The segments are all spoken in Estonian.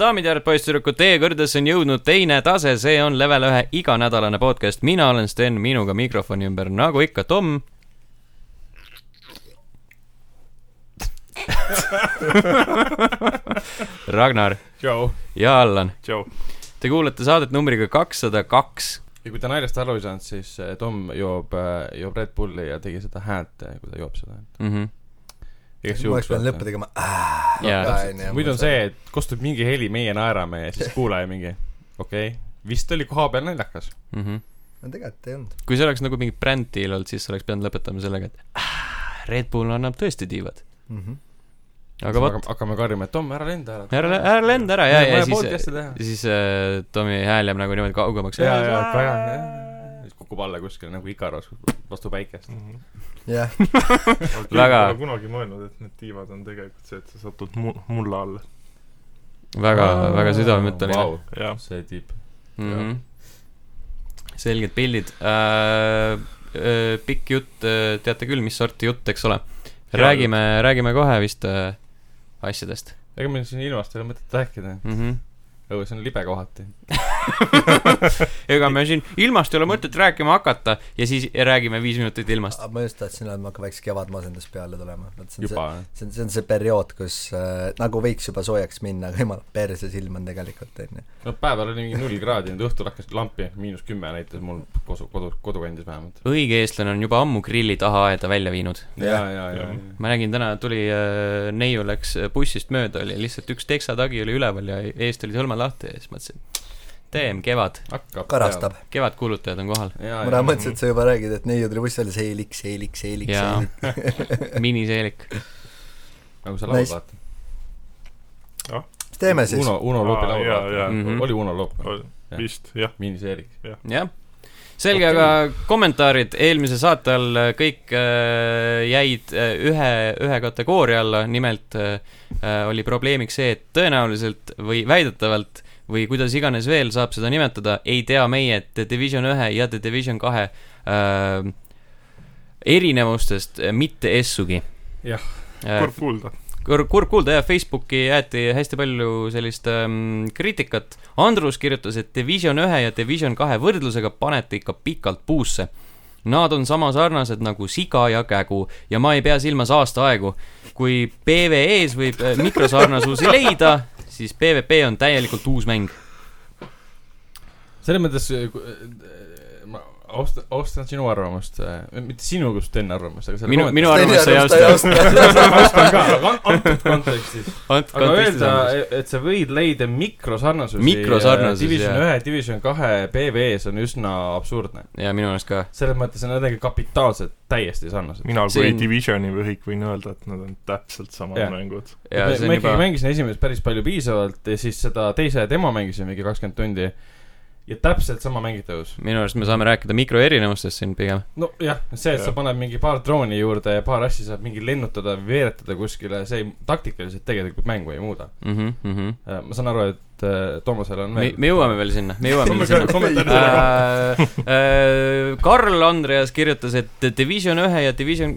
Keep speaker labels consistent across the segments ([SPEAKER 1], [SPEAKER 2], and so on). [SPEAKER 1] daamid ja härrad poisssüdrukud , teie kõrdes on jõudnud teine tase , see on level ühe iganädalane podcast , mina olen Sten , minuga mikrofoni ümber , nagu ikka , Tom . Ragnar
[SPEAKER 2] tšau ,
[SPEAKER 1] ja Allan ,
[SPEAKER 2] tšau .
[SPEAKER 1] te kuulete saadet numbriga kakssada kaks .
[SPEAKER 2] ja kui te naljast aru ei saanud , siis äh, Tom joob , joob Red Bulli ja tegi seda häält , kui ta joob seda .
[SPEAKER 3] ma oleks pidanud lõppe tegema .
[SPEAKER 1] Mhm.
[SPEAKER 3] "Ah,
[SPEAKER 1] Jaa,
[SPEAKER 2] muidu on see , et kostub mingi heli , meie naerame ja siis kuulaja mingi , okei okay. , vist oli kohapeal naljakas .
[SPEAKER 3] no tegelikult ei olnud .
[SPEAKER 1] Mhm. kui see oleks nagu mingi bränd deal olnud , siis oleks pidanud lõpetama sellega , et "Ah, Red Bull annab tõesti tiivad . aga vot ,
[SPEAKER 2] hakkame karjuma , et Tom , ära lenda ära .
[SPEAKER 1] ära , ära lenda ära ja , ja siis ,
[SPEAKER 2] ja
[SPEAKER 1] siis äh, Tomi hääl jääb nagu niimoodi kaugemaks .
[SPEAKER 2] ja , ja , väga hea . siis kukub alla kuskil nagu Ikaros vastu päikest .
[SPEAKER 4] Mhm.
[SPEAKER 3] jah ,
[SPEAKER 1] Väga-
[SPEAKER 4] väga . kunagi mõelnud , et need tiivad on tegelikult see , et sa satud mu- , mulla alla .
[SPEAKER 1] väga , väga südamemõtteline wow.
[SPEAKER 2] wow, .
[SPEAKER 4] jah ,
[SPEAKER 2] Noh, see tipp .
[SPEAKER 1] mm . -hmm. selged pildid äh, . Äh, pikk jutt äh, , teate küll , mis sorti jutt , eks ole .
[SPEAKER 4] Hea
[SPEAKER 1] räägime , räägime kohe vist äh, asjadest
[SPEAKER 2] ega meil siin ilmast ei ole mõtet rääkida ,
[SPEAKER 1] mm . -hmm.
[SPEAKER 2] õues on libe kohati .
[SPEAKER 1] ega me siin ilmast ei ole mõtet rääkima hakata ja siis räägime viis minutit ilmast .
[SPEAKER 3] ma just tahtsin öelda , et mul hakkab väikse kevadmasendus peale tulema . see on see ,
[SPEAKER 2] juba .
[SPEAKER 3] see on , see on see periood , kus äh, nagu võiks juba soojaks minna , aga jumal , perses ilm on tegelikult , onju .
[SPEAKER 2] no päeval oli mingi null kraadi , nüüd õhtul hakkas lampi miinus kümme näitas mul kodu , kodu , kodukandis vähemalt .
[SPEAKER 1] õige eestlane on juba ammu grilli taha aeda välja viinud .
[SPEAKER 2] ja , ja , ja .
[SPEAKER 1] ma nägin täna , tuli äh, neiu läks bussist mööda , oli lihtsalt üks teksatagi oli üleval ja eest oli hõlma lahti ja siis mõtlesin , teem kevad ,
[SPEAKER 2] hakkab .
[SPEAKER 3] karastab ..
[SPEAKER 1] kevadkuulutajad on kohal ,
[SPEAKER 2] ja ,
[SPEAKER 3] ma
[SPEAKER 2] ja
[SPEAKER 3] tahan , mõtlesin , et sa juba räägid , et neiu tuli bussi alles heeliks , heeliks , heeliks .
[SPEAKER 1] Jaa. miniseelik .
[SPEAKER 2] nagu sa laulad
[SPEAKER 3] Nice.
[SPEAKER 2] vaata .
[SPEAKER 3] mis teeme siis ?
[SPEAKER 2] Uno , Uno Loopi
[SPEAKER 4] Aa,
[SPEAKER 2] laul
[SPEAKER 4] jaa,
[SPEAKER 2] vaata
[SPEAKER 4] jaa.
[SPEAKER 1] Mhm. .
[SPEAKER 2] oli Uno Loop . Jah.
[SPEAKER 4] vist , jah .
[SPEAKER 2] miiniseerik .
[SPEAKER 1] jah , selge , aga kommentaarid eelmise saate all äh, kõik äh, jäid äh, ühe , ühe kategooria alla , nimelt äh, äh, oli probleemiks see , et tõenäoliselt või väidetavalt või kuidas iganes veel saab seda nimetada , ei tea meie The Division ühe ja The Division kahe äh, erinevustest äh, mitte essugi .
[SPEAKER 4] Jah.
[SPEAKER 2] Eh,
[SPEAKER 1] äh,
[SPEAKER 4] kurb kuulda .
[SPEAKER 1] kur- , kurb kuulda jah , Facebooki jäeti hästi palju sellist ähm, kriitikat . Andrus kirjutas , et Division ühe ja Division kahe võrdlusega panete ikka pikalt puusse . Nad on sama sarnased nagu siga ja kägu ja ma ei pea silmas aastaaegu . kui PVE-s võib äh, mikrosarnasusi leida , siis PVP on täielikult uus mäng .
[SPEAKER 2] selles mõttes äh, ku- äh, ma austan , austan sinu arvamust , mitte sinu kui Sten arvamust , aga selle
[SPEAKER 1] minu , minu arvamus sai austada .
[SPEAKER 3] austa .
[SPEAKER 2] arvan ka , aga an- antud kontekstis . aga öelda , et sa võid leida mikrosarnasusi .
[SPEAKER 1] Mikrosarnasusi,
[SPEAKER 2] Division
[SPEAKER 1] jah.
[SPEAKER 2] ühe , Division kahe PV-s on üsna absurdne .
[SPEAKER 1] ja minu meelest ka .
[SPEAKER 2] selles mõttes on nendega kapitaalselt täiesti sarnased .
[SPEAKER 4] mina
[SPEAKER 1] See
[SPEAKER 4] kui
[SPEAKER 1] on-
[SPEAKER 4] Divisioni võhik võin öelda , et nad on täpselt samad
[SPEAKER 2] Jah.
[SPEAKER 4] yeah. mängud .
[SPEAKER 1] ja
[SPEAKER 2] ma
[SPEAKER 1] see on
[SPEAKER 2] ikkagi
[SPEAKER 1] juba
[SPEAKER 2] juba... , mängisin esimest päris palju piisavalt ja siis seda teise tema mängisin mingi kakskümmend tundi . ja täpselt sama mängitavus .
[SPEAKER 1] minu arust me saame rääkida mikroerinevustest siin pigem .
[SPEAKER 2] nojah , see , et sa
[SPEAKER 4] Jah.
[SPEAKER 2] paned mingi paar drooni juurde ja paar asja saab mingi lennutada , veeretada kuskile , see ei, taktikaliselt tegelikult mängu ei muuda .
[SPEAKER 1] mhmh , mhmh .
[SPEAKER 2] ma saan aru , et äh, Toomasel on
[SPEAKER 1] me ,
[SPEAKER 2] veel .
[SPEAKER 1] Mhm, me jõuame veel sinna , me jõuame veel sinna .
[SPEAKER 4] kommentaar .
[SPEAKER 1] Äh, Karl Andreas kirjutas , et Division ühe ja Division ,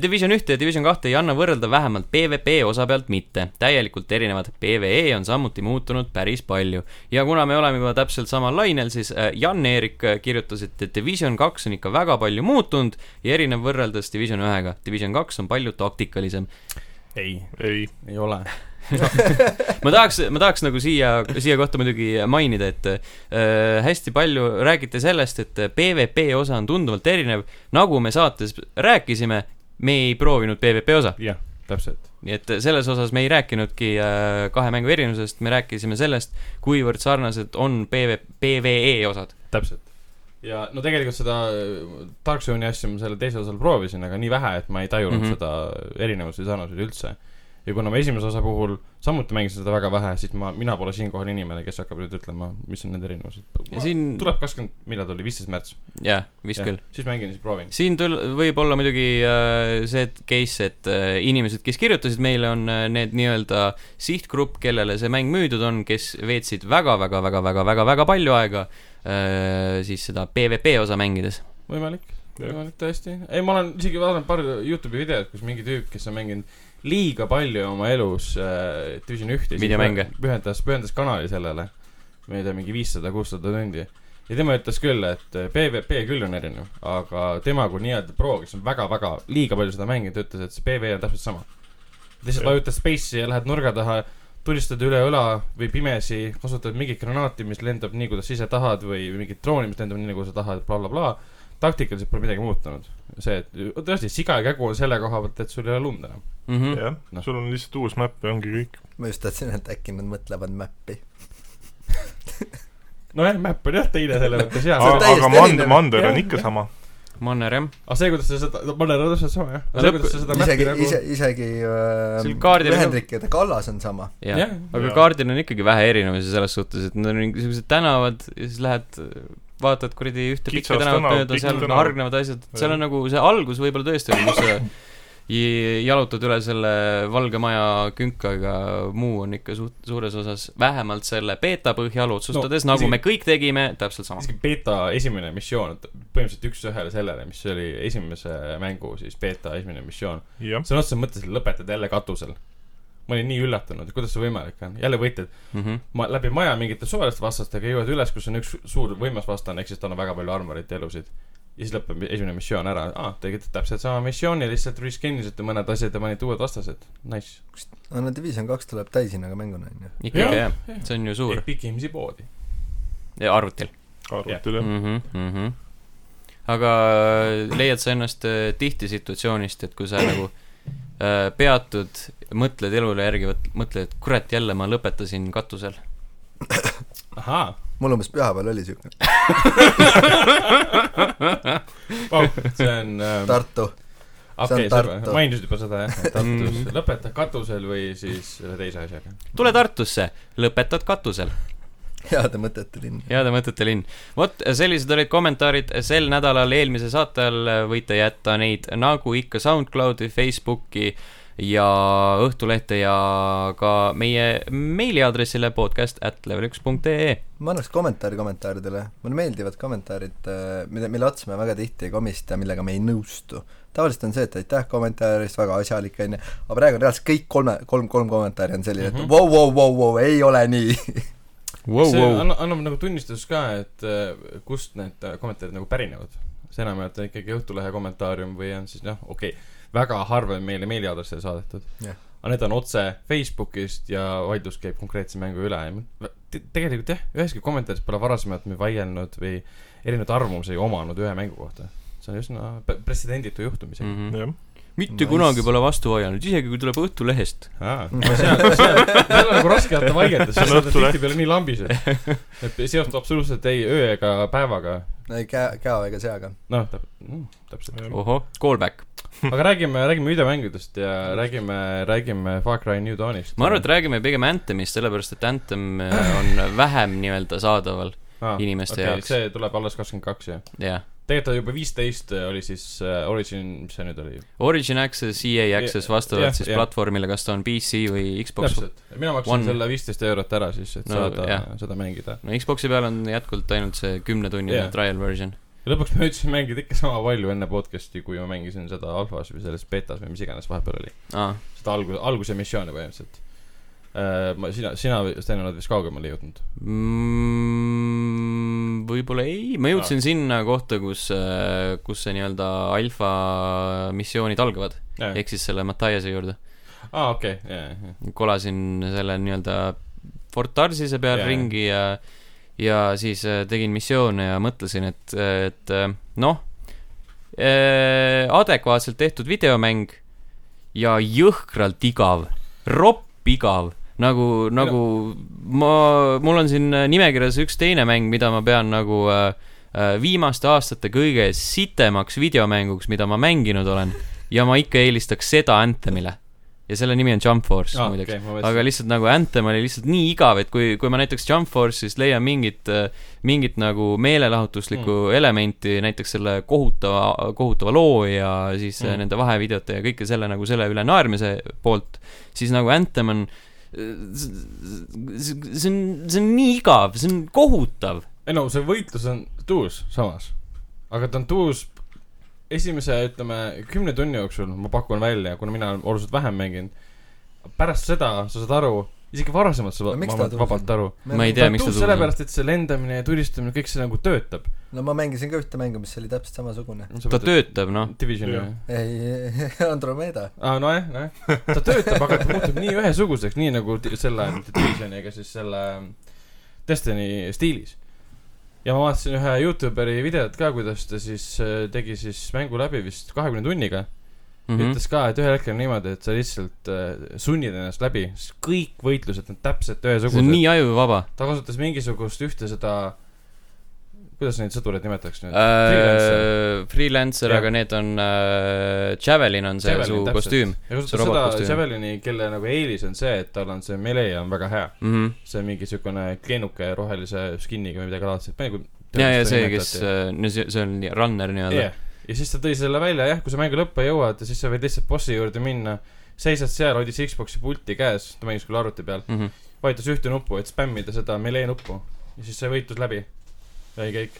[SPEAKER 1] Division ühte ja Division kahte ei anna võrrelda vähemalt PVP osa pealt mitte . täielikult erinevad . PVE on samuti muutunud päris palju . ja kuna me oleme juba täpselt samal lainel , siis äh, Jan-Erik kirjutas , et Division kaks on ikka väga palju muutunud ja erinev võrreldes Division ühega . Division kaks on palju taktikalisem .
[SPEAKER 2] ei ,
[SPEAKER 4] ei ,
[SPEAKER 2] ei ole .
[SPEAKER 1] ma tahaks , ma tahaks nagu siia , siia kohta muidugi mainida , et äh, hästi palju räägite sellest , et PVP osa on tunduvalt erinev , nagu me saates rääkisime , me ei proovinud PVP osa ,
[SPEAKER 2] jah , täpselt .
[SPEAKER 1] nii et selles osas me ei rääkinudki äh, kahe mängu erinevusest , me rääkisime sellest , kuivõrd sarnased on PV , PVE E osad .
[SPEAKER 2] täpselt . ja no tegelikult seda äh, Dark Zone'i asja ma selle teisel osal proovisin , aga nii vähe , et ma ei tajunud mm
[SPEAKER 1] Mhm.
[SPEAKER 2] -hmm. seda erinevusi sarnasusi üldse . ja kuna ma esimese osa puhul samuti mängisin seda väga vähe , siis ma , mina pole siinkohal inimene , kes hakkab nüüd ütlema , mis on need erinevused .
[SPEAKER 1] ja siin ,
[SPEAKER 2] tuleb kakskümmend , millal tuli , viisteist märts ?
[SPEAKER 1] jah , vist küll .
[SPEAKER 2] siis mängin , siis proovin .
[SPEAKER 1] siin tul- , võib olla muidugi äh, see et case , et äh, inimesed , kes kirjutasid meile , on äh, need nii-öelda sihtgrupp , kellele see mäng müüdud on , kes veetsid väga-väga-väga-väga-väga-väga palju aega äh, siis seda PVP osa mängides .
[SPEAKER 2] võimalik , no nüüd tõesti , ei ma olen isegi vaadanud paar Youtube'i videot , kus mingi tüüp , kes on mänginud liiga palju oma elus äh, Division ühte .
[SPEAKER 1] Videomänge.
[SPEAKER 2] pühendas , pühendas kanali sellele , ma ei tea , mingi viissada , kuussada tundi . ja tema ütles küll , et äh, PVP küll on erinev , aga tema kui nii-öelda pro , kes on väga-väga liiga palju seda mänginud , ütles , et see PV on täpselt sama . lihtsalt
[SPEAKER 4] Jah.
[SPEAKER 2] vajutad space'i ja lähed nurga taha , tulistad üle õla või pimesi , kasutad mingit granaati , mis lendab nii , kuidas sa ise tahad või või mingit drooni , mis lendab nii , nagu sa tahad bla, , blablabla . taktikaliselt pole midagi muutunud . see , et tõesti , siga ja kägu on selle koha pealt , et sul ei ole lund enam .
[SPEAKER 1] mm . -hmm.
[SPEAKER 4] jah
[SPEAKER 2] Noh. ,
[SPEAKER 4] sul on lihtsalt uus map ja ongi kõik .
[SPEAKER 3] ma just tahtsin , et äkki nad mõtlevad mäppi .
[SPEAKER 2] nojah , map on jah teine selles mõttes hea .
[SPEAKER 3] on
[SPEAKER 4] aga
[SPEAKER 2] aga
[SPEAKER 3] täiesti
[SPEAKER 4] aga mand-
[SPEAKER 3] erinev. ,
[SPEAKER 4] mandel
[SPEAKER 2] Jah,
[SPEAKER 4] on ikka
[SPEAKER 2] jah.
[SPEAKER 4] sama .
[SPEAKER 1] Manner jah .
[SPEAKER 2] aga see , kuidas sa seda , ma olen täpselt sama jah . aga see ,
[SPEAKER 1] Lõpp-
[SPEAKER 2] kuidas sa seda
[SPEAKER 3] isegi
[SPEAKER 2] map'i , nagu
[SPEAKER 3] ise , isegi äh,
[SPEAKER 1] Siin kaardil on-
[SPEAKER 3] Ühendriikide kallas on sama .
[SPEAKER 1] jah
[SPEAKER 2] Jah. ,
[SPEAKER 1] aga
[SPEAKER 4] Jah.
[SPEAKER 1] kaardil on ikkagi vähe erinevusi selles suhtes , et need on mingisugused tänavad ja siis lähed , vaatad kuradi ühte pikka
[SPEAKER 4] Kitsas
[SPEAKER 1] tänavat
[SPEAKER 4] tänav,
[SPEAKER 1] mööda ,
[SPEAKER 4] pikk
[SPEAKER 1] seal on
[SPEAKER 4] tänav.
[SPEAKER 1] hargnevad asjad , seal
[SPEAKER 4] Jah.
[SPEAKER 1] on nagu see algus võib-olla tõesti oli , kus sa j- jalutad üle selle Valge Maja künka , aga muu on ikka suht- , suures osas vähemalt selle beeta põhjal otsustades
[SPEAKER 2] No,
[SPEAKER 1] no, , nagu
[SPEAKER 2] isegi-
[SPEAKER 1] me kõik tegime , täpselt sama .
[SPEAKER 2] isegi beeta esimene missioon , põhimõtteliselt üks-ühele sellele , mis oli esimese mängu siis beeta esimene missioon .
[SPEAKER 4] jah ,
[SPEAKER 2] sõna otseses mõttes lõpetad jälle katusel . ma olin nii üllatunud , kuidas see võimalik on , jälle võitled
[SPEAKER 1] mm . -hmm.
[SPEAKER 2] ma läbi maja mingite suvaliste vastastega jõuad üles , kus on üks suur võimas vastane , ehk siis tal on väga palju armorit ja elusid . ja siis lõpeb esimene missioon ära , aa , tegite täpselt sama missiooni , lihtsalt reskin isite mõned asjad ja panite uued vastased , nice .
[SPEAKER 3] no Division kaks tuleb täishinnaga mänguna , on ju .
[SPEAKER 1] ikkagi
[SPEAKER 2] Jah.
[SPEAKER 1] jah , see on ju suur ,
[SPEAKER 2] Epic Games'i poodi .
[SPEAKER 1] arvutil .
[SPEAKER 4] arvutil jah .
[SPEAKER 1] mm . -hmm, mm -hmm. aga leiad sa ennast äh, tihti situatsioonist , et kui sa nagu äh, peatud , mõtled elule järgi , mõtled , et kurat , jälle ma lõpetasin katusel .
[SPEAKER 2] ahaa ,
[SPEAKER 3] mul umbes pühapäeval oli siuke ,
[SPEAKER 2] see on äh, ,
[SPEAKER 3] Tartu .
[SPEAKER 2] okei ,
[SPEAKER 3] Tartu.
[SPEAKER 2] mainisid juba seda jah , Tartus
[SPEAKER 1] Mhm.
[SPEAKER 2] lõpeta katusel või siis ühe teise asjaga .
[SPEAKER 1] tule Tartusse , lõpetad katusel .
[SPEAKER 3] heade mõtete linn .
[SPEAKER 1] heade mõtete linn . vot , sellised olid kommentaarid sel nädalal , eelmise saate all võite jätta neid nagu ikka SoundCloudi , Facebooki ja Õhtulehte ja ka meie meiliaadressile podcast at level üks punkt ee .
[SPEAKER 3] ma annaks kommentaari kommentaaridele , mulle meeldivad kommentaarid , mida , mille otsa me väga tihti ei komista , millega me ei nõustu . tavaliselt on see , et aitäh kommentaari eest , väga asjalik , on ju , aga praegu on reaalselt kõik kolme , kolm , kolm kommentaari on selline ,
[SPEAKER 2] Mhm.
[SPEAKER 3] et vau , vau , vau , vau , ei ole nii .
[SPEAKER 1] Wow,
[SPEAKER 2] see anna- annab nagu tunnistust ka , et äh, kust need äh, kommentaarid nagu pärinevad . see enamjaolt on ikkagi Õhtulehe kommentaarium või on siis noh , okei okay, , väga harva on meile meiliaadressile saadetud
[SPEAKER 3] Jah. .
[SPEAKER 2] aga need on otse Facebookist ja vaidlus käib konkreetse mängu üle ja ma- te- tegelikult jah , üheski kommentaaris pole varasemalt me vaielnud või erinevaid arvamusi omanud ühe mängu kohta . see on üsna pe- pretsedenditu juhtum isegi mm. .
[SPEAKER 1] -hmm.
[SPEAKER 4] jah ,
[SPEAKER 1] mitte
[SPEAKER 3] Nice.
[SPEAKER 1] kunagi pole vastu vaielnud , isegi kui tuleb Õhtulehest .
[SPEAKER 2] aa , seal , seal , seal on nagu raske jätta vaielda , sest
[SPEAKER 4] See on
[SPEAKER 2] nad on
[SPEAKER 4] Õhtuleht.
[SPEAKER 2] tihtipeale nii lambis , et , et ei seostu absoluutselt ei öö ega päevaga
[SPEAKER 3] ei käe , käo ega seaga .
[SPEAKER 2] noh , täpselt .
[SPEAKER 4] jah ,
[SPEAKER 1] ohoh , callback .
[SPEAKER 2] aga räägime , räägime videomängudest ja räägime , räägime Far Cry New Dawnist .
[SPEAKER 1] ma arvan , et räägime pigem Anthemist , sellepärast et Anthem äh, on vähem nii-öelda saadaval ,
[SPEAKER 2] et
[SPEAKER 1] inimeste jaoks.
[SPEAKER 2] see tuleb alles kakskümmend kaks , jah .
[SPEAKER 1] jah .
[SPEAKER 2] tegelikult ta juba viisteist oli siis äh, Origin , mis see nüüd oli ?
[SPEAKER 1] Origin Access , EA Access vastavalt
[SPEAKER 2] jah,
[SPEAKER 1] siis
[SPEAKER 2] jah.
[SPEAKER 1] platvormile , kas ta on PC või Xbox .
[SPEAKER 2] täpselt , mina maksin
[SPEAKER 1] One.
[SPEAKER 2] One. selle viisteist eurot ära siis , et
[SPEAKER 1] No,
[SPEAKER 2] no, saada
[SPEAKER 1] jah. ,
[SPEAKER 2] seda mängida .
[SPEAKER 1] no Xbox'i peal on jätkuvalt ainult see kümnetunnine yeah.
[SPEAKER 2] Jah.
[SPEAKER 1] trial version .
[SPEAKER 2] ja lõpuks ma jõudsin mängida ikka sama palju enne podcast'i , kui ma mängisin seda alfas või selles betas või mis iganes vahepeal oli .
[SPEAKER 1] aa ,
[SPEAKER 2] seda algus , alguse missiooni põhimõtteliselt . ma , sina , sina , Sten , oled vist kaugemale jõudnud ?
[SPEAKER 1] mm, . võib-olla ei , ma jõudsin ah. sinna kohta , kus , kus see nii-öelda alfa missioonid algavad ,
[SPEAKER 2] aa ,
[SPEAKER 1] ehk siis selle Mattiase juurde .
[SPEAKER 2] Ah, okei , jaa , jaa .
[SPEAKER 1] kolasin selle nii-öelda Fort Tarsise peal
[SPEAKER 2] Jaa.
[SPEAKER 1] yeah. ringi ja , ja siis äh, tegin missioone ja mõtlesin , et , et äh, noh , adekvaatselt tehtud videomäng ja jõhkralt igav , ropp igav , nagu , nagu ma , mul on siin äh, nimekirjas üks teine mäng , mida ma pean nagu äh, äh, viimaste aastate kõige sitemaks videomänguks , mida ma mänginud olen ja ma ikka eelistaks seda Anthemile . ja selle nimi on Jump Force ah, muideks okay. aga lihtsalt nagu Anthem oli lihtsalt nii igav , et kui , kui ma näiteks Jump Force'ist leian mingit , mingit nagu meelelahutuslikku mm. elementi , näiteks selle kohutava , kohutava loo ja siis mm.
[SPEAKER 2] Mm.
[SPEAKER 1] nende vahevideote ja kõike selle nagu selle üle naermise poolt , siis nagu Anthem on , äh, see on , see on nii igav , see on kohutav .
[SPEAKER 2] ei no see võitlus on tuus samas , aga ta on tuus esimese , ütleme , kümne tunni jooksul ma pakun välja , kuna mina olen oluliselt vähem mänginud , pärast seda sa saad aru , isegi varasemalt sa
[SPEAKER 3] No miks
[SPEAKER 2] va-
[SPEAKER 3] ta
[SPEAKER 2] ma-
[SPEAKER 3] tundub?
[SPEAKER 2] vabalt aru .
[SPEAKER 1] Ma ei tea, miks ta tundub.
[SPEAKER 2] sellepärast , et see lendamine ja tulistamine , kõik see nagu töötab .
[SPEAKER 3] no ma mängisin ka ühte mängu , mis oli täpselt samasugune .
[SPEAKER 1] ta . töötab , noh .
[SPEAKER 2] Divisioni
[SPEAKER 4] Jah.
[SPEAKER 2] või ?
[SPEAKER 3] ei , Andromeda .
[SPEAKER 2] aa , nojah , nojah . ta töötab , aga ta muutub nii ühesuguseks , nii nagu di- selle , mitte Divisioni , aga siis selle ähm, Destiny stiilis . ja ma vaatasin ühe Youtuberi videot ka , kuidas ta siis äh, tegi siis mängu läbi vist kahekümne tunniga mm
[SPEAKER 1] Mhm.
[SPEAKER 2] -hmm. ütles ka , et ühel hetkel on niimoodi , et sa lihtsalt äh, sunnid ennast läbi , sest kõik võitlused on täpselt
[SPEAKER 1] see on
[SPEAKER 2] ühesugused .
[SPEAKER 1] nii ajuvaba .
[SPEAKER 2] ta kasutas mingisugust ühte seda , kuidas neid sõdureid nimetaks nüüd ?
[SPEAKER 1] Äh, Freelancer ,
[SPEAKER 2] Jah.
[SPEAKER 1] aga need on äh, , Javelin on see su kostüüm .
[SPEAKER 2] ja
[SPEAKER 1] see
[SPEAKER 2] kasutas seda
[SPEAKER 1] robotkostüüm.
[SPEAKER 2] Javelini , kelle nagu eelis on see , et tal on see melee on väga hea .
[SPEAKER 1] Mhm.
[SPEAKER 2] see on mingi siukene kleenuke rohelise skin'iga või midagi laadset . nagu
[SPEAKER 1] ja , ja see , kes , äh, no see , see on nii- runner nii-öelda .
[SPEAKER 2] jah , ja siis ta tõi selle välja , jah , kui sa mängu lõppu jõuad , siis sa võid lihtsalt bossi juurde minna , seisad seal , hoidis Xbox'i pulti käes , ta mängis küll arvuti peal ,
[SPEAKER 1] Mhm.
[SPEAKER 2] vajutas ühte nuppu , et spämmida seda melee nuppu ja siis sai võitlus läbi . ja ei kõik .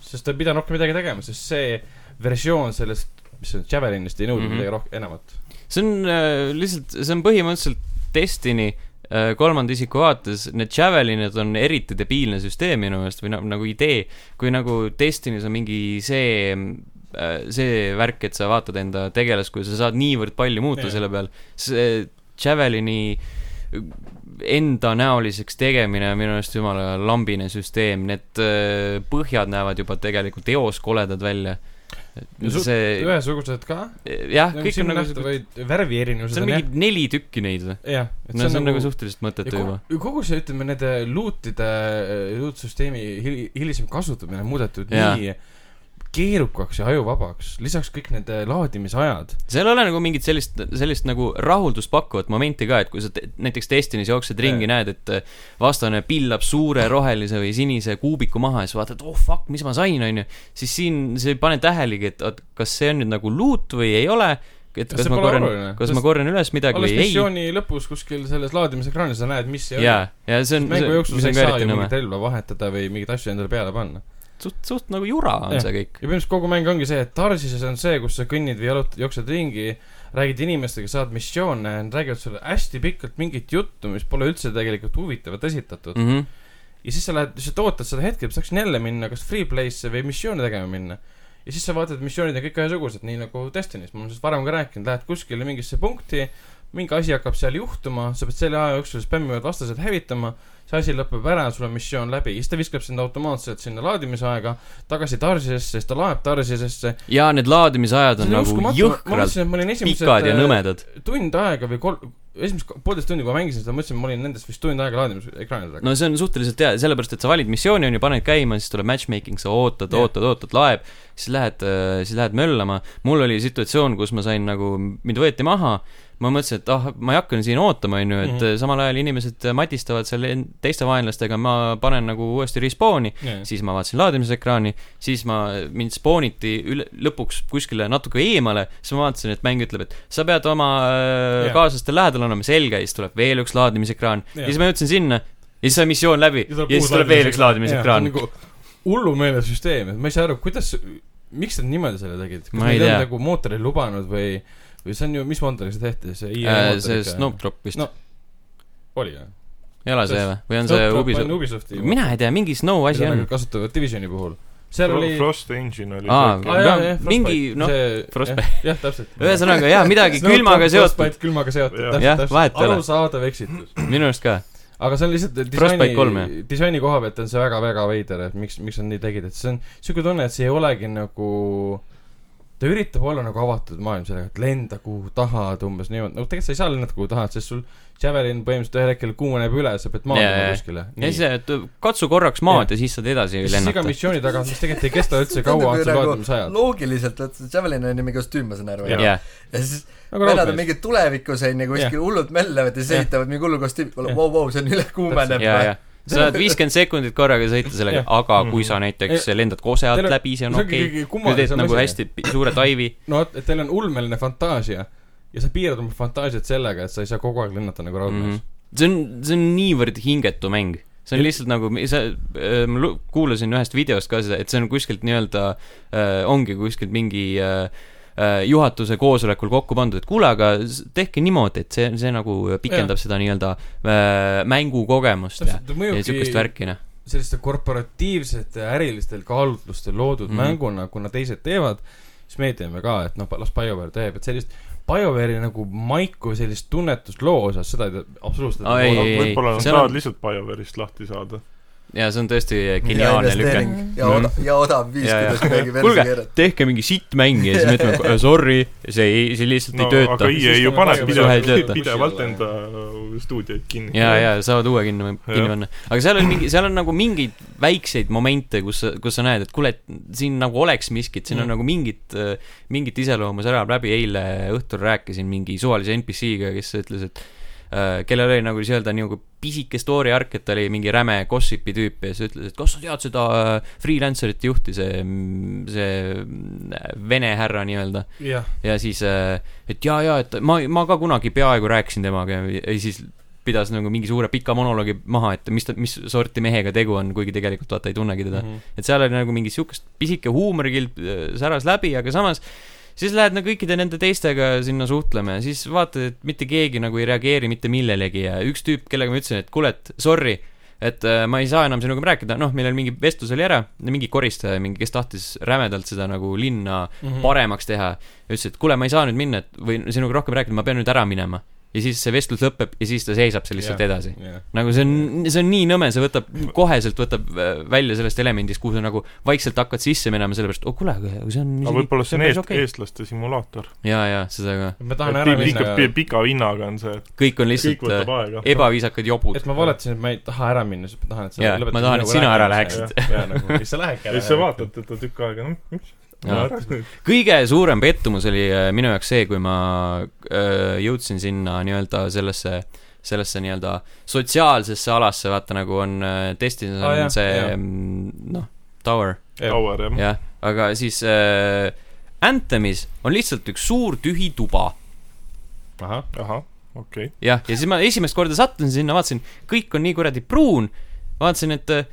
[SPEAKER 2] sest ta ei pidanud rohkem midagi tegema , sest see versioon sellest , mis see on , Javelinist ei nõudnud mm
[SPEAKER 1] Mhm.
[SPEAKER 2] -hmm. midagi rohkem , enamat .
[SPEAKER 1] see on äh, lihtsalt , see on põhimõtteliselt Destiny äh, kolmanda isiku vaates , need Javelinid on eriti debiilne süsteem minu meelest või na- nagu idee , kui nagu Destiny's on mingi see äh, see värk , et sa vaatad enda tegelast , kui sa saad niivõrd palju muuta
[SPEAKER 2] Jaa.
[SPEAKER 1] yeah. selle peal , see Javelini endanäoliseks tegemine on minu arust jumala lambine süsteem , need äh, põhjad näevad juba tegelikult eos koledad välja .
[SPEAKER 2] Ja su-
[SPEAKER 1] see ,
[SPEAKER 2] ühesugused ka .
[SPEAKER 1] jah , Ah, kõik on nagu siuke-
[SPEAKER 2] vaid värvi erinevused
[SPEAKER 1] seal on
[SPEAKER 2] on jah .
[SPEAKER 1] mingi neli tükki neid või ?
[SPEAKER 2] jah , et
[SPEAKER 1] no see on nagu suhteliselt mõttetu juba .
[SPEAKER 2] ja kogu- kogu see , ütleme , nende luutide , luutsüsteemi hil- , hilisem kasutamine on muudetud ja.
[SPEAKER 1] Jaa.
[SPEAKER 2] nii keerukaks ja ajuvabaks , lisaks kõik nende laadimisajad .
[SPEAKER 1] seal ei ole nagu mingit sellist , sellist nagu rahuldust pakkuvat momenti ka , et kui sa te, näiteks Destiny's jooksed ringi ,
[SPEAKER 2] Jaa.
[SPEAKER 1] näed , et äh, vastane pillab suure rohelise või sinise kuubiku maha ja siis vaatad , oh fuck , mis ma sain , onju . siis siin sa ei pane tähelegi , et oot, kas see on nüüd nagu loot või ei ole , et
[SPEAKER 2] Kas
[SPEAKER 1] kas
[SPEAKER 2] see
[SPEAKER 1] ma
[SPEAKER 2] pole
[SPEAKER 1] korjan
[SPEAKER 2] oluline? ,
[SPEAKER 1] kas
[SPEAKER 2] Sest
[SPEAKER 1] ma korjan üles midagi
[SPEAKER 2] alles
[SPEAKER 1] või ei .
[SPEAKER 2] missiooni lõpus kuskil selles laadimisekraanis sa näed , mis see
[SPEAKER 1] jaa , ja see
[SPEAKER 2] oli .
[SPEAKER 1] on ,
[SPEAKER 2] mängu jooksul
[SPEAKER 1] mis
[SPEAKER 2] sa
[SPEAKER 1] on
[SPEAKER 2] ei
[SPEAKER 1] ka
[SPEAKER 2] saa
[SPEAKER 1] eriti
[SPEAKER 2] ju
[SPEAKER 1] nõme
[SPEAKER 2] mingit . relva vahetada või mingeid asju endale peale panna .
[SPEAKER 1] suht , suht nagu jura on
[SPEAKER 2] Jah.
[SPEAKER 1] see kõik
[SPEAKER 2] ja . põhimõtteliselt kogu mäng ongi see , et Tarsises on see , kus sa kõnnid või jalutad , jooksed ringi , räägid inimestega , saad missioone , räägivad sulle hästi pikalt mingit juttu , mis pole üldse tegelikult huvitavat esitatud .
[SPEAKER 1] Mm -hmm.
[SPEAKER 2] ja siis sa lähed , lihtsalt ootad seda hetke , et saaks jälle minna kas free play'sse või missioone tegema minna . ja siis sa vaatad , et missioonid on kõik ühesugused , nii nagu Destiny's , ma olen sellest varem ka rääkinud , lähed kuskile mingisse punkti , mingi asi hakkab seal juhtuma , sa pead selle aja jooksul spämmivad vastased hävitama , see asi lõpeb ära , sul on missioon läbi , siis ta viskab sind automaatselt sinna laadimisaega tagasi Tarsisesse , siis ta laeb Tarsisesse .
[SPEAKER 1] ja need laadimisajad on nagu jõhkralt pikad ja nõmedad .
[SPEAKER 2] äh, tund aega või kolm , esimest poolteist tundi , kui ma mängisin seda , mõtlesin , et ma olin nendest vist tund aega laadimisekraanil taga .
[SPEAKER 1] no see on suhteliselt hea , sellepärast et sa valid missiooni , on ju , paned käima , siis tuleb matchmaking , sa ootad ,
[SPEAKER 2] Jah.
[SPEAKER 1] ootad , ootad , laeb , siis lähed , siis lähed möllama . mul oli situatsioon , kus ma sain nagu , mind võeti maha , ma mõtlesin , et ah , ma ei hakka siin ootama , on ju , et
[SPEAKER 2] Mhm.
[SPEAKER 1] mm. samal ajal inimesed matistavad seal en- teiste vaenlastega , ma panen nagu uuesti respawn'i , siis ma vaatasin laadimisekraani , siis ma , mind spooniti üle , lõpuks kuskile natuke eemale , siis ma vaatasin , et mäng ütleb , et sa pead oma yeah.
[SPEAKER 2] Jah.
[SPEAKER 1] kaaslaste lähedal olema , selge , siis tuleb veel üks laadimisekraan yeah.
[SPEAKER 2] Jah.
[SPEAKER 1] ja siis ma jõudsin sinna ja siis sai missioon läbi
[SPEAKER 4] Ja
[SPEAKER 1] ja,
[SPEAKER 4] tuleb
[SPEAKER 1] ja
[SPEAKER 4] uus
[SPEAKER 1] siis tuleb veel üks
[SPEAKER 2] see on
[SPEAKER 1] laadimisekraan .
[SPEAKER 2] nagu hullumeelne süsteem , et ma ei saa aru , kuidas , miks nad niimoodi selle tegid , kas
[SPEAKER 1] Ma ei
[SPEAKER 2] neil ei
[SPEAKER 1] tea.
[SPEAKER 2] olnud nagu mootoreid lubanud või , või see on ju , mis mootoriga see tehti , see IE
[SPEAKER 1] Äh, see
[SPEAKER 2] mootoriga
[SPEAKER 1] Snowdrop vist
[SPEAKER 2] No,
[SPEAKER 1] no, ,
[SPEAKER 2] oli või ?
[SPEAKER 1] ei ole see või , või on see
[SPEAKER 2] on
[SPEAKER 1] Ubisoft ?
[SPEAKER 2] Ubisofti
[SPEAKER 1] mina ei nagu tea , mingi Snow asi
[SPEAKER 2] mida
[SPEAKER 1] on
[SPEAKER 2] nad . kasutavad Divisioni puhul . seal oli
[SPEAKER 4] Frost Engine oli
[SPEAKER 1] Aa,
[SPEAKER 4] see-
[SPEAKER 1] jah, mingi, noh, Frostbite.
[SPEAKER 2] Frostbite . jah , täpselt .
[SPEAKER 1] ühesõnaga jah , midagi külmaga seotud ,
[SPEAKER 2] külmaga seotud ,
[SPEAKER 4] Jah.
[SPEAKER 1] Jah,
[SPEAKER 2] täpselt ,
[SPEAKER 1] vahet
[SPEAKER 2] täpselt .
[SPEAKER 1] ei ole.
[SPEAKER 2] arusaadav eksitus .
[SPEAKER 1] minu arust ka .
[SPEAKER 2] aga see on lihtsalt
[SPEAKER 1] Frostbite kolm, jah.
[SPEAKER 2] disaini , disaini koha pealt on see väga-väga veider , et miks , miks nad nii tegid , et see on siuke tunne , et see ei olegi nagu , ta üritab olla nagu avatud maailm sellega , et lenda kuhu tahad umbes niimoodi , no tegelikult sa ei saa lennata kuhu tahad , sest sul Javelin põhimõtteliselt ühel hetkel kuumeneb üle , sa pead
[SPEAKER 1] Jaa, jaa.
[SPEAKER 2] maanduma kuskile .
[SPEAKER 1] ja siis , et katsu korraks maad ja, ja siis saad edasi
[SPEAKER 2] siis iga
[SPEAKER 1] lennata .
[SPEAKER 2] missiooni taga , mis tegelikult ei kesta üldse kaua ,
[SPEAKER 3] Tundub
[SPEAKER 2] on
[SPEAKER 3] ju
[SPEAKER 2] sul
[SPEAKER 3] nagu
[SPEAKER 2] laadimisajad .
[SPEAKER 3] loogiliselt , et see Javelin on ju mingi kostüüm , ma saan aru .
[SPEAKER 1] jah ,
[SPEAKER 3] ja siis
[SPEAKER 2] nagu
[SPEAKER 3] venad on
[SPEAKER 2] raudmees .
[SPEAKER 3] mingid tulevikus onju , kuskil hullud möllavad ja siis
[SPEAKER 2] Jah.
[SPEAKER 3] ehitavad mingi hullu kostüümi , kuule
[SPEAKER 2] Jah.
[SPEAKER 3] vau , vau , see on üle kuumeneb .
[SPEAKER 1] ja , ja sa saad viiskümmend sekundit korraga sõita sellega
[SPEAKER 2] Jah. ,
[SPEAKER 1] aga kui sa näiteks lendad kose alt
[SPEAKER 2] Teil on-
[SPEAKER 1] läbi , see on
[SPEAKER 2] see ongi
[SPEAKER 1] okei
[SPEAKER 2] kõige
[SPEAKER 1] okay. . kui
[SPEAKER 2] kummalisem
[SPEAKER 1] teed nagu
[SPEAKER 2] asi.
[SPEAKER 1] hästi pi- suure dive'i ,
[SPEAKER 2] no vot , et teil on ulmeline fantaasia ja sa piirad
[SPEAKER 1] Mhm.
[SPEAKER 2] oma fantaasiat sellega , et sa ei saa kogu aeg lennata nagu raudmees mm . -hmm
[SPEAKER 1] see on , see on niivõrd hingetu mäng . see on lihtsalt nagu , sa , ma lu- kuulasin ühest videost ka seda , et see on kuskilt nii-öelda , ongi kuskilt mingi äh, äh, juhatuse koosolekul kokku pandud , et kuule , aga s- tehke niimoodi , et see , see nagu pikendab seda nii-öelda äh, mängukogemust ja ,
[SPEAKER 2] täpselt , ta
[SPEAKER 1] ja niisugust
[SPEAKER 2] mõjubki
[SPEAKER 1] värki , noh .
[SPEAKER 2] selliste korporatiivsete ärilistel kaalutlustel loodud
[SPEAKER 1] Mhm.
[SPEAKER 2] mm. mänguna , kuna teised teevad , siis meie teeme ka , et noh , las BioWare teeb , et sellist BioWare'i nagu maiku , sellist tunnetust loo osas , seda ei tea absoluutselt
[SPEAKER 1] Ai,
[SPEAKER 2] ei
[SPEAKER 1] ei,
[SPEAKER 2] tooda.
[SPEAKER 1] ei.
[SPEAKER 4] võib-olla nad
[SPEAKER 1] seal on-
[SPEAKER 4] tahavad lihtsalt BioWare'ist lahti saada .
[SPEAKER 1] ja see on tõesti geniaalne lüke .
[SPEAKER 2] Mhm.
[SPEAKER 3] ja oda- , ja odav viis ,
[SPEAKER 1] Ja, ja.
[SPEAKER 3] kuidas midagi versi
[SPEAKER 1] kuulge
[SPEAKER 3] keerata .,
[SPEAKER 1] tehke mingi sittmäng ja siis me ütleme "Äh, sorry , see ei , see lihtsalt
[SPEAKER 4] no
[SPEAKER 1] ei tööta
[SPEAKER 4] aga . EA ju
[SPEAKER 2] Siis
[SPEAKER 4] paneb
[SPEAKER 2] ta-
[SPEAKER 1] kohe ei tööta.
[SPEAKER 4] pidevalt , pidevalt enda äh, stuudioid kinni .
[SPEAKER 1] ja , ja saavad uue kinni , kinni
[SPEAKER 4] Jah.
[SPEAKER 1] panna . aga seal on mingi , seal on nagu mingeid väikseid momente , kus sa , kus sa näed , et kuule , et siin nagu oleks miskit , siin on
[SPEAKER 2] Mm.
[SPEAKER 1] nagu mingit , mingit iseloomu , särab läbi , eile õhtul rääkisin mingi suvalise NPC-ga , kes ütles , et äh, kellel oli nagu siis öelda nagu pisike story arc , et ta oli mingi räme gossipi tüüp ja siis ütles , et kas sa tead seda äh, freelancer'it juhti , see , see äh, vene härra nii-öelda .
[SPEAKER 2] jah ,
[SPEAKER 1] ja siis , et jaa , jaa , et ma , ma ka kunagi peaaegu rääkisin temaga ja ja siis pidas nagu mingi suure pika monoloogi maha , et mis ta , mis sorti mehega tegu on , kuigi tegelikult vaata ei tunnegi teda .
[SPEAKER 2] Mhm.
[SPEAKER 1] et seal oli nagu mingi siukest pisike huumorikilp äh, säras läbi , aga samas siis lähed nagu kõikide nende teistega sinna suhtlema ja siis vaatad , et mitte keegi nagu ei reageeri mitte millelegi ja üks tüüp , kellega ma ütlesin , et kuule , et sorry , et äh, ma ei saa enam sinuga rääkida , noh , meil oli mingi vestlus oli ära , mingi koristaja , mingi , kes tahtis rämedalt seda nagu linna
[SPEAKER 4] Hmm.
[SPEAKER 1] paremaks teha . ütles , et kuule , ma ei saa nüüd minna , et või sinuga rohkem rääkida , ma pean nüüd ära minema . ja siis see vestlus lõpeb ja siis ta seisab seal lihtsalt yeah. edasi .
[SPEAKER 2] jah ,
[SPEAKER 1] nagu see on , see on nii nõme , see võtab , koheselt võtab äh, välja sellest elemendist , kuhu sa nagu vaikselt hakkad sisse minema , sellepärast , oh kuule , aga see on
[SPEAKER 4] aga võib-olla see on
[SPEAKER 1] päris
[SPEAKER 4] eest,
[SPEAKER 1] okei.
[SPEAKER 4] eestlaste simulaator .
[SPEAKER 1] jaa , jaa , seda ka .
[SPEAKER 2] ma tahan ära minna
[SPEAKER 4] ikka , pi- pika vinnaga on see , et
[SPEAKER 1] kõik on
[SPEAKER 4] kõik
[SPEAKER 1] lihtsalt
[SPEAKER 4] võtab
[SPEAKER 1] äh,
[SPEAKER 4] aega .
[SPEAKER 1] ebaviisakad jobud
[SPEAKER 2] et . ma valetasin , et ma ei taha ära minna , sest ma tahan , et sa
[SPEAKER 1] Jaa,
[SPEAKER 2] lõpetad
[SPEAKER 1] ma tahan, et
[SPEAKER 2] minuga
[SPEAKER 1] sina ära
[SPEAKER 2] rääkimise.
[SPEAKER 4] läheksid.
[SPEAKER 2] Jah, jah, nagu- ja sa lähedki
[SPEAKER 4] ja
[SPEAKER 2] ära .
[SPEAKER 4] siis sa vaatad teda tükk aega , noh , miks .
[SPEAKER 1] Jaa. kõige suurem pettumus oli äh, minu jaoks see , kui ma äh, jõudsin sinna nii-öelda sellesse , sellesse nii-öelda sotsiaalsesse alasse , vaata nagu on äh, testis on
[SPEAKER 2] Aa, Ah, jah,
[SPEAKER 1] see
[SPEAKER 2] jah.
[SPEAKER 1] mm, noh , tower ,
[SPEAKER 4] Tower , jah .
[SPEAKER 1] jah , aga siis äh, Anthemis on lihtsalt üks suur tühi tuba
[SPEAKER 2] ahah ,
[SPEAKER 4] ahah , okei .
[SPEAKER 1] jah , ja siis ma esimest korda sattusin sinna , vaatasin , kõik on nii kuradi pruun , vaatasin , et äh,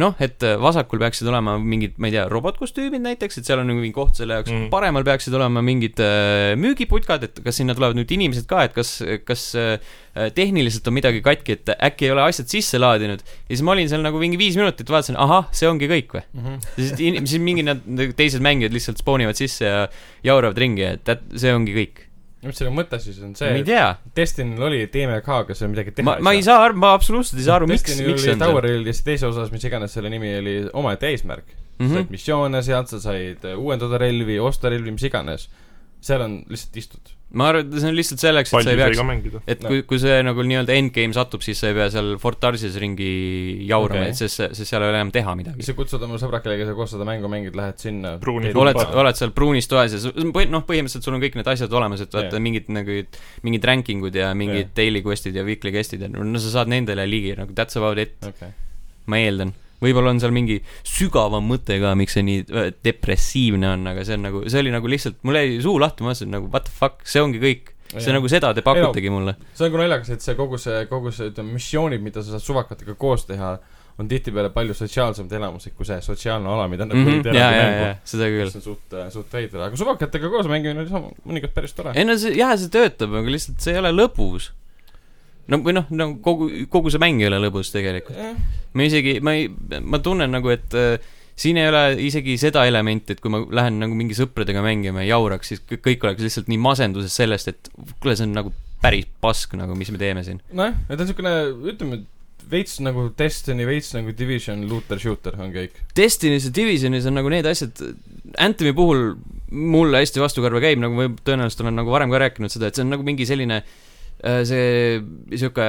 [SPEAKER 1] noh , et äh, vasakul peaksid olema mingid , ma ei tea , robotkostüümid näiteks , et seal on nagu mingi koht selle jaoks mm.
[SPEAKER 4] Mm. ,
[SPEAKER 1] paremal peaksid olema mingid äh, müügiputkad , et kas sinna tulevad nüüd inimesed ka , et kas , kas äh, tehniliselt on midagi katki , et äkki ei ole asjad sisse laadinud . ja siis ma olin seal nagu mingi viis minutit , vaatasin , ahah , see ongi kõik või ? ja siis in- , siis mingid nad , teised mängijad lihtsalt spoonivad sisse ja jauravad ringi , et that- see ongi kõik .
[SPEAKER 2] mis selle mõte siis on
[SPEAKER 1] ma
[SPEAKER 2] see
[SPEAKER 1] ei , tea
[SPEAKER 2] Destinyl oli DMK-ga seal midagi teha
[SPEAKER 1] ma , ma ei saa aru , ma absoluutselt ei saa aru , miks ,
[SPEAKER 2] Destinyl
[SPEAKER 1] miks see
[SPEAKER 2] oli
[SPEAKER 1] on
[SPEAKER 2] Tower
[SPEAKER 1] seal .
[SPEAKER 2] Realist teise osas , mis iganes selle nimi oli , omaette eesmärk mm . -hmm.
[SPEAKER 1] Mhm.
[SPEAKER 2] said missioone sealt , sa said äh, uuendada relvi , osta relvi , mis iganes . seal on lihtsalt istud .
[SPEAKER 1] ma arvan , et see on lihtsalt selleks , et sa
[SPEAKER 4] palju
[SPEAKER 1] ei
[SPEAKER 4] sai ka
[SPEAKER 1] peaks ,
[SPEAKER 4] mängida .
[SPEAKER 1] et kui , kui see nagu nii-öelda endgame satub , siis sa ei pea seal Fort Tarsis ringi jaurama okay. ,
[SPEAKER 2] Okei.
[SPEAKER 1] et sest , sest seal ei ole enam teha midagi .
[SPEAKER 2] sa kutsud oma sõbra , kellega sa koos seda mängu mängid , lähed sinna .
[SPEAKER 4] Pruuni tuba.
[SPEAKER 1] oled , oled seal pruunis toas ja sul- põhi- noh , põhimõtteliselt sul on kõik need asjad olemas , et vaata
[SPEAKER 2] Jah.
[SPEAKER 1] yeah. mingid nagu , mingid ranking ud ja mingid
[SPEAKER 2] Jah.
[SPEAKER 1] yeah. daily quest'id ja weekly quest'id ja no sa saad nendele ligi nagu that's about it ,
[SPEAKER 2] okei .
[SPEAKER 1] ma eeldan . võib-olla on seal mingi sügavam mõte ka , miks see nii äh, depressiivne on , aga see on nagu , see oli nagu lihtsalt , mul jäi suu lahti , ma mõtlesin nagu what the fuck , see ongi kõik . see nagu seda te pakutegi mulle .
[SPEAKER 2] see on ka naljakas , et see kogu see , kogu see , ütleme , missioonid , mida sa saad suvakatega koos teha , on tihtipeale palju sotsiaalsemad elamused kui see sotsiaalne ala , mida nad
[SPEAKER 1] jaa ,
[SPEAKER 2] võivad
[SPEAKER 1] Mhm. jaa ,
[SPEAKER 2] teha .
[SPEAKER 1] jaa , seda küll
[SPEAKER 2] see . on suht , suht veider , aga suvakatega koos mängimine oli sama , mõnikord päris tore .
[SPEAKER 1] ei no see , jaa , see töötab , aga lihtsalt see ei ole lõbus . no või noh , no kogu , kogu see mäng ei ole lõbus tegelikult .
[SPEAKER 2] Eh,
[SPEAKER 1] ma isegi , ma ei , ma tunnen nagu , et äh, siin ei ole isegi seda elementi , et kui ma lähen nagu mingi sõpradega mängima ja jauraks , siis kõ- kõik oleks lihtsalt nii masenduses sellest , et kuule , see on nagu päris pask nagu , mis me teeme siin .
[SPEAKER 2] nojah , et on siukene , ütleme , veits nagu Destiny , veits nagu Division , looter , shooter on kõik .
[SPEAKER 1] Destiny's ja Divisionis on nagu need asjad , Anthemi puhul mulle hästi vastukarva käib , nagu ma tõenäoliselt olen nagu varem ka rääkinud seda , et see on nagu mingi selline äh, see sihuke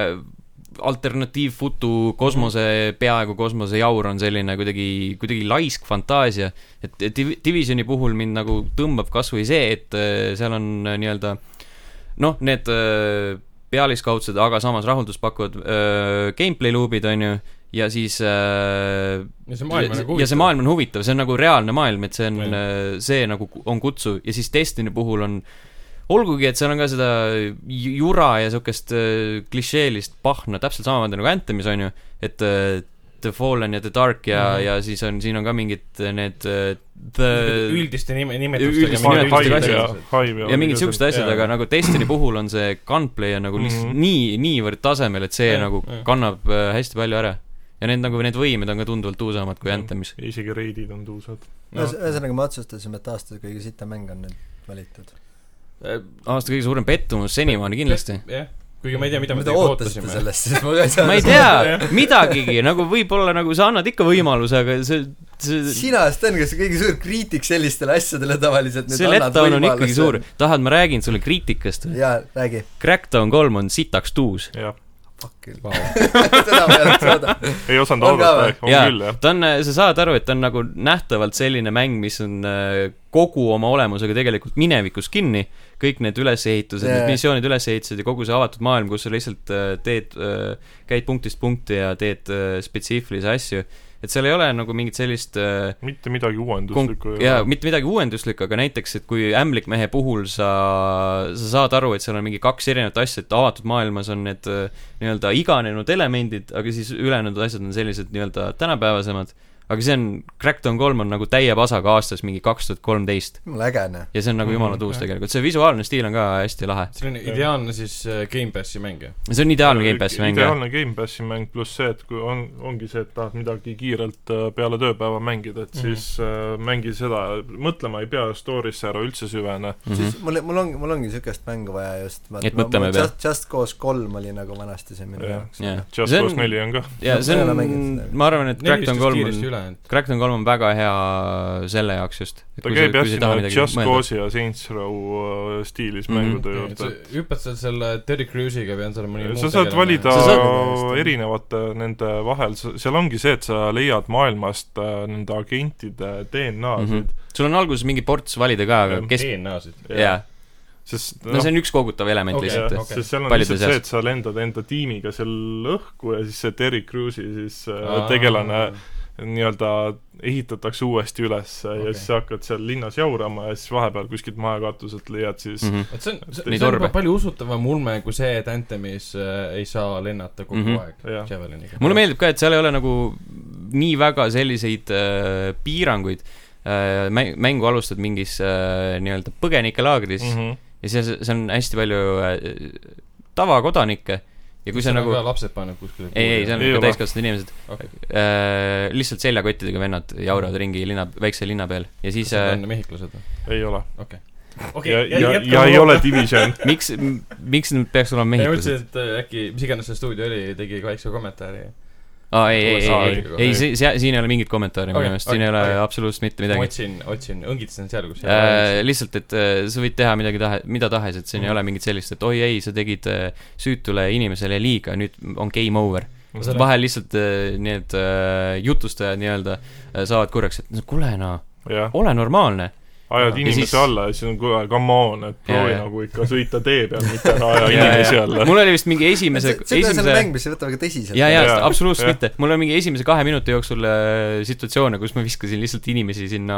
[SPEAKER 1] alternatiivfutu kosmose , peaaegu kosmosejaur on selline kuidagi , kuidagi laisk fantaasia . et et Div- Divisioni puhul mind nagu tõmbab kasvõi see , et äh, seal on äh, nii-öelda noh , need äh, pealiskaudsed , aga samas rahuldust pakkuvad äh, gameplay loop'id , on ju , ja siis äh,
[SPEAKER 2] ja see maailm on nagu
[SPEAKER 1] ja see maailm on huvitav , see on nagu reaalne maailm , et see on
[SPEAKER 2] Jah. ,
[SPEAKER 1] see nagu ku- on kutsuv ja siis Destiny puhul on olgugi , et seal on ka seda ju- jura ja siukest äh, klišeelist pahna täpselt samamoodi nagu Anthemis on ju , et äh, The Fallen ja The Dark ja mm ,
[SPEAKER 2] Mhm.
[SPEAKER 1] -hmm. ja siis on , siin on ka mingid need äh, The
[SPEAKER 2] üldiste nime ,
[SPEAKER 1] üldiste nimetustega asjad.
[SPEAKER 4] asjad
[SPEAKER 1] ja mingid siuksed asjad ,
[SPEAKER 2] jaa.
[SPEAKER 1] aga nagu Destiny puhul on see gunplay on nagu lihtsalt mm
[SPEAKER 4] Mhm.
[SPEAKER 1] -hmm. nii , niivõrd tasemel , et see
[SPEAKER 2] Jah,
[SPEAKER 1] ja, nagu
[SPEAKER 2] jah.
[SPEAKER 1] ja. kannab äh, hästi palju ära . ja need nagu , need võimed on ka tunduvalt uusamad kui
[SPEAKER 4] Mhm.
[SPEAKER 1] Anthemis .
[SPEAKER 4] isegi reidid on tuusad .
[SPEAKER 3] Ühes- ühesõnaga , me otsustasime , et aasta kõige sitem mäng on nüüd valitud .
[SPEAKER 1] aasta kõige suurem pettumus senimaani kindlasti .
[SPEAKER 2] jah , kuigi ma ei tea , mida me
[SPEAKER 3] mida
[SPEAKER 2] tegelikult
[SPEAKER 3] ootasite
[SPEAKER 2] ootasime .
[SPEAKER 3] sellest , siis ma ka ei saa
[SPEAKER 1] ma ei tea , midagigi , nagu võib-olla nagu sa annad ikka võimaluse , aga see , see ,
[SPEAKER 3] sina , Sten , kes on kõige suur kriitik sellistele asjadele tavaliselt ,
[SPEAKER 1] see letdown on ikkagi suur . tahad , ma räägin sulle kriitikast või ?
[SPEAKER 3] jaa , räägi .
[SPEAKER 1] Crackdown kolm on sitaks tuus .
[SPEAKER 4] jah ,
[SPEAKER 3] Fuck you .
[SPEAKER 2] Vau.
[SPEAKER 3] seda ma ei oleks oodanud .
[SPEAKER 4] ei osanud
[SPEAKER 3] On ka
[SPEAKER 4] oodata
[SPEAKER 3] või? ,
[SPEAKER 4] on
[SPEAKER 1] Jaa.
[SPEAKER 4] küll jah .
[SPEAKER 1] ta on , sa saad aru , et ta on nagu nähtavalt selline mäng , mis on äh, kogu oma olemusega tegelikult minevikus kinni , kõik need ülesehitused yeah. ,
[SPEAKER 3] Jaa.
[SPEAKER 1] need missioonid , ülesehitused ja kogu see avatud maailm , kus sa lihtsalt äh, teed , käid punktist punkti ja teed äh, spetsiifilisi asju , et seal ei ole nagu mingit sellist äh,
[SPEAKER 4] mitte midagi
[SPEAKER 1] konk-
[SPEAKER 4] uuenduslikku ,
[SPEAKER 1] jaa ,. mitte midagi uuenduslikku , aga näiteks , et kui ämblikmehe puhul sa , sa saad aru , et seal on mingi kaks erinevat asja , et avatud maailmas on need äh, nii-öelda iganenud elemendid , aga siis ülejäänud asjad on sellised nii-öelda tänapäevasemad , aga see on , Crackdown kolm on nagu täie pasaga aastas mingi kaks tuhat kolmteist
[SPEAKER 3] mul äge , noh .
[SPEAKER 1] ja see on nagu
[SPEAKER 4] Mhm,
[SPEAKER 1] jumala tuus
[SPEAKER 2] jah.
[SPEAKER 1] tegelikult , see visuaalne stiil on ka hästi lahe .
[SPEAKER 2] selline ideaalne siis äh, Gamepassi mäng , jah ?
[SPEAKER 1] see on ideaalne Gamepassi mäng , jah .
[SPEAKER 4] ideaalne Gamepassi mäng , pluss see , et kui on , ongi see , et tahad midagi kiirelt äh, peale tööpäeva mängida , et
[SPEAKER 2] Mhm.
[SPEAKER 4] mm -hmm. siis äh, mängi seda , mõtlema ei pea story'sse ära üldse süvene .
[SPEAKER 3] siis mul , mul ongi , mul ongi niisugust mängu vaja just .
[SPEAKER 1] Mhm. Et mõtlema ei pea.
[SPEAKER 3] Just , Just Cause kolm oli nagu vanasti see minu
[SPEAKER 4] Jah.
[SPEAKER 3] jaoks .
[SPEAKER 1] jah ,
[SPEAKER 4] Just
[SPEAKER 1] See on-
[SPEAKER 4] Cause neli on ka .
[SPEAKER 1] ja see
[SPEAKER 3] Ma ei ole
[SPEAKER 1] on
[SPEAKER 3] mänginud seda. ,
[SPEAKER 1] ma arvan , et Crackdown kolm on
[SPEAKER 2] kiiresti üle , et
[SPEAKER 1] Crackdown kolm on väga hea selle jaoks just .
[SPEAKER 4] ta käib jah sinna Just Cause'i ja Saints Row äh, stiilis
[SPEAKER 1] Mhm.
[SPEAKER 4] mm -hmm. mängude
[SPEAKER 2] et sa
[SPEAKER 4] juurde .
[SPEAKER 2] hüppad seal selle Terry Crews'iga või on seal mõni muu
[SPEAKER 4] sa saad
[SPEAKER 2] tegelane?
[SPEAKER 4] valida
[SPEAKER 1] Sa
[SPEAKER 3] saad-
[SPEAKER 4] erinevate nende vahel , seal ongi see , et sa leiad maailmast äh, nende agentide
[SPEAKER 1] Mhm.
[SPEAKER 4] DNA-sid ,
[SPEAKER 1] sul on alguses mingi ports valida ka , aga
[SPEAKER 4] Jah,
[SPEAKER 1] kes ,
[SPEAKER 2] DNA-sid .
[SPEAKER 1] Mhm. jaa ,
[SPEAKER 4] sest noh,
[SPEAKER 1] no see on üks kogutav element
[SPEAKER 2] Noh. Okei,
[SPEAKER 1] lihtsalt
[SPEAKER 2] jah, .
[SPEAKER 4] okay. sest seal on
[SPEAKER 1] Paljude
[SPEAKER 4] lihtsalt see ,
[SPEAKER 1] seas.
[SPEAKER 4] et sa lendad enda tiimiga seal õhku ja siis see Terry Crews'i siis Aa. äh, tegelane nii-öelda ehitatakse uuesti üles okay.
[SPEAKER 2] Okei.
[SPEAKER 4] ja siis sa hakkad seal linnas jaurama ja siis vahepeal kuskilt mahekatuselt leiad siis mm
[SPEAKER 1] Mhm.
[SPEAKER 2] et see on , see
[SPEAKER 1] Neid
[SPEAKER 2] see on
[SPEAKER 1] orbe.
[SPEAKER 2] juba palju usutavam ulme kui see , et Anthemis äh, ei saa lennata kogu mm
[SPEAKER 1] Mhm.
[SPEAKER 2] -hmm.
[SPEAKER 4] Jah.
[SPEAKER 2] aeg Javeliniga .
[SPEAKER 1] mulle meeldib ka , et seal ei ole nagu nii väga selliseid äh, piiranguid äh, . mäng , mängu alustad mingis äh, nii-öelda põgenikelaagris
[SPEAKER 2] Mhm.
[SPEAKER 1] mm
[SPEAKER 4] -hmm.
[SPEAKER 1] -hmm. ja seal , seal on hästi palju äh, tavakodanikke ja kui sa nagu
[SPEAKER 2] ka lapsed paneb kuskile
[SPEAKER 1] ei , ei , seal on
[SPEAKER 4] Ei
[SPEAKER 1] ikka
[SPEAKER 4] ole.
[SPEAKER 1] täiskasvanud inimesed
[SPEAKER 2] Okei.
[SPEAKER 1] äh, . lihtsalt seljakottidega vennad jauravad ringi linna , väikse linna peal ja siis
[SPEAKER 2] see
[SPEAKER 1] äh,
[SPEAKER 2] on mehhiklased või ?
[SPEAKER 4] ei ole
[SPEAKER 2] okei .
[SPEAKER 4] ja , ja , ja ei ole Division
[SPEAKER 1] miks , miks need peaks olema
[SPEAKER 2] ja ma
[SPEAKER 1] mehhiklased ?
[SPEAKER 2] ütlesin , et äh, äkki , mis iganes see stuudio oli , tegi ka väikse kommentaari .
[SPEAKER 1] aa , ei , ei ,
[SPEAKER 2] USA
[SPEAKER 1] ei ,
[SPEAKER 2] liigaga.
[SPEAKER 1] ei , see , see , siin ei ole mingit kommentaari minu
[SPEAKER 2] Okei,
[SPEAKER 1] meelest , siin
[SPEAKER 2] okei,
[SPEAKER 1] ei ole
[SPEAKER 2] okei.
[SPEAKER 1] absoluutselt mitte
[SPEAKER 2] ma
[SPEAKER 1] midagi .
[SPEAKER 2] otsin , otsin , õngitsen seal , kus
[SPEAKER 1] Äh, lihtsalt , et äh, sa võid teha midagi tahe , mida tahes , et siin
[SPEAKER 2] Mm.
[SPEAKER 1] ei ole mingit sellist , et oi ei , sa tegid äh, süütule inimesele liiga , nüüd on game over .
[SPEAKER 2] Ma saan
[SPEAKER 1] vahel lihtsalt äh, need äh, jutustajad nii-öelda äh, saavad korraks , et no kuule no ,
[SPEAKER 4] jah ,
[SPEAKER 1] ole normaalne .
[SPEAKER 4] ajad
[SPEAKER 1] Ja
[SPEAKER 4] inimese
[SPEAKER 1] siis-
[SPEAKER 4] siis... alla ja siis on kohe come on , et proovi
[SPEAKER 1] Jaa, jaa.
[SPEAKER 4] nagu ikka sõita tee peal , mitte ära aja inimesi alla .
[SPEAKER 1] mul oli vist mingi esimese ,
[SPEAKER 3] see on selline
[SPEAKER 1] esimese
[SPEAKER 3] mäng , mis ei võta väga tõsiselt .
[SPEAKER 1] ja , ja
[SPEAKER 4] Jaa.
[SPEAKER 1] absoluutselt
[SPEAKER 4] Jah.
[SPEAKER 1] mitte , mul oli mingi esimese kahe minuti jooksul äh, situatsioone , kus ma viskasin lihtsalt inimesi sinna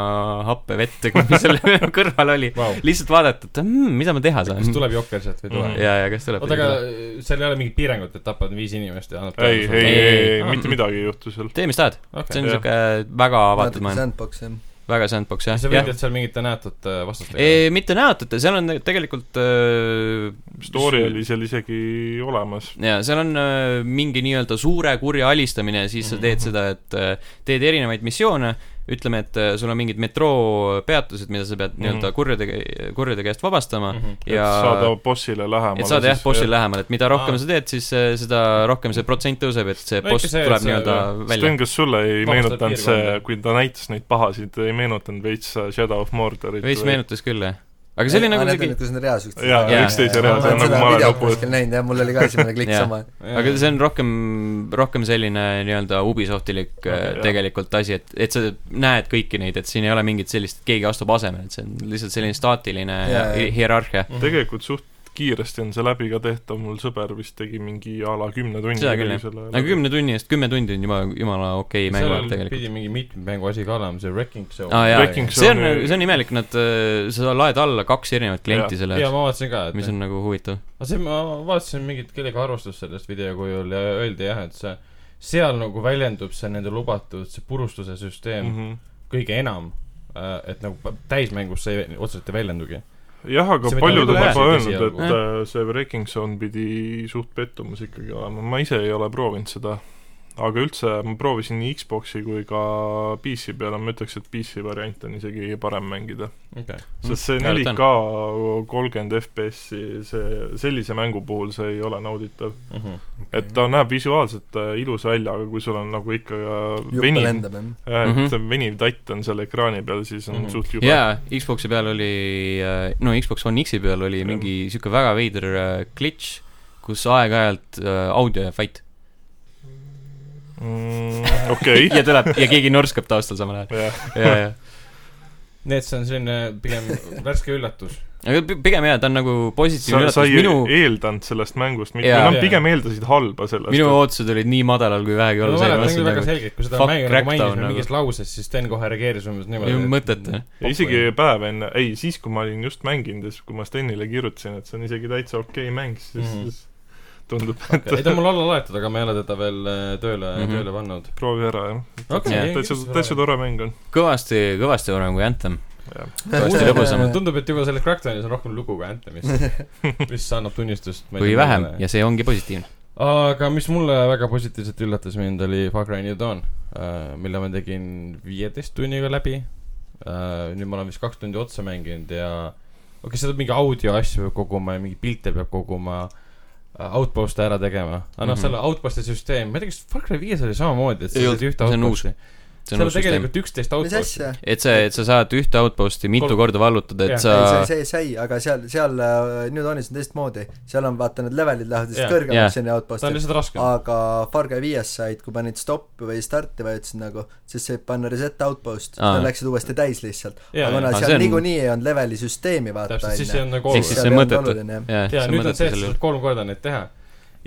[SPEAKER 1] happe vette , mis seal kõrval oli .
[SPEAKER 2] Vau.
[SPEAKER 1] lihtsalt vaadata , et mm, mida ma teha
[SPEAKER 2] kas
[SPEAKER 1] saan .
[SPEAKER 2] tuleb jokker sealt või ei tule
[SPEAKER 4] Mhm. ?
[SPEAKER 1] ja , ja kas tuleb .
[SPEAKER 2] oota , aga äh, seal ei ole mingit piirangut , et tapad viis inimest ja annad
[SPEAKER 4] ei , ei ,
[SPEAKER 1] Ei,
[SPEAKER 4] ei ,
[SPEAKER 1] ei,
[SPEAKER 4] ei ,
[SPEAKER 1] ei.
[SPEAKER 4] mitte midagi ei juhtu seal .
[SPEAKER 1] tee , mis tahad , see
[SPEAKER 2] okei
[SPEAKER 1] on
[SPEAKER 4] Jah.
[SPEAKER 1] siuke väga avatud maailm ,
[SPEAKER 3] Sandbox , jah .
[SPEAKER 1] väga sandbox jah ,
[SPEAKER 2] sa
[SPEAKER 1] jah .
[SPEAKER 2] võitled seal mingite näetut äh, vastastega ?
[SPEAKER 1] mitte näotute , seal on tegelikult äh,
[SPEAKER 4] Story oli seal isegi olemas .
[SPEAKER 1] jaa , seal on äh, mingi nii-öelda suure kurja alistamine ja siis sa teed seda , et äh, teed erinevaid missioone , ütleme , et äh, sul on mingid metroopeatused , mida sa pead
[SPEAKER 4] Mhm.
[SPEAKER 1] nii-öelda kurjade , kurjade käest vabastama
[SPEAKER 2] Mhm.
[SPEAKER 1] ja
[SPEAKER 4] et saada bossile lähemale .
[SPEAKER 1] et saada jah , bossile lähemale , et mida rohkem
[SPEAKER 2] Aa.
[SPEAKER 1] sa teed , siis äh, seda rohkem see protsent tõuseb , et see
[SPEAKER 2] No ikka
[SPEAKER 1] boss
[SPEAKER 2] see, et
[SPEAKER 1] tuleb
[SPEAKER 2] see-
[SPEAKER 1] nii-öelda välja
[SPEAKER 4] Sten , kas sulle ei
[SPEAKER 2] Vabastad
[SPEAKER 4] meenutanud see
[SPEAKER 2] piirkonda. ,
[SPEAKER 4] kui ta näitas neid pahasid , ei meenutanud veits äh, Shadow of Mordorit ?
[SPEAKER 1] veits . meenutas küll jah , aga see oli nagu
[SPEAKER 3] Ah, Need
[SPEAKER 1] siuke
[SPEAKER 3] on nüüd , kus on reaalsus .
[SPEAKER 4] jaa
[SPEAKER 1] Jaa. ,
[SPEAKER 4] üksteise
[SPEAKER 1] Jaa, ma olen
[SPEAKER 4] reas on nagu
[SPEAKER 1] seda
[SPEAKER 3] videot
[SPEAKER 4] maailmalõpus .
[SPEAKER 3] kuskil näinud jah , mul oli ka esimene klikk
[SPEAKER 1] Jaa.
[SPEAKER 3] sama .
[SPEAKER 1] aga see on rohkem , rohkem selline nii-öelda Ubisoftilik
[SPEAKER 4] Okei,
[SPEAKER 1] okay,
[SPEAKER 4] jah.
[SPEAKER 1] tegelikult asi , et , et sa näed kõiki neid , et siin ei ole mingit sellist , et keegi astub asemele , et see on lihtsalt selline staatiline
[SPEAKER 3] Jaa,
[SPEAKER 1] hi-
[SPEAKER 3] jaa.
[SPEAKER 1] hierarhia .
[SPEAKER 4] tegelikult suht kiiresti on see läbi ka tehtav , mul sõber vist tegi mingi a la kümne tunni
[SPEAKER 1] Seda küll, jah. aga
[SPEAKER 4] jah
[SPEAKER 1] Nagu kümne tunni eest , kümme tundi on juba jumala okei mäng
[SPEAKER 2] seal
[SPEAKER 1] tegelikult .
[SPEAKER 2] pidi mingi mitme mängu asi ka olema , see Wrecking Show
[SPEAKER 1] aa Ah, jaa ,
[SPEAKER 4] Wrecking
[SPEAKER 1] see on
[SPEAKER 4] Zone- ,
[SPEAKER 1] see on imelik , nad , sa laed alla kaks erinevat klienti selle
[SPEAKER 2] ja
[SPEAKER 1] jaoks ,
[SPEAKER 2] ma vaatasin ka , et
[SPEAKER 1] mis on nagu huvitav .
[SPEAKER 2] aga see , ma vaatasin mingit kellega arvustust sellest video kujul ja öeldi jah , et see , seal nagu väljendub see nende lubatud see purustuse süsteem mm
[SPEAKER 4] Mhm.
[SPEAKER 2] -hmm. kõige enam . et nagu pa- täismängus see ei- otseselt ei väljendugi .
[SPEAKER 4] jah , aga
[SPEAKER 2] See mida
[SPEAKER 4] paljud on
[SPEAKER 2] võib-olla
[SPEAKER 4] juba
[SPEAKER 2] räägiti
[SPEAKER 4] öelnud , et
[SPEAKER 1] esialgu.
[SPEAKER 4] äh, see Breaking Zone pidi suht pettumus ikkagi olema , ma ise ei ole proovinud seda . aga üldse , ma proovisin nii Xboxi kui ka PC peal , ma ütleks , et PC variant on isegi parem mängida .
[SPEAKER 2] Okay.
[SPEAKER 4] sest see
[SPEAKER 1] Mm,
[SPEAKER 4] 4K
[SPEAKER 1] mäletan.
[SPEAKER 4] kolmkümmend FPS-i , see , sellise mängu puhul see ei ole nauditav .
[SPEAKER 2] Mm -hmm.
[SPEAKER 4] et ta näeb visuaalselt äh, ilus välja , aga kui sul on nagu ikka äh,
[SPEAKER 3] juppe
[SPEAKER 4] veniv ,
[SPEAKER 3] lendab , jah .
[SPEAKER 4] et
[SPEAKER 1] Mhm.
[SPEAKER 4] veniv tatt on seal ekraani peal , siis on
[SPEAKER 2] Mhm.
[SPEAKER 4] suht jube .
[SPEAKER 1] jaa , Xbox'i peal oli , no Xbox One X-i peal oli mingi siuke väga veider äh, glitch , kus aeg-ajalt äh, audio jääb vait
[SPEAKER 4] Mm, okei ,
[SPEAKER 1] ja tuleb ja keegi norskab taustal samal ajal .
[SPEAKER 4] jah .
[SPEAKER 1] jaa , jaa .
[SPEAKER 2] nii et see on selline pigem värske üllatus .
[SPEAKER 1] aga pi- pigem jaa , ta on nagu positiivne
[SPEAKER 4] sa , sa
[SPEAKER 1] üllatus ,
[SPEAKER 4] ei
[SPEAKER 1] minu
[SPEAKER 4] minu... eeldanud sellest mängust mitte ,
[SPEAKER 1] Jaa.
[SPEAKER 4] nad pigem eeldasid halba sellest .
[SPEAKER 1] minu ootused olid nii madalal , kui vähegi
[SPEAKER 2] ma
[SPEAKER 1] olla sai , ma
[SPEAKER 2] mäletan küll
[SPEAKER 1] mõtlesin
[SPEAKER 2] väga
[SPEAKER 1] nagu ,
[SPEAKER 2] selgelt , kui seda
[SPEAKER 1] fuck
[SPEAKER 2] mängu nagu mainisime
[SPEAKER 1] Crackdown
[SPEAKER 2] nagu.
[SPEAKER 1] nagu.
[SPEAKER 2] mingis lauses , siis Sten kohe reageeris umbes
[SPEAKER 1] Ju
[SPEAKER 2] niimoodi .
[SPEAKER 1] mõttetu. .
[SPEAKER 4] ja isegi päev enne , ei , siis kui ma olin just mänginud ja siis , kui ma Stenile kirjutasin , et see on isegi täitsa okei okay mäng , siis mm ,
[SPEAKER 2] Mhm.
[SPEAKER 4] -hmm. siis tundub ,
[SPEAKER 2] ei ta on mul alla laetud , aga ma ei ole teda veel äh, tööle mm ,
[SPEAKER 1] Mhm.
[SPEAKER 2] -hmm. tööle pannud .
[SPEAKER 4] proovi ära , jah . täitsa , täitsa tore mäng on .
[SPEAKER 1] kõvasti , kõvasti parem kui Anthem . Tõesti lõbusam.
[SPEAKER 2] mulle tundub , et juba selles Crackdownis on rohkem lugu kui Anthemist , mis annab tunnistust .
[SPEAKER 1] kui vähem ja see ongi positiivne .
[SPEAKER 2] aga mis mulle väga positiivselt üllatas mind , oli Far Cry New Dawn , mille ma tegin viieteist tunniga läbi . nüüd ma olen vist kaks tundi otsa mänginud ja okei okay, , seda mingi audio asju peab koguma ja mingeid pilte peab koguma . Outpost'e ära tegema , aga noh ,
[SPEAKER 1] Mhm.
[SPEAKER 2] selle outpost'e süsteem , ma ei tea , kas Far Cry viies oli samamoodi , et sa
[SPEAKER 1] Ei olnud,
[SPEAKER 2] said ühte
[SPEAKER 1] see on uus.
[SPEAKER 2] outpost'i .
[SPEAKER 1] see on
[SPEAKER 2] seal on
[SPEAKER 1] uus süsteem .
[SPEAKER 2] tegelikult üksteist
[SPEAKER 3] mis
[SPEAKER 2] outpost'i .
[SPEAKER 3] asja ?
[SPEAKER 1] et sa , et sa saad ühte outpost'i mitu
[SPEAKER 2] Kolm-
[SPEAKER 1] korda vallutada ,
[SPEAKER 2] Jah.
[SPEAKER 1] et
[SPEAKER 3] ei ,
[SPEAKER 1] sa
[SPEAKER 3] see , see sai , aga seal , seal äh, New Dawnis on teistmoodi , seal on vaata need levelid lähevad
[SPEAKER 2] Jah.
[SPEAKER 3] vist kõrgemaks
[SPEAKER 1] Jah.
[SPEAKER 3] enne
[SPEAKER 2] ta on
[SPEAKER 3] outpost'i ,
[SPEAKER 2] lihtsalt raskem .
[SPEAKER 3] aga Far Cry viies said , kui panid stoppi või starti vajutasid nagu , siis said panna reset outpost , siis
[SPEAKER 1] Aa.
[SPEAKER 3] nad läksid uuesti täis lihtsalt .
[SPEAKER 2] Jaa,
[SPEAKER 3] aga kuna
[SPEAKER 1] jaa. Aa,
[SPEAKER 3] seal
[SPEAKER 1] see on-
[SPEAKER 3] niikuinii ei olnud leveli süsteemi vaata ,
[SPEAKER 2] täpselt , siis see on nagu
[SPEAKER 1] Ehk siis
[SPEAKER 2] oluline .
[SPEAKER 1] see on mõttetu.
[SPEAKER 2] ja
[SPEAKER 1] jaa ,
[SPEAKER 2] nüüd on see , et sa saad kolm korda neid teha .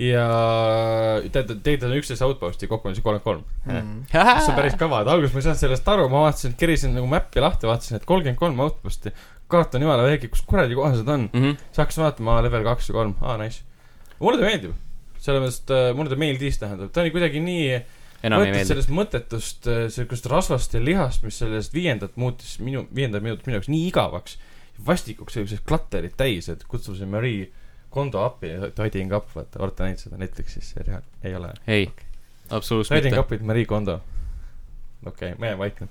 [SPEAKER 2] ja tead , tegelikult on üksteist outpost'i , kokku on siis kolmkümmend kolm .
[SPEAKER 3] Mm.
[SPEAKER 2] see on päris kõva , et alguses ma ei saanud sellest aru , ma vaatasin , kerisin nagu mäppi lahti , vaatasin , et kolmkümmend kolm outpost'i . kaart on jumala väike , kus kuradi kohas nad on .
[SPEAKER 1] Mhm.
[SPEAKER 2] siis hakkasin vaatama , level kaks ja kolm , aa nice . mulle ta meeldib , selles mõttes , et äh, mulle ta meeldis , tähendab , ta oli kuidagi nii ,
[SPEAKER 1] enam ei
[SPEAKER 2] võttes
[SPEAKER 1] meeldi .
[SPEAKER 2] sellest mõttetust , sihukest rasvast ja lihast , mis sellest viiendat muutis minu , viiendat minutit minu jaoks nii igavaks , vastikuks sellised klatterid täis , et kutsume see Marie Kondo appi , Tidying Up , vaata , olete näinud seda Netflixis seriaali , ei ole .
[SPEAKER 1] ei , absoluutselt
[SPEAKER 2] Tidying
[SPEAKER 1] mitte .
[SPEAKER 2] Up'id Marie Kondo . okei okay, , ma jään vaikne .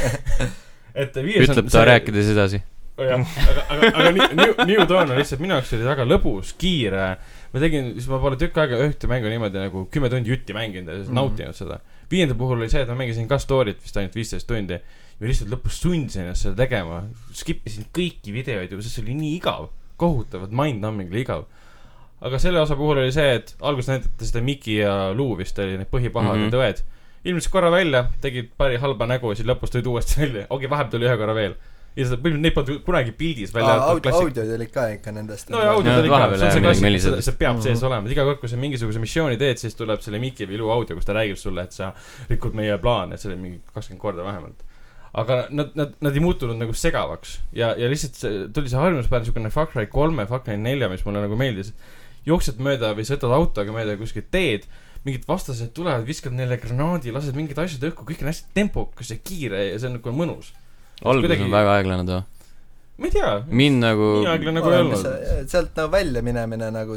[SPEAKER 2] et viies
[SPEAKER 1] Mhm. ütleb ta . rääkides edasi .
[SPEAKER 2] Oh, aga , aga , aga New- New , New Dawn on lihtsalt minu jaoks oli väga lõbus , kiire . ma tegin , siis ma pole tükk aega ühte mängu niimoodi nagu kümme tundi jutti mänginud ja siis mm.
[SPEAKER 3] Mhm.
[SPEAKER 2] nautinud seda . viienda puhul oli see , et ma mängisin ka story't vist ainult viisteist tundi ja lihtsalt lõpus sundsin ennast seda tegema . skip isin kõiki videoid juba , sest see oli nii igav , kohutavalt mind-numbingly igav aga selle osa puhul oli see , et alguses näidati seda Miki ja Luu vist oli need põhipahad mm ,
[SPEAKER 1] Mhm.
[SPEAKER 2] -hmm. need õed . ilmusid korra välja , tegid paari halba nägu ja siis lõpus tulid uuesti välja . okei okay, , vahepeal tuli ühe korra veel . ja seda põhimõtteliselt neid polnud kunagi pildis välja jäetud
[SPEAKER 3] audio ,
[SPEAKER 2] klassik- .
[SPEAKER 3] audiod olid ka ikka nendest .
[SPEAKER 2] no ja audio
[SPEAKER 1] Nad
[SPEAKER 2] tuli ka ,
[SPEAKER 1] vahepeal
[SPEAKER 2] see on see
[SPEAKER 1] jah,
[SPEAKER 2] klassika ,
[SPEAKER 1] millised-
[SPEAKER 2] see, see peab sees olema , et iga kord , kui sa mingisuguse missiooni teed , siis tuleb selle Miki või Lu audio , kus ta räägib sulle , et sa rikud meie plaane , see oli mingi kakskümmend korda vähemalt . aga nad , nad , nad ei muutunud nagu segavaks ja , ja lihtsalt see, tuli see harjumuspäev , niisugune Far Cry kolme , Far Cry nelja , mis mulle nagu meeldis . jooksed mööda või sõidad autoga mööda kuskilt teed , mingid vastased tulevad , viskad neile granaadi , lased mingid asjad õhku , kõik on hästi tempokas ja kiire ja see on nagu mõnus .
[SPEAKER 1] algus
[SPEAKER 2] Kuidagi-
[SPEAKER 1] on väga aeglane too .
[SPEAKER 2] ma ei tea ,
[SPEAKER 1] mind nagu ,
[SPEAKER 2] nii aeglane nagu ei olnud .
[SPEAKER 3] sealt nagu välja minemine nagu ,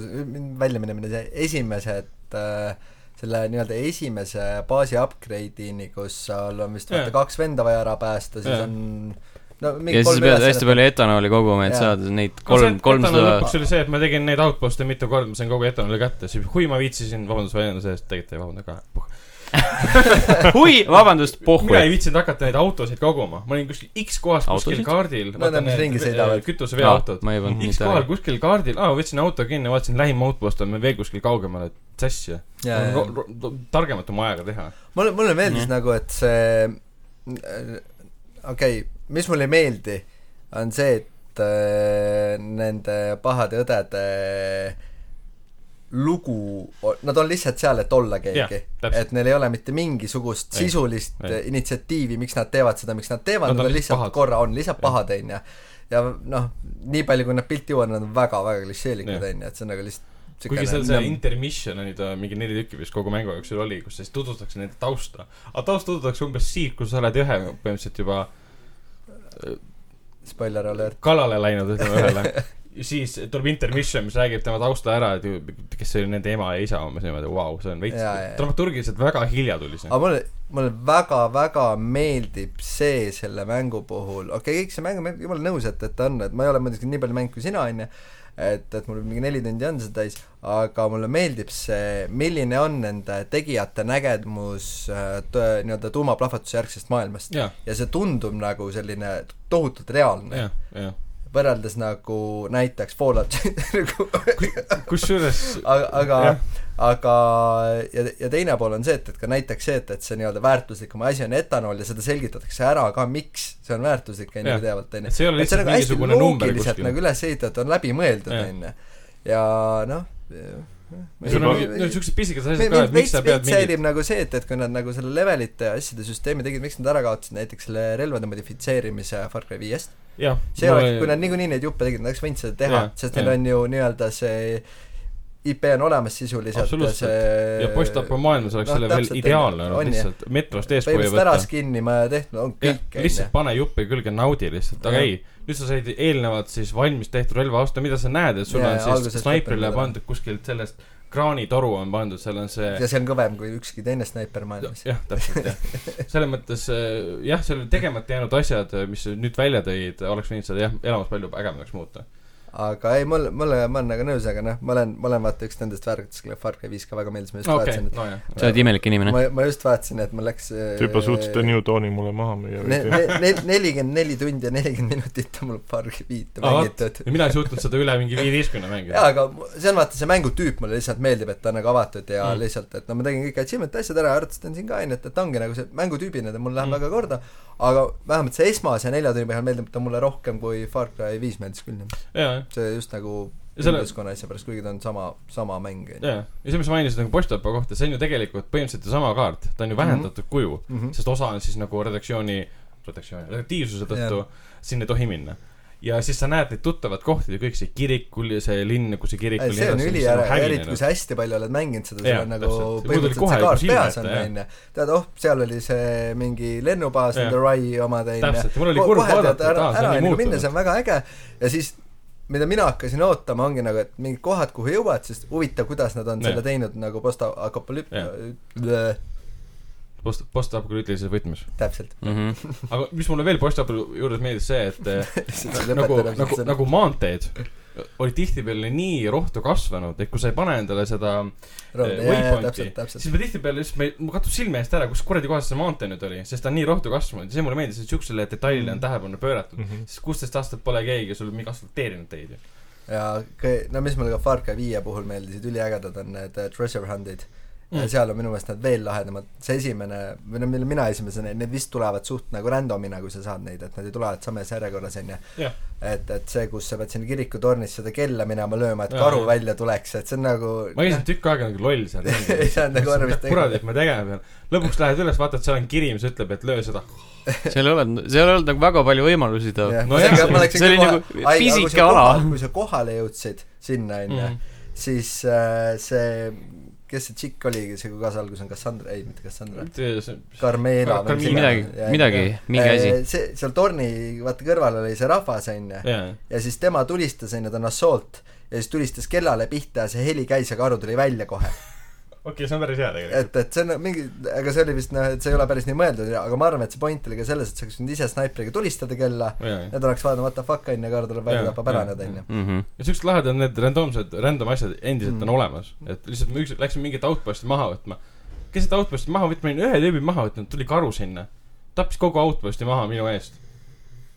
[SPEAKER 3] välja minemine , see esimesed äh, selle nii-öelda esimese baasi upgrade'ini , kus seal on vist vaata
[SPEAKER 2] Jaa.
[SPEAKER 3] kaks venda vaja ära päästa , siis
[SPEAKER 2] Jaa.
[SPEAKER 3] on no
[SPEAKER 1] ja
[SPEAKER 3] mingi
[SPEAKER 1] siis
[SPEAKER 3] kolm
[SPEAKER 1] pead hästi
[SPEAKER 3] ülesannet .
[SPEAKER 1] palju etanooli koguma , et
[SPEAKER 3] Jaa.
[SPEAKER 1] saada neid
[SPEAKER 2] No see,
[SPEAKER 1] kolm
[SPEAKER 2] et , etanol
[SPEAKER 1] kolmsada
[SPEAKER 2] lõpuks oli see , et ma tegin neid outpost'e mitu korda , ma sain kogu etanoli kätte , siis hui ma viitsisin , vabandust väljenduse eest , tegelikult ei vabanda ka .
[SPEAKER 1] hui , vabandust ,
[SPEAKER 2] mina ei
[SPEAKER 1] pohhu .
[SPEAKER 2] viitsinud hakata neid autosid koguma , ma olin kuskil X kohas kuskil
[SPEAKER 1] Autosid?
[SPEAKER 2] kaardil .
[SPEAKER 3] No need, mis ringi sõidavad.
[SPEAKER 2] kütuseveoautod .
[SPEAKER 1] ma ei pannud
[SPEAKER 2] X
[SPEAKER 1] mitte
[SPEAKER 2] kohal
[SPEAKER 1] ära .
[SPEAKER 2] kuskil kaardil , aa , võtsin auto kinni , vaatasin lähim outpost on meil veel kuskil kaugemal , et sassi . targemat oma ajaga teha .
[SPEAKER 3] mulle , mulle meeldis
[SPEAKER 1] Mhm.
[SPEAKER 3] nagu , et äh, see , okei , mis mulle ei meeldi , on see , et et äh, nende pahade õdede lugu , nad on lihtsalt seal , et olla
[SPEAKER 2] Jah,
[SPEAKER 3] keegi .
[SPEAKER 2] täpselt.
[SPEAKER 3] et neil ei ole mitte mingisugust
[SPEAKER 2] Ei,
[SPEAKER 3] sisulist
[SPEAKER 2] ei.
[SPEAKER 3] ei. initsiatiivi , miks nad teevad seda , miks nad teevad , nad on lihtsalt pahad. korra , on lihtsalt pahad , on ju . ja noh , nii palju , kui nad pilti jõuavad , nad on väga-väga klišeelikud ,
[SPEAKER 2] Jah.
[SPEAKER 3] on ju , et see on nagu lihtsalt
[SPEAKER 2] kuigi seal see
[SPEAKER 3] nõmm-
[SPEAKER 2] intermission oli ta mingi neli tükki vist kogu mängu jooksul oli , kus siis tutvustatakse nende tausta . aga taust tutvustatakse umbes siis , kui sa oled ühe põhimõtteliselt juba
[SPEAKER 3] spoiler alert .
[SPEAKER 2] kallale läinud , ütleme ühele . siis tuleb intermission , mis räägib tema tausta ära , et ju- kes see oli nende ema ja isa umbes niimoodi , vau , see on veits
[SPEAKER 3] Jaa, jaa.
[SPEAKER 2] dramaturgiliselt väga hilja tuli see .
[SPEAKER 3] aga mulle , mulle väga-väga meeldib see selle mängu puhul , okei okay, , kõik see mäng , ma olen jumala nõus , et , et ta on , et ma ei ole muidugi nii palju mänginud kui sina , on ju , et , et mul mingi neli tundi on seda täis , aga mulle meeldib see , milline on nende tegijate nägemus äh, tõ- nii-öelda tuumaplahvatuse järgsest maailmast .
[SPEAKER 2] jah ,
[SPEAKER 3] ja see tundub nagu selline tohutult reaalne ,
[SPEAKER 2] jah , jah .
[SPEAKER 3] võrreldes nagu näiteks Fallout nagu
[SPEAKER 2] kusjuures
[SPEAKER 3] aga ,
[SPEAKER 2] Jah.
[SPEAKER 3] aga , aga ja , ja teine pool on see , et , et ka näiteks see , et , et see nii-öelda väärtuslikum asi on etanool ja seda selgitatakse ära ka , miks see on väärtuslik , on ju
[SPEAKER 2] Jah. ,
[SPEAKER 3] pidevalt , on
[SPEAKER 2] et
[SPEAKER 3] ju .
[SPEAKER 2] see ei ole
[SPEAKER 3] et see
[SPEAKER 2] lihtsalt
[SPEAKER 3] on nagu hästi
[SPEAKER 2] mingisugune number
[SPEAKER 3] loogiliselt
[SPEAKER 2] kuskil .
[SPEAKER 3] nagu üles ehitatud , on läbimõeldud ,
[SPEAKER 2] Jah.
[SPEAKER 3] on ju . ja noh ,
[SPEAKER 2] sul on
[SPEAKER 4] Juba-
[SPEAKER 2] mingid- need siuksed pisikesed asjad ka , et miks
[SPEAKER 3] veits ,
[SPEAKER 2] sa pead
[SPEAKER 3] veits
[SPEAKER 2] mingit
[SPEAKER 3] häirib nagu see , et , et kui nad nagu selle levelite ja asjade süsteemi tegid , miks nad ära kaotasid näiteks selle relvade modifitseerimise Far Cry viiest .
[SPEAKER 2] jah ,
[SPEAKER 3] see oleks , kui nad niikuinii neid juppe tegid , nad oleks võinud seda teha
[SPEAKER 2] Jaa, ,
[SPEAKER 3] sest neil
[SPEAKER 2] jaa.
[SPEAKER 3] on ju nii-öelda see IP on olemas sisuliselt
[SPEAKER 2] Absoluutselt.
[SPEAKER 3] see
[SPEAKER 2] ja postapo maailmas oleks
[SPEAKER 3] Noh,
[SPEAKER 2] selle veel
[SPEAKER 3] täpselt,
[SPEAKER 2] ideaalne olnud
[SPEAKER 3] on ju.
[SPEAKER 2] lihtsalt , metrost eespool ei
[SPEAKER 3] põhimõtteliselt ära
[SPEAKER 2] võta .
[SPEAKER 3] skinnima ja tehtud , on
[SPEAKER 2] jah ,
[SPEAKER 3] kõik ,
[SPEAKER 2] lihtsalt pane juppe külge , naudi lihtsalt , aga
[SPEAKER 3] Jah.
[SPEAKER 2] ei , nüüd sa said eelnevalt siis valmis tehtud relva osta , mida sa näed , et sul
[SPEAKER 3] Jaa,
[SPEAKER 2] on
[SPEAKER 3] jaa,
[SPEAKER 2] siis
[SPEAKER 3] alguses
[SPEAKER 2] snaiprile
[SPEAKER 3] lõpetad ära.
[SPEAKER 2] pandud kuskilt sellest kraanitoru on pandud , seal on see
[SPEAKER 3] ja see on kõvem kui ükski teine snaiper maailmas .
[SPEAKER 2] jah , täpselt jah . selles mõttes äh, jah , seal olid tegemata jäänud asjad , mis sa nüüd välja tõid , oleks võinud seda jah , elamus palju ägedamaks muuta .
[SPEAKER 3] aga ei , mul , mul , ma olen nagu nõus , aga noh , ma olen , ma olen vaata üks nendest värkidest , kelle Far Cry viis ka väga meeldis , ma just
[SPEAKER 2] okei
[SPEAKER 3] vaatasin ,
[SPEAKER 2] nojah .
[SPEAKER 1] sa oled imelik
[SPEAKER 3] et
[SPEAKER 1] inimene .
[SPEAKER 3] ma , ma just vaatasin , et mul läks
[SPEAKER 4] tüüpa suutis ta New Dawni mulle maha müüa
[SPEAKER 3] ne-
[SPEAKER 4] veidi .
[SPEAKER 3] ne- ne- nelikümmend neli tundi ja nelikümmend minutit on mul Far Cry viite
[SPEAKER 2] Aa, vot.
[SPEAKER 3] mängitud .
[SPEAKER 2] ja mina ei suutnud seda üle mingi viieteistkümne mängida .
[SPEAKER 3] jaa , aga mu- see on vaata see mängutüüp , mulle lihtsalt meeldib , et ta on nagu avatud ja
[SPEAKER 2] Mm.
[SPEAKER 3] mm. lihtsalt , et no ma tegin kõik achievement'i asjad ära , arutasin siin ka onju , et , et ongi nagu see mängutüübina , ta mul läheb
[SPEAKER 2] Mm.
[SPEAKER 3] mm. väga korda , aga vähemalt see esmase nelja tunni peal meeldib ta mulle rohkem kui Far Cry viis meeldis küll ,
[SPEAKER 2] jaa ,
[SPEAKER 3] see just nagu
[SPEAKER 2] Ja selle-
[SPEAKER 3] ümbruskonna asja pärast , kuigi ta on sama , sama mäng onju .
[SPEAKER 2] jaa . ja see , mis sa mainisid nagu Postapa kohta , see on ju tegelikult põhimõtteliselt ju sama kaart , ta on ju vähendatud
[SPEAKER 3] Mhm.
[SPEAKER 2] mm -hmm. kuju , sest osa on siis nagu redaktsiooni , redaktsiooni , redaktiivsuse tõttu sinna ei tohi minna . ja siis sa näed neid tuttavad kohti , kõik see kirikul ja see linn , kus see nagu kirik oli .
[SPEAKER 3] see on üliäre , eriti kui sa hästi palju oled mänginud seda , sul
[SPEAKER 2] Jaa,
[SPEAKER 3] on nagu
[SPEAKER 2] täpselt. Muidugi
[SPEAKER 3] põhimõtteliselt
[SPEAKER 2] kohe
[SPEAKER 3] see kaart
[SPEAKER 2] juba silme
[SPEAKER 3] peas
[SPEAKER 2] ette,
[SPEAKER 3] on
[SPEAKER 2] jah.
[SPEAKER 3] onju . tead , oh , seal oli see mingi lennubaas ,
[SPEAKER 2] Jah.
[SPEAKER 3] nende Rai omad onju .
[SPEAKER 2] täpselt , mul oli
[SPEAKER 3] Ko-
[SPEAKER 2] kurb
[SPEAKER 3] kohe tead
[SPEAKER 2] vaadata , et
[SPEAKER 3] ära
[SPEAKER 2] aa ,, see
[SPEAKER 3] ära
[SPEAKER 2] on nii
[SPEAKER 3] nagu minna ,
[SPEAKER 2] muutunud
[SPEAKER 3] see . on väga äge ja siis mida mina hakkasin ootama , ongi nagu , et mingid kohad , kuhu jõuad , sest huvitav , kuidas nad on
[SPEAKER 2] Jah.
[SPEAKER 3] selle teinud nagu postapokalüp-
[SPEAKER 2] Jah. , post , postapokalüütilises võtmes .
[SPEAKER 3] täpselt .
[SPEAKER 1] Mhm.
[SPEAKER 2] aga mis mulle veel postapokalüütilises juures meeldis see , et eh, nagu , nagu ,
[SPEAKER 3] nagu
[SPEAKER 2] nagu maanteed olid tihtipeale nii rohtu kasvanud , et kui sa ei pane endale seda eh, waypointi , siis
[SPEAKER 3] täpselt ,
[SPEAKER 2] me tihtipeale just , me , mul kadus silme eest ära , kus kuradi kohas see maantee nüüd oli , sest ta on nii rohtu kasvanud ja see mulle meeldis , et siuksele detailile
[SPEAKER 3] Mm.
[SPEAKER 2] on tähelepanu pööratud .
[SPEAKER 4] Mhm.
[SPEAKER 2] sest kuusteist aastat pole keegi sul mingi asfalteerinud teid ju .
[SPEAKER 3] ja kõi- no mis mulle ka Far Cry viie puhul meeldisid , üliägedad on need äh, treasure hunt'id
[SPEAKER 2] Mm.
[SPEAKER 3] mm. . seal on minu meelest nad veel lahedamad , see esimene , või no mille mina esimesena , need vist tulevad suht nagu random'ina , kui sa saad neid , et nad ei tule alati samas järjekorras , on ju .
[SPEAKER 2] Jah.
[SPEAKER 3] et , et see , kus sa pead sinna kirikutornis seda kella minema lööma , et
[SPEAKER 2] Jaa,
[SPEAKER 3] karu
[SPEAKER 2] jah.
[SPEAKER 3] välja tuleks , et see on nagu
[SPEAKER 2] ma käisin tükk aega nagu loll seal .
[SPEAKER 3] Ei saanud nagu aru, mis tegema.
[SPEAKER 2] kuradi , et ma tegema pean . lõpuks lähed üles , vaatad , seal on kiri , mis ütleb , et löö seda .
[SPEAKER 1] seal ei olnud , seal ei olnud nagu väga palju võimalusi ta
[SPEAKER 3] jah,
[SPEAKER 2] no
[SPEAKER 3] ma sain
[SPEAKER 2] jah,
[SPEAKER 3] ka- ma läksin
[SPEAKER 1] see oli
[SPEAKER 3] ka
[SPEAKER 1] nagu
[SPEAKER 3] kohe- ai, aga kui sa
[SPEAKER 1] pisike ala.
[SPEAKER 3] kohal- kui sa kohale jõudsid sinna , on
[SPEAKER 2] Mm.
[SPEAKER 3] ju , siis äh, see , kes see tšikk oli , see kui kaasa alguses on Cassandra , ei mitte
[SPEAKER 2] Mm.
[SPEAKER 3] Cassandra , Carmela
[SPEAKER 2] Carmina.
[SPEAKER 3] või mis
[SPEAKER 1] midagi
[SPEAKER 3] iganes. Jah, ,
[SPEAKER 1] midagi
[SPEAKER 3] jah. ,
[SPEAKER 1] mingi asi .
[SPEAKER 3] see , seal torni vaata kõrval oli see rahvas , on ju ,
[SPEAKER 2] jaa ,
[SPEAKER 3] ja siis tema tulistas , on ju , ta on assault , ja siis tulistas kellale pihta ja see heli käis ja karu tuli välja kohe .
[SPEAKER 2] okei , see on päris hea tegelikult .
[SPEAKER 3] et , et see on mingi , aga see oli vist noh , et see ei ole päris nii mõeldud , aga ma arvan , et see point oli ka selles , et sa oleks võinud ise snaipriga tulistada kella , ja ta oleks vaadanud what the fuck on ju , karu tuleb välja ,
[SPEAKER 2] Jaa,
[SPEAKER 3] tapab ära
[SPEAKER 2] jaa,
[SPEAKER 3] nad on ju .
[SPEAKER 1] Mhm.
[SPEAKER 2] ja siuksed lahedad need randomsed , random asjad endiselt on
[SPEAKER 3] Mm.
[SPEAKER 2] olemas , et lihtsalt me üks , läksime mingit outpost'i maha võtma . kes seda outpost'i maha võtma , ühe tüübi maha võtnud , tuli karu sinna , tappis kogu outpost'i maha minu eest .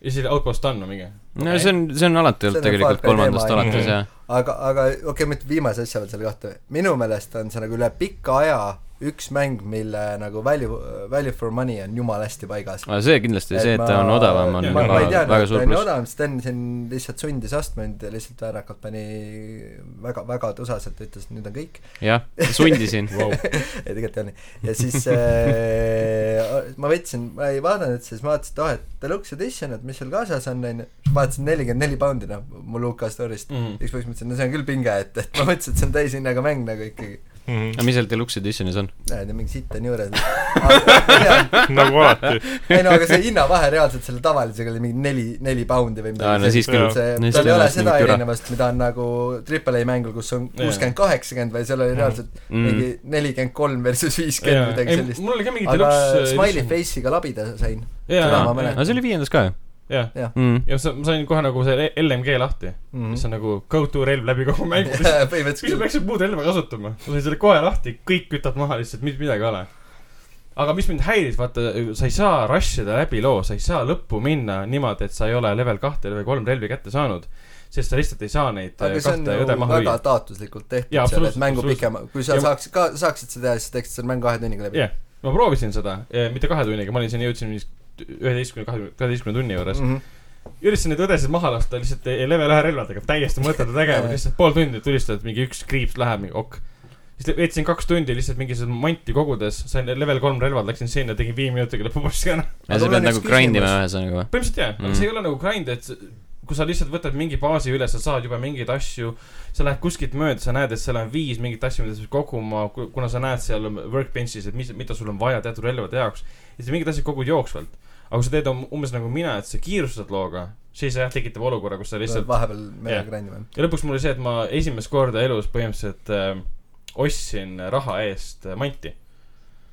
[SPEAKER 2] ja siis outpost on või mingi .
[SPEAKER 1] no see on , see on alati
[SPEAKER 3] See on nagu
[SPEAKER 1] olnud tegelikult
[SPEAKER 3] Far Cry
[SPEAKER 1] kolmandast
[SPEAKER 3] teema,
[SPEAKER 1] alates
[SPEAKER 4] jah.
[SPEAKER 1] ja
[SPEAKER 3] aga , aga okei okay, , mitte viimase asja veel selle kohta , minu meelest on see nagu üle pika aja üks mäng , mille nagu value , value for money on jumala hästi paigas .
[SPEAKER 1] aga see kindlasti , see , et ta on odavam , on
[SPEAKER 2] jah,
[SPEAKER 3] ma, ma ei
[SPEAKER 1] väga
[SPEAKER 3] tea ,
[SPEAKER 1] väga suur
[SPEAKER 3] ta on
[SPEAKER 1] pluss .
[SPEAKER 3] odavam , sest Sten siin lihtsalt sundis ostma mind ja lihtsalt väärakalt pani väga , väga tusaselt , ütles , et nüüd on kõik .
[SPEAKER 1] jah , sundisin .
[SPEAKER 2] Vau.
[SPEAKER 3] ei , tegelikult ei olnud nii . ja siis äh, ma võtsin , ma ei vaadanud üldse , siis ma vaatasin , et oh , et deluxe edition , et mis seal kaasas on , onju . vaatasin nelikümmend neli poundi , noh , mu Luka story'st
[SPEAKER 1] Mhm.
[SPEAKER 2] mm. .
[SPEAKER 3] mm. . ükskord mõtlesin , no see on küll pinge , et , et ma mõtlesin , et see on täishinnaga mäng nagu ikkagi .
[SPEAKER 4] Mhm.
[SPEAKER 1] aga mis seal deluxe edition'is on ?
[SPEAKER 3] näed , mingi sitt on juures .
[SPEAKER 4] nagu alati .
[SPEAKER 3] ei no aga see hinnavahe reaalselt selle tavalisega oli mingi neli , neli poundi või
[SPEAKER 1] Aa,
[SPEAKER 3] midagi
[SPEAKER 1] no siis
[SPEAKER 4] küll.
[SPEAKER 3] see
[SPEAKER 1] No siis
[SPEAKER 3] tal
[SPEAKER 1] ta
[SPEAKER 3] ei ole
[SPEAKER 1] ennast
[SPEAKER 3] seda
[SPEAKER 1] mingi küra.
[SPEAKER 3] erinevust , mida on nagu Triple A mängul , kus on
[SPEAKER 2] Jaa.
[SPEAKER 3] kuuskümmend , kaheksakümmend , vaid seal oli reaalselt mingi
[SPEAKER 1] Mm.
[SPEAKER 3] nelikümmend kolm versus viiskümmend midagi
[SPEAKER 2] ei , äh,
[SPEAKER 3] sellist .
[SPEAKER 2] mul oli ka mingi
[SPEAKER 3] aga
[SPEAKER 2] deluxe
[SPEAKER 3] smiley . face'iga labida sain . seda ma mäletan.
[SPEAKER 2] jaa ,
[SPEAKER 1] aga see oli viiendas ka ju
[SPEAKER 2] jaa .
[SPEAKER 3] jah
[SPEAKER 1] mm. .
[SPEAKER 2] ja sa , ma sain kohe nagu selle LMG lahti ,
[SPEAKER 3] mm
[SPEAKER 2] mis on nagu go to relv läbi kogu mängu . miks
[SPEAKER 3] põhimõtteliselt
[SPEAKER 2] ma
[SPEAKER 3] küll .
[SPEAKER 2] peaksin muud relva kasutama ? ma sain selle kohe lahti , kõik kütab maha lihtsalt , mitte midagi ei ole . aga mis mind häiris , vaata , sa ei saa rush ida läbi loo , sa ei saa lõppu minna niimoodi , et sa ei ole level kahte , level kolm relvi kätte saanud . sest sa lihtsalt ei saa neid eh,
[SPEAKER 3] aga see on
[SPEAKER 2] kahte õde
[SPEAKER 3] ju
[SPEAKER 2] maha
[SPEAKER 3] väga
[SPEAKER 2] lüüa .
[SPEAKER 3] taotluslikult tehtud
[SPEAKER 2] Jaa,
[SPEAKER 3] seal , et
[SPEAKER 2] absoluutselt,
[SPEAKER 3] mängu pikema
[SPEAKER 2] absoluutselt. ,
[SPEAKER 3] kui sa
[SPEAKER 2] Ja-
[SPEAKER 3] saaks ka , saaksid seda teha , siis teeksid selle mängu kahe tunniga läbi
[SPEAKER 2] jah , ma proovisin seda , mitte kahe tunniga , ma olin siin , jõudsin üheteistkümne , kahekümne , kaheteistkümne tunni juures .
[SPEAKER 3] Mhm.
[SPEAKER 2] üritasin neid õdesid maha lasta lihtsalt ei- ei level ühe relvadega , täiesti mõttetu tegevus , lihtsalt pool tundi tulistad , mingi üks kriips läheb , mingi ok . siis veetsin kaks tundi lihtsalt mingisugust manti kogudes , sain level kolm relvad , läksin sinna , tegin viie minutiga lõpupossi ära .
[SPEAKER 1] ja sa
[SPEAKER 3] mul on
[SPEAKER 1] pead nagu
[SPEAKER 3] üks
[SPEAKER 1] grind ima
[SPEAKER 3] küsimus.
[SPEAKER 1] ühesõnaga või ?
[SPEAKER 2] põhimõtteliselt jaa , aga
[SPEAKER 1] Mm.
[SPEAKER 2] see ei ole nagu grind , et s- kui sa lihtsalt võtad mingi baasi üle , sa saad juba mingeid asju , sa lähed kuskilt mööda , sa näed , et seal on viis mingit asju , mida sa pead koguma , kuna sa näed seal workbench'is , et mis , mida sul on vaja teatud relvade jaoks , ja siis mingid asjad kogud jooksvalt . aga kui sa teed um- umbes nagu mina , et sa kiirustad looga , siis jah , tekitab olukorra , kus sa lihtsalt
[SPEAKER 3] vahepeal meelega
[SPEAKER 2] Jah.
[SPEAKER 3] grind ima .
[SPEAKER 2] ja lõpuks mul oli see , et ma esimest korda elus põhimõtteliselt äh, ostsin raha eest äh, manti .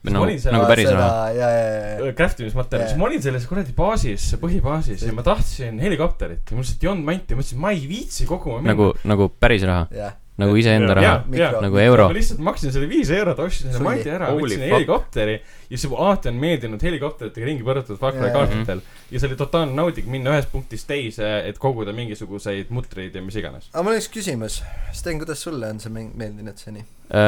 [SPEAKER 1] nagu ,
[SPEAKER 2] olin seal-
[SPEAKER 1] nagu päris raha .
[SPEAKER 3] jaa , jaa , jaa .
[SPEAKER 2] craft imismaterjal , Äh, siis ma olin selles kuradi baasis , põhibaasis ja ma tahtsin helikopterit ja mul lihtsalt ei olnud manti , ma mõtlesin , ma ei viitsi koguma
[SPEAKER 1] nagu , nagu päris raha ,
[SPEAKER 3] jah ,
[SPEAKER 1] nagu iseenda
[SPEAKER 2] Jaa,
[SPEAKER 1] raha ,
[SPEAKER 2] jaa,
[SPEAKER 1] nagu euro
[SPEAKER 2] ma . lihtsalt maksin selle viis eurot , ostsin selle
[SPEAKER 3] Sulli.
[SPEAKER 2] mandi ära ,
[SPEAKER 4] Holy
[SPEAKER 2] võtsin
[SPEAKER 4] fuck.
[SPEAKER 2] helikopteri ja see mu alati on meeldinud helikopteritega ringi põrutatud Far Cry
[SPEAKER 3] Jaa.
[SPEAKER 2] kaartidel . ja see oli totaalne nauding minna ühest punktist teise , et koguda mingisuguseid mutreid ja mis iganes .
[SPEAKER 3] aga mul on üks küsimus , Sten , kuidas sulle on see mäng meeldinud seni ?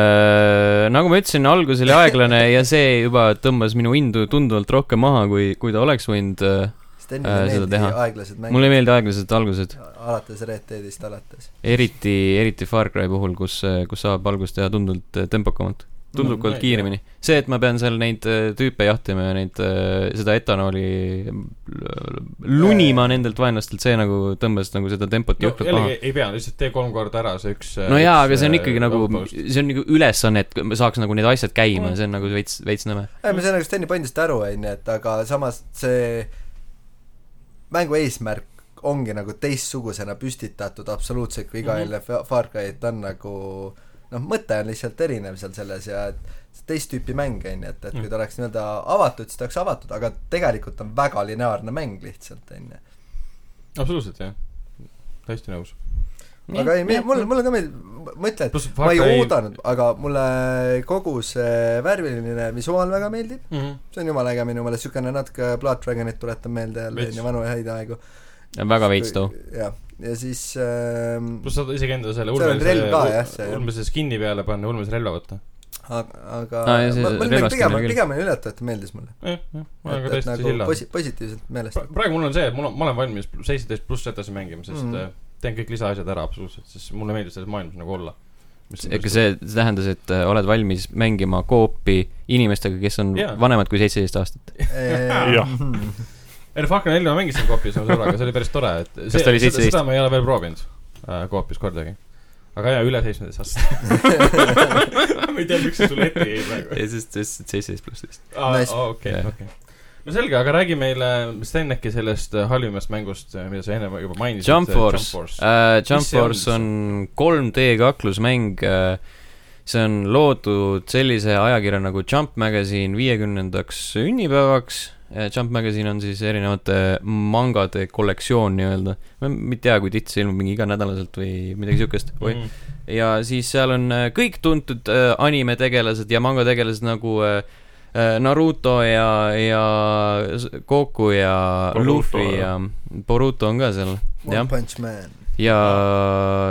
[SPEAKER 1] Öö, nagu ma ütlesin , algus oli aeglane ja see juba tõmbas minu indu tunduvalt rohkem maha , kui , kui ta oleks võinud . Äh,
[SPEAKER 3] Stenile
[SPEAKER 1] seda
[SPEAKER 3] meeldisid
[SPEAKER 1] teha.
[SPEAKER 3] aeglased mängud
[SPEAKER 1] mulle ei meeldi aeglased algused ,
[SPEAKER 3] alates Red Deadist alates .
[SPEAKER 1] eriti , eriti Far Cry puhul , kus , kus saab algust teha tunduvalt äh, tempokamalt , tunduvalt
[SPEAKER 2] Mm,
[SPEAKER 1] kiiremini . see , et ma pean seal neid äh, tüüpe jahtima ja neid , seda etanooli äh, lunima nendelt vaenlastelt , see nagu tõmbas nagu seda tempot
[SPEAKER 2] no
[SPEAKER 1] jõhkralt maha
[SPEAKER 2] jällegi ei pea , lihtsalt tee kolm korda ära see üks . äh,
[SPEAKER 1] no jaa , aga see on ikkagi nagu , see on nagu ülesanne , et ma saaks nagu need asjad käima , see on nagu veits , veits nõme .
[SPEAKER 3] ei , ma saan nagu Steni pointist aru , onju , et aga samas see mängu eesmärk ongi nagu teistsugusena püstitatud absoluutselt kui iga
[SPEAKER 2] Mhm.
[SPEAKER 3] jälle mm -hmm. Far Cry , et ta on nagu noh , mõte on lihtsalt erinev seal selles ja et see teist tüüpi mäng onju , et , et kui ta
[SPEAKER 2] Mhm.
[SPEAKER 3] oleks nii-öelda avatud , siis ta oleks avatud , aga tegelikult on väga lineaarne mäng lihtsalt onju .
[SPEAKER 2] absoluutselt jah , täiesti nõus .
[SPEAKER 3] aga ei , mulle , mulle ka meeldib , mõtle , et
[SPEAKER 2] pluss
[SPEAKER 3] ma
[SPEAKER 2] Far
[SPEAKER 3] ei
[SPEAKER 2] Cry .
[SPEAKER 3] oodanud , aga mulle kogu see värviline visuaal väga meeldib ,
[SPEAKER 4] Mhm.
[SPEAKER 3] see on jumala äge minu meelest , niisugune natuke Blood Dragonit tuletab meelde jälle
[SPEAKER 2] Veits.
[SPEAKER 3] enne vanu ja häid aegu .
[SPEAKER 1] väga veits too .
[SPEAKER 3] jah , ja siis ähm,
[SPEAKER 2] pluss saad isegi endale selle
[SPEAKER 3] Seal on relv ka, jah,
[SPEAKER 2] ulmelise ,
[SPEAKER 3] see, jah.
[SPEAKER 2] ulmelise skin'i peale panna , ulmelise relva võtta .
[SPEAKER 3] aga , aga
[SPEAKER 1] Aa, ja see
[SPEAKER 3] ma- ma olin nagu
[SPEAKER 1] relvastamine
[SPEAKER 3] pigem ,
[SPEAKER 1] küll.
[SPEAKER 3] pigem üllatav , et meeldis mulle .
[SPEAKER 2] jah , jah , ma olen ka ,
[SPEAKER 3] et et
[SPEAKER 2] täiesti
[SPEAKER 3] nagu
[SPEAKER 2] silla .
[SPEAKER 3] posi- , positiivselt meelest .
[SPEAKER 2] praegu mul on see , et mul on , ma olen valmis seitseteist pluss edasi mängima , sest
[SPEAKER 3] Mhm.
[SPEAKER 2] mm. teen kõik lisaasjad ära absoluutselt , sest mulle meeldib selles maailmas nagu olla .
[SPEAKER 1] ega see , see tähendas , et äh, oled valmis mängima koopi inimestega , kes on
[SPEAKER 2] Jaa.
[SPEAKER 1] vanemad kui seitseteist aastat .
[SPEAKER 3] Ehm,
[SPEAKER 4] Jah.
[SPEAKER 3] mhm,
[SPEAKER 2] ei no Fahkna nelja ma mängisin koopis oma sõbraga , see oli päris tore , et see,
[SPEAKER 1] ta oli
[SPEAKER 2] seda,
[SPEAKER 1] 17?
[SPEAKER 2] seda ma ei ole veel proovinud äh, koopis kordagi . aga jaa , üle seitsmeteist aastast . ma ei tea , miks see sulle ette jäi praegu .
[SPEAKER 1] sest , sest seitseteist pluss vist .
[SPEAKER 2] aa ,
[SPEAKER 3] Nice.
[SPEAKER 2] okei ,
[SPEAKER 1] Jah.
[SPEAKER 2] okei . no selge , aga räägi meile , Sten , äkki sellest äh, halvimast mängust , mida sa enne juba mainisid .
[SPEAKER 1] Jump Force , Äh, Jump
[SPEAKER 2] Mis see on
[SPEAKER 1] Force
[SPEAKER 2] üldse?
[SPEAKER 1] on 3D kaklusmäng , see on loodud sellise ajakirja nagu Jump Magazine viiekümnendaks sünnipäevaks , Jump Magazine on siis erinevate mangade kollektsioon nii-öelda , ma ei tea , kui tihti see ilmub , mingi iganädalaselt või midagi siukest või
[SPEAKER 2] Mm.
[SPEAKER 1] ja siis seal on äh, kõik tuntud äh, animetegelased ja mangategelased nagu äh, äh, Naruto ja , ja s- Goku ja
[SPEAKER 4] Boruto,
[SPEAKER 1] Luffy ja Boruto on ka seal ,
[SPEAKER 3] One
[SPEAKER 1] jah .
[SPEAKER 3] Punch Man .
[SPEAKER 1] ja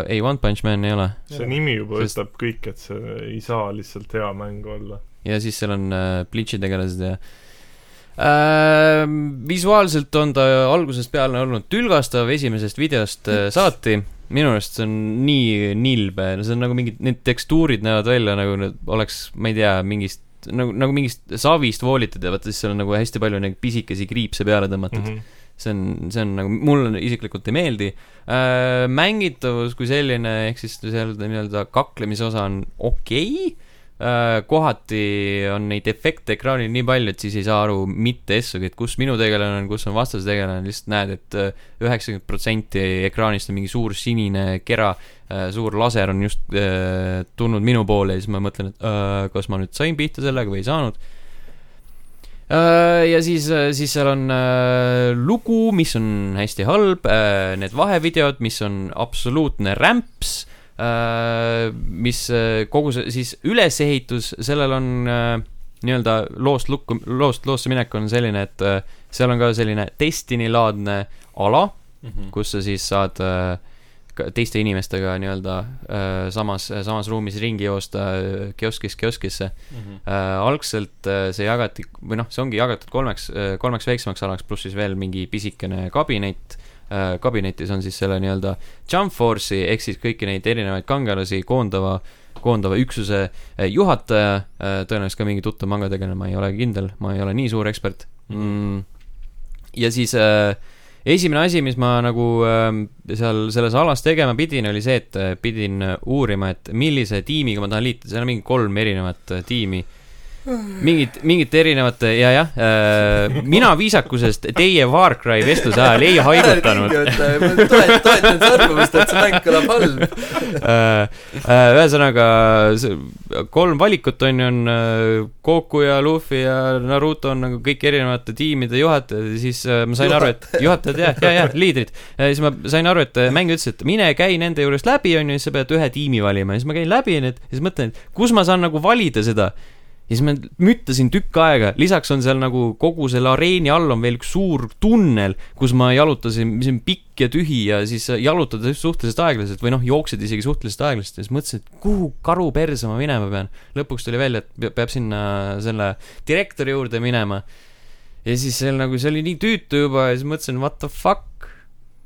[SPEAKER 1] ei , One Punch Man ei ole .
[SPEAKER 4] see nimi juba
[SPEAKER 1] Sest-
[SPEAKER 4] ütleb kõik , et see ei saa lihtsalt hea mäng olla .
[SPEAKER 1] ja siis seal on äh, Bleach'i tegelased ja äh, visuaalselt on ta algusest peale olnud tülgastav esimesest videost äh, saati . minu arust see on nii nilbe , no see on nagu mingid , need tekstuurid näevad välja nagu need oleks , ma ei tea , mingist nagu , nagu mingist savist voolitud ja vaata siis seal on nagu hästi palju neid pisikesi kriipse peale tõmmatud .
[SPEAKER 4] -hmm.
[SPEAKER 1] see on , see on nagu , mulle isiklikult ei meeldi äh, . mängitavus kui selline , ehk siis seal nii-öelda kaklemise osa on okei äh, , kohati on neid efekte ekraanil nii palju , et siis ei saa aru mitte essugi , et kus minu tegelane on , kus on vastase tegelane , lihtsalt näed , et äh, üheksakümmend protsenti ekraanist on mingi suur sinine kera äh, , suur laser on just äh, tulnud minu poole ja siis ma mõtlen , et äh, kas ma nüüd sain pihta sellega või ei saanud . Äh, ja siis , siis seal on äh, lugu , mis on hästi halb , need vahevideod , mis on absoluutne rämps , mis äh, kogu see , siis ülesehitus , sellel on äh, nii-öelda loost lukku , loost loosse minek on selline , et äh, seal on ka selline Destiny-laadne ala ,
[SPEAKER 2] mhm,
[SPEAKER 1] kus sa siis saad äh, ka teiste inimestega nii-öelda äh, samas , samas ruumis ringi joosta äh, kioskist kioskisse .
[SPEAKER 2] mhm.
[SPEAKER 1] äh, algselt äh, see jagati , või noh , see ongi jagatud kolmeks äh, , kolmeks väiksemaks alaks , pluss siis veel mingi pisikene kabinet äh, . kabinetis on siis selle nii-öelda Jump Force'i ehk siis kõiki neid erinevaid kangelasi koondava , koondava üksuse äh, juhataja äh, , tõenäoliselt ka mingi tuttav mangategelane , ma ei ole kindel , ma ei ole nii suur ekspert mm. . ja siis äh, esimene asi , mis ma nagu äh, seal selles alas tegema pidin , oli see , et äh, pidin uurima , et millise tiimiga ma tahan liituda , seal on mingi kolm erinevat äh, tiimi . mingid , mingite erinevate ja , jah äh, , mina viisakusest teie Far Cry vestluse ajal ei haigutanud .
[SPEAKER 3] toetan , toetan su arvamust , et see mäng kõlab halb .
[SPEAKER 1] Äh, äh, ühesõnaga , kolm valikut on ju , on äh, Goku ja Luffy ja Naruto on nagu kõik erinevate tiimide juhatajad ja siis äh, ma sain aru , et juhatajad jah , ja , ja liidrid . siis ma sain aru , et äh, mäng ütles , et mine käi nende juurest läbi , on ju , siis sa pead ühe tiimi valima ja siis ma käin läbi need ja siis mõtlen , et kus ma saan nagu valida seda ja siis ma müttasin tükk aega , lisaks on seal nagu kogu selle areeni all on veel üks suur tunnel , kus ma jalutasin , mis on pikk ja tühi ja siis sa jalutad suhteliselt aeglaselt või noh , jooksed isegi suhteliselt aeglaselt ja siis mõtlesin , et kuhu karu perse ma minema pean . lõpuks tuli välja , et pe- peab sinna selle direktori juurde minema . ja siis seal nagu , see oli nii tüütu juba ja siis mõtlesin , what the fuck ,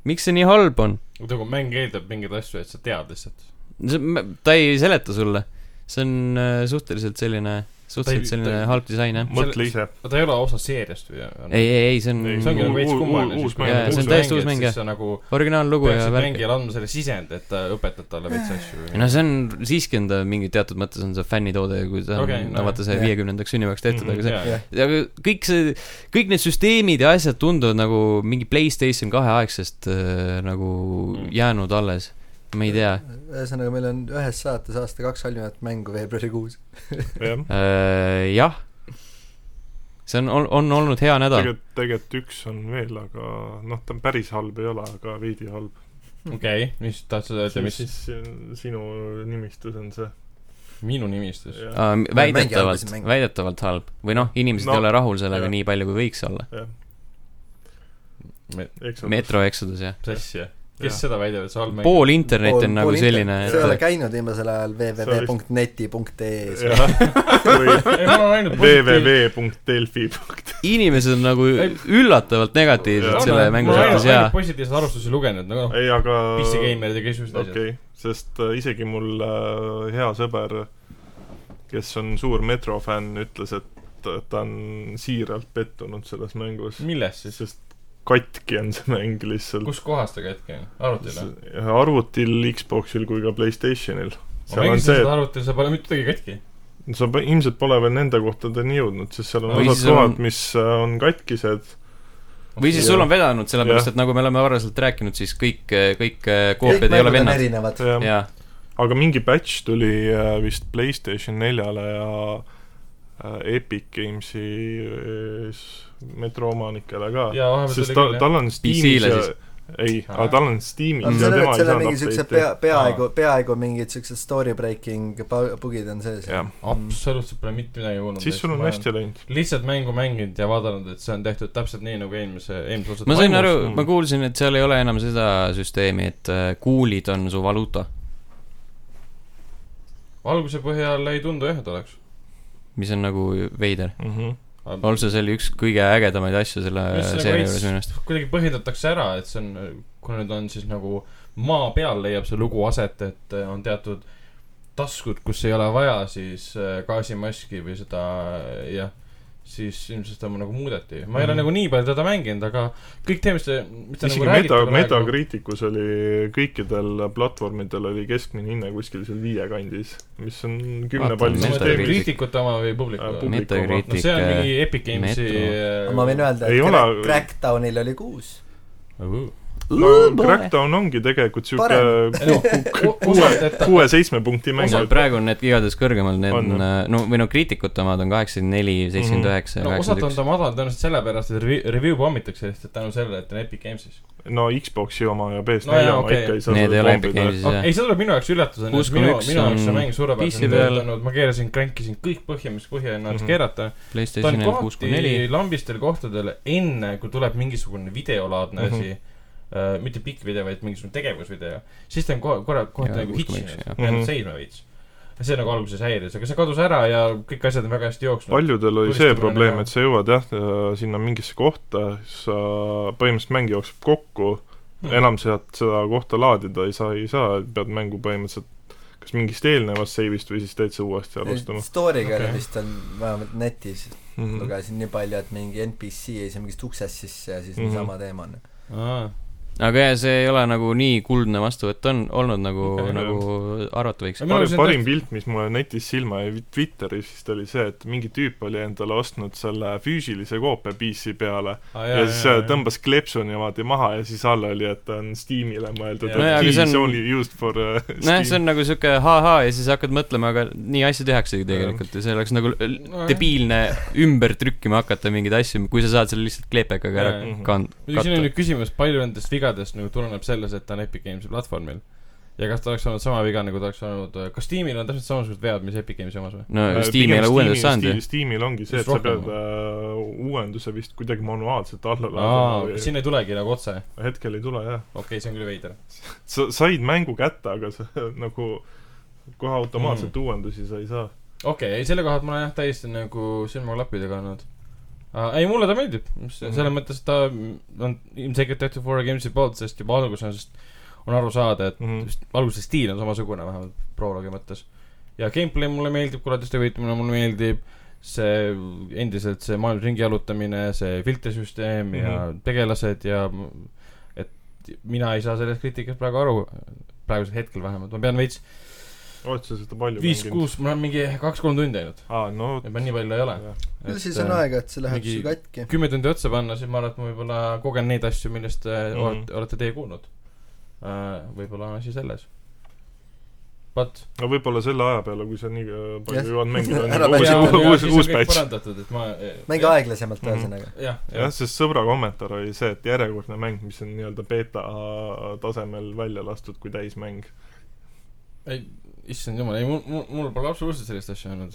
[SPEAKER 1] miks see nii halb on ?
[SPEAKER 2] nagu mäng eeldab mingeid asju , et sa tead lihtsalt .
[SPEAKER 1] ta ei seleta sulle , see on äh, suhteliselt selline , suhteliselt
[SPEAKER 2] ta ei-
[SPEAKER 1] selline halb disain jah .
[SPEAKER 4] mõtle ise .
[SPEAKER 2] aga ta ei ole osa seeriast või on ?
[SPEAKER 1] ei , ei , ei , see on
[SPEAKER 4] Ei,
[SPEAKER 2] see ongi nagu veits
[SPEAKER 4] Uu- uu-
[SPEAKER 2] kummaline .
[SPEAKER 4] uus mäng.
[SPEAKER 1] Jaa, see on täiesti uus mäng, jah.
[SPEAKER 2] sa nagu
[SPEAKER 1] originaallugu ja
[SPEAKER 2] peaksid
[SPEAKER 1] värk .
[SPEAKER 2] mängijale andma selle sisendi , et ta õpetad talle veits asju .
[SPEAKER 1] no see on , siiski on ta mingi teatud mõttes on see fännitoode , kui ta
[SPEAKER 2] Okei, Mhm,
[SPEAKER 1] okay, , no
[SPEAKER 2] no
[SPEAKER 1] vaata see
[SPEAKER 3] jah.
[SPEAKER 1] viiekümnendaks sünnipäevaks tehtud , aga see ,
[SPEAKER 2] see .
[SPEAKER 1] aga kõik see , kõik need süsteemid ja asjad tunduvad nagu mingi Playstation kahe aegsest äh, nagu
[SPEAKER 2] Mm.
[SPEAKER 1] jäänud alles . ma ei tea
[SPEAKER 3] ühesõnaga , meil on ühes saates aasta kaks halvimat mängu veebruarikuus .
[SPEAKER 4] jah ,
[SPEAKER 1] äh, , jah . see on , on olnud hea nädal .
[SPEAKER 4] tegelikult , tegelikult üks on veel , aga noh , ta on päris halb ei ole , aga veidi halb .
[SPEAKER 2] okei , mis tahtsid öelda , mis
[SPEAKER 4] siis äh, sinu nimistus on see ?
[SPEAKER 2] minu nimistus ?
[SPEAKER 4] jah ,
[SPEAKER 1] Äh,
[SPEAKER 3] Mängija
[SPEAKER 1] väidetavalt
[SPEAKER 3] alguses , mängib.
[SPEAKER 1] väidetavalt halb või noh , inimesed no,
[SPEAKER 4] No,
[SPEAKER 1] ei ole rahul sellega
[SPEAKER 4] jah.
[SPEAKER 1] nii palju , kui võiks olla .
[SPEAKER 4] eks ole .
[SPEAKER 1] Metro Exodus jah ,
[SPEAKER 2] sassi , jah ?
[SPEAKER 4] Jah.
[SPEAKER 2] kes seda väidab , et see halb mäng on ?
[SPEAKER 1] pool internetti on nagu selline .
[SPEAKER 3] sa ei ole käinud viimasel ajal www.neti.ee-s .
[SPEAKER 4] või
[SPEAKER 2] ei , ma olen ainult positiivne .
[SPEAKER 4] www.delfi .
[SPEAKER 1] inimesed on nagu üllatavalt negatiivsed
[SPEAKER 4] Jaa.
[SPEAKER 1] selle
[SPEAKER 4] No,
[SPEAKER 1] mängu
[SPEAKER 4] no,
[SPEAKER 1] suhtes ja
[SPEAKER 2] positiivseid arvustusi lugenud , nagu noh ,
[SPEAKER 4] ei , aga
[SPEAKER 2] PC Gamerid ja kõik siuksed
[SPEAKER 4] okei
[SPEAKER 2] asjad .
[SPEAKER 4] okay, , sest äh, isegi mul äh, hea sõber , kes on suur Metro fänn , ütles , et äh, ta on siiralt pettunud selles mängus ,
[SPEAKER 2] milles siis ?
[SPEAKER 4] sest katki on see mäng lihtsalt .
[SPEAKER 2] kus kohas ta katki on ? arvutil või ?
[SPEAKER 4] arvutil , Xboxil kui ka Playstationil .
[SPEAKER 2] ma
[SPEAKER 4] seal on
[SPEAKER 2] mängisin
[SPEAKER 4] see ,
[SPEAKER 2] seda arvutil , seal pole mitte midagi katki .
[SPEAKER 4] et sa pe- ilmselt pole veel nende kohtadeni jõudnud , sest seal on
[SPEAKER 1] Või
[SPEAKER 4] osad
[SPEAKER 1] siis on-
[SPEAKER 4] kohad , mis äh, on katkised .
[SPEAKER 1] või siis
[SPEAKER 4] Jaa.
[SPEAKER 1] sul on vedanud , sellepärast
[SPEAKER 4] Jah.
[SPEAKER 1] et nagu me oleme varaselt rääkinud , siis kõik , kõik äh, koopiad ei ole vennad .
[SPEAKER 3] erinevad .
[SPEAKER 1] jaa ,
[SPEAKER 4] aga mingi patch tuli äh, vist Playstation neljale ja äh, Epic Gamesi äh, s- metro omanikele ka .
[SPEAKER 2] jaa , vahepeal
[SPEAKER 4] sest
[SPEAKER 2] tuli
[SPEAKER 4] ta
[SPEAKER 2] küll , jah .
[SPEAKER 4] tal on Steamis
[SPEAKER 1] PC-le
[SPEAKER 4] ja
[SPEAKER 1] siis. ,
[SPEAKER 4] ei ,
[SPEAKER 2] Aa.
[SPEAKER 4] aga tal on Steamis ja
[SPEAKER 3] seal
[SPEAKER 4] tema ei
[SPEAKER 3] olid , seal on
[SPEAKER 4] saanud
[SPEAKER 3] mingi siuksed
[SPEAKER 4] update'i .
[SPEAKER 3] pea , peaaegu , peaaegu mingid siuksed story breaking bu- bugid on sees .
[SPEAKER 4] jah ,
[SPEAKER 2] absoluutselt pole mitte midagi kuulnud .
[SPEAKER 4] siis sul on hästi läinud .
[SPEAKER 2] lihtsalt mängu mänginud ja vaadanud , et see on tehtud täpselt nii , nagu eelmise , eelmise osa
[SPEAKER 1] ma sain aru
[SPEAKER 4] mm. ,
[SPEAKER 1] ma kuulsin , et seal ei ole enam seda süsteemi , et äh, kuulid on su valuuta .
[SPEAKER 2] alguse põhjal ei tundu jah , et oleks .
[SPEAKER 1] mis on nagu veider .
[SPEAKER 4] mm . -hmm.
[SPEAKER 1] Also see oli üks kõige ägedamaid asju selle
[SPEAKER 2] Just see
[SPEAKER 1] seeria
[SPEAKER 2] nagu
[SPEAKER 1] juures minu meelest .
[SPEAKER 2] kuidagi põhjendatakse ära , et see on , kuna nüüd on siis nagu maa peal leiab see lugu aset , et äh, on teatud taskud , kus ei ole vaja siis äh, gaasimaski või seda äh, jah , siis ilmselt seda nagu muudeti . ma ei
[SPEAKER 4] Mhm.
[SPEAKER 2] ole mm. nagu nii palju teda mänginud , aga kõik teevad seda , mis te
[SPEAKER 4] isegi
[SPEAKER 2] nagu
[SPEAKER 4] meta ,
[SPEAKER 2] räägite praegu .
[SPEAKER 4] Metacriticus oli kõikidel platvormidel oli keskmine hinne kuskil seal viie kandis , mis on kümne
[SPEAKER 1] Vaatame
[SPEAKER 4] palli
[SPEAKER 1] Metacritic-
[SPEAKER 4] süsteemis .
[SPEAKER 2] kriitikute oma või publiku
[SPEAKER 4] Äh,
[SPEAKER 2] oma ?
[SPEAKER 4] publiku-
[SPEAKER 2] no see on mingi
[SPEAKER 1] Metacritic ,
[SPEAKER 2] Epic Gamesi äh,
[SPEAKER 1] Metro.
[SPEAKER 3] ma võin öelda ,
[SPEAKER 4] Ei
[SPEAKER 3] et
[SPEAKER 4] ole-
[SPEAKER 3] Crack- Crackdownil oli kuus .
[SPEAKER 4] no Crackdown ongi tegelikult
[SPEAKER 3] Parem.
[SPEAKER 4] siuke
[SPEAKER 2] osalt , et ta
[SPEAKER 4] kuue-seitsme punkti mäng
[SPEAKER 1] no . praegu on need igatahes kõrgemal , need
[SPEAKER 4] On,
[SPEAKER 1] on , no või no kriitikute omad on kaheksakümmend neli , seitsekümmend üheksa ,
[SPEAKER 2] Mhm. no osalt on
[SPEAKER 1] kaheksakümmend
[SPEAKER 2] ta madal tõenäoliselt sellepärast , et revi- review pommitakse lihtsalt tänu sellele , et ta on Epic Gamesis .
[SPEAKER 4] no Xbox'i oma ja PS4
[SPEAKER 2] No jaa,
[SPEAKER 4] oma
[SPEAKER 2] okei.
[SPEAKER 4] ikka ei saa
[SPEAKER 1] Need ei ole Epic Games'is
[SPEAKER 2] Aga
[SPEAKER 1] jah
[SPEAKER 2] ei , see tuleb minu jaoks üllatusena , et
[SPEAKER 1] 6,1
[SPEAKER 2] minu , minu
[SPEAKER 4] mm,
[SPEAKER 2] jaoks see
[SPEAKER 1] on
[SPEAKER 2] mäng
[SPEAKER 1] PC
[SPEAKER 2] suurepäraselt
[SPEAKER 1] peal.
[SPEAKER 2] töötanud , ma keerasin , kränkisin kõik põhja , mis põhja
[SPEAKER 4] Mhm.
[SPEAKER 2] ennast mm -hmm. keerata . ta on
[SPEAKER 1] PlayStationil kuus koma neli
[SPEAKER 2] kohati . lambistel kohtadel enne , kui tuleb mingisugune videolaadne
[SPEAKER 4] Mhm.
[SPEAKER 2] mm -hmm. asi uh, , mitte pikk video , vaid mingisugune tegevusvideo , siis ta on kohe , korra , kohati
[SPEAKER 1] Jaa,
[SPEAKER 2] nagu
[SPEAKER 1] 6,1,
[SPEAKER 2] hitšinud
[SPEAKER 1] jah. ,
[SPEAKER 2] jäänud
[SPEAKER 4] Mhm.
[SPEAKER 2] seisma veits . see nagu alguses häiris , aga see kadus ära ja kõik asjad on väga hästi jooksnud .
[SPEAKER 4] paljudel oli see
[SPEAKER 2] Tulistamine
[SPEAKER 4] probleem ,
[SPEAKER 2] ka.
[SPEAKER 4] et sa jõuad jah , sinna mingisse kohta , sa , põhimõtteliselt mäng jookseb kokku
[SPEAKER 2] Mhm.
[SPEAKER 4] hmm. , enam sealt seda kohta laadida ei saa , ei saa , pead mängu põhimõtteliselt kas mingist eelnevast seivist või siis täitsa uuesti alustama .
[SPEAKER 3] Story'ga
[SPEAKER 2] Okei.
[SPEAKER 3] okay. vist on , vähemalt netis mm.
[SPEAKER 4] Mm
[SPEAKER 3] lugesin nii palju , et mingi NPC jäi seal mingist uksest sisse ja siis mm
[SPEAKER 4] Mhm.
[SPEAKER 3] -hmm. sama teema on .
[SPEAKER 1] aga jah , see ei ole nagu nii kuldne vastuvõtt on olnud , nagu
[SPEAKER 2] Okei, ,
[SPEAKER 1] nagu arvata võiks .
[SPEAKER 2] Minu arust
[SPEAKER 4] parim ,
[SPEAKER 2] on
[SPEAKER 4] parim
[SPEAKER 2] tõesti-
[SPEAKER 4] pilt , mis mulle netis silma jäi Twitteris vist oli see , et mingi tüüp oli endale ostnud selle füüsilise koopia PC peale ja, ja siis äh, . tõmbas kleepsu niimoodi maha ja siis all oli , et ta on Steamile mõeldud
[SPEAKER 2] Jaa. Nojah, .
[SPEAKER 1] aga see
[SPEAKER 4] Keys
[SPEAKER 1] on-
[SPEAKER 4] only used for äh,
[SPEAKER 1] nojah , see
[SPEAKER 4] Steam .
[SPEAKER 1] on nagu siuke ha-ha ja siis hakkad mõtlema , aga nii asju tehaksegi tegelikult ja see oleks nagu l-
[SPEAKER 2] Nojah.
[SPEAKER 1] debiilne ümber trükkima hakata mingeid asju , kui sa saad selle lihtsalt kleepekaga ära
[SPEAKER 4] Mhm.
[SPEAKER 2] Jaa.
[SPEAKER 1] kand- ,
[SPEAKER 2] muidugi siin on
[SPEAKER 1] katta .
[SPEAKER 2] nüüd küsimus , palju nendest vigadest nagu tuleneb selles , et ta on Epic Games'i platvormil . ja kas ta oleks olnud sama viga , nagu ta oleks olnud , kas tiimil on täpselt samasugused vead , mis Epic Games'i omas või ?
[SPEAKER 1] no Steam ei ole uuendust saanud ju .
[SPEAKER 4] Äh, Steamil ongi see , et sa
[SPEAKER 2] Rohkem
[SPEAKER 4] pead äh, uuenduse vist kuidagi manuaalselt alla
[SPEAKER 2] aa ,
[SPEAKER 4] laadima või... .
[SPEAKER 2] siin ei tulegi nagu otse ,
[SPEAKER 4] hetkel ei tule jah .
[SPEAKER 2] okei okay, , see on küll veider .
[SPEAKER 4] sa said mängu kätte , aga sa nagu kohe automaatselt
[SPEAKER 2] Mhm.
[SPEAKER 4] mm. uuendusi sa ei saa .
[SPEAKER 2] okei okay, , ei selle koha pealt ma olen jah , täiesti nagu silmaklapidega olnud . Uh, ei , mulle ta meeldib , selles
[SPEAKER 4] Mhm.
[SPEAKER 2] mõttes et ta on ilmselgelt tehtud Four Games'i poolt , sest juba alguses on aru saada , et
[SPEAKER 4] Mhm.
[SPEAKER 2] just alguse stiil on samasugune vähemalt proloogi mõttes . ja gameplay mulle meeldib , koleduste võitmine mulle meeldib , see endiselt see maailmas ringi jalutamine , see filtrisüsteem mm -hmm. ja
[SPEAKER 4] Mhm.
[SPEAKER 2] tegelased ja m- et mina ei saa sellest kriitikast praegu aru , praegusel hetkel vähemalt , ma pean veits
[SPEAKER 4] oled sa seda palju mänginud ?
[SPEAKER 2] viis-kuus , ma olen mingi kaks-kolm tundi ainult ,
[SPEAKER 4] aa , no
[SPEAKER 2] et ma nii palju ei ole .
[SPEAKER 3] küll siis on aega , et see läheb
[SPEAKER 2] äh, mingi-
[SPEAKER 3] mingi... su katki .
[SPEAKER 2] kümme tundi otsa panna , siis ma arvan , et ma võib-olla kogen neid asju , millest mm
[SPEAKER 4] Mhm.
[SPEAKER 2] -hmm. olete, olete teie kuulnud . võib-olla on asi selles . But
[SPEAKER 4] no võib-olla selle aja peale , kui sa nii äh, palju
[SPEAKER 3] Jah.
[SPEAKER 4] jõuad mängida , on
[SPEAKER 3] Ära
[SPEAKER 4] juba
[SPEAKER 3] mängi.
[SPEAKER 4] uus , uus , uus patch .
[SPEAKER 2] parandatud , et ma .
[SPEAKER 3] mängi . aeglasemalt
[SPEAKER 4] Mhm.
[SPEAKER 3] ühesõnaga mm
[SPEAKER 2] jah ,
[SPEAKER 4] jah ,
[SPEAKER 2] jah .
[SPEAKER 4] sest sõbra kommentaar oli see , et järjekordne mäng , mis on nii-öelda beeta tasemel välja lastud kui täismäng .
[SPEAKER 2] ei , issand jumal , ei mul , mul , mul pole absoluutselt sellist asja olnud .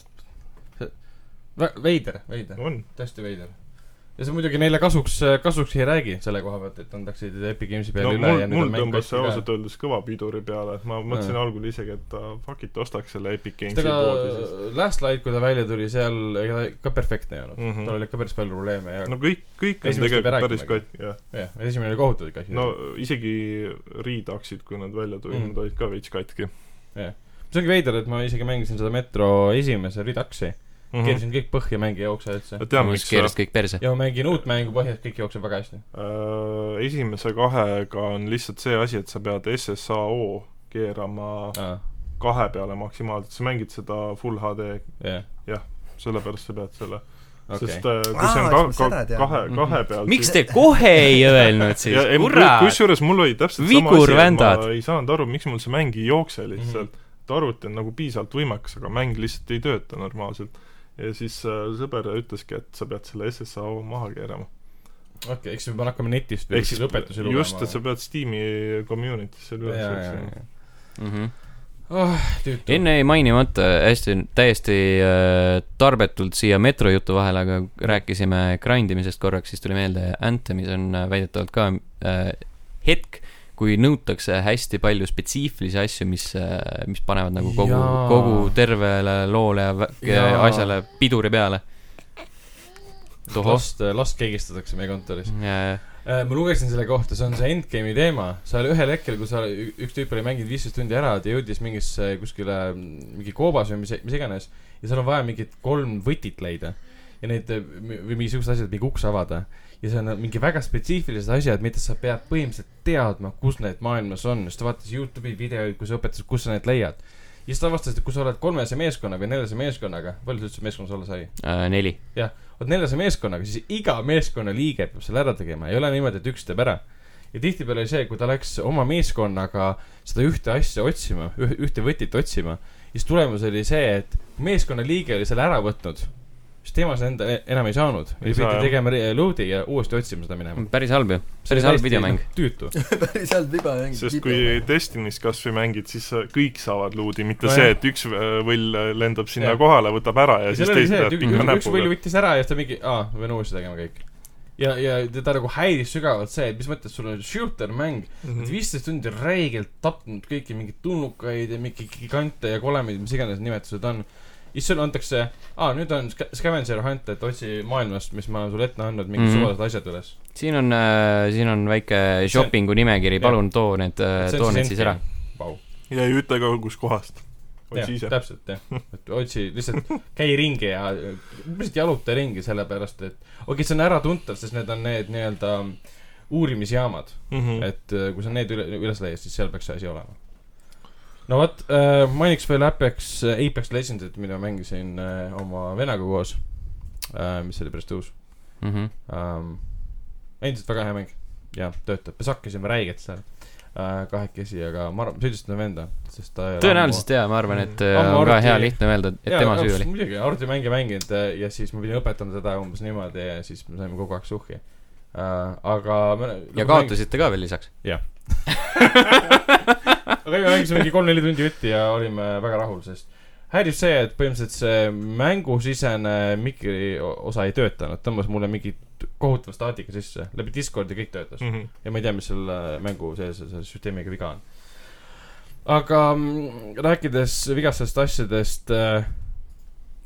[SPEAKER 2] veider , veider ,
[SPEAKER 4] on .
[SPEAKER 2] täiesti veider . ja see muidugi neile kasuks , kasuks ei räägi selle koha pealt , et andaksid Epic Games'i peale
[SPEAKER 4] no
[SPEAKER 2] üle
[SPEAKER 4] mul
[SPEAKER 2] ja , nüüd
[SPEAKER 4] mul
[SPEAKER 2] on mäng
[SPEAKER 4] tõmbas see
[SPEAKER 2] kotti ka.
[SPEAKER 4] ausalt öeldes kõva piduri peale , et ma mõtlesin
[SPEAKER 2] Jaa.
[SPEAKER 4] algul isegi , et ah, fuck it , ostaks selle Epic Games'i
[SPEAKER 2] ega
[SPEAKER 4] poodi siis .
[SPEAKER 2] Last Light , kui ta välja tuli , seal ega ta ka perfektne ei olnud mm .
[SPEAKER 4] Mhm.
[SPEAKER 2] -hmm. tal oli ka päris palju probleeme ja no,
[SPEAKER 4] no kõik , kõik on
[SPEAKER 2] Esimest ei pea
[SPEAKER 4] tegelikult päris
[SPEAKER 2] rääkimagi.
[SPEAKER 4] kott , jah .
[SPEAKER 2] jah , esimene oli kohutav ikka asi
[SPEAKER 4] no isegi riidaksid , kui nad välja tulid
[SPEAKER 2] Mm.
[SPEAKER 4] mm. , nad olid ka veits katki
[SPEAKER 2] see ongi veider , et ma isegi mängisin seda Metro esimese Reduxi mm -hmm. ,
[SPEAKER 4] mm .
[SPEAKER 2] keerasin kõik põhja , mäng ei jookse üldse .
[SPEAKER 4] -hmm. tean ,
[SPEAKER 1] ma
[SPEAKER 4] miks
[SPEAKER 1] just
[SPEAKER 4] see
[SPEAKER 1] keerasin kõik perse .
[SPEAKER 2] ja ma mängin uut mängu põhjas , kõik jookseb väga hästi .
[SPEAKER 4] Äh, esimese kahega on lihtsalt see asi , et sa pead SSAO keerama
[SPEAKER 2] jah ,
[SPEAKER 4] kahe peale maksimaalselt , sa mängid seda full HD , sellepärast sa pead selle okay. ,
[SPEAKER 2] okei
[SPEAKER 4] sest . äh, kui see on
[SPEAKER 3] Aa, siis ma
[SPEAKER 4] ka,
[SPEAKER 3] seda
[SPEAKER 4] ka,
[SPEAKER 3] tean.
[SPEAKER 4] kahe , kahe peal
[SPEAKER 1] Mhm. miks te kohe ei öelnud siis
[SPEAKER 4] ja , ei ,
[SPEAKER 1] kurat ?
[SPEAKER 4] kusjuures mul oli täpselt
[SPEAKER 1] Vigur
[SPEAKER 4] sama asi , et
[SPEAKER 1] vändad. Mhm.
[SPEAKER 4] ma ei saanud aru , miks mul see mäng ei jookse lihtsalt mm . -hmm. et arvuti on nagu piisavalt võimekas , aga mäng lihtsalt ei tööta normaalselt . ja siis äh, sõber ütleski , et sa pead selle SSAO maha keerama .
[SPEAKER 2] okei , eks me peame hakkama netist
[SPEAKER 4] ehk siis
[SPEAKER 2] lõpetusi lugema .
[SPEAKER 4] just , et sa pead Steam'i community's selle üles otsima .
[SPEAKER 1] Mhm.
[SPEAKER 2] tüütu .
[SPEAKER 1] enne jäi mainimata hästi , täiesti äh, tarbetult siia metrojutu vahele , aga rääkisime grindimisest korraks , siis tuli meelde , Anthemis on äh, väidetavalt ka äh, hetk , kui nõutakse hästi palju spetsiifilisi asju , mis , mis panevad nagu kogu
[SPEAKER 2] Jaa. ,
[SPEAKER 1] kogu tervele loole ja, vä- ja
[SPEAKER 2] Jaa.
[SPEAKER 1] asjale piduri peale . tohoh ,
[SPEAKER 2] last , last keegistatakse äh, meie kontoris .
[SPEAKER 1] jajah .
[SPEAKER 2] Äh, ma lugesin selle kohta , see on see endgame'i teema , seal ühel hetkel , kui sa , üks tüüp oli mänginud viisteist tundi ära , ta jõudis mingisse äh, kuskile mm, mingi koobas või mis , mis iganes ja seal on vaja mingit kolm võtit leida ja neid või mingisugused asjad , mingi uks avada ja see on äh, mingi väga spetsiifilised asjad , mida sa pead põhimõtteliselt teadma , kus need maailmas on , sest ta vaatas Youtube'i videoid , kus õpetas , kus sa need leiad . ja siis ta avastas , et kui sa oled kolmese meeskonna või neljase meeskonnaga , palju sa üldse meeskonnas olla sai ?
[SPEAKER 1] äh, neli .
[SPEAKER 2] jah , vot neljase meeskonnaga , siis iga meeskonnaliige peab selle ära tegema , ei ole niimoodi , et üks teeb ära . ja tihtipeale oli see , kui ta läks oma meeskonnaga seda ühte asja otsima , ühte võtit otsima , siis tulemus oli see , et meeskonnaliige oli selle ära võtnud , siis tema seda enda e-, enam ei saanud .
[SPEAKER 4] Ei saa,
[SPEAKER 2] ja pidi
[SPEAKER 4] jah. Mm.
[SPEAKER 2] tegema reload'i ja uuesti otsima seda minema .
[SPEAKER 1] päris halb ju , päris halb videomäng ..
[SPEAKER 2] tüütu .
[SPEAKER 3] päris halb viba mäng .
[SPEAKER 4] sest kui Destiny's kas või mängid , siis sa- kõik saavad luudi , mitte see , et üks äh, võll lendab sinna
[SPEAKER 2] Jah.
[SPEAKER 4] kohale , võtab ära ja, ja
[SPEAKER 2] ja seal
[SPEAKER 4] siis
[SPEAKER 2] oli
[SPEAKER 4] teist
[SPEAKER 2] see ,
[SPEAKER 4] peab
[SPEAKER 2] et üks,
[SPEAKER 4] ikka
[SPEAKER 2] üks võll
[SPEAKER 4] näpuga .
[SPEAKER 2] võttis ära ja siis ta mingi , aa , me peame uuesti tegema kõik . ja , ja teda nagu häiris sügavalt see , et mis mõttes sul on shooter mäng ,
[SPEAKER 4] Mhm.
[SPEAKER 2] oled viisteist tundi räigelt tapnud kõiki mingeid tulnukaid ja mingeid gigante ja kolemeid , mis iganes nimetused on . siis sulle antakse , aa , nüüd on sca- scavenger hunt , et otsi maailmast , mis ma olen sulle ette andnud , mingid mm
[SPEAKER 1] Mhm.
[SPEAKER 2] -hmm. suvalised asjad üles .
[SPEAKER 1] siin on , siin on väike shoppingu nimekiri ,
[SPEAKER 2] jah.
[SPEAKER 1] palun too need , too Äh, need siis ära ..
[SPEAKER 2] Vau ,
[SPEAKER 4] ja ei ütle ka , kuskohast .
[SPEAKER 2] jah ,
[SPEAKER 4] otsi ise .
[SPEAKER 2] täpselt jah , et otsi lihtsalt käi ringi ja lihtsalt jaluta ringi , sellepärast et okei okay, , see on äratuntav , sest need on need nii-öelda uurimisjaamad .
[SPEAKER 4] Mhm.
[SPEAKER 2] et äh, kui sa need üle , üles leiad , siis seal peaks see asi olema . no vot äh, , mainiks veel Apex , Apex Legendsit , mida mängisin äh, oma vennaga koos äh, , mis oli päris tõus
[SPEAKER 1] Mhm.
[SPEAKER 2] ähm, . endiselt väga hea mäng ja töötab , me sakkisime räiget seal äh, kahekesi , aga ma arvan , süüdistan venda , sest ta .
[SPEAKER 1] tõenäoliselt jaa , ma arvan , et äh,
[SPEAKER 2] Ammu
[SPEAKER 1] on ka
[SPEAKER 2] arvuti-
[SPEAKER 1] hea lihtne öelda , et tema süü oli .
[SPEAKER 2] muidugi , arvutimänge mänginud äh, ja siis ma pidin õpetama teda umbes niimoodi ja siis me saime kogu aeg suhhi . Uh, aga me, nagu
[SPEAKER 1] ja . kaotasite ka veel lisaks .
[SPEAKER 2] aga me mängisime mingi kolm-neli tundi jutti ja olime väga rahul , sest häirib see , et põhimõtteliselt see mängusisene mikri o- osa ei töötanud , tõmbas mulle mingi t- kohutava staatika sisse , läbi Discordi kõik töötas
[SPEAKER 4] Mhm.
[SPEAKER 2] ja ma ei tea , mis selle mängu sees , selle süsteemiga viga on . aga mm, rääkides vigastest asjadest äh, ,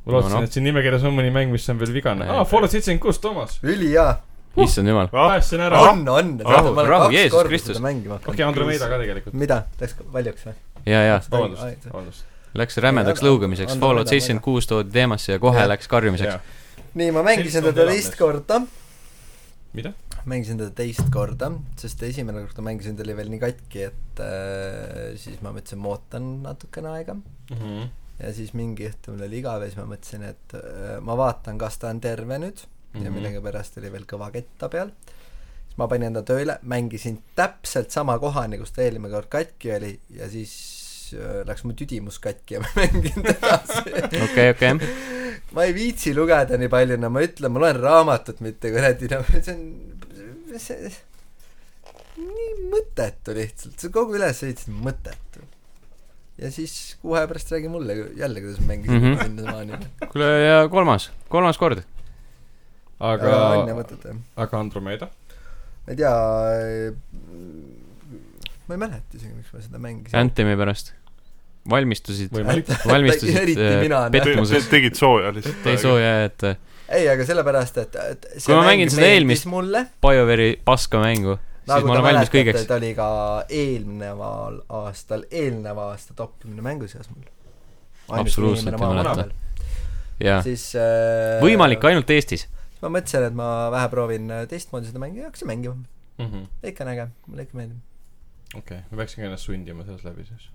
[SPEAKER 2] ma
[SPEAKER 1] No,
[SPEAKER 2] lootsin no, ,
[SPEAKER 1] no.
[SPEAKER 2] no. et siin nimekirjas on mõni mäng , mis on veel vigane .
[SPEAKER 1] Ei,
[SPEAKER 2] aa ,
[SPEAKER 1] ei.
[SPEAKER 2] Fallout seitsekümmend kuus , Toomas ,
[SPEAKER 3] ülihea ,
[SPEAKER 1] issand jumal .
[SPEAKER 4] Ah,
[SPEAKER 2] päästsin ära . okei
[SPEAKER 3] on , on .
[SPEAKER 1] Rahu, rahu, Jeesus Kristus.
[SPEAKER 3] mängima hakanud
[SPEAKER 2] okay, , Andromeda ka tegelikult .
[SPEAKER 3] mida , läks valjuks või ?
[SPEAKER 1] ja , ja ,
[SPEAKER 2] vabandust , vabandust .
[SPEAKER 1] läks rämedaks
[SPEAKER 3] Väga-
[SPEAKER 1] lõugamiseks ,
[SPEAKER 3] on
[SPEAKER 1] Fallout
[SPEAKER 3] väga-
[SPEAKER 1] seitsekümmend kuus toodi teemasse ja kohe
[SPEAKER 3] Jah.
[SPEAKER 1] läks karjumiseks .
[SPEAKER 3] nii , ma mängisin
[SPEAKER 2] Seltskond
[SPEAKER 3] teda
[SPEAKER 2] elab
[SPEAKER 3] teist
[SPEAKER 2] neist.
[SPEAKER 3] korda .
[SPEAKER 2] Mida? ?
[SPEAKER 3] mängisin teda teist korda , sest esimene kord , kui ma mängisin , ta oli veel nii katki , et äh, siis ma mõtlesin , ma ootan natukene aega .
[SPEAKER 2] Mhm,
[SPEAKER 3] ja siis mingi õhtu mul oli igav ja siis ma mõtlesin , et äh, ma vaatan , kas ta on terve nüüd mm -hmm.
[SPEAKER 1] Mhm.
[SPEAKER 3] ja millegipärast oli veel kõva ketta peal . siis ma panin ta tööle , mängisin täpselt sama kohani , kus ta eelmine kord katki oli ja siis äh, läks mu tüdimus katki ja ma ei mänginud edasi .
[SPEAKER 1] okei , okei .
[SPEAKER 3] ma ei viitsi lugeda nii palju , no ma ütlen , ma loen raamatut , mitte kuradi , no see on , see , nii mõttetu lihtsalt , see kogu ülesehitus on mõttetu . ja siis kuu aja pärast räägi mulle ku- jälle , kuidas ma mängisin mm
[SPEAKER 1] Mhm.
[SPEAKER 3] -hmm. sinnamaani .
[SPEAKER 1] kuule , ja kolmas , kolmas kord .
[SPEAKER 2] aga,
[SPEAKER 3] aga on ja
[SPEAKER 2] aga ,
[SPEAKER 3] mõtet jah .
[SPEAKER 2] aga Andromeda ?
[SPEAKER 3] ma ei tea , ma ei mäleta isegi , miks ma seda mängisin .
[SPEAKER 1] Anthemi pärast . valmistusid ,
[SPEAKER 2] võimalik .
[SPEAKER 1] valmistusid
[SPEAKER 3] Eriti
[SPEAKER 1] äh,
[SPEAKER 3] mina, noh.
[SPEAKER 1] pettumuseks .
[SPEAKER 4] tegid sooja lihtsalt .
[SPEAKER 1] ei sooja , et äh,
[SPEAKER 3] ei , aga sellepärast , et , et
[SPEAKER 1] Kui ma mängin seda eelmist-
[SPEAKER 3] mulle ,
[SPEAKER 1] BioWare'i paska mängu , siis ma olen valmis kõigeks .
[SPEAKER 3] ta oli ka eelneval aastal , eelneva aasta top kümne mängu seas mul .
[SPEAKER 1] Absoluutselt ei mäleta. . jaa ,
[SPEAKER 3] siis äh,
[SPEAKER 1] võimalik ainult Eestis .
[SPEAKER 3] ma mõtlesin , et ma vähe proovin äh, teistmoodi seda mängu ja hakkasin mängima .
[SPEAKER 2] okei ,
[SPEAKER 3] ikka on äge , mulle ikka meeldib .
[SPEAKER 2] Mhm, ma peaksin ka ennast sundima selles läbi siis .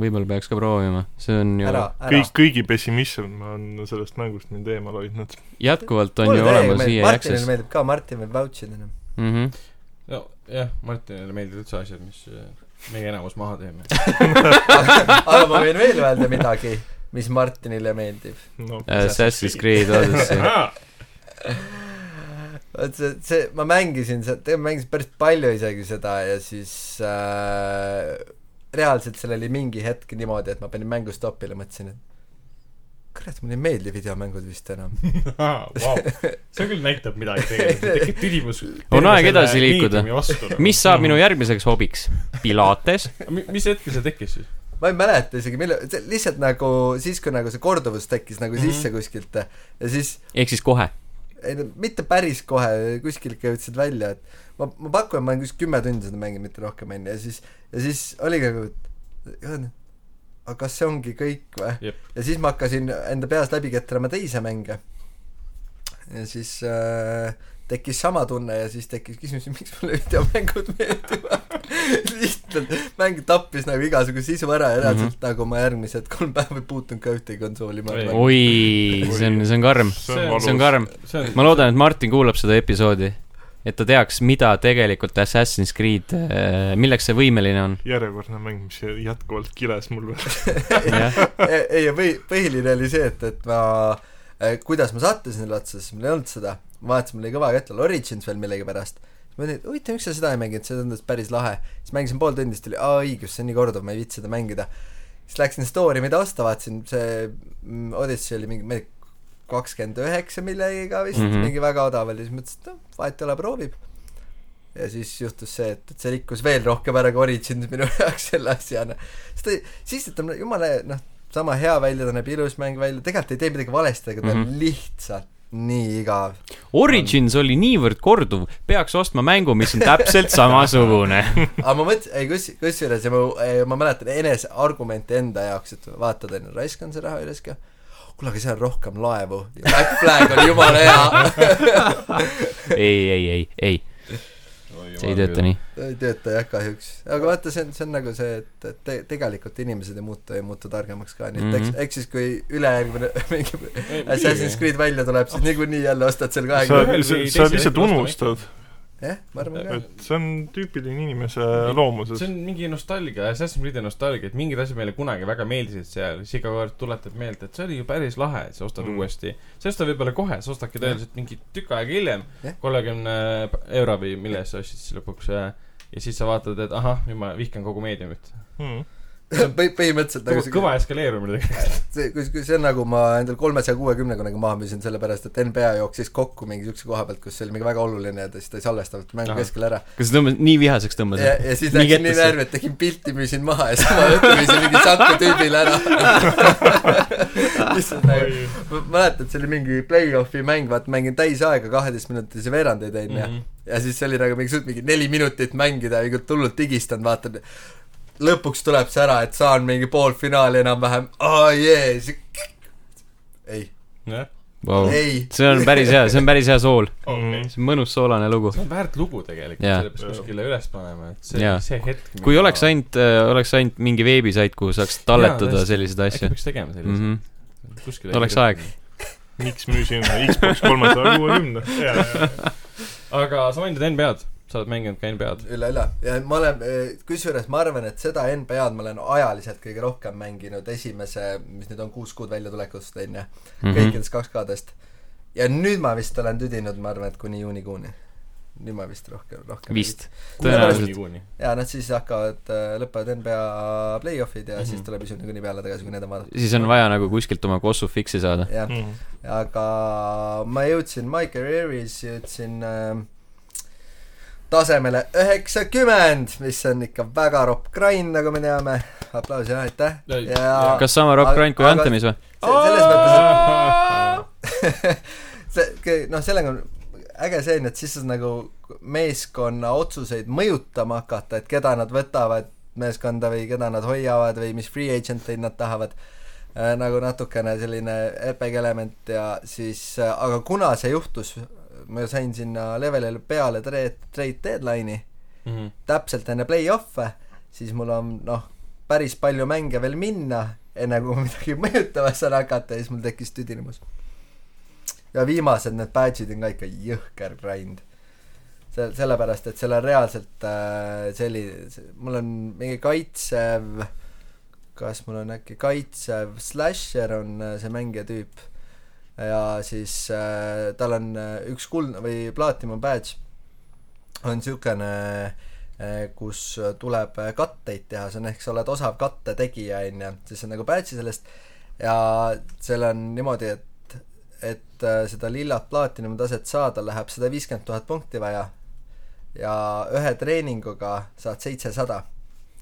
[SPEAKER 1] võib-olla peaks ka proovima , see on ju ,
[SPEAKER 3] ära , ära .
[SPEAKER 4] kõik , kõigi pessimism on sellest mängust mind eemal hoidnud .
[SPEAKER 1] jätkuvalt on ju olemas E EA
[SPEAKER 3] Martinile
[SPEAKER 1] Access .
[SPEAKER 3] meeldib ka , Martin võib vouch ida .
[SPEAKER 1] Mhm.
[SPEAKER 2] nojah , Martinile meeldivad üldse asjad , mis äh, meie enamus maha teeme .
[SPEAKER 3] aga ma võin veel öelda midagi , mis Martinile meeldib .
[SPEAKER 4] no
[SPEAKER 2] Äh,
[SPEAKER 1] Äh, Assassin's Creed Odyssey .
[SPEAKER 3] vot see , see , ma mängisin seda , tegelikult mängisin päris palju isegi seda ja siis äh, reaalselt seal oli mingi hetk niimoodi , et ma panin mängu stopile , mõtlesin , et kurat , mulle ei meeldi videomängud vist enam .
[SPEAKER 2] Vau. see küll näitab midagi tegelikult , tekib tüdimus .
[SPEAKER 1] On aeg edasi liikuda.
[SPEAKER 2] nagu.
[SPEAKER 1] mis saab minu järgmiseks hobiks ? Pilates ?
[SPEAKER 2] mis hetkel see tekkis siis ?
[SPEAKER 3] ma ei mäleta isegi , mille , see lihtsalt nagu siis , kui nagu see korduvus tekkis
[SPEAKER 2] Mhm.
[SPEAKER 3] nagu mm -hmm. sisse kuskilt ja siis
[SPEAKER 1] ehk siis kohe .
[SPEAKER 3] ei no mitte päris kohe , kuskilt ikka jõudsid välja , et ma , ma pakun , ma olen kuskil kümme tundi seda mänginud , mitte rohkem , onju , ja siis , ja siis oligi nagu , et jah, aga kas see ongi kõik või
[SPEAKER 2] Jep. ?
[SPEAKER 3] ja siis ma hakkasin enda peas läbi ketrama teisi mänge . ja siis äh, tekkis sama tunne ja siis tekkis küsimus , miks mulle videomängud meeldivad . lihtsalt mäng tappis nagu igasuguse sisu ära ja reaalselt mm -hmm. nagu ma järgmised kolm päeva ei puutunud ka ühtegi konsooli .
[SPEAKER 2] Oi.
[SPEAKER 1] oi , see on , see on karm .
[SPEAKER 4] see
[SPEAKER 2] See-
[SPEAKER 4] on
[SPEAKER 1] see on
[SPEAKER 4] valus .
[SPEAKER 1] karm .
[SPEAKER 2] see on ,
[SPEAKER 1] ma loodan , et Martin kuulab seda episoodi , et ta teaks , mida tegelikult Assassin's Creed , milleks see võimeline on .
[SPEAKER 4] järjekordne mäng , mis jätkuvalt kiles mul veel .
[SPEAKER 1] jah ,
[SPEAKER 3] ei , ei ja põhi , põhiline oli see , et , et ma , kuidas ma sattusin selle otsa , sest mul ei olnud seda . ma vaatasin , mul oli kõva kätte all Origins veel millegipärast . siis ma mõtlesin , et huvitav , miks sa seda ei mänginud , see tundus päris lahe . siis mängisin pool tundi , siis tuli , aa õigus , see on nii korduv , ma ei viitsi seda mängida . siis läksin store'i , mida osta , vaatasin , see mm, Odyssey oli mingi , ma ei tea , kakskümmend üheksa millegagi vist mm ,
[SPEAKER 1] Mhm.
[SPEAKER 3] -hmm. mingi väga odav oli , siis mõtlesin , et noh , vahet ei ole , proovib . ja siis juhtus see , et , et see rikkus veel rohkem ära kui Origins minu jaoks selle asjana . siis ta , siis ta on jumala , noh , sama hea välja , ta näeb ilus mäng välja , tegelikult ei tee midagi valesti , aga ta on
[SPEAKER 1] Mhm.
[SPEAKER 3] lihtsalt nii igav .
[SPEAKER 1] Origins oli niivõrd korduv , peaks ostma mängu , mis on täpselt samasugune .
[SPEAKER 3] aga ma mõtlesin , ei kus , kusjuures ja ma , ma mäletan enese argumente enda jaoks , et vaatad , onju , raiskan see raha üles ka . kuule , aga seal on rohkem laevu . Black Flag oli jumala hea .
[SPEAKER 1] ei , ei , ei , ei , see ei tööta nii .
[SPEAKER 3] ei tööta jah , kahjuks . aga vaata , see on , see on nagu see , et , et te, tegelikult inimesed ei muutu , ei muutu targemaks ka , nii et eks ,
[SPEAKER 1] Mhm.
[SPEAKER 3] eks siis , kui ülejärgmine mingi
[SPEAKER 2] Ei,
[SPEAKER 3] Assassin's
[SPEAKER 2] muidugi.
[SPEAKER 3] Creed välja tuleb , siis niikuinii jälle ostad selle
[SPEAKER 4] sa
[SPEAKER 3] kahekümne ,,
[SPEAKER 2] või
[SPEAKER 4] sa
[SPEAKER 2] teisel
[SPEAKER 4] sa lihtsalt
[SPEAKER 2] hetkel
[SPEAKER 4] unustad ,
[SPEAKER 3] jah , ma arvan ka .
[SPEAKER 4] et see on tüüpiline inimese
[SPEAKER 2] Ei,
[SPEAKER 4] loomuses
[SPEAKER 2] see . on mingi nostalgia , Assassin's Creed'i nostalgia , et mingid asjad meile kunagi väga meeldisid seal , siis iga kord tuletab meelde , et see oli ju päris lahe , et sa ostad
[SPEAKER 4] Mm.
[SPEAKER 2] mm. uuesti . sa ei osta võib-olla kohe , sa ostadki tõenäoliselt mingi tükk aega hiljem
[SPEAKER 3] Jah. ,
[SPEAKER 2] kolmekümne euro või mille eest sa ostsid siis lõpuks ja , ja siis sa vaatad , et ahah , nüüd ma vihkan kogu meediumit .
[SPEAKER 4] Mm.
[SPEAKER 3] põhi , põhimõtteliselt nagu see
[SPEAKER 2] kõva eskaleerumine tegelikult .
[SPEAKER 3] see , kui , kui see on nagu ma endal kolmesaja kuuekümne kunagi maha müüsin , sellepärast et NBA jooksis kokku mingi siukse koha pealt , kus see oli mingi väga oluline ja ta siis ta ei salvestanud mängu
[SPEAKER 2] Ahah.
[SPEAKER 3] keskel ära .
[SPEAKER 1] kas sa tõmbad , nii vihaseks
[SPEAKER 3] ja ,
[SPEAKER 1] tõmbasid ?
[SPEAKER 3] ja siis
[SPEAKER 1] Nii
[SPEAKER 3] läksin nii
[SPEAKER 1] kettasse.
[SPEAKER 3] närvi , et tegin pilti , müüsin maha ja siis ma õhtul müüsin mingi Saku tüübile ära . lihtsalt nagu , mäletad , see oli mingi play-off'i mäng , vaata mängin täis aega , kaheteist minutilisi veerandeid onju mm . -hmm. ja siis see oli nagu mingi suht- mingi neli minutit mängida ja mingi hullult higistanud , vaatan . lõpuks tuleb see ära , et saan mingi poolfinaali enam-vähem , aa jee , siis ei
[SPEAKER 2] jah ,
[SPEAKER 1] Vau.
[SPEAKER 3] ei ,
[SPEAKER 1] see on päris hea , see on päris hea sool ,
[SPEAKER 4] Mm.
[SPEAKER 1] see on mõnus soolane lugu .
[SPEAKER 2] see on väärt lugu tegelikult
[SPEAKER 1] Jaa.
[SPEAKER 2] yeah. , selle peaks kuskile üles panema , et see
[SPEAKER 1] Jaa.
[SPEAKER 2] yeah. , see hetk .
[SPEAKER 1] kui oleks ainult , oleks ainult mingi veebisait , kuhu saaks talletada
[SPEAKER 2] tõesti.
[SPEAKER 1] selliseid asju
[SPEAKER 2] äkki . peaks tegema
[SPEAKER 1] Mm
[SPEAKER 2] sellise
[SPEAKER 1] -hmm.
[SPEAKER 2] mm -hmm. kuskile .
[SPEAKER 1] Oleks aeg. .
[SPEAKER 4] miks müüsin Xbox kolmesaja kuuekümne ?
[SPEAKER 2] aga sa mainisid NBA-d , sa oled mänginud ka NBA-d .
[SPEAKER 3] üle üle ja ma olen , kusjuures ma arvan , et seda NBA-d ma olen ajaliselt kõige rohkem mänginud esimese , mis nüüd on kuus kuud väljatulekust onju ,
[SPEAKER 1] Mhm.
[SPEAKER 3] kõikidest 2K-dest . ja nüüd ma vist olen tüdinud , ma arvan , et kuni juunikuuni . nüüd ma vist rohkem , rohkem .
[SPEAKER 1] vist .. tõenäoliselt .
[SPEAKER 2] tõenäoliselt .
[SPEAKER 3] ja nad siis hakkavad , lõpevad NBA play-off'id
[SPEAKER 1] Mhm.
[SPEAKER 3] ja mm -hmm. siis tuleb isegi niikuinii peale tagasi , kui need on vaadatud .
[SPEAKER 1] siis on vaja nagu kuskilt oma kossu fix'i saada .
[SPEAKER 3] jah ,
[SPEAKER 4] Mm.
[SPEAKER 3] aga ma jõudsin My Career'is , jõudsin äh, tasemele üheksakümmend , mis on ikka väga ropp grind , nagu me teame . aplaus ja aitäh .
[SPEAKER 2] Ei,
[SPEAKER 3] ja
[SPEAKER 1] kas sama Rock
[SPEAKER 3] Aga-
[SPEAKER 1] Grind kui
[SPEAKER 3] aga-
[SPEAKER 1] Anthemis või ?
[SPEAKER 3] se- selles mõttes , et see , noh , sellega on äge see on ju , et siis saad nagu meeskonna otsuseid mõjutama hakata , et keda nad võtavad meeskonda või keda nad hoiavad või mis free agent eid nad tahavad . Äh, nagu natukene selline epic element ja siis , aga kuna see juhtus , ma sain sinna levelile peale trade , trade deadline'i ,
[SPEAKER 2] Mhm.
[SPEAKER 3] täpselt enne play-off'e , siis mul on noh , päris palju mänge veel minna , enne kui ma midagi mõjutama saan hakata ja siis mul tekkis tüdinemus . ja viimased need badge'id on ka ikka jõhker grind . see , sellepärast , et seal on reaalselt äh, selline , mul on mingi kaitsev , kas mul on äkki kaitsev slasher on äh, see mängija tüüp ja siis äh, tal on äh, üks kuld- või platinum badge on niisugune eh, kus tuleb katteid teha , see on ehk sa oled osav kattetegija onju , siis on nagu badge'i sellest ja seal on niimoodi , et , et äh, seda lilla platinum taset saada läheb sada viiskümmend tuhat punkti vaja ja ühe treeninguga saad seitsesada .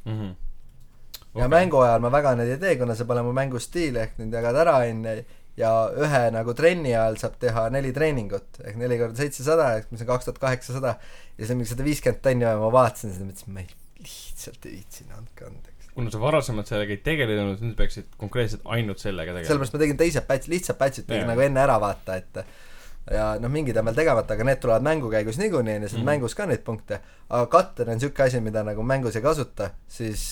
[SPEAKER 2] Mhm.
[SPEAKER 1] mm .
[SPEAKER 3] ja mängu ajal ma väga neid ei tee , kuna see pole mu mängustiil , ehk need jagad ära , onju , ja ühe nagu trenni ajal saab teha neli treeningut ehk neli korda seitsesada , ehk mis on kaks tuhat kaheksasada ja see on mingi sada viiskümmend tonni vaja , ma vaatasin seda , mõtlesin , ma ei , lihtsalt ei viitsinud , andke andeks .
[SPEAKER 2] kuna sa varasemalt sellega ei tegelenud , nüüd peaksid konkreetselt ainult sellega tegelema .
[SPEAKER 3] sellepärast ma tegin teised batch , lihtsad batch'id
[SPEAKER 2] Jaa.
[SPEAKER 3] tegin yeah. nagu enne ära vaata , et ja noh , mingid on veel tegemata , aga need tulevad mängu käigus niikuinii , on ju , sest
[SPEAKER 2] Mhm.
[SPEAKER 3] mm. mängus ka neid punkte , aga katter on niisugune asi , mida nagu mängus ei kasuta , siis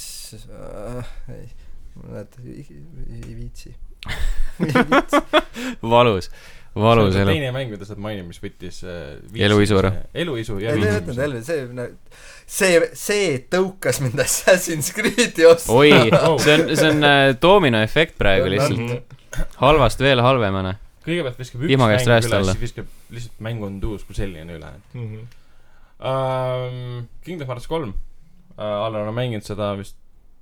[SPEAKER 3] äh, ei , näed , ei viitsi .
[SPEAKER 1] valus , valus elu .
[SPEAKER 2] teine mäng , mida sa oled maininud , mis võttis äh, viis-
[SPEAKER 1] Eluisu ära.
[SPEAKER 2] eluisu ja
[SPEAKER 3] ei , te
[SPEAKER 2] viis-
[SPEAKER 3] teate , Elvi , see , see , see tõukas mind Assassin's Creed'i ostma .
[SPEAKER 1] oi , see on , see on äh, doominoefekt praegu lihtsalt ,
[SPEAKER 2] Mhm.
[SPEAKER 1] halvast veel halvemana .
[SPEAKER 2] kõigepealt viskab üks
[SPEAKER 1] Vihma käest
[SPEAKER 2] mäng
[SPEAKER 1] räästa
[SPEAKER 2] üle ,
[SPEAKER 1] alla.
[SPEAKER 2] siis viskab lihtsalt mäng on tuus kui selline üle
[SPEAKER 4] mm . -hmm.
[SPEAKER 2] um, . Kingdom Hearts kolm uh, , Allan on mänginud seda vist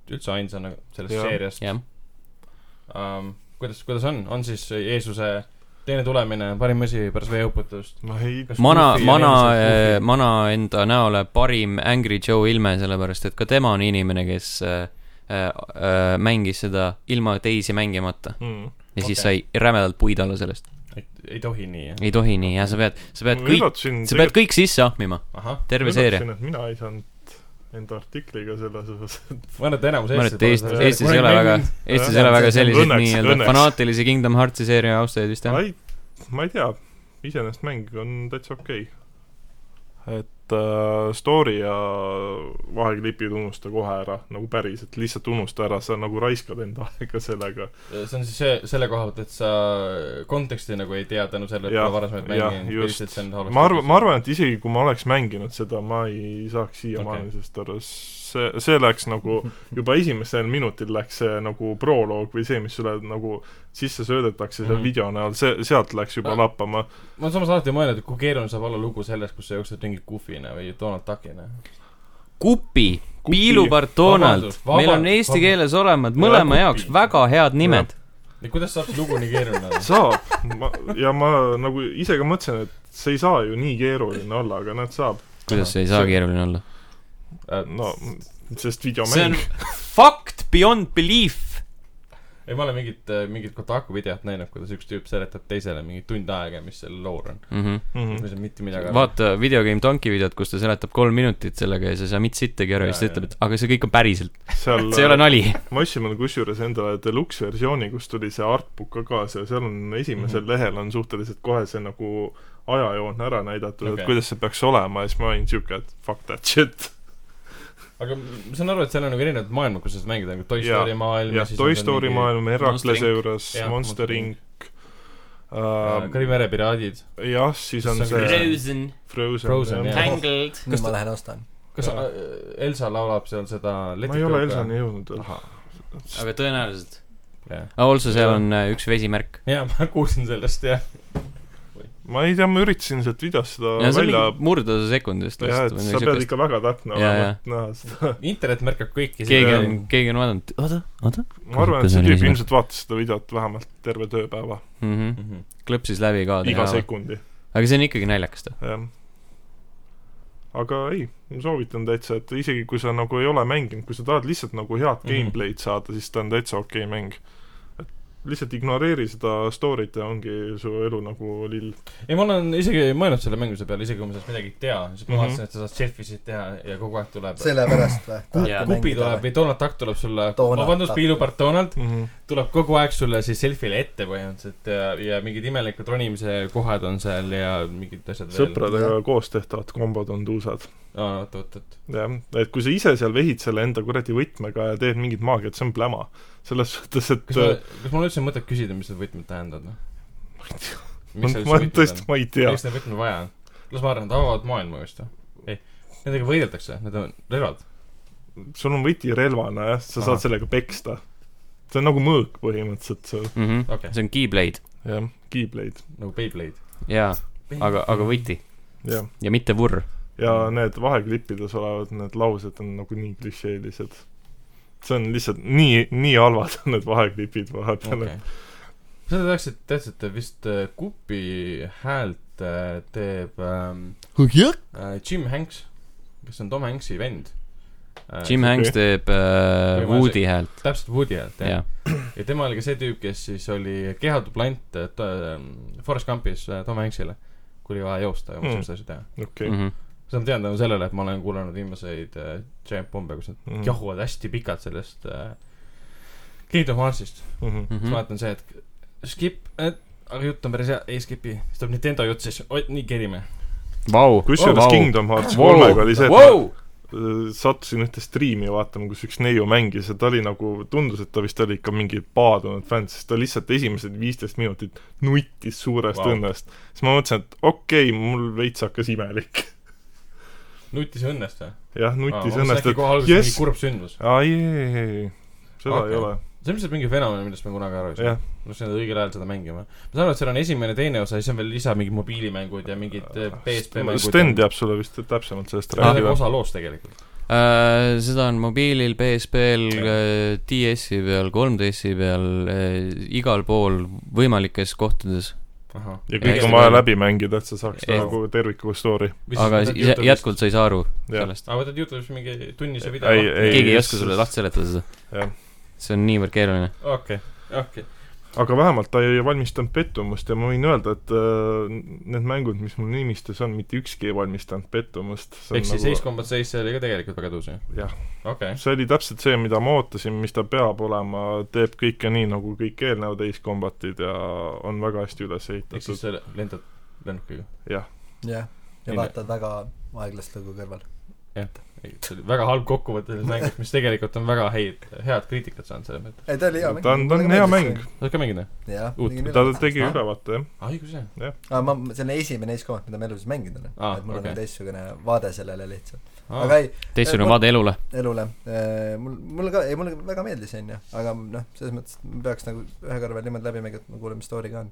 [SPEAKER 2] üldse ainsana sellest
[SPEAKER 4] Jah.
[SPEAKER 2] seeriast
[SPEAKER 1] jah ,
[SPEAKER 2] um, . kuidas , kuidas on , on siis Jeesuse teine tulemine parim asi pärast veeuputust ?
[SPEAKER 4] no ei ,
[SPEAKER 2] Kas
[SPEAKER 1] mana ,
[SPEAKER 2] Goofy ja
[SPEAKER 1] mana äh,
[SPEAKER 2] Goofy? ,
[SPEAKER 1] mana enda näole parim Angry Joe ilme , sellepärast et ka tema on inimene , kes äh, äh, äh, mängis seda ilma teisi mängimata
[SPEAKER 4] mm.
[SPEAKER 1] ja siis
[SPEAKER 2] Okei.
[SPEAKER 1] sai rämedalt puid alla sellest .
[SPEAKER 2] et ei tohi nii , jah ?
[SPEAKER 1] ei tohi nii , jah , sa pead , sa pead
[SPEAKER 4] ma
[SPEAKER 1] kõik ,
[SPEAKER 4] üllatasin
[SPEAKER 1] sa pead kõik sisse ahmima ,
[SPEAKER 2] ahah ,
[SPEAKER 1] terve seeria .
[SPEAKER 4] et mina ei saanud enda artikliga selles osas , et
[SPEAKER 2] ma arvan , et enamus
[SPEAKER 1] ma arvan , et
[SPEAKER 2] pole
[SPEAKER 1] Eestis ,
[SPEAKER 2] seda-
[SPEAKER 1] Eestis ei ole
[SPEAKER 2] kunagi
[SPEAKER 1] väga
[SPEAKER 2] mänginud. ,
[SPEAKER 1] Eestis ei ole väga selliseid
[SPEAKER 4] Õnneks,
[SPEAKER 1] nii-öelda
[SPEAKER 4] õnneks.
[SPEAKER 1] fanaatilisi Kingdom Heartsi seeria austajaid vist jah
[SPEAKER 4] ma ? ei , ma ei tea , iseenesest mäng on täitsa okei okay. . et äh, story ja vaheklipid unusta kohe ära , nagu päriselt , lihtsalt unusta ära , sa nagu raiskad enda aega sellega .
[SPEAKER 2] see on siis see , selle koha pealt , et sa konteksti nagu ei tea tänu sellele , et
[SPEAKER 4] Jah,
[SPEAKER 2] pole varasemaid
[SPEAKER 4] jah,
[SPEAKER 2] mänginud ,
[SPEAKER 4] just.
[SPEAKER 2] lihtsalt see on halvasti
[SPEAKER 4] ma arvan , ma arvan , et isegi kui ma oleks mänginud seda , ma ei saaks siiamaani okay.
[SPEAKER 2] Okei.
[SPEAKER 4] sellest aru , see , see läks nagu juba esimesel minutil läks see nagu proloog või see , mis sulle nagu sisse söödetakse seal mm
[SPEAKER 2] Mhm.
[SPEAKER 4] -hmm. video näol , see , sealt läks juba
[SPEAKER 2] Ah.
[SPEAKER 4] lappama .
[SPEAKER 2] ma olen samas alati mõelnud , et kui keeruline saab olla lugu selles , kus sa jooksed mingi Goofy'na või Donald Duck'ina .
[SPEAKER 1] Kupi ,
[SPEAKER 4] Kupi.
[SPEAKER 1] piilupart Donald
[SPEAKER 2] Vabandust, ,
[SPEAKER 1] meil on
[SPEAKER 2] vabandust,
[SPEAKER 1] eesti
[SPEAKER 2] vabandust.
[SPEAKER 1] keeles olemas mõlema
[SPEAKER 2] Kupi.
[SPEAKER 1] jaoks väga head nimed .
[SPEAKER 2] ja kuidas saab see lugu nii keeruline olla ?
[SPEAKER 4] saab , ma , ja ma nagu ise ka mõtlesin , et see ei saa ju nii keeruline olla , aga näed , saab .
[SPEAKER 1] kuidas see ei saa
[SPEAKER 2] See-
[SPEAKER 1] keeruline olla ?
[SPEAKER 4] no , sest
[SPEAKER 1] see on
[SPEAKER 4] videomäng .
[SPEAKER 1] fact beyond belief .
[SPEAKER 2] ei , ma olen mingit , mingit Kotaku videot näinud , kuidas üks tüüp seletab teisele mingi tund aega , mis selle loor on .
[SPEAKER 4] Mhm.
[SPEAKER 2] ma ei saa mitte midagi aru .
[SPEAKER 1] vaata videogame Donkey videot , kus ta seletab kolm minutit sellega ja sa ei saa mitte sittagi aru ja siis
[SPEAKER 2] Jaa,
[SPEAKER 1] ta ütleb ,
[SPEAKER 2] jaa.
[SPEAKER 1] et aga see kõik on päriselt ,
[SPEAKER 4] seal
[SPEAKER 1] see ei ole nali .
[SPEAKER 4] ma ostsin endale kusjuures endale deluxe versiooni , kus tuli see artbook ka kaasa ja seal on esimesel mm -hmm. lehel on suhteliselt kohe see nagu ajajoon ära näidatud okay. ,
[SPEAKER 2] Okei.
[SPEAKER 4] et kuidas see peaks olema ja siis ma olin siuke , et fuck that shit .
[SPEAKER 2] aga ma saan aru , et seal on nagu erinevad maailmad , kus sa saad mängida , nagu Toy
[SPEAKER 4] Jaa,
[SPEAKER 2] Story maailm .
[SPEAKER 4] jah , Toy Story mingi... . maailm , Heraklase
[SPEAKER 1] Monster
[SPEAKER 4] juures
[SPEAKER 2] Jah, , Monster
[SPEAKER 4] Monster Inc .
[SPEAKER 2] Kari mere äh, piraadid .
[SPEAKER 4] jah , siis on
[SPEAKER 2] Kas see on
[SPEAKER 4] see
[SPEAKER 2] Frozen?
[SPEAKER 4] Frozen,
[SPEAKER 2] Frozen, jah.
[SPEAKER 4] jah .
[SPEAKER 1] Tangled .
[SPEAKER 3] nüüd ma lähen ostan .
[SPEAKER 2] kas
[SPEAKER 4] Jaa.
[SPEAKER 2] äh, Elsa laulab seal seda
[SPEAKER 4] ma ei ole Elsani jõudnud veel .
[SPEAKER 1] aga tõenäoliselt .
[SPEAKER 2] jah ,
[SPEAKER 1] Also seal on äh, üks vesimärk .
[SPEAKER 2] jaa , ma kuulsin sellest , jah .
[SPEAKER 4] ma ei tea , ma üritasin sealt videost seda
[SPEAKER 1] ja see on
[SPEAKER 4] välja
[SPEAKER 1] mingi murdosa sekundist
[SPEAKER 4] jah ,
[SPEAKER 1] vist
[SPEAKER 4] et
[SPEAKER 1] või
[SPEAKER 4] sa
[SPEAKER 1] midagi
[SPEAKER 4] pead
[SPEAKER 1] siukest .
[SPEAKER 4] ikka väga täpne
[SPEAKER 1] Jaa,
[SPEAKER 4] olema ,
[SPEAKER 1] jaa.
[SPEAKER 4] et näha seda .
[SPEAKER 2] internet märkab kõiki . Mhm.
[SPEAKER 1] keegi on , keegi on vaadanud , oota , oota
[SPEAKER 4] ma arvan ,
[SPEAKER 1] Kas
[SPEAKER 4] et see
[SPEAKER 1] oli
[SPEAKER 4] tüüp
[SPEAKER 1] esimene?
[SPEAKER 4] ilmselt vaatas seda videot vähemalt terve tööpäeva ,
[SPEAKER 1] mm . -hmm.
[SPEAKER 4] Mhm.
[SPEAKER 2] on .
[SPEAKER 1] klõpsis läbi ka .
[SPEAKER 4] iga sekundi ,
[SPEAKER 1] aga see on ikkagi naljakas ta .
[SPEAKER 4] jah . aga ei , ma soovitan täitsa , et isegi kui sa nagu ei ole mänginud , kui sa tahad lihtsalt nagu head
[SPEAKER 2] Mhm.
[SPEAKER 4] gameplay'd saada , siis ta on täitsa okei okay mäng . et lihtsalt ignoreeri seda story't ja ongi su elu nagu lill .
[SPEAKER 2] ei , ma olen isegi mõelnud selle mänguse peale , isegi kui ma sellest midagi ei tea , siis ma
[SPEAKER 4] Mhm.
[SPEAKER 2] vaatasin , et sa saad selfisid teha ja kogu aeg tuleb .
[SPEAKER 3] sellepärast või
[SPEAKER 1] Jaa. ?
[SPEAKER 2] kupi tuleb või Donald Duck tuleb sulle ,
[SPEAKER 3] Donald
[SPEAKER 2] vabandust ,
[SPEAKER 3] Duck.
[SPEAKER 2] piilupart Donald
[SPEAKER 4] Mm -hmm.
[SPEAKER 2] tuleb kogu aeg sulle siis selfile ette põhimõtteliselt ja , ja mingid imelikud ronimise kohad on seal ja mingid asjad
[SPEAKER 4] sõpradega koos tehtavad kombod on tuusad .
[SPEAKER 2] veel . aa , oot , oot , oot .
[SPEAKER 4] jah , et kui sa ise seal vehid selle enda kuradi võtmega ja teed mingit maagiat , see on pläma . selles suhtes , et
[SPEAKER 2] kas ma , kas mul üldse on mõtet küsida , mis need võtmed tähendavad , noh ?
[SPEAKER 4] ma, ma tõesti , ma ei tea .
[SPEAKER 2] miks neid võtmeid vaja on ? las ma arvan , et avavad maailma just või ? ei , nendega võideldakse , need on relvad .
[SPEAKER 4] sul on võti relvana jah , sa
[SPEAKER 2] Ahah.
[SPEAKER 4] saad sellega peksta . see on nagu mõõk põhimõtteliselt , see
[SPEAKER 1] mm . -hmm.
[SPEAKER 2] Okei.
[SPEAKER 1] Okay. see on Keyblade
[SPEAKER 4] jah , Keyblade ,
[SPEAKER 2] nagu Beyblade .
[SPEAKER 1] jaa , aga , aga võti
[SPEAKER 4] jah .
[SPEAKER 1] ja mitte vurr .
[SPEAKER 4] ja need vaheklippides olevad need laused on nagu nii klišeelised . see on lihtsalt nii , nii halvad on need vaheklipid vahepeal okay. .
[SPEAKER 2] seda tehakse , teadsite vist äh, Kupi häält äh, teeb ähm, äh, Jim Hanks , kes on Tom Hanksi vend äh, .
[SPEAKER 1] Jim Hanks teeb äh, Woody häält ,
[SPEAKER 2] täpselt Woody häält , jah
[SPEAKER 1] jah .
[SPEAKER 2] ja tema oli ka see tüüp , kes siis oli kehaduplant äh, to- ähm, Forrest Gumpis äh, Tom Hanksile , kui oli vaja joosta ja muud
[SPEAKER 4] Mm.
[SPEAKER 2] sellist asja teha .
[SPEAKER 4] okei .
[SPEAKER 1] jah .
[SPEAKER 2] seda ma tean tänu sellele , et ma olen kuulanud viimaseid äh, Giant Bombe , kus nad
[SPEAKER 4] Mhm. Hmm.
[SPEAKER 2] jahuvad hästi pikalt sellest äh, Kingdom Heartsist
[SPEAKER 4] Mhm.
[SPEAKER 2] mm -hmm. .
[SPEAKER 1] mhm.
[SPEAKER 2] siis vaatan see , et skip , et aga jutt on päris hea , ei skip'i . siis tuleb Nintendo jutt , siis oi , nii kerime .
[SPEAKER 1] Vau .
[SPEAKER 4] kusjuures Kingdom Hearts
[SPEAKER 1] Wow.
[SPEAKER 4] kolmega oli see , et ma
[SPEAKER 1] Wow!
[SPEAKER 4] äh, sattusin ühte striimi vaatama , kus üks neiu mängis ja ta oli nagu , tundus , et ta vist oli ikka mingi paadunud fänn , sest ta lihtsalt esimesed viisteist minutit nuttis suurest
[SPEAKER 2] Vau.
[SPEAKER 4] wow. õnnest . siis ma mõtlesin , et okei okay, , mul veits hakkas imelik .
[SPEAKER 2] nutis õnnest või ?
[SPEAKER 4] jah , nuttis õnnest ,
[SPEAKER 2] et
[SPEAKER 4] et
[SPEAKER 2] jess .
[SPEAKER 4] jess
[SPEAKER 2] mingi , kurb sündmus .
[SPEAKER 4] aa ei , ei , ei , ei , seda okay.
[SPEAKER 2] Okei.
[SPEAKER 4] ei ole ,
[SPEAKER 2] see on lihtsalt mingi fenomen , millest me kunagi aru ei saa
[SPEAKER 4] jah .
[SPEAKER 2] ma läksin õigel ajal seda mängima . ma saan aru , et seal on esimene , teine osa , siis on veel lisa mingid mobiilimängud ja mingid äh, PSP mängud .
[SPEAKER 4] Sten . teab sulle vist täpsemalt sellest
[SPEAKER 2] see on
[SPEAKER 4] rääkida .
[SPEAKER 2] osa loost tegelikult .
[SPEAKER 1] Äh, seda on mobiilil , PSP-l , DS-i äh, peal , 3DS-i peal , igal pool võimalikes kohtades .
[SPEAKER 4] ja kõik
[SPEAKER 1] Hästi
[SPEAKER 4] on vaja
[SPEAKER 1] palju.
[SPEAKER 4] läbi mängida , et sa saaks
[SPEAKER 1] Ei.
[SPEAKER 4] nagu tervikliku story .
[SPEAKER 1] aga jä- jätkuvalt sa ei saa aru
[SPEAKER 4] jah ,
[SPEAKER 1] sellest .
[SPEAKER 2] aga võtad Youtube'is mingi tunnise video
[SPEAKER 4] ei , ei .
[SPEAKER 1] keegi ei oska sulle lahti seletada seda
[SPEAKER 4] Jah. .
[SPEAKER 1] see on niivõrd keeruline .
[SPEAKER 2] okei , okei .
[SPEAKER 4] aga vähemalt ta ei valmistanud pettumust ja ma võin öelda , et äh, need mängud , mis mul nimistus on , mitte ükski ei valmistanud pettumust .
[SPEAKER 2] ehk siis Ace Combat Seis , see oli ka tegelikult väga tõus ju ?
[SPEAKER 4] Jah. .
[SPEAKER 2] okei ,
[SPEAKER 4] see oli täpselt see , mida ma ootasin , mis ta peab olema , teeb kõike nii , nagu kõik eelnevad Ace Combatid ja on väga hästi üles
[SPEAKER 2] ehk
[SPEAKER 4] ehitatud .
[SPEAKER 2] siis sa lendad lennukiga .
[SPEAKER 3] jah , ja
[SPEAKER 2] Mille-
[SPEAKER 3] vaatad väga aeglast lugu kõrval .
[SPEAKER 2] see oli väga halb kokkuvõte sellest mängust , mis tegelikult on väga häid , head kriitikat saanud selle pealt .
[SPEAKER 3] ei , ta oli hea mäng .
[SPEAKER 4] ta on , ta on hea mäng ,
[SPEAKER 2] oled ka mänginud või ?
[SPEAKER 3] jah ,
[SPEAKER 2] Uut-
[SPEAKER 3] tegin
[SPEAKER 4] ta
[SPEAKER 3] üle .
[SPEAKER 4] tegi
[SPEAKER 2] Ah.
[SPEAKER 4] ülevaate , jah .
[SPEAKER 2] ah , õigus jah .
[SPEAKER 3] aa , ma , see on esimene Ace Combat , mida ma elus mänginud olen
[SPEAKER 2] Aa,
[SPEAKER 3] ah, . et mul okay.
[SPEAKER 2] okei.
[SPEAKER 3] on teistsugune vaade sellele lihtsalt .
[SPEAKER 2] aga
[SPEAKER 3] aga ei ,
[SPEAKER 1] teistsugune vaade elule .
[SPEAKER 3] elule , mul , mulle ka , ei mulle väga meeldis , onju . aga noh , selles mõttes , et ma peaks nagu ühe korra veel niimoodi läbi mängima , et ma kuulen , mis story ka on .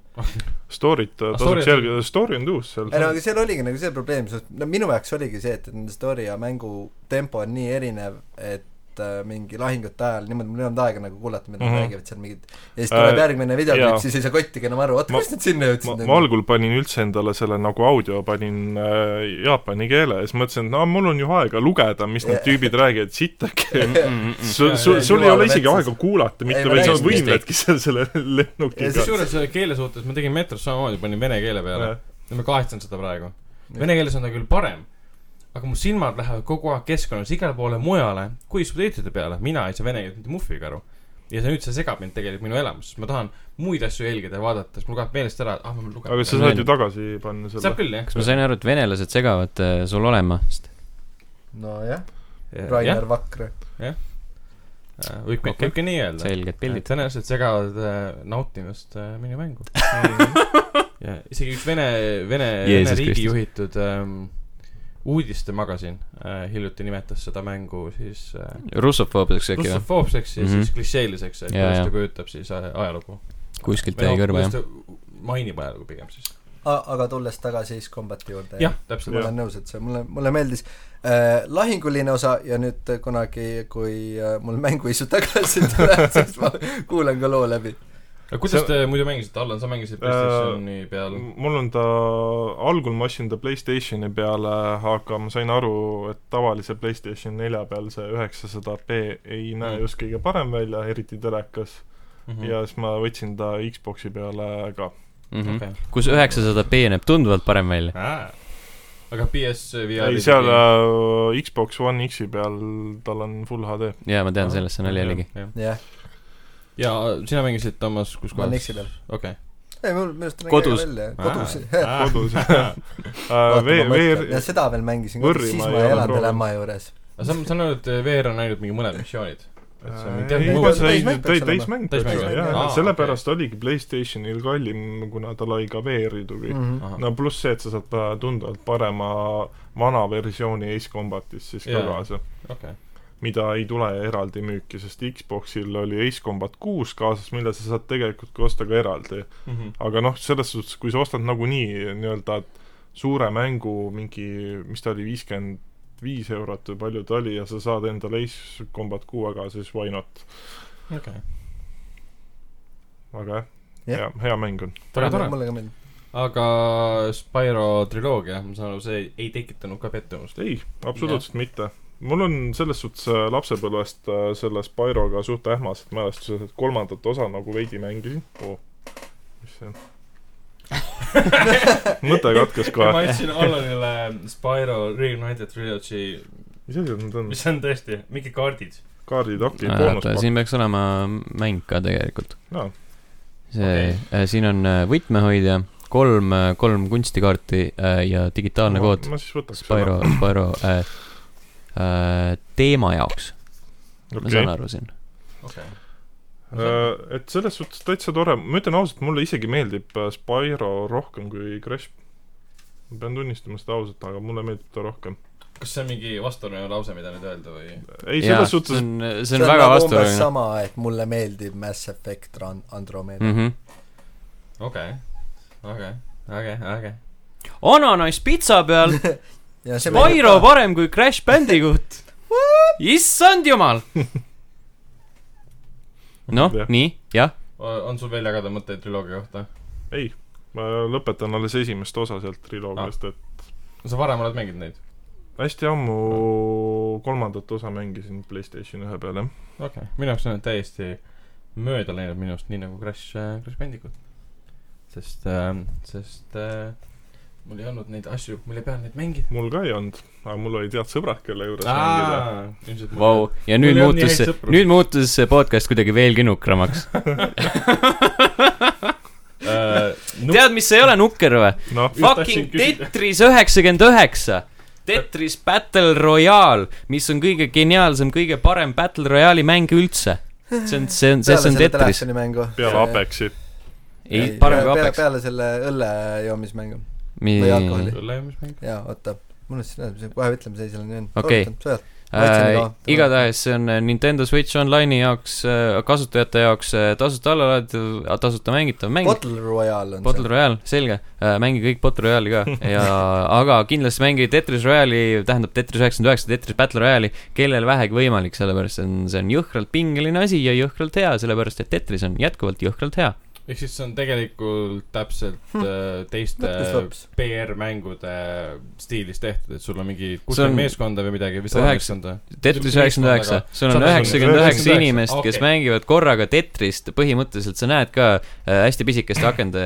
[SPEAKER 4] Story't
[SPEAKER 2] Ah,
[SPEAKER 4] äh, tasuks
[SPEAKER 2] story on-
[SPEAKER 4] jälgida , story on tuus seal
[SPEAKER 3] ei . no aga seal oligi nagu see probleem , sest no minu jaoks oligi see , et et nende story ja mängu tempo on nii erinev , et äh, mingi lahingute ajal niimoodi mul ei olnud aega nagu kuulata , mida nad
[SPEAKER 4] Mhm.
[SPEAKER 3] mm -hmm. räägivad seal mingid ja siis tuleb
[SPEAKER 4] Äh,
[SPEAKER 3] äh, järgmine videoklipp
[SPEAKER 4] jaa. ,
[SPEAKER 3] siis ei saa kottigi enam aru , oota ,
[SPEAKER 4] Ma-
[SPEAKER 3] kust nad sinna
[SPEAKER 4] ma ,
[SPEAKER 3] jõudsid
[SPEAKER 4] ma . algul panin üldse endale selle nagu audio , panin äh, jaapani keele ja siis mõtlesin , et no mul on ju aega lugeda , mis need
[SPEAKER 3] Jah.
[SPEAKER 4] tüübid räägivad , sitt äkki .
[SPEAKER 2] Jaa,
[SPEAKER 4] sul ,
[SPEAKER 2] jaa,
[SPEAKER 4] sul , sul ei
[SPEAKER 3] jumala
[SPEAKER 4] ole isegi
[SPEAKER 3] metsas.
[SPEAKER 4] aega kuulata
[SPEAKER 3] Ei,
[SPEAKER 4] mitte ,
[SPEAKER 3] ma
[SPEAKER 4] vaid sa
[SPEAKER 3] räägin, mis
[SPEAKER 4] võimledki seal selle
[SPEAKER 3] Ja
[SPEAKER 4] lennukiga
[SPEAKER 3] siis .
[SPEAKER 2] kusjuures selle keele suhtes ma tegin metros samamoodi , panin vene keele peale ja ma kahetsen seda praegu . Vene keeles on ta küll parem , aga mu silmad lähevad kogu aeg keskkonnas igale poole mujale kui subtiitrite peale , mina ei saa vene keelt mitte muhviga aru . ja see nüüd , see segab mind tegelikult minu elamust , ma tahan muid asju jälgida ja vaadata , siis mul kaob meelest ära , et ah , ma pean
[SPEAKER 4] aga
[SPEAKER 2] lugema .
[SPEAKER 4] sa saad ju tagasi panna selle
[SPEAKER 2] saab . küll jah .
[SPEAKER 1] kas ma sain aru , et venelased segavad äh, sul olema ?
[SPEAKER 3] nojah , Rainer Vakra .
[SPEAKER 2] võib
[SPEAKER 1] Okei.
[SPEAKER 2] ikka nii öelda .
[SPEAKER 1] selged pildid .
[SPEAKER 2] tõenäoliselt segavad äh, nautimast äh, minu mängu . ja isegi üks vene , vene , vene
[SPEAKER 1] Jeesus
[SPEAKER 2] riigi
[SPEAKER 1] Kristus.
[SPEAKER 2] juhitud ähm, uudistemagasin äh, hiljuti nimetas seda mängu siis äh,
[SPEAKER 1] russofoobseks äkki või ?
[SPEAKER 2] russofoobseks ja
[SPEAKER 1] Mhm.
[SPEAKER 2] siis klišeeliseks , et
[SPEAKER 1] Jaa,
[SPEAKER 2] kuidas
[SPEAKER 1] jaa.
[SPEAKER 2] ta kujutab siis aj- ajalugu .
[SPEAKER 1] kuskilt jäi kõrva , jah .
[SPEAKER 2] mainib ajalugu pigem siis .
[SPEAKER 3] aga tulles tagasi Ace Combati juurde .
[SPEAKER 2] jah , täpselt
[SPEAKER 3] ma . olen nõus , et see mulle , mulle meeldis äh, lahinguline osa ja nüüd äh, kunagi , kui äh, mul mänguisu tagasi tuleb , siis ma kuulan ka loo läbi .
[SPEAKER 2] aga kuidas
[SPEAKER 4] See- Äh,
[SPEAKER 2] te muidu mängisite , Allan , sa mängisid Playstationi peal ?
[SPEAKER 4] mul on ta , algul ma ostsin ta Playstationi peale , aga ma sain aru , et tavalise Playstation nelja peal see üheksasada B ei näe
[SPEAKER 2] Mm.
[SPEAKER 4] just kõige parem välja , eriti telekas .
[SPEAKER 3] Mm.
[SPEAKER 2] Mhm.
[SPEAKER 4] ja siis ma võtsin ta Xboxi peale ka .
[SPEAKER 1] Mhm. kus üheksasada B näeb tunduvalt parem välja .
[SPEAKER 2] aga
[SPEAKER 4] ei ,
[SPEAKER 2] PS5
[SPEAKER 4] seal äh, Xbox One X-i peal tal on full HD .
[SPEAKER 1] jaa , ma tean , sellest see nali oligi .
[SPEAKER 3] jah ,
[SPEAKER 2] ja sina mängisid , Toomas , kus
[SPEAKER 3] ma olen
[SPEAKER 2] kohas
[SPEAKER 3] X-i ? peal .
[SPEAKER 2] okei .
[SPEAKER 3] ei , mul minu arust on
[SPEAKER 1] Kodus.
[SPEAKER 3] äge välja , kodus .
[SPEAKER 2] Äh,
[SPEAKER 4] kodus
[SPEAKER 3] Ah.
[SPEAKER 4] Äh,
[SPEAKER 3] vaata , ma mõtlen , ja
[SPEAKER 4] VR ,
[SPEAKER 3] seda veel mängisin kodus ,
[SPEAKER 4] võrrima
[SPEAKER 3] siis
[SPEAKER 4] ei
[SPEAKER 3] ma
[SPEAKER 4] ole
[SPEAKER 3] ei elanud
[SPEAKER 4] proovinud.
[SPEAKER 3] veel ämma juures .
[SPEAKER 2] aga sa , sa näed , et VR on ainult mingi mõned missioonid . et see on mingi
[SPEAKER 4] ei ,
[SPEAKER 3] muud.
[SPEAKER 4] ta
[SPEAKER 2] teatud
[SPEAKER 4] sai
[SPEAKER 3] see- Täismäng peaks
[SPEAKER 4] täi-
[SPEAKER 3] olema.
[SPEAKER 4] täismäng peaks
[SPEAKER 2] Täismäng,
[SPEAKER 4] olema ,
[SPEAKER 3] jah.
[SPEAKER 4] jaa
[SPEAKER 2] Aa, ,
[SPEAKER 4] sellepärast oligi Playstationil kallim , kuna tal oli ka VR-i tugi .
[SPEAKER 3] Mhm.
[SPEAKER 2] muu .
[SPEAKER 4] Mm. no pluss see , et sa saad äh, tunduvalt parema vana versiooni Ace Combatist siis ka
[SPEAKER 2] Jaa.
[SPEAKER 4] kaasa ,
[SPEAKER 2] okei ,
[SPEAKER 4] mida ei tule eraldi müüki , sest Xboxil oli Ace Combat kuus kaasas , mille sa saad tegelikult ka osta ka eraldi .
[SPEAKER 2] Mhm.
[SPEAKER 4] aga noh , selles suhtes , kui sa ostad nagunii nii-öelda suure mängu mingi , mis ta oli , viiskümmend viis eurot või palju ta oli ja sa saad endale Ace Combat kuuega , siis why not .
[SPEAKER 2] okei .
[SPEAKER 4] aga jah
[SPEAKER 3] Jah.
[SPEAKER 4] yeah. , hea mäng on .
[SPEAKER 2] tore , tore .
[SPEAKER 1] Äh,
[SPEAKER 3] mulle ka meeldib .
[SPEAKER 2] aga Spyro triloogia , ma saan aru , see ei- ei tekitanud ka pettumust .
[SPEAKER 4] ei , absoluutselt yeah. mitte . mul on selles suhtes äh, lapsepõlvest äh, selle Spyroga suht ähmased mälestused , et kolmandat osa nagu veidi mängisin oh. . mis see on ? mõte katkes
[SPEAKER 2] ma
[SPEAKER 4] kohe .
[SPEAKER 2] andsin Allanile Spyro Reignited Trilogy ,
[SPEAKER 4] mis asi need on ?
[SPEAKER 2] mis on tõesti mingi kaardid .
[SPEAKER 4] kaardid , okei ,
[SPEAKER 1] Äh, oota ,
[SPEAKER 4] boonuspakk .
[SPEAKER 1] siin peaks olema mäng ka tegelikult .
[SPEAKER 4] jaa ,
[SPEAKER 1] see okay. , siin on äh, võtmehoidja , kolm , kolm kunstikaarti äh, ja digitaalne
[SPEAKER 4] ma,
[SPEAKER 1] kood
[SPEAKER 4] ma siis võtaks
[SPEAKER 1] Spyro , Spyro äh, äh, teema jaoks okay. , ma
[SPEAKER 4] okei
[SPEAKER 1] saan , aru siin .
[SPEAKER 2] okei .
[SPEAKER 4] Äh, et selles suhtes täitsa tore , ma ütlen ausalt , mulle isegi meeldib äh, Spyro rohkem kui Crash . ma pean tunnistama seda ausalt , aga mulle meeldib ta rohkem .
[SPEAKER 2] kas see on mingi vastuoluline lause , mida nüüd öelda või ?
[SPEAKER 4] ei ,
[SPEAKER 1] see
[SPEAKER 4] selles suhtes ,
[SPEAKER 1] on , see on väga vastuoluline .
[SPEAKER 3] nagu sama , et mulle meeldib Mass Effect Ran- Andromeda .
[SPEAKER 1] Mm -hmm.
[SPEAKER 2] okei , okei , okei , okei .
[SPEAKER 1] ananass pitsa peal ,
[SPEAKER 3] ja see
[SPEAKER 1] Spyro . parem kui Crash Bandicoot . issand jumal . noh
[SPEAKER 4] Jah. ,
[SPEAKER 1] nii , jah .
[SPEAKER 2] on sul veel jagada mõtteid triloogia kohta ?
[SPEAKER 4] ma lõpetan alles esimest osa sealt
[SPEAKER 1] Ah.
[SPEAKER 4] triloogiast , et
[SPEAKER 2] sa varem oled mänginud neid ?
[SPEAKER 4] hästi ammu kolmandat osa mängisin Playstation ühe peal , jah .
[SPEAKER 2] okei okay. , minu jaoks on need täiesti mööda läinud minust , nii nagu Crash , Crash Bandicoot . sest äh, , sest äh, mul ei olnud neid asju , mille peal neid mängida .
[SPEAKER 4] mul ka ei olnud , aga mul olid head sõbrad , kelle juures mängida .
[SPEAKER 2] ilmselt
[SPEAKER 1] Vau , ja nüüd
[SPEAKER 2] Mul ei olnud nii
[SPEAKER 1] muutus
[SPEAKER 2] häid
[SPEAKER 1] see ,
[SPEAKER 2] sõpru.
[SPEAKER 1] nüüd muutus see podcast kuidagi veelgi nukramaks .
[SPEAKER 2] äh, .
[SPEAKER 1] tead , mis ei ole nukker või ?
[SPEAKER 4] noh ,
[SPEAKER 2] Just tahtsin
[SPEAKER 1] Fucking
[SPEAKER 2] küsida.
[SPEAKER 1] Tetris üheksakümmend üheksa . Tetris Battle Royale , mis on kõige geniaalsem , kõige parem Battle Royale'i mäng üldse . see on , see on , see on Tetris .
[SPEAKER 3] telefonimängu .
[SPEAKER 4] peale . Apexi .
[SPEAKER 1] ei , parem kui Apex .
[SPEAKER 3] peale selle õlle joomismängu .
[SPEAKER 1] nii
[SPEAKER 3] või alkoholi.
[SPEAKER 2] lõimimismäng .
[SPEAKER 3] jaa , oota . mul on siis , see kohe ütleme , see seal on .
[SPEAKER 1] Okei.
[SPEAKER 3] sõjalt .
[SPEAKER 1] äh,
[SPEAKER 3] Maitsen ka.
[SPEAKER 1] igatahes see on äh, Nintendo Switch Online'i jaoks , kasutajate jaoks äh, tasuta allalaaditav , tasuta mängitav mäng .
[SPEAKER 3] Bottle Royale on
[SPEAKER 1] Battle
[SPEAKER 3] see .
[SPEAKER 1] Royale , selge , mängi kõik Battle Royale'i ka ja , aga kindlasti mängi Tetris Royale'i , tähendab Tetris üheksakümmend üheksa , Tetris Battle Royale'i , kellel vähegi võimalik , sellepärast see on , see on jõhkralt pingeline asi ja jõhkralt hea , sellepärast et Tetris on jätkuvalt jõhkralt hea .
[SPEAKER 2] ehk siis see on tegelikult täpselt
[SPEAKER 3] Hm.
[SPEAKER 2] äh, teiste
[SPEAKER 3] mõtluslops .
[SPEAKER 2] PR-mängude stiilis tehtud , et sul on mingi
[SPEAKER 1] See on-
[SPEAKER 2] kuuskümmend meeskonda või midagi või
[SPEAKER 1] see
[SPEAKER 2] sada
[SPEAKER 1] üheks-
[SPEAKER 2] meeskonda .
[SPEAKER 1] Tetris üheksakümmend üheksa , sul on
[SPEAKER 2] Sada-
[SPEAKER 1] üheksakümmend üheksa
[SPEAKER 4] 99
[SPEAKER 1] inimest , kes
[SPEAKER 2] okei.
[SPEAKER 1] mängivad korraga Tetrist , põhimõtteliselt sa näed ka äh, hästi pisikeste akende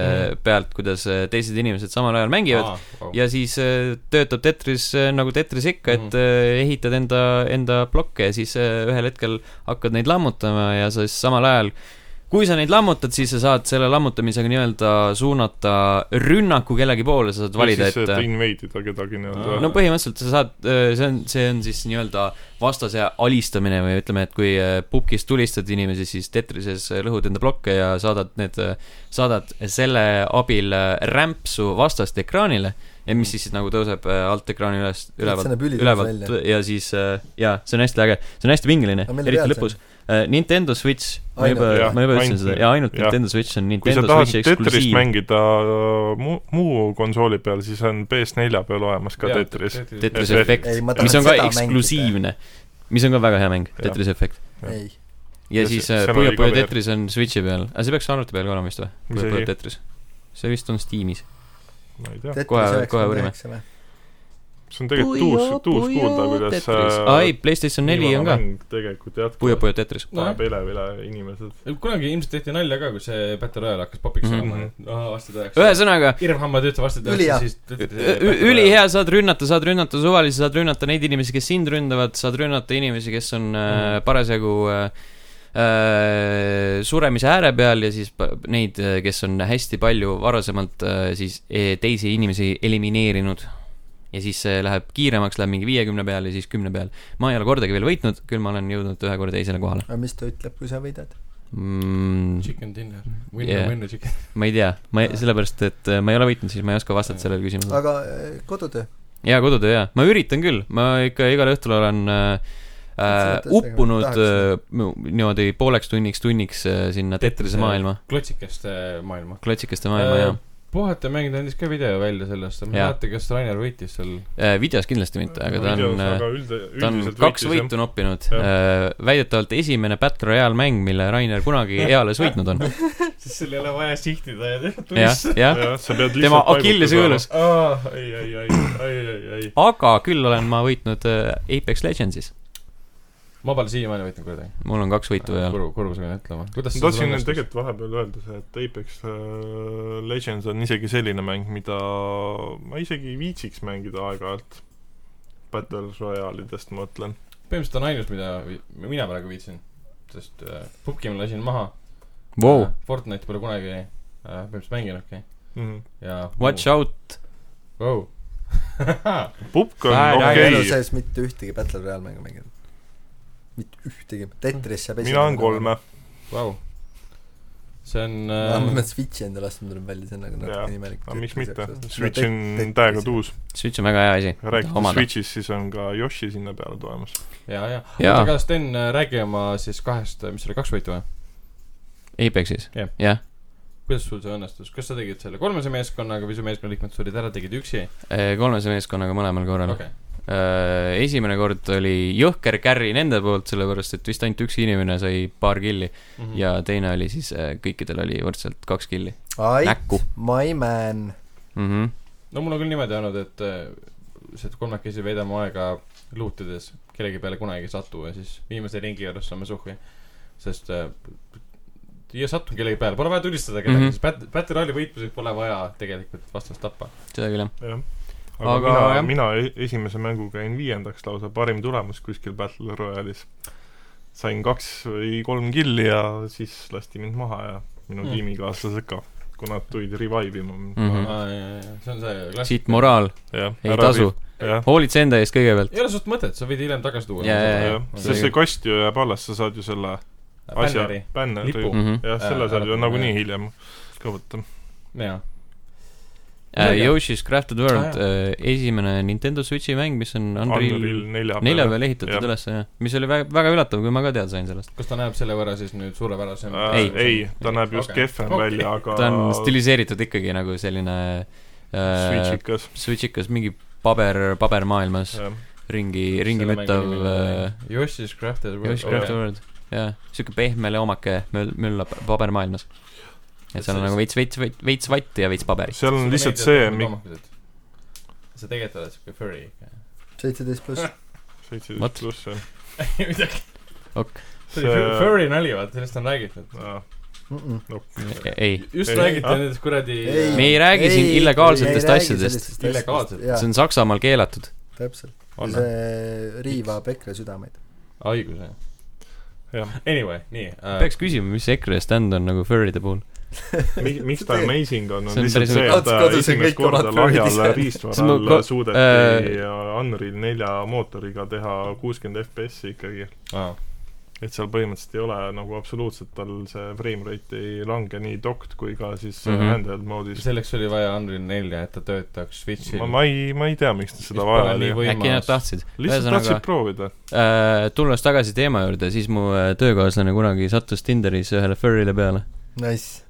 [SPEAKER 1] pealt , kuidas äh, teised inimesed samal ajal mängivad .
[SPEAKER 2] ja
[SPEAKER 1] ja siis äh, töötab Tetris äh, nagu Tetris ikka , et
[SPEAKER 2] Mhm.
[SPEAKER 1] äh, ehitad enda , enda plokke ja siis äh, ühel hetkel hakkad neid lammutama ja sa siis samal ajal kui sa neid lammutad , siis sa saad selle lammutamisega nii-öelda suunata rünnaku kellegi poole , sa saad valida ,
[SPEAKER 4] siis , äh, et
[SPEAKER 1] et äh,
[SPEAKER 4] invade ida kedagi nii-öelda
[SPEAKER 2] Aa.
[SPEAKER 1] no põhimõtteliselt sa saad , see on , see on siis nii-öelda vastase alistamine või ütleme , et kui äh, pukis tulistad inimesi , siis Tetrises äh, lõhud enda plokke ja saadad need , saadad selle abil äh, rämpsu vastast ekraanile , mis siis nagu tõuseb äh, alt ekraani üles ,
[SPEAKER 3] see
[SPEAKER 1] ülevalt ,
[SPEAKER 3] näeb ülikõva
[SPEAKER 1] ülevalt
[SPEAKER 3] välja .
[SPEAKER 1] ja siis äh, jaa , see on hästi äge , see on hästi pingeline
[SPEAKER 3] Aga , mille
[SPEAKER 1] eriti
[SPEAKER 3] peal see
[SPEAKER 1] lõpus . Nintendo Switch , ma
[SPEAKER 3] Ainult.
[SPEAKER 1] juba
[SPEAKER 4] Jah, ,
[SPEAKER 1] ma juba ütlesin
[SPEAKER 4] ainult-
[SPEAKER 1] seda , jaa , ainult
[SPEAKER 4] jah.
[SPEAKER 1] Nintendo Switch on
[SPEAKER 4] kui sa
[SPEAKER 1] Nintendo
[SPEAKER 4] tahad
[SPEAKER 1] Switchi
[SPEAKER 4] Tetrist
[SPEAKER 1] eksklusiiv .
[SPEAKER 4] mängida äh, mu- , muu konsooli peal , siis on PS4 peal olemas ka Tetris .
[SPEAKER 1] Tetris
[SPEAKER 4] Tetris-
[SPEAKER 1] Effect
[SPEAKER 3] Ei, ma , tahan
[SPEAKER 1] mis on ka
[SPEAKER 3] seda mängida.
[SPEAKER 1] eksklusiivne , mis on ka väga hea mäng ,
[SPEAKER 4] Jah.
[SPEAKER 1] Tetris Effect .
[SPEAKER 3] ei ,
[SPEAKER 1] ja
[SPEAKER 4] Ja
[SPEAKER 1] siis äh,
[SPEAKER 4] see- seal
[SPEAKER 1] Puyo
[SPEAKER 4] oli ka
[SPEAKER 1] Puyo
[SPEAKER 4] veel.
[SPEAKER 1] Tetris on Switchi peal , aga see peaks arvuti peal ka olema vist või ?
[SPEAKER 4] Mis
[SPEAKER 1] Puyo Puyo
[SPEAKER 4] asi?
[SPEAKER 1] Tetris . see vist on Steamis .
[SPEAKER 4] ma ei tea ,
[SPEAKER 3] Tetris
[SPEAKER 1] kohe- kohe
[SPEAKER 3] üheksakümmend
[SPEAKER 1] uurime.
[SPEAKER 3] üheksa või ?
[SPEAKER 4] see on tegelikult uus , uus kuulda , kuidas äh,
[SPEAKER 1] aa ei , PlayStation neli on ka .
[SPEAKER 4] tegelikult jätkub .
[SPEAKER 1] Puyo Puyo Tetris .
[SPEAKER 2] No
[SPEAKER 4] paneb elevile inimesed .
[SPEAKER 2] kunagi ilmselt tehti nalja ka , kui see Battle Royale hakkas popiks
[SPEAKER 1] Mhm.
[SPEAKER 2] olema , et aa , varsti tehakse .
[SPEAKER 1] ühesõnaga ,
[SPEAKER 2] Irvhamma töötab varsti
[SPEAKER 3] Ülihea.
[SPEAKER 2] tehakse , siis .
[SPEAKER 1] ülihea , saad rünnata , saad rünnata suvalisi , saad rünnata neid inimesi , kes sind ründavad , saad rünnata inimesi , kes on äh, parasjagu äh, äh, suremise ääre peal ja siis pa- neid , kes on hästi palju varasemalt äh, siis eh, teisi inimesi elimineerinud . ja siis see läheb kiiremaks , läheb mingi viiekümne peale ja siis kümne peale . ma ei ole kordagi veel võitnud , küll ma olen jõudnud ühe korra teisele kohale
[SPEAKER 3] aga mis ta ütleb , kui sa võidad ?
[SPEAKER 1] mm, .
[SPEAKER 2] Chicken dinner ,
[SPEAKER 1] Yeah.
[SPEAKER 2] winner , winner chicken .
[SPEAKER 1] ma ei tea , ma ei , sellepärast , et äh, ma ei ole võitnud , siis ma ei oska vastata sellele küsimusele .
[SPEAKER 3] aga äh, kodutöö ?
[SPEAKER 1] jaa , kodutöö jaa , ma üritan küll , ma ikka igal õhtul olen äh,
[SPEAKER 3] Sa
[SPEAKER 1] äh,
[SPEAKER 3] oled
[SPEAKER 1] uppunud
[SPEAKER 3] tõesti
[SPEAKER 1] äh,
[SPEAKER 3] nagu
[SPEAKER 1] mu- niimoodi pooleks tunniks tunniks äh, sinna Tetrise maailma ,
[SPEAKER 2] klotsikeste maailma . Äh,
[SPEAKER 1] klotsikeste maailma jaa .
[SPEAKER 2] puhata mäng ta andis ka video välja sellest , ma ei
[SPEAKER 1] Jaa.
[SPEAKER 2] mäleta , kas Rainer võitis seal .
[SPEAKER 1] Äh, videos kindlasti mitte , aga ta on ,
[SPEAKER 4] aga ülde ,
[SPEAKER 1] ta on
[SPEAKER 4] üldiselt
[SPEAKER 1] kaks
[SPEAKER 4] võitis, jah.
[SPEAKER 1] võitu noppinud Äh,
[SPEAKER 4] Jah. .
[SPEAKER 1] väidetavalt esimene Battle Royale mäng , mille Rainer kunagi eales võitnud on .
[SPEAKER 2] siis seal ei ole vaja sihtida ja teha
[SPEAKER 1] jah , jah ,
[SPEAKER 4] jah , sa pead
[SPEAKER 1] tema
[SPEAKER 4] lihtsalt
[SPEAKER 1] Achillese
[SPEAKER 4] paigutada.
[SPEAKER 1] õõlus .
[SPEAKER 2] aa , ei , ei , ei , ei , ei , ei .
[SPEAKER 1] aga küll olen ma võitnud äh, Apex Legendsis .
[SPEAKER 2] ma pole siiamaani võitnud kuidagi .
[SPEAKER 1] mul on kaks võitu veel .
[SPEAKER 2] kurb , kurb see on ütlema . kuidas
[SPEAKER 4] ma tahtsin tegelikult vahepeal öelda see , et Apex äh, Legends on isegi selline mäng , mida ma isegi ei viitsiks mängida aeg-ajalt . Battle Royale idest ma mõtlen .
[SPEAKER 2] põhimõtteliselt on ainus , mida vi- mina praegu viitsin , sest äh, Pukki ma lasin maha Äh,
[SPEAKER 1] Wow. .
[SPEAKER 2] Fortnite pole kunagi äh, põhimõtteliselt mänginudki
[SPEAKER 4] Mm.
[SPEAKER 2] ja .
[SPEAKER 1] Watch out ,
[SPEAKER 2] wow. .
[SPEAKER 4] Pupk on
[SPEAKER 1] Vähe
[SPEAKER 3] ma ei ole
[SPEAKER 4] okei okay. ,
[SPEAKER 3] sees mitte ühtegi Battle Royale mängu mänginud . mitte ühtegi , Tetris saab
[SPEAKER 4] mina olen . kolme .
[SPEAKER 2] Vau . see on
[SPEAKER 3] ma
[SPEAKER 2] äh,
[SPEAKER 3] olen Switchi endale ostnud , tuleb välja , see on nagu
[SPEAKER 4] Jaa.
[SPEAKER 3] natuke imelik .
[SPEAKER 4] aga miks mitte , Switch on täiega . tuus .
[SPEAKER 1] Switch on väga hea asi .
[SPEAKER 4] rääkides
[SPEAKER 1] omada .
[SPEAKER 4] Switch'ist , siis on ka Yoshi sinna peale tulemas .
[SPEAKER 2] ja , ja .
[SPEAKER 1] Jaa.
[SPEAKER 2] oota , aga Sten , räägi oma siis kahest , mis oli , kaks võitu või ?
[SPEAKER 1] Apexis ,
[SPEAKER 2] Jah.
[SPEAKER 1] jah .
[SPEAKER 2] kuidas sul see õnnestus , kas sa tegid selle kolmese meeskonnaga või su meeskonna liikmed surid ära , tegid üksi ?
[SPEAKER 1] Äh, kolmese meeskonnaga mõlemal korral
[SPEAKER 2] okei .
[SPEAKER 1] Äh, esimene kord oli jõhker carry nende poolt , sellepärast et vist ainult üks inimene sai paar killi
[SPEAKER 2] Mhm.
[SPEAKER 1] ja teine oli siis , kõikidel oli võrdselt kaks killi
[SPEAKER 3] Ait
[SPEAKER 1] Näkku. ,
[SPEAKER 3] my man .
[SPEAKER 1] mm . -hmm.
[SPEAKER 2] no mul on küll niimoodi olnud , et äh, lihtsalt kolmekesi veedame aega loot ides , kellegi peale kunagi ei satu ja siis viimase ringi juures saame suhvi , sest äh, ja satun kellegi peale , pole vaja tulistada kedagi mm
[SPEAKER 1] Mhm.
[SPEAKER 2] -hmm. , sest Battle Royale'i võitmiseks pole vaja tegelikult vastast tappa .
[SPEAKER 1] seda küll jah .
[SPEAKER 4] jah . aga,
[SPEAKER 1] Aga
[SPEAKER 4] aga mina,
[SPEAKER 1] jah.
[SPEAKER 4] mina e- esimese mänguga jäin viiendaks lausa , parim tulemus kuskil Battle Royale'is . sain kaks või kolm killi ja siis lasti mind maha ja minu
[SPEAKER 2] Mm.
[SPEAKER 4] mm. tiimikaaslased ka , kui nad tulid revive ima
[SPEAKER 1] Mhm.
[SPEAKER 4] mm .
[SPEAKER 2] see on see klass- ,
[SPEAKER 1] siit moraal ,
[SPEAKER 4] jah ,
[SPEAKER 1] ei Ära tasu ,.
[SPEAKER 4] jah ,
[SPEAKER 1] hoolitse enda eest kõigepealt .
[SPEAKER 2] ei ole suht mõtet , sa võid hiljem tagasi tuua
[SPEAKER 1] Jaa, jaa,
[SPEAKER 4] jah , sest see kast ju jääb alles , sa saad ju selle asja
[SPEAKER 2] Banneri. ,
[SPEAKER 4] bänneri
[SPEAKER 2] lipu. ,
[SPEAKER 1] Mm -hmm.
[SPEAKER 4] jah ,
[SPEAKER 2] Ära-
[SPEAKER 4] selle saad ju
[SPEAKER 2] ära-
[SPEAKER 4] nagunii hiljem ka võtta .
[SPEAKER 2] jaa ,
[SPEAKER 1] uh,
[SPEAKER 2] Midagi.
[SPEAKER 1] Yoshi's Crafted World
[SPEAKER 2] Ah, ,
[SPEAKER 1] uh, esimene Nintendo Switchi mäng , mis on Unreal
[SPEAKER 4] Unreal nelja
[SPEAKER 1] nelja
[SPEAKER 4] peale.
[SPEAKER 1] peal ehitatud
[SPEAKER 4] Jah.
[SPEAKER 1] ülesse , jah . mis oli väga , väga üllatav , kui ma ka teada sain sellest .
[SPEAKER 2] kas ta näeb selle võrra siis nüüd suurepärasem
[SPEAKER 4] Äh,
[SPEAKER 1] Ei.
[SPEAKER 4] ei , ta näeb just
[SPEAKER 2] Okei.
[SPEAKER 4] okay. kehvem
[SPEAKER 2] Okei.
[SPEAKER 4] okay. välja , aga
[SPEAKER 1] ta on stiliseeritud ikkagi nagu selline uh,
[SPEAKER 4] switchikas ,
[SPEAKER 1] Switchikas , mingi paber , pabermaailmas
[SPEAKER 4] jah .
[SPEAKER 1] ringi , ringi müttav äh,
[SPEAKER 2] Yoshi's Crafted
[SPEAKER 1] Yoshi's
[SPEAKER 2] World.
[SPEAKER 1] Crafted World . jah , siuke pehme leomake möll- , möllab pabermaailmas . et seal on nagu veits , veits , veits , veits vatti ja veits paberit .
[SPEAKER 4] seal on lihtsalt see , mi- ,
[SPEAKER 2] sa tegelikult oled siuke furry ikka .
[SPEAKER 3] seitseteist pluss .
[SPEAKER 1] What?
[SPEAKER 4] seitseteist pluss jah .
[SPEAKER 2] midagi ,
[SPEAKER 1] Ok. .
[SPEAKER 2] see oli furry nali , vaata , sellest on räägitud .
[SPEAKER 1] E-, ei ,
[SPEAKER 2] just
[SPEAKER 4] Ei.
[SPEAKER 2] räägiti
[SPEAKER 4] Ah.
[SPEAKER 2] nendest kuradi
[SPEAKER 1] Me ei räägi siin illegaalsetest asjadest.
[SPEAKER 2] Illegaalsetest.
[SPEAKER 3] jah
[SPEAKER 1] see , on Saksamaal keelatud .
[SPEAKER 3] täpselt .
[SPEAKER 2] On
[SPEAKER 3] see riivab EKRE südameid .
[SPEAKER 2] haiguse .
[SPEAKER 4] jah ,
[SPEAKER 2] Anyway , nii äh, .
[SPEAKER 1] peaks küsima , mis EKRE stand on nagu furry'de puhul .
[SPEAKER 4] miks ta amazing on ,
[SPEAKER 1] See
[SPEAKER 4] on
[SPEAKER 1] on
[SPEAKER 4] lihtsalt
[SPEAKER 1] päris
[SPEAKER 4] see ,
[SPEAKER 3] huvitav.
[SPEAKER 4] et ta
[SPEAKER 3] Kadus- kadusid
[SPEAKER 4] esimest
[SPEAKER 3] kõik
[SPEAKER 4] korda
[SPEAKER 3] omad
[SPEAKER 4] lahjal
[SPEAKER 3] fluoridid.
[SPEAKER 1] See on mu
[SPEAKER 4] riistvaral
[SPEAKER 1] ko-
[SPEAKER 4] suudeti
[SPEAKER 1] äh,
[SPEAKER 4] Unreal nelja mootoriga teha kuuskümmend FPS-i ikkagi . et seal põhimõtteliselt ei ole nagu absoluutselt tal see frame rate ei lange nii docked kui ka siis mm
[SPEAKER 1] Mhm.
[SPEAKER 4] -hmm. handheld moodis .
[SPEAKER 2] selleks oli vaja Unreal nelja , et ta töötaks Switch'il
[SPEAKER 4] ma , ma ei , ma ei tea , miks ta seda
[SPEAKER 2] Vist
[SPEAKER 4] vaja
[SPEAKER 2] pole
[SPEAKER 4] oli
[SPEAKER 2] nii . või-
[SPEAKER 1] äkki nad tahtsid .
[SPEAKER 4] lihtsalt
[SPEAKER 1] ühesõnaga äh,
[SPEAKER 4] tahtsid , proovida .
[SPEAKER 1] tulles tagasi teema juurde , siis mu äh, töökaaslane kunagi sattus Tinderis ühele furry'le peale .
[SPEAKER 3] Nice .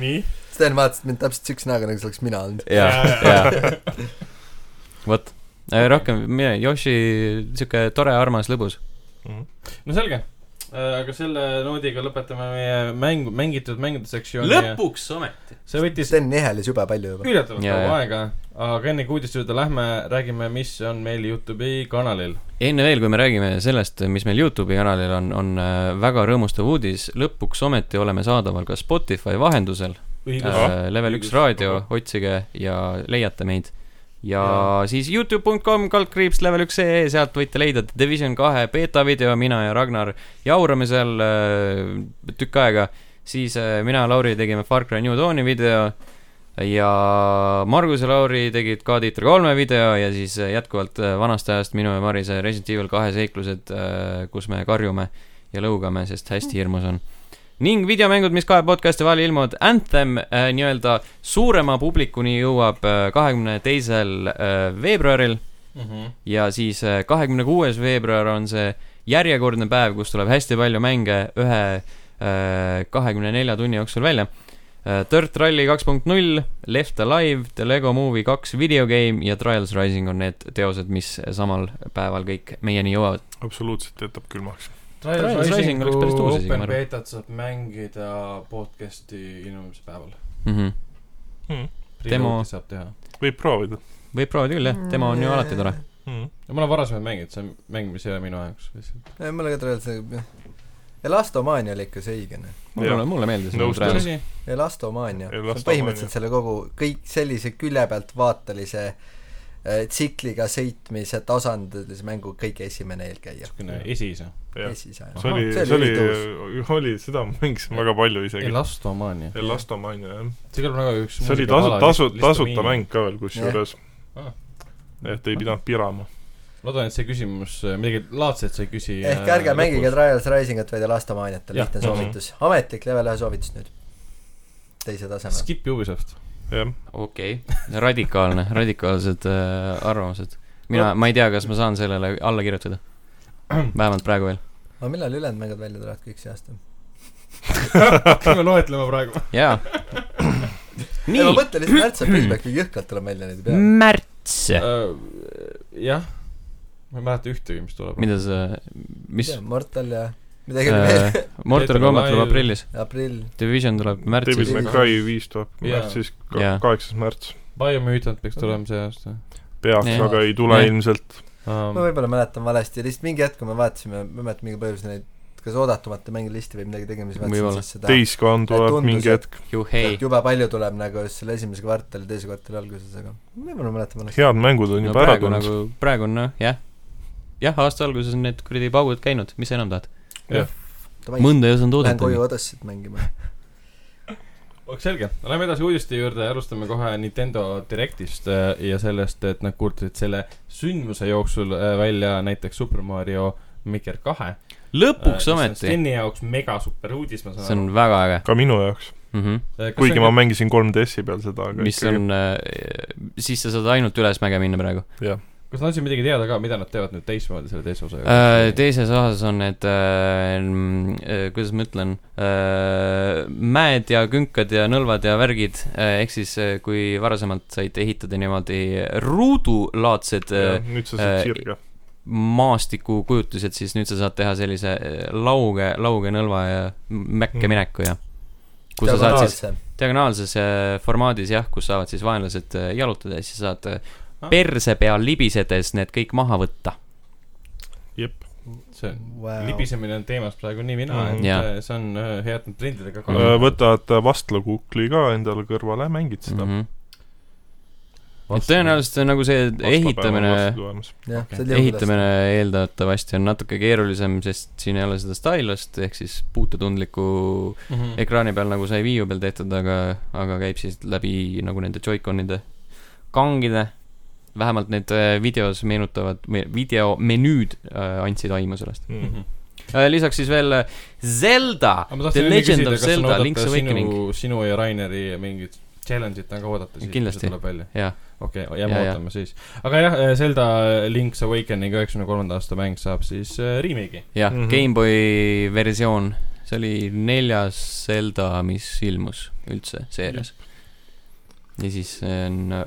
[SPEAKER 2] nii .
[SPEAKER 3] Sten vaatas mind täpselt siukse näoga , nagu see oleks mina olnud .
[SPEAKER 1] ja , ja , vot . rohkem , mina , Yoshi , siuke tore , armas , lõbus .
[SPEAKER 2] no selge , aga selle noodiga lõpetame meie mängu , mängitud mängude sektsiooni ..
[SPEAKER 1] ometi .
[SPEAKER 2] see võttis
[SPEAKER 3] Sten nihelis jube palju juba .
[SPEAKER 2] üllatavalt
[SPEAKER 1] Jaa,
[SPEAKER 2] kaua
[SPEAKER 1] jaa. aega,
[SPEAKER 2] aega , aga enne kui uudiste juurde lähme , räägime , mis on meil Youtube'i kanalil .
[SPEAKER 1] enne veel , kui me räägime sellest , mis meil Youtube'i kanalil on , on äh, väga rõõmustav uudis , lõpuks ometi oleme saadaval ka Spotify vahendusel .
[SPEAKER 4] Ahah.
[SPEAKER 1] Äh, Level üks raadio , otsige ja leiate meid . ja siis Youtube.com , kaldkriips , level üks ee , sealt võite leida The Division kahe beeta video , mina ja Ragnar jaurame seal äh, tükk aega . siis äh, mina ja Lauri tegime Far Cry New Dawni video ja Margus ja Lauri tegid ka Tiitri kolme video ja siis jätkuvalt äh, vanast ajast minu ja Marise Resident Evil kahe seiklused , kus me karjume ja lõugame , sest hästi hirmus on . ning videomängud , mis kahe podcast'i vahel ilmuvad , Anthem äh, nii-öelda suurema publikuni jõuab äh, kahekümne teisel äh, veebruaril
[SPEAKER 2] Mhm.
[SPEAKER 1] ja siis äh, kahekümne kuues veebruar on see järjekordne päev , kus tuleb hästi palju mänge ühe äh, kahekümne nelja tunni jooksul välja . Dirt Rally kaks punkt null , Left Alive , The Lego Movie kaks videogame ja Trials Rising on need teosed , mis samal päeval kõik meieni jõuavad .
[SPEAKER 4] absoluutselt jätab külmaks .
[SPEAKER 1] Trials Rising oleks päris tuus asi, ma
[SPEAKER 2] Open
[SPEAKER 1] arvan.
[SPEAKER 2] Betat saab mängida podcast'i ilmumise päeval .
[SPEAKER 1] mm . -hmm.
[SPEAKER 4] Mm.
[SPEAKER 1] Demo-
[SPEAKER 2] Reload'i saab teha .
[SPEAKER 4] võib proovida
[SPEAKER 1] võib proovida küll jah , tema on ju alati tore .
[SPEAKER 4] mm. .
[SPEAKER 2] ma olen varasemalt mänginud , see on mäng , mis ei ole minu jaoks lihtsalt .
[SPEAKER 3] mulle ka tuleb see , Elastomaania oli ikka see õige , noh .
[SPEAKER 1] mulle , mulle meeldis .
[SPEAKER 4] Nõustun. Trials.
[SPEAKER 3] Elastomaania . see on
[SPEAKER 4] Elastomaania.
[SPEAKER 3] põhimõtteliselt selle kogu , kõik sellise külje pealt vaatelise äh, tsikliga sõitmise tasandil , see mängu kõige esimene eelkäija .
[SPEAKER 2] niisugune esiisa .
[SPEAKER 4] jah ,
[SPEAKER 3] esiisa ,
[SPEAKER 4] see oli , see oli , oli , seda ma mängisin väga palju isegi .
[SPEAKER 2] Elastomaania .
[SPEAKER 4] Elastomania , jah .
[SPEAKER 2] see kõlab nagu üks
[SPEAKER 4] see oli tasu , tasu , tasuta . mäng ka veel kusjuures . et ei pidanud piirama .
[SPEAKER 2] loodan , et see küsimus , midagi laadset sa ei küsi .
[SPEAKER 4] äh,
[SPEAKER 2] äh,
[SPEAKER 3] ehk ärge mängige . Trials Risingut , vaid Elastomaaniat ,
[SPEAKER 2] Jah.
[SPEAKER 4] Mhm.
[SPEAKER 3] lihtne soovitus . ametlik level ühe soovitus nüüd . teise tasemel .
[SPEAKER 2] Skip Ubisoft .
[SPEAKER 4] jah ,
[SPEAKER 1] okei okay. , radikaalne , radikaalsed äh, arvamused . mina , ma ei tea , kas ma saan sellele alla kirjutada . vähemalt praegu veel .
[SPEAKER 3] aga millal ülejäänud mängud välja tulevad kõik see aasta ?
[SPEAKER 2] hakkame loetlema praegu .
[SPEAKER 1] jaa .
[SPEAKER 3] ei ma
[SPEAKER 1] nii , Mm.
[SPEAKER 3] mõtlen lihtsalt märts-aprill peaks mingi jõhkralt tuleb välja neid peale .
[SPEAKER 1] märts .
[SPEAKER 2] Äh, jah . ma ei mäleta ühtegi , mis tuleb .
[SPEAKER 1] mida sa , mis ? Äh.
[SPEAKER 3] Mortal ja midagi oli veel .
[SPEAKER 1] Mortal Combat tuleb aprillis ,
[SPEAKER 3] aprill .
[SPEAKER 1] Division tuleb
[SPEAKER 4] David
[SPEAKER 1] märtsis .
[SPEAKER 3] Division.
[SPEAKER 4] McRae viis tuleb
[SPEAKER 2] Jaa.
[SPEAKER 4] märtsis ,
[SPEAKER 1] Jaa.
[SPEAKER 4] kaheksas märts .
[SPEAKER 2] Biomutant peaks tulema see aasta Ähm,
[SPEAKER 4] peaks ,
[SPEAKER 1] Jaa.
[SPEAKER 4] aga ei tule
[SPEAKER 1] Jaa.
[SPEAKER 4] ilmselt .
[SPEAKER 3] ma võib-olla mäletan valesti , lihtsalt mingi hetk , kui me vaatasime , ma ei mäleta , mingi põhjusel neid , kas oodatumata mängilisti või midagi tegime , siis vaatasin
[SPEAKER 1] Võib-olla.
[SPEAKER 3] siis seda ,
[SPEAKER 4] Dayscan tuleb
[SPEAKER 3] tundus,
[SPEAKER 4] mingi
[SPEAKER 3] et-
[SPEAKER 4] hetk .
[SPEAKER 1] Juhei
[SPEAKER 3] et , jube palju tuleb nagu just selle esimese kvartali , teise kvartali alguses , aga võib-olla ma mäletan valesti .
[SPEAKER 4] head mängud on
[SPEAKER 1] no
[SPEAKER 4] juba ära
[SPEAKER 1] praegu
[SPEAKER 4] tulnud .
[SPEAKER 1] nagu , praegu on noh , jah . jah , aasta alguses on need kuradi paugud käinud , mis sa enam tahad ? mõnda ei osanud
[SPEAKER 3] Lähen koju
[SPEAKER 1] oodata .
[SPEAKER 3] Odessit mängima .
[SPEAKER 2] oleks selge , lähme edasi uudiste juurde , alustame kohe Nintendo Directist äh, ja sellest , et nad kuulutasid selle sündmuse jooksul äh, välja näiteks Super Mario Maker kahe .
[SPEAKER 1] lõpuks
[SPEAKER 2] Äh,
[SPEAKER 1] ometi ,
[SPEAKER 2] Steni jaoks mega super uudis , ma
[SPEAKER 1] see
[SPEAKER 2] saan Äh,
[SPEAKER 1] on väga äge
[SPEAKER 4] ka minu jaoks ,
[SPEAKER 1] mm . -hmm
[SPEAKER 2] aru .
[SPEAKER 4] kuigi ma mängisin 3DS-i peal seda , aga
[SPEAKER 1] mis on , siis sa saad ainult ülesmäge minna praegu .
[SPEAKER 4] jah ,
[SPEAKER 2] kas nad andsid midagi teada ka , mida nad teevad nüüd teistmoodi selle teise osaga Te...
[SPEAKER 1] Äh, teises osas on need , kuidas ma ütlen , mäed ja künkad ja nõlvad ja värgid , ehk siis äh, kui varasemalt said ehitada niimoodi ruudulaadsed äh,
[SPEAKER 4] nüüd sa
[SPEAKER 1] äh,
[SPEAKER 4] saad sirge .
[SPEAKER 1] maastikukujutised , siis nüüd sa saad teha sellise äh, lauge , lauge nõlva ja mäkke
[SPEAKER 4] Mm.
[SPEAKER 1] mineku ja kus sa saad siis . diagonaalses äh, formaadis jah , kus saavad siis vaenlased äh, jalutada ja siis saad äh,
[SPEAKER 2] Ah.
[SPEAKER 1] perse peal libisedes need kõik maha võtta .
[SPEAKER 4] jep ,
[SPEAKER 2] see on wow. ,
[SPEAKER 3] Wow.
[SPEAKER 2] libisemine on teemas praegu nii mina
[SPEAKER 4] Mhm.
[SPEAKER 2] mm, , et
[SPEAKER 1] Jaa.
[SPEAKER 2] yeah. see on äh, hea , et nad trendidega ka mm.
[SPEAKER 4] Äh, võtad vastlakukli ka endale kõrvale , mängid seda .
[SPEAKER 1] -hmm. Mm-hmm. et tõenäoliselt see nagu see ehitamine ,
[SPEAKER 3] jah , see oli õudne .
[SPEAKER 1] ehitamine eeldatavasti on natuke keerulisem , sest siin ei ole seda stylust ehk siis puututundlikku
[SPEAKER 2] mm -hmm.
[SPEAKER 1] ekraani peal nagu sai Wii U peal tehtud , aga , aga käib siis läbi nagu nende Joy-Conide kangide . vähemalt need äh, videos meenutavad , videomenüüd äh, andsid aimu sellest .
[SPEAKER 2] Mm
[SPEAKER 4] Mhm.
[SPEAKER 2] -hmm.
[SPEAKER 1] lisaks siis veel äh, Zelda
[SPEAKER 2] aga
[SPEAKER 1] The
[SPEAKER 2] ma , tahtsin nüüd
[SPEAKER 1] Legend
[SPEAKER 2] küsida ,
[SPEAKER 1] of
[SPEAKER 2] kas on
[SPEAKER 1] Zelda , Link's
[SPEAKER 2] oodata
[SPEAKER 1] Awakening
[SPEAKER 2] sinu , sinu ja Raineri mingit challenge'it on ka oodata siis , kui
[SPEAKER 1] Kindlasti.
[SPEAKER 2] see tuleb välja ?
[SPEAKER 1] jah ,
[SPEAKER 2] okei okay, , jääme
[SPEAKER 1] Ja, ja.
[SPEAKER 2] ootama siis . aga jah , Zelda Link's Awakening üheksakümne kolmanda aasta mäng saab siis äh, remake'i .
[SPEAKER 1] jah mm
[SPEAKER 4] Mhm.
[SPEAKER 1] -hmm. Gameboy versioon , see oli neljas Zelda , mis ilmus üldse seerias . ja siis see on äh,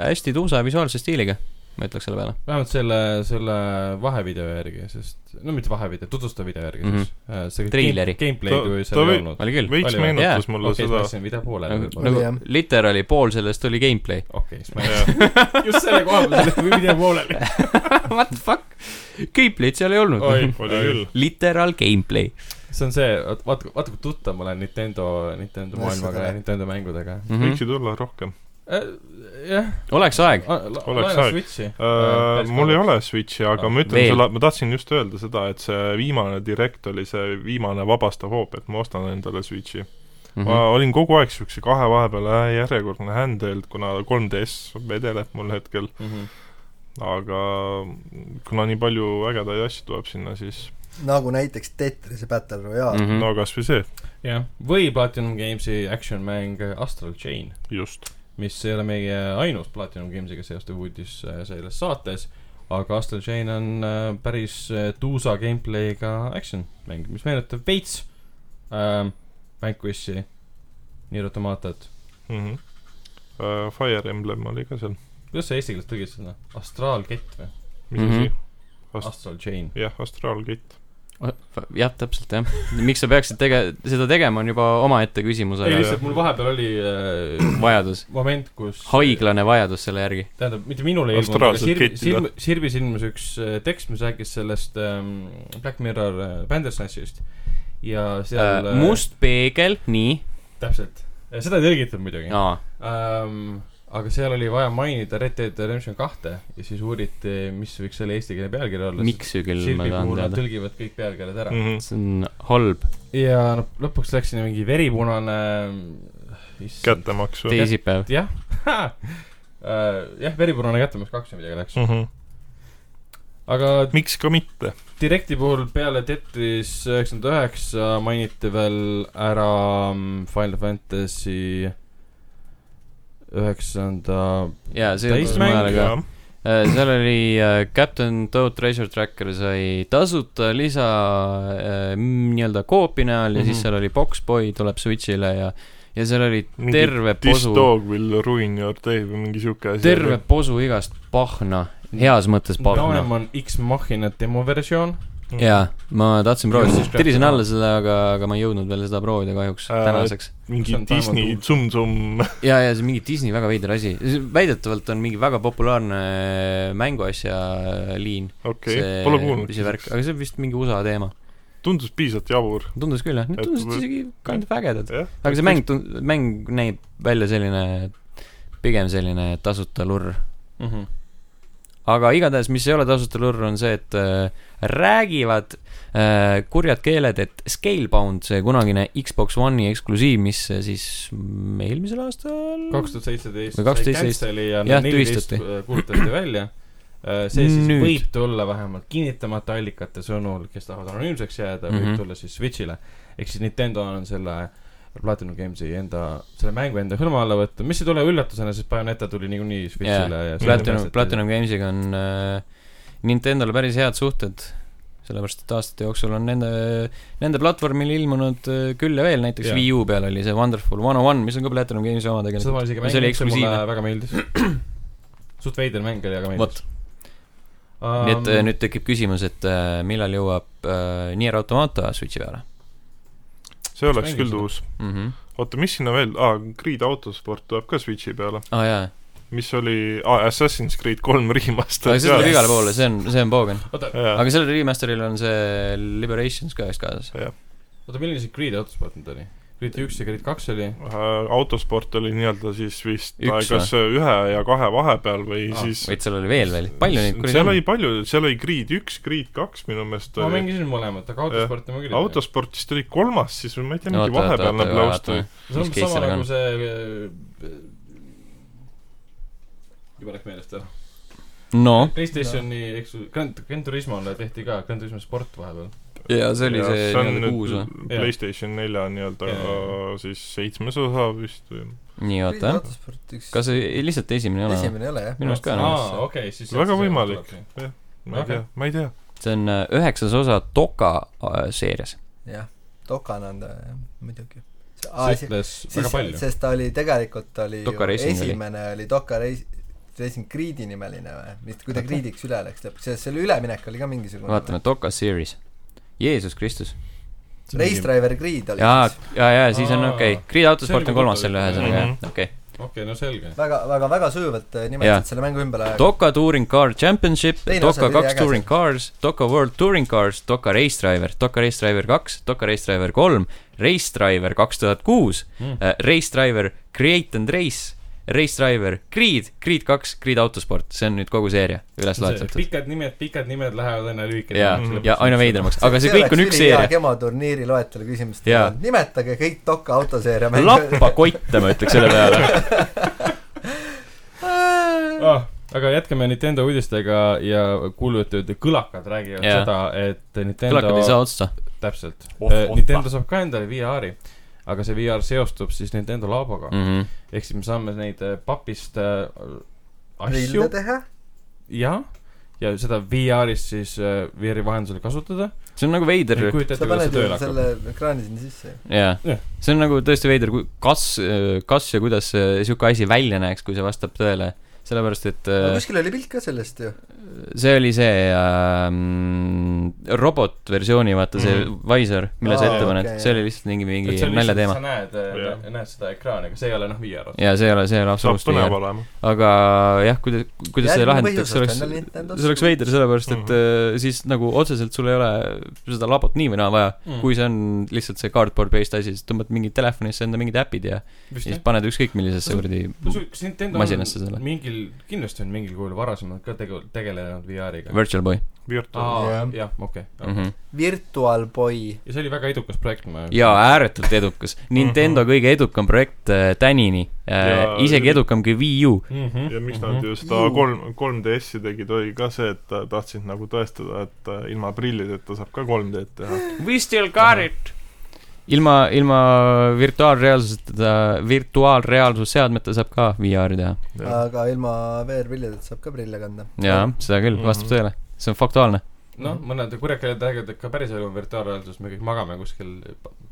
[SPEAKER 1] hästi tuusa visuaalse stiiliga , ma ütleks selle peale .
[SPEAKER 2] vähemalt selle , selle vahevideo järgi , sest , no mitte vahevideo , tutvustav video järgi
[SPEAKER 1] Mhm.
[SPEAKER 2] siis mm . -hmm. see
[SPEAKER 1] Treileri.
[SPEAKER 2] game, gameplay
[SPEAKER 4] Ta-
[SPEAKER 2] ju
[SPEAKER 4] ta
[SPEAKER 2] seal ei
[SPEAKER 4] või-
[SPEAKER 2] olnud .
[SPEAKER 1] oli küll .
[SPEAKER 4] veits
[SPEAKER 2] Oli või?
[SPEAKER 4] meenutas
[SPEAKER 1] Jaa.
[SPEAKER 4] mulle
[SPEAKER 2] okei , siis ma
[SPEAKER 4] seda ,
[SPEAKER 2] mõtlesin , mida poole
[SPEAKER 1] nagu
[SPEAKER 2] peal , pole .
[SPEAKER 1] nagu
[SPEAKER 3] jah.
[SPEAKER 1] literaali pool sellest oli gameplay .
[SPEAKER 2] okei , siis ma ei tea . just selle koha peal , või video poole peal .
[SPEAKER 1] What the fuck ? Gameplay'd seal ei olnud .
[SPEAKER 4] oli küll .
[SPEAKER 1] literaal gameplay
[SPEAKER 2] see on see , vaata , vaata kui tuttav ma olen Nintendo , Nintendo
[SPEAKER 3] No,
[SPEAKER 2] maailmaga
[SPEAKER 3] seda-
[SPEAKER 2] ja Nintendo mängudega .
[SPEAKER 1] mm . -hmm.
[SPEAKER 4] võiksid olla rohkem .
[SPEAKER 2] jah ,
[SPEAKER 1] oleks aeg .
[SPEAKER 4] Oleks
[SPEAKER 2] laena
[SPEAKER 4] aeg. Ah.
[SPEAKER 2] Switchi .
[SPEAKER 4] Äh, mul ei ole Switchi , aga ma ütlen
[SPEAKER 1] Veel.
[SPEAKER 4] sulle , ma tahtsin just öelda seda , et see viimane Direct oli see viimane vabastav hoop , et ma ostan endale Switchi .
[SPEAKER 1] Mm
[SPEAKER 2] Mhm.
[SPEAKER 4] ma
[SPEAKER 1] -hmm.
[SPEAKER 4] olin kogu aeg siukse kahe vahepeal äh, järjekordne handheld , kuna 3DS vedeleb mul hetkel ,
[SPEAKER 2] ole .
[SPEAKER 1] Mhm.
[SPEAKER 4] aga kuna nii palju ägedaid asju tuleb sinna , siis
[SPEAKER 3] nagu näiteks Tetrise Battle Royale .
[SPEAKER 1] Mm
[SPEAKER 2] Mhm.
[SPEAKER 4] mm.
[SPEAKER 1] -hmm.
[SPEAKER 4] no kasvõi see ,
[SPEAKER 2] jah , või Platinum Gamesi action mäng äh, Astral Chain ,
[SPEAKER 4] just .
[SPEAKER 2] mis ei ole meie ainus Platinum Gamesiga seostav uudis äh, selles saates , aga Astral Chain on äh, päris äh, tuusa gameplay'ga action mäng , mis meenutab veits ähm, Vanquishi , Nier Automatat .
[SPEAKER 4] mm . -hmm. Fire Emblem oli ka seal ,
[SPEAKER 2] kuidas sa eesti keeles tõlgid seda ? astraalkett või ?
[SPEAKER 4] mis
[SPEAKER 1] Mhm.
[SPEAKER 4] mm -hmm. asi , Ast-
[SPEAKER 2] Astral Chain .
[SPEAKER 4] jah , astraalkett .
[SPEAKER 1] jah , täpselt jah . miks sa peaksid tege- , seda tegema , on juba omaette küsimus ,
[SPEAKER 2] ei ,
[SPEAKER 1] aga
[SPEAKER 2] lihtsalt mul vahepeal oli äh,
[SPEAKER 1] vajadus ,
[SPEAKER 2] moment , kus
[SPEAKER 1] haiglane vajadus selle järgi .
[SPEAKER 2] tähendab , mitte minul ei ilmunud , aga
[SPEAKER 4] Astraalsed
[SPEAKER 2] Sirbi ,
[SPEAKER 4] ketid,
[SPEAKER 2] Sirbi , Sirbis ilmus üks äh, tekst , mis rääkis sellest ähm, Black Mirror äh, Bandersnatchist ja seal äh,
[SPEAKER 1] Uh, must peegel , nii ,
[SPEAKER 2] täpselt , seda ei tõlgitud muidugi
[SPEAKER 1] aa ,
[SPEAKER 2] ähm, . aga seal oli vaja mainida Red Dead Redemption kahte ja siis uuriti , mis võiks selle eesti keele pealkiri olla .
[SPEAKER 1] miks ju küll , ma
[SPEAKER 2] Sirbi
[SPEAKER 1] tahan
[SPEAKER 2] puhul nad
[SPEAKER 1] teada .
[SPEAKER 2] tõlgivad kõik pealkirjad ära mm. .
[SPEAKER 4] Mm -hmm.
[SPEAKER 1] see on halb ,
[SPEAKER 2] ja noh , lõpuks läks sinna mingi veripunane . äh,
[SPEAKER 4] kättemaks või ?
[SPEAKER 1] teisipäev .
[SPEAKER 2] jah Äh, jah , veripunane kättemaks kaks või midagi läks .
[SPEAKER 4] Mm -hmm.
[SPEAKER 2] aga
[SPEAKER 4] miks ka mitte ,
[SPEAKER 2] Directi puhul peale Tetris üheksakümmend üheksa mainiti veel ära mm, Final Fantasy üheksanda ,
[SPEAKER 1] jaa , see juhtus mu
[SPEAKER 2] Täismäng,
[SPEAKER 1] ajal ka
[SPEAKER 4] jah ..
[SPEAKER 1] Äh, seal oli äh, Captain Toad Treasure Tracker sai tasuta lisa äh, m- nii-öelda koopi näol ja siis
[SPEAKER 4] Mhm.
[SPEAKER 1] seal oli Boxboy tuleb Switch'ile ja , ja seal oli
[SPEAKER 4] Mingi
[SPEAKER 1] terve
[SPEAKER 4] This
[SPEAKER 1] posu ,
[SPEAKER 4] dog will ruin your day või mingi siuke asi .
[SPEAKER 1] terve posu igast pahna , heas mõttes pahna .
[SPEAKER 2] kauem on X-Machina demoversioon ,
[SPEAKER 4] Mhm.
[SPEAKER 1] jaa , ma tahtsin proovida ,
[SPEAKER 2] Just
[SPEAKER 1] tirisin
[SPEAKER 2] Crafted
[SPEAKER 1] alla seda , aga , aga ma ei jõudnud veel seda proovida kahjuks
[SPEAKER 4] Äh,
[SPEAKER 1] tänaseks .
[SPEAKER 4] mingi
[SPEAKER 2] see on
[SPEAKER 4] Disney
[SPEAKER 2] taevatuul.
[SPEAKER 4] tsum-tsum ,
[SPEAKER 1] ja , ja see on mingi Disney väga veider asi , väidetavalt on mingi väga populaarne äh, mänguasja äh, liin .
[SPEAKER 4] okei , pole
[SPEAKER 1] see värk ,
[SPEAKER 4] kuulnud .
[SPEAKER 1] aga see on vist mingi USA teema .
[SPEAKER 4] tundus piisavalt jabur .
[SPEAKER 1] tundus küll jah , need
[SPEAKER 4] Et
[SPEAKER 1] tundusid
[SPEAKER 4] või-
[SPEAKER 1] isegi kind of ägedad .
[SPEAKER 4] jah ,
[SPEAKER 1] aga see mäng , mäng näib välja selline , pigem selline tasuta lurr .
[SPEAKER 2] mm . -hmm.
[SPEAKER 1] aga igatahes , mis ei ole tasuta lurr , on see , et äh, räägivad äh, kurjad keeled , et Scalebound , see kunagine Xbox One'i eksklusiiv , mis äh, siis mm, eelmisel aastal
[SPEAKER 2] kaks tuhat seitseteist
[SPEAKER 1] Või 2017.
[SPEAKER 2] canceli ja
[SPEAKER 1] Jah,
[SPEAKER 2] neliteist
[SPEAKER 1] tühistati.
[SPEAKER 2] kuulutati välja . see siis
[SPEAKER 1] Nüüd.
[SPEAKER 2] Nüüd. võib tulla vähemalt kinnitamata allikate sõnul , kes tahavad anonüümseks jääda mm , -hmm.
[SPEAKER 1] Mhm.
[SPEAKER 2] võib tulla siis Switch'ile . ehk siis Nintendo on selle Platinum Games'i enda , selle mängu enda hõlma alla võtnud , mis ei tule üllatusena , sest Bayoneta tuli niikuinii Switch'ile yeah. ja
[SPEAKER 1] Platinum , Platinum Gamesiga on äh, Nintendol päris head suhted , sellepärast et aastate jooksul on nende , nende platvormil ilmunud äh, küll ja veel , näiteks
[SPEAKER 2] Jaa.
[SPEAKER 1] Wii U peal oli see Wonderful One on One , mis on ka Platinum Gamesi oma
[SPEAKER 2] seda ma
[SPEAKER 1] tegelikult .
[SPEAKER 2] isegi
[SPEAKER 1] see oli
[SPEAKER 2] mänginud , see mulle
[SPEAKER 1] eksklusiivne.
[SPEAKER 2] väga meeldis . suht veider mäng oli , aga meeldis
[SPEAKER 1] vot ,. nii et
[SPEAKER 2] Um,
[SPEAKER 1] äh, . nüüd tekib küsimus , et äh, millal jõuab äh, Nier Automata Switchi peale
[SPEAKER 4] see oleks
[SPEAKER 2] Mängin
[SPEAKER 4] küll
[SPEAKER 2] seda.
[SPEAKER 4] uus .
[SPEAKER 1] mm ? -hmm.
[SPEAKER 4] oota , mis sinna veel , aa , Creed Autosport tuleb ka Switchi peale ,
[SPEAKER 1] aa ah, jaa ,
[SPEAKER 4] mis oli , aa , Assassin's Creed kolm remaster .
[SPEAKER 1] aga see tuleb igale poole , see on , see on poogen .
[SPEAKER 2] oota ,
[SPEAKER 4] jaa ,
[SPEAKER 1] aga sellel remaster'il on see Liberations ka vist kaasas .
[SPEAKER 2] oota , milline see Creed'i otsusport nüüd oli ? Creed üks ja Creed kaks oli ?
[SPEAKER 4] Äh, autosport oli nii-öelda siis vist
[SPEAKER 1] Üks
[SPEAKER 4] Üks, kas ühe ja kahe vahepeal või
[SPEAKER 2] Aa,
[SPEAKER 4] ah, siis
[SPEAKER 1] vaid seal oli veel , veel , palju neid kuradi
[SPEAKER 4] seal oli palju , seal oli Creed üks , Creed kaks minu meelest
[SPEAKER 2] ma
[SPEAKER 4] oli .
[SPEAKER 2] mängisin mõlemat , aga autosporti ma küll ei tea.
[SPEAKER 4] autosport vist oli kolmas siis või ma ei tea ,
[SPEAKER 1] No oota,
[SPEAKER 4] mingi
[SPEAKER 1] oota,
[SPEAKER 4] vahepeal nad
[SPEAKER 1] oota,
[SPEAKER 4] lausta
[SPEAKER 1] oota. .
[SPEAKER 2] see on
[SPEAKER 1] Mis case
[SPEAKER 2] umbes sama
[SPEAKER 1] sellega
[SPEAKER 2] nagu
[SPEAKER 1] on?
[SPEAKER 2] see äh, juba läks meelest ära .
[SPEAKER 1] no
[SPEAKER 2] Playstationi , eks ju , Grand , Grand Turismole tehti ka Grand Turismo sport vahepeal .
[SPEAKER 1] ja see oli
[SPEAKER 4] Ja
[SPEAKER 1] see
[SPEAKER 4] on
[SPEAKER 1] nii-öelda
[SPEAKER 4] nüüd
[SPEAKER 1] kuus või ?
[SPEAKER 4] Playstation nelja nii-öelda
[SPEAKER 2] Jaa, jaa,
[SPEAKER 4] siis seitsmes osa vist või
[SPEAKER 1] nii , oota . kas see ei- lihtsalt esimene ei ole või ?
[SPEAKER 3] esimene ei ole jah ?
[SPEAKER 1] minu arust ka enam .
[SPEAKER 2] aa , okei , siis
[SPEAKER 4] Väga võimalik. ma ei
[SPEAKER 2] Okei.
[SPEAKER 4] tea , ma ei tea .
[SPEAKER 1] see on äh, üheksas osa Doka äh, seerias .
[SPEAKER 3] jah , Dokana on ta jah , muidugi .
[SPEAKER 2] see ütles väga palju .
[SPEAKER 3] sest ta oli , tegelikult ta oli
[SPEAKER 1] Doka
[SPEAKER 3] ju
[SPEAKER 1] Racing oli.
[SPEAKER 3] esimene oli Doka Reis- , Racing Creed'i nimeline või , mis , kui ta Creed'iks üle läks lõpuks , see , selle üleminek oli ka mingisugune .
[SPEAKER 1] vaatame , Doka series . Jeesus Kristus .
[SPEAKER 3] Race Driver Creed oli
[SPEAKER 1] jaa
[SPEAKER 3] siis .,
[SPEAKER 1] jaa , jaa , siis on
[SPEAKER 2] Aa.
[SPEAKER 1] okei okay. . Grid autosport
[SPEAKER 2] See
[SPEAKER 1] on
[SPEAKER 2] oli
[SPEAKER 1] kolmas
[SPEAKER 2] huvitav.
[SPEAKER 1] selle ühesõnaga , jah ,
[SPEAKER 4] Mhm.
[SPEAKER 1] okei .
[SPEAKER 2] okei , no selge .
[SPEAKER 3] väga , väga , väga sujuvalt äh,
[SPEAKER 1] Jaa.
[SPEAKER 3] nimetasid selle mängu ümber aega .
[SPEAKER 1] Doka Touring Car Championship ,
[SPEAKER 3] Teine osa
[SPEAKER 1] Doka
[SPEAKER 3] oli
[SPEAKER 1] kaks
[SPEAKER 3] äge
[SPEAKER 1] Touring
[SPEAKER 3] see.
[SPEAKER 1] Cars , Doka World Touring Cars , Doka Race Driver , Doka Race Driver kaks , Doka Race Driver kolm , Race Driver kaks tuhat kuus ,
[SPEAKER 2] Äh,
[SPEAKER 1] Race Driver Create and Race , Race Driver Creed , Creed kaks , Creed autosport , see on nüüd kogu seeria üles laetatud .
[SPEAKER 2] pikad nimed , pikad nimed lähevad aina lühikeseks .
[SPEAKER 1] jaa
[SPEAKER 4] Mhm. ,
[SPEAKER 1] ja aina . veidramaks , aga see kõik on üks seeria .
[SPEAKER 3] Gemo turniiri loetelu küsimust
[SPEAKER 1] Jaa. .
[SPEAKER 3] nimetage kõik Doka autoseeria mänge .
[SPEAKER 1] lappa kotte , ma ütleks selle peale .
[SPEAKER 2] ah, . aga jätkame Nintendo uudistega ja kuulujate juurde , kõlakad
[SPEAKER 1] Jaa.
[SPEAKER 2] räägivad yeah. seda , et Nintendo
[SPEAKER 1] kõlakad ei saa otsa .
[SPEAKER 2] täpselt
[SPEAKER 4] Oh,
[SPEAKER 2] oh,
[SPEAKER 4] oh, .
[SPEAKER 2] Nintendo saab ka endale VR-i , aga see VR seostub siis Nintendo laaboga
[SPEAKER 1] Mhm.
[SPEAKER 2] mm. . ehk siis me saame neid äh, papist äh, asju
[SPEAKER 3] prille teha ,
[SPEAKER 2] ja , ja seda VR-is siis äh, VR-i vahendusel kasutada .
[SPEAKER 1] see on nagu veider ,
[SPEAKER 2] kujuta ette ,
[SPEAKER 3] sa
[SPEAKER 2] kuidas see
[SPEAKER 3] paned ju
[SPEAKER 2] tööle hakkab .
[SPEAKER 3] selle ekraani sinna sisse .
[SPEAKER 1] jaa
[SPEAKER 2] Jah. .
[SPEAKER 1] see on nagu tõesti veider , kas , kas ja kuidas see sihuke asi välja näeks , kui see vastab tõele . sellepärast , et
[SPEAKER 3] no
[SPEAKER 1] äh,
[SPEAKER 3] kuskil oli pilt ka sellest ju .
[SPEAKER 1] see oli see ähm, robot-versiooni , vaata see mm.
[SPEAKER 4] Mhm.
[SPEAKER 1] Visor , mille sa
[SPEAKER 3] Aa,
[SPEAKER 1] ette paned
[SPEAKER 3] okei,
[SPEAKER 1] okay, , see oli lihtsalt mingi , mingi naljateema
[SPEAKER 2] sa . näed äh,
[SPEAKER 4] Jah. ,
[SPEAKER 2] näed seda ekraani , aga see ei ole noh VR .
[SPEAKER 1] jaa , see ei ole , see ei ole
[SPEAKER 4] saab
[SPEAKER 1] absoluutselt
[SPEAKER 4] põnev
[SPEAKER 1] nii hea .
[SPEAKER 4] olema .
[SPEAKER 1] aga jah , kuidas , kuidas see lahendatakse , see oleks ,
[SPEAKER 3] Noh,
[SPEAKER 1] see oleks veider , sellepärast
[SPEAKER 2] Mhm.
[SPEAKER 1] et äh, siis nagu otseselt sul ei ole seda labot nii või naa vaja . Mm.
[SPEAKER 2] Mhm.
[SPEAKER 3] Mm.
[SPEAKER 1] kui see on lihtsalt see cardboard based asi , siis tõmbad mingi telefonisse enda mingid äpid ja ja siis paned ükskõik millisesse kuradi
[SPEAKER 2] kas Nintendo
[SPEAKER 1] masinasse selle.
[SPEAKER 2] on mingil , kindlasti on mingil kujul varasemalt ka tegu- , tegelenud VR-iga .
[SPEAKER 1] virtual boy
[SPEAKER 4] virtuaalne .
[SPEAKER 2] aa
[SPEAKER 3] Jah. ,
[SPEAKER 2] jah , okei .
[SPEAKER 1] mm . -hmm.
[SPEAKER 3] Virtual Boy .
[SPEAKER 2] ja see oli väga edukas projekt , ma .
[SPEAKER 1] ja ääretult edukas .
[SPEAKER 2] Mhm.
[SPEAKER 1] Nintendo kõige edukam projekt äh, tänini
[SPEAKER 4] Ja-
[SPEAKER 1] äh, . isegi edukam kui Wii U .
[SPEAKER 2] mm .
[SPEAKER 4] ja miks
[SPEAKER 1] Mhm.
[SPEAKER 4] nad ju seda
[SPEAKER 3] Juu.
[SPEAKER 4] kolm , 3DS-i tegid , oli ka see , et äh, tahtsid nagu tõestada , et äh, ilma prillideta saab ka 3D-d teha .
[SPEAKER 1] We still got it . ilma , ilma virtuaalreaalsuseta , virtuaalreaalsusseadmeta saab ka VR-i teha .
[SPEAKER 3] aga ilma VR-prillideta saab ka prille kanda .
[SPEAKER 1] jaa , seda küll , vastab
[SPEAKER 4] Mhm.
[SPEAKER 1] tõele . see on faktuaalne . Mhm.
[SPEAKER 2] noh , mõned kurjakeeled räägivad , et ka päriselu on virtuaalreaalsus , me kõik magame kuskil ,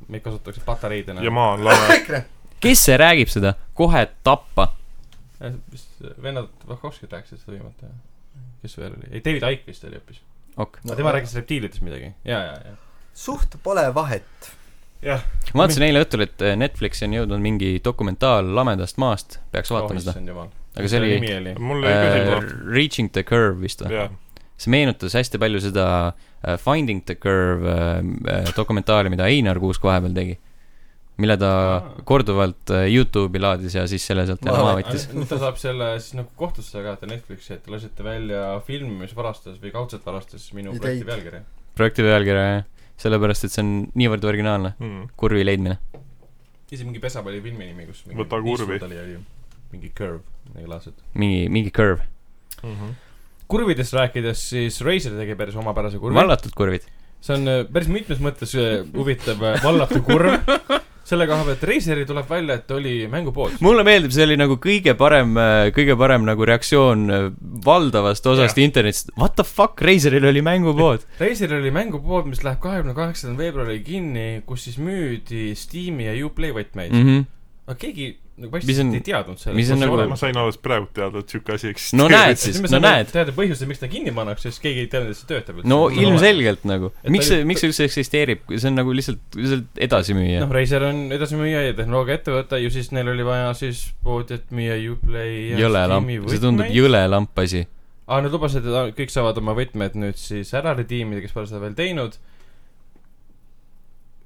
[SPEAKER 2] meid kasutatakse patareidena .
[SPEAKER 4] ja maa on lame .
[SPEAKER 1] kes see räägib seda ? kohe tappa .
[SPEAKER 2] vist vennad Vahhovskid rääkisid seda viimati , kes veel oli , ei David Icke vist oli hoopis .
[SPEAKER 1] ok .
[SPEAKER 2] no tema rääkis reptiilidest midagi , ja , ja , ja .
[SPEAKER 3] suht pole vahet .
[SPEAKER 1] ma vaatasin eile õhtul , et äh, Netflixi on jõudnud mingi dokumentaal lamedast maast , peaks vaatama seda .
[SPEAKER 2] Oh, issand jumal .
[SPEAKER 1] aga see oli
[SPEAKER 2] nimi oli .
[SPEAKER 4] mul jäi ka
[SPEAKER 1] äh,
[SPEAKER 4] silma .
[SPEAKER 1] Reaching the Curve vist või ?
[SPEAKER 4] jah ,
[SPEAKER 1] see meenutas hästi palju seda äh, Finding the Curve äh, äh, dokumentaali , mida Einar Kuusk vahepeal tegi . mille ta
[SPEAKER 2] Aa.
[SPEAKER 1] korduvalt äh, Youtube'i laadis ja siis selle sealt jälle
[SPEAKER 3] Aa,
[SPEAKER 1] maha võttis .
[SPEAKER 2] nüüd ta saab selle siis nagu kohtusse ka , et Netflixi , et te lasite välja filmi , mis varastas või kaudselt varastas minu
[SPEAKER 3] Ideid.
[SPEAKER 2] projekti pealkirja .
[SPEAKER 1] projekti pealkirja , jah . sellepärast , et see on niivõrd originaalne ,
[SPEAKER 4] Mhm.
[SPEAKER 1] kurvi leidmine .
[SPEAKER 2] isegi mingi pesapallifilmi nimi , kus mingi
[SPEAKER 4] Võta kurvi.
[SPEAKER 2] Eastwood oli , oli mingi Curve , midagi laadset .
[SPEAKER 1] mingi , mingi curve .
[SPEAKER 4] Mhm.
[SPEAKER 2] kurvidest rääkides , siis Razer tegi päris omapärase kurvi .
[SPEAKER 1] vallatud kurvid .
[SPEAKER 2] see on äh, päris mitmes mõttes äh, huvitav äh, vallatu kurv . selle koha pealt , Razeri tuleb välja , et oli mängupood .
[SPEAKER 1] mulle meeldib , see oli nagu kõige parem , kõige parem nagu reaktsioon äh, valdavast osast internetist . What the fuck , Razeril oli mängupood .
[SPEAKER 2] Razeril oli mängupood , mis läheb kahekümne kaheksandal veebruaril kinni , kus siis müüdi Steam'i ja Uplay võtmeid mm .
[SPEAKER 1] Mm -hmm.
[SPEAKER 2] -hmm. aga keegi nagu
[SPEAKER 1] Mis on-
[SPEAKER 2] paistliselt ei teadnud
[SPEAKER 1] mis on
[SPEAKER 2] sellest .
[SPEAKER 1] nagu-
[SPEAKER 4] ma sain alles praegu teada , et siuke asi eksisteerib .
[SPEAKER 1] no näed siis , no näed .
[SPEAKER 2] teada põhjuse , miks ta kinni pannakse , sest keegi ei teadnud , et see töötab . Noh,
[SPEAKER 1] no . ilmselgelt nagu ,
[SPEAKER 2] Et
[SPEAKER 1] miks
[SPEAKER 2] ta
[SPEAKER 1] see ,
[SPEAKER 2] ju-
[SPEAKER 1] miks see üldse eksisteerib , see on nagu lihtsalt , lihtsalt edasi-müüa
[SPEAKER 2] noh , Razer on edasimüüja ja tehnoloogiaettevõte ju siis neil oli vaja siis poodi , et müüa Uplay ja
[SPEAKER 1] jõle lamp
[SPEAKER 2] Steam'i ,
[SPEAKER 1] see tundub
[SPEAKER 2] võtmeid.
[SPEAKER 1] jõle lamp asi .
[SPEAKER 2] aa , nad Ah, lubasid , et a- kõik saavad oma võtmed nüüd siis ära redeemida , kes pole seda veel teinud .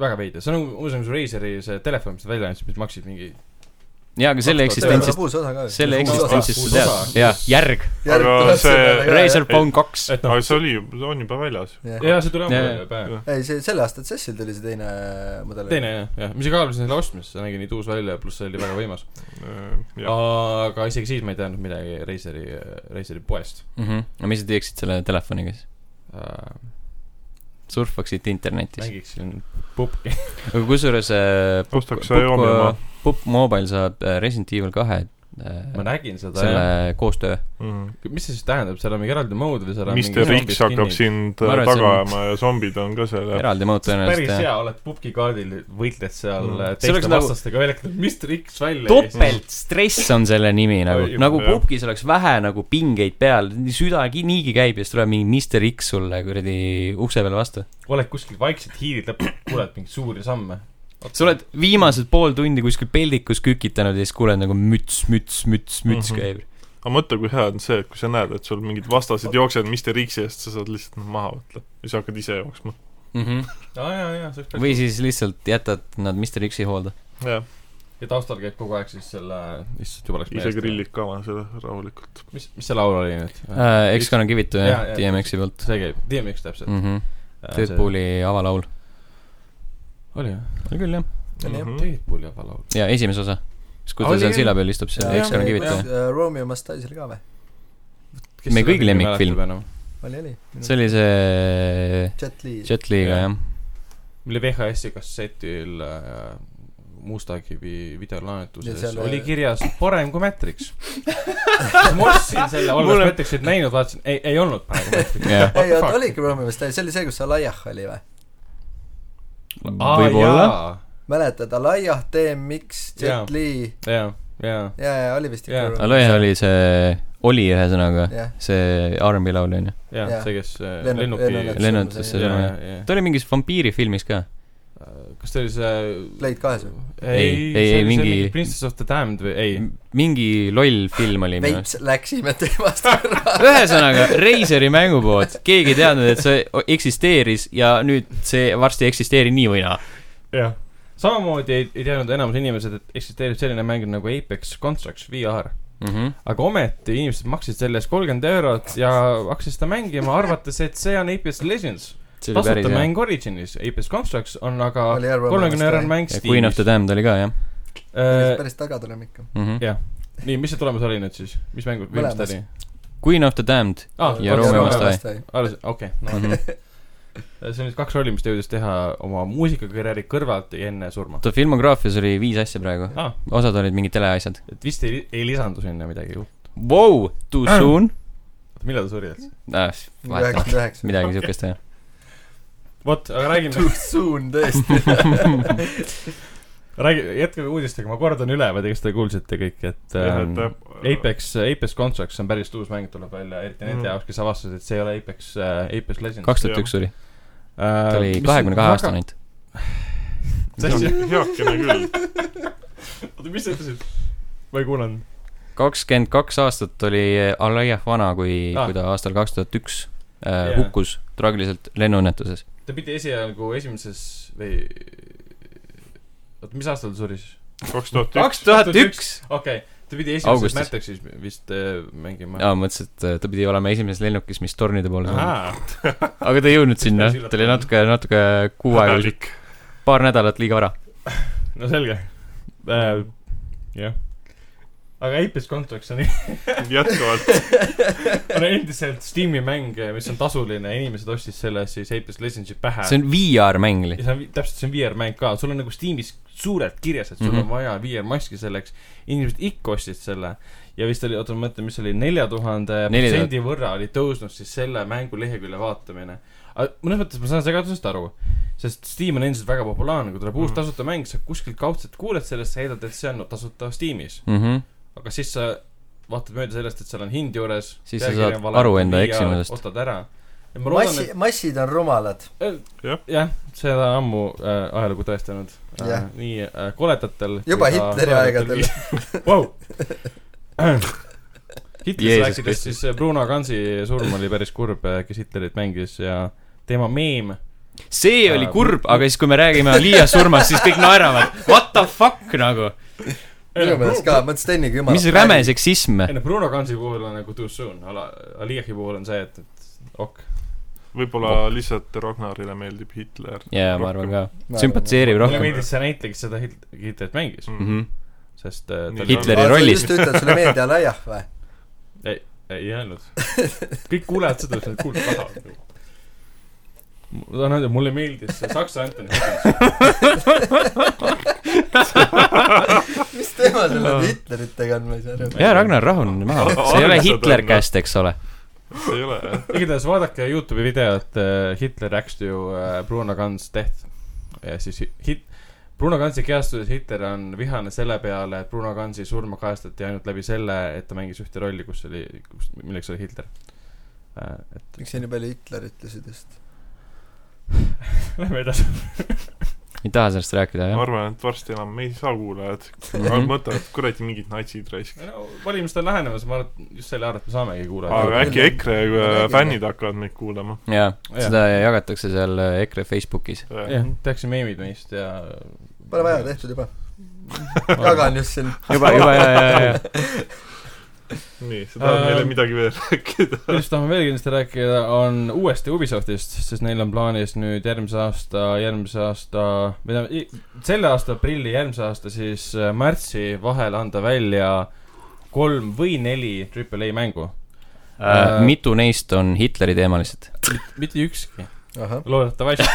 [SPEAKER 2] väga veider , see on nagu muuseas Razeri see telefon , mis nad välja andsid , mis maksis mingi
[SPEAKER 1] jaa , aga selle
[SPEAKER 2] Kaks tuhat
[SPEAKER 1] eksistentsist ,
[SPEAKER 3] uus osa ka .
[SPEAKER 1] selle
[SPEAKER 2] uus osa,
[SPEAKER 1] eksistentsist
[SPEAKER 2] uus
[SPEAKER 1] sa tead
[SPEAKER 2] osa. ,
[SPEAKER 1] jaa , järg ,
[SPEAKER 4] Aga see-
[SPEAKER 1] Razer Phone kaks .
[SPEAKER 2] et noh ,
[SPEAKER 4] aga see oli , on juba väljas .
[SPEAKER 2] jaa , see tuli
[SPEAKER 1] Jaa,
[SPEAKER 2] homme
[SPEAKER 1] jaa.
[SPEAKER 2] päev .
[SPEAKER 3] ei , see selle aasta Cecil tuli see teine äh, mudel .
[SPEAKER 2] teine jah , jah , mis ka kaalusin selle ostmist , see nägi nii tuus välja , pluss see oli väga võimas .
[SPEAKER 4] Äh, jah ,
[SPEAKER 1] Ah,
[SPEAKER 2] aga isegi siis ma ei teadnud midagi Razeri , Razeri poest
[SPEAKER 1] aga Mhm. mis sa teeksid selle telefoniga siis ?
[SPEAKER 2] uh, .
[SPEAKER 1] surfaksid internetis .
[SPEAKER 2] mängiksin pupki .
[SPEAKER 1] aga kusjuures äh, Pup-
[SPEAKER 4] Ostaks sa Xiaomi oma.
[SPEAKER 1] Pup- Pup Mobile saab äh, Resident Evil kahe äh,
[SPEAKER 2] ma nägin seda jah .
[SPEAKER 1] selle koostöö .
[SPEAKER 2] mis see siis tähendab , seal on mingi eraldi mode või seal on
[SPEAKER 4] Mr X Mm. hakkab
[SPEAKER 2] zombid kinni?
[SPEAKER 4] sind
[SPEAKER 1] Ma arvan, et see
[SPEAKER 4] taga
[SPEAKER 1] on-
[SPEAKER 4] ajama ja zombid on ka seal jah .
[SPEAKER 1] eraldi mõõt
[SPEAKER 2] päris
[SPEAKER 1] tõenäoliselt jah .
[SPEAKER 2] hea , oled pubgikaardil , võitled seal
[SPEAKER 4] Mm.
[SPEAKER 2] mm.
[SPEAKER 1] See oleks
[SPEAKER 2] teiste
[SPEAKER 1] nagu-
[SPEAKER 2] vastastega nagu... , väljakad Mr X välja ..
[SPEAKER 1] topeltstress on selle nimi nagu
[SPEAKER 4] Oi, ,
[SPEAKER 1] nagu
[SPEAKER 4] jah.
[SPEAKER 1] pubgis oleks vähe nagu pingeid peal , süda ki- niigi käib ja siis tuleb mingi Mr X sulle kuradi ukse peal vastu .
[SPEAKER 2] oled kuskil vaikselt hiirid lõppu , kuuled mingeid suuri samme .
[SPEAKER 1] sa oled viimased pool tundi kuskil peldikus kükitanud ja siis kuuled nagu müts , müts , müts , müts
[SPEAKER 4] Mhm.
[SPEAKER 1] käib .
[SPEAKER 4] aga mõtle , kui hea on see , et kui sa näed , et sul mingid vastased jooksevad Mr X-i eest , sa saad lihtsalt nad maha võtta ja siis hakkad ise jooksma .
[SPEAKER 2] aa jaa , jaa , see oleks
[SPEAKER 1] või siis lihtsalt jätad nad Mr X-i hoolde .
[SPEAKER 4] jah ,
[SPEAKER 2] ja taustal käib kogu aeg siis selle , issand juba läks
[SPEAKER 4] ise . grillid ka oma selle rahulikult .
[SPEAKER 2] mis , mis see laul oli nüüd ?
[SPEAKER 1] Äh, X-Gun on kivitu jah
[SPEAKER 2] Jaa, , jaa.
[SPEAKER 1] DMX-i poolt .
[SPEAKER 2] see käib , DMX täpselt mm. .
[SPEAKER 1] Deadpooli avalaul .
[SPEAKER 2] oli jah ?
[SPEAKER 1] oli küll jah .
[SPEAKER 2] Deadpooli juba laul .
[SPEAKER 1] ja esimese osa . siis kui ta
[SPEAKER 2] Oli
[SPEAKER 1] seal
[SPEAKER 2] küll.
[SPEAKER 1] silla peal istub , see
[SPEAKER 2] Jaa,
[SPEAKER 1] on X-Gun
[SPEAKER 2] jaa,
[SPEAKER 1] kivitu jah .
[SPEAKER 3] äh, Romeo must die , see oli ka või ?
[SPEAKER 1] Me kõigi lemmikfilm. .
[SPEAKER 3] oli , oli .
[SPEAKER 1] see oli see
[SPEAKER 3] Jet Li .
[SPEAKER 1] Jet Li'ga
[SPEAKER 2] Jaa.
[SPEAKER 1] jah .
[SPEAKER 2] mille VHS-i kassetil äh, Mustakivi videolaenetuses
[SPEAKER 3] Ja seal-
[SPEAKER 2] oli kirjas parem kui Matrix . ma ostsin selle , olles Mulle... Matrixit näinud , vaatasin , ei , ei olnud parem kui Matrix .
[SPEAKER 1] jah ,
[SPEAKER 3] ei , oota , oligi minu meelest , see oli see , kus Alaiah oli või ?
[SPEAKER 1] võib-olla .
[SPEAKER 3] mäletad , Alaiah , DMX ,
[SPEAKER 2] Jaa.
[SPEAKER 3] Jet Li ,
[SPEAKER 2] jaa , jaa .
[SPEAKER 3] jaa , jaa , oli vist
[SPEAKER 2] Jaa.
[SPEAKER 3] ikka .
[SPEAKER 1] Aloja oli see , oli ühesõnaga
[SPEAKER 3] Jah.
[SPEAKER 1] see R&B laulja onju .
[SPEAKER 2] jah
[SPEAKER 3] Jah. ,
[SPEAKER 2] see , kes äh,
[SPEAKER 3] Lennu-
[SPEAKER 2] lennuki
[SPEAKER 3] lennuki-
[SPEAKER 2] Lenn... .
[SPEAKER 1] lennutusse
[SPEAKER 2] jaa ,
[SPEAKER 1] sõna .
[SPEAKER 2] jaa , jaa .
[SPEAKER 1] ta oli mingis vampiirifilmis ka .
[SPEAKER 2] kas ta oli see
[SPEAKER 3] Played kahes või ?
[SPEAKER 1] Ei, ei,
[SPEAKER 2] see
[SPEAKER 1] ei,
[SPEAKER 2] oli see
[SPEAKER 1] mingi-
[SPEAKER 2] Princess of the Damned või ei ?
[SPEAKER 1] mingi loll film oli minu arust .
[SPEAKER 3] veits läksime teemast ära .
[SPEAKER 1] ühesõnaga , Reiseri mängupood , keegi ei teadnud , et see o- eksisteeris ja nüüd see varsti ei eksisteeri nii või naa .
[SPEAKER 2] jah . samamoodi ei, ei teadnud enamus inimesed , et eksisteerib selline mäng nagu Apex Constructs VR . aga ometi inimesed maksid selle eest kolmkümmend eurot ja hakkasid seda mängima , arvates , et see on Apex Legends .
[SPEAKER 1] see oli päris
[SPEAKER 2] tasuta
[SPEAKER 1] hea .
[SPEAKER 2] mäng Originis , Apex Constructs on aga
[SPEAKER 3] Oli arvamus,
[SPEAKER 2] kolmekümne
[SPEAKER 3] jah.
[SPEAKER 2] eurone mäng
[SPEAKER 1] ja Queen of the
[SPEAKER 2] Steamis .
[SPEAKER 1] Damned oli ka jah
[SPEAKER 2] Äh,
[SPEAKER 3] päris taga tuleme ikka .
[SPEAKER 1] Mhm.
[SPEAKER 2] Jah. nii , mis see tulemus oli nüüd siis , mis mängu , mis ta
[SPEAKER 3] Mõlemas.
[SPEAKER 2] oli ?
[SPEAKER 1] Queen of the Damned
[SPEAKER 2] Ah,
[SPEAKER 1] ja
[SPEAKER 2] kaks
[SPEAKER 1] Romeo
[SPEAKER 2] korda.
[SPEAKER 1] Mastai. .
[SPEAKER 2] alles , okei okay, ,
[SPEAKER 1] Mhm.
[SPEAKER 2] no see on nüüd kaks rolli , mis ta jõudis teha oma muusikakarjääri kõrvalt ja enne surma .
[SPEAKER 1] ta filmograafias oli viis asja praegu ,
[SPEAKER 2] aa ,
[SPEAKER 1] osad olid mingid teleasjad .
[SPEAKER 2] et vist ei , ei lisandu sinna midagi .
[SPEAKER 1] Wow, too soon
[SPEAKER 2] millal ta suri üldse ?
[SPEAKER 1] äh, .
[SPEAKER 3] üheksakümmend üheksa .
[SPEAKER 1] midagi siukest jah .
[SPEAKER 2] vot , aga räägime ,
[SPEAKER 3] Too soon tõesti .
[SPEAKER 2] räägi , jätkame uudistega , ma kordan üle , ma ei tea , kas te kuulsite kõik , et ähm,
[SPEAKER 4] äh,
[SPEAKER 2] Apex , Apex Constructs on päris uus mäng , tuleb välja , eriti nende
[SPEAKER 4] Mhm.
[SPEAKER 2] jaoks , kes avastasid , et see ei ole Apex , Apex Legends . Äh,
[SPEAKER 1] kaks tuhat
[SPEAKER 4] Jah.
[SPEAKER 1] üks oli ,
[SPEAKER 2] Ah,
[SPEAKER 1] ta oli kahekümne kahe aastane . ainult .
[SPEAKER 4] heakene küll .
[SPEAKER 2] oota , mis sa ütlesid ? ma ei kuulanud .
[SPEAKER 1] kakskümmend kaks aastat oli Alaiah vana , kui
[SPEAKER 2] Ah.
[SPEAKER 1] ah. , kui ta aastal kaks tuhat üks äh,
[SPEAKER 2] Jaa.
[SPEAKER 1] hukkus traagiliselt lennuõnnetuses .
[SPEAKER 2] ta pidi esialgu esimeses või , oota , mis aastal ta suri siis ?
[SPEAKER 4] kaks tuhat üks .
[SPEAKER 1] kaks tuhat üks !
[SPEAKER 2] okei okay. , ta pidi
[SPEAKER 1] Augustis.
[SPEAKER 2] esimeses Matrixis vist äh, mängima .
[SPEAKER 1] aa , mõtlesin , et äh, ta pidi olema esimeses lennukis , mis tornide poole saab .
[SPEAKER 4] hädalik .
[SPEAKER 1] aga ta ei jõudnud sinna , ta oli natuke , natuke kuu aega , paar nädalat liiga vara .
[SPEAKER 2] no selge äh, . jah . aga Apex Contracts on,
[SPEAKER 4] jätkuvalt .
[SPEAKER 2] on endiselt Steam'i mäng , mis on tasuline , inimesed ostis selle siis Apex Legendsi pähe .
[SPEAKER 1] see on VR-mäng
[SPEAKER 2] ja
[SPEAKER 1] li- .
[SPEAKER 2] see on vi- täpselt , see on VR-mäng ka , sul on nagu Steamis suurelt kirjas , et sul mm -hmm.
[SPEAKER 1] Mhm.
[SPEAKER 2] on vaja VR-maski selleks . inimesed ikka ostsid selle ja vist oli , oota ma mõtlen , mis see oli , nelja tuhande
[SPEAKER 1] Neli tuhat.
[SPEAKER 2] protsendi võrra oli tõusnud siis selle mängu lehekülje vaatamine . mõnes mõttes ma saan segadusest aru , sest Steam on endiselt väga populaarne , kui tuleb mm -hmm. uus
[SPEAKER 4] Mhm.
[SPEAKER 2] tasuta mäng , sa kuskilt kaudselt kuuled sellest , sa eeldad , et see on tasuta Steamis ,
[SPEAKER 1] Mm -hmm.
[SPEAKER 2] aga siis sa vaatad mööda sellest , et seal on hind juures .
[SPEAKER 1] Siis sa saad aru enda eksimusest.
[SPEAKER 2] ostad ära . ma loodan ,
[SPEAKER 3] massi
[SPEAKER 2] et ,
[SPEAKER 3] massid on rumalad .
[SPEAKER 2] jah , seda on ammu äh, ajalugu tõestanud
[SPEAKER 3] Jah.
[SPEAKER 2] äh, . nii äh, koletatel .
[SPEAKER 3] Juba Hitleri aegadel. .
[SPEAKER 2] Vau . Hitlerist
[SPEAKER 1] Jeesus
[SPEAKER 2] rääkides ,
[SPEAKER 1] Kristus.
[SPEAKER 2] siis äh, Bruno Gansi surm oli päris kurb , kes Hitlerit mängis ja tema meem .
[SPEAKER 1] see oli kurb , aga siis , kui me räägime Aliyah surmast , siis kõik naeravad . What the fuck nagu ,
[SPEAKER 3] minu meelest ka , ma mõtlesin Steniga jumala .
[SPEAKER 1] mis räme . seksism .
[SPEAKER 2] ei no Bruno Gansi puhul on nagu too soon , Ala- , Aliyehi puhul on see , et , et ok .
[SPEAKER 4] võib-olla lihtsalt Ragnarile meeldib Hitler .
[SPEAKER 1] jaa , ma arvan ka . sümpatiseerib
[SPEAKER 2] mulle
[SPEAKER 1] rohkem .
[SPEAKER 2] meeldis see näitleja , kes seda Hit- Hitlerit mängis ,
[SPEAKER 4] Mm.
[SPEAKER 1] Mhm.
[SPEAKER 2] sest äh,
[SPEAKER 4] Nii.
[SPEAKER 2] ta oli
[SPEAKER 1] Hitleri rollis.
[SPEAKER 3] just ütled , sulle ei meeldi Alaiah või ?
[SPEAKER 2] ei öelnud . kõik kuulevad seda , mis nad kuulda tahavad . ma tahan öelda , mulle meeldis see saksa Anthony Hopkins .
[SPEAKER 3] mis teema sul nende Hitleritega on , ma ei saa aru .
[SPEAKER 1] jaa , Ragnar , rahune maha . see ei ole Hitler käest , eks ole .
[SPEAKER 4] see ei ole jah .
[SPEAKER 2] igatahes vaadake Youtube'i videot äh, Hitler Acts to äh, Bruno Ganz Death . ja siis hi- hit- , Bruno Gansi kehastuses Hitler on vihane selle peale , et Bruno Gansi surma kajastati ainult läbi selle , et ta mängis ühte rolli , kus oli , kus , milleks oli Hitler äh, . et
[SPEAKER 3] miks sa nii palju Hitler ütlesid just ?
[SPEAKER 2] lähme edasi .
[SPEAKER 1] ei taha sellest rääkida ,
[SPEAKER 4] ma
[SPEAKER 1] jah .
[SPEAKER 4] arvan , et varsti enam me ei saa kuulajad .
[SPEAKER 1] Mhm.
[SPEAKER 4] mõtlevad , et kuradi mingid natsid raisk .
[SPEAKER 2] no valimised on lähenemas , ma arvan , et just selle arvelt me saamegi
[SPEAKER 4] aga
[SPEAKER 2] kuulata .
[SPEAKER 3] Aa,
[SPEAKER 4] äkki EKRE äh,
[SPEAKER 3] Räägime.
[SPEAKER 4] fännid hakkavad meid kuulama .
[SPEAKER 1] jaa ,
[SPEAKER 2] Jaa.
[SPEAKER 1] seda jagatakse seal äh, EKRE Facebookis .
[SPEAKER 2] jah , tehakse meemid meist ja .
[SPEAKER 3] Pole vaja , tehtud juba . jagan just siin .
[SPEAKER 1] juba , juba , jaa , jaa , jaa , jaa .
[SPEAKER 4] nii , sa tahad
[SPEAKER 2] Ähm.
[SPEAKER 4] meile midagi veel rääkida ?
[SPEAKER 2] millest tahame veel kindlasti rääkida , on uuesti Ubisoftist , sest neil on plaanis nüüd järgmise aasta , järgmise aasta , või tähendab , selle aasta aprilli , järgmise aasta siis äh, märtsi vahel anda välja kolm või neli Triple A mängu . Äh,
[SPEAKER 1] mitu neist on Hitleri teemalised ?
[SPEAKER 2] mitte ükski ,
[SPEAKER 3] ahah ,
[SPEAKER 2] loodetavasti .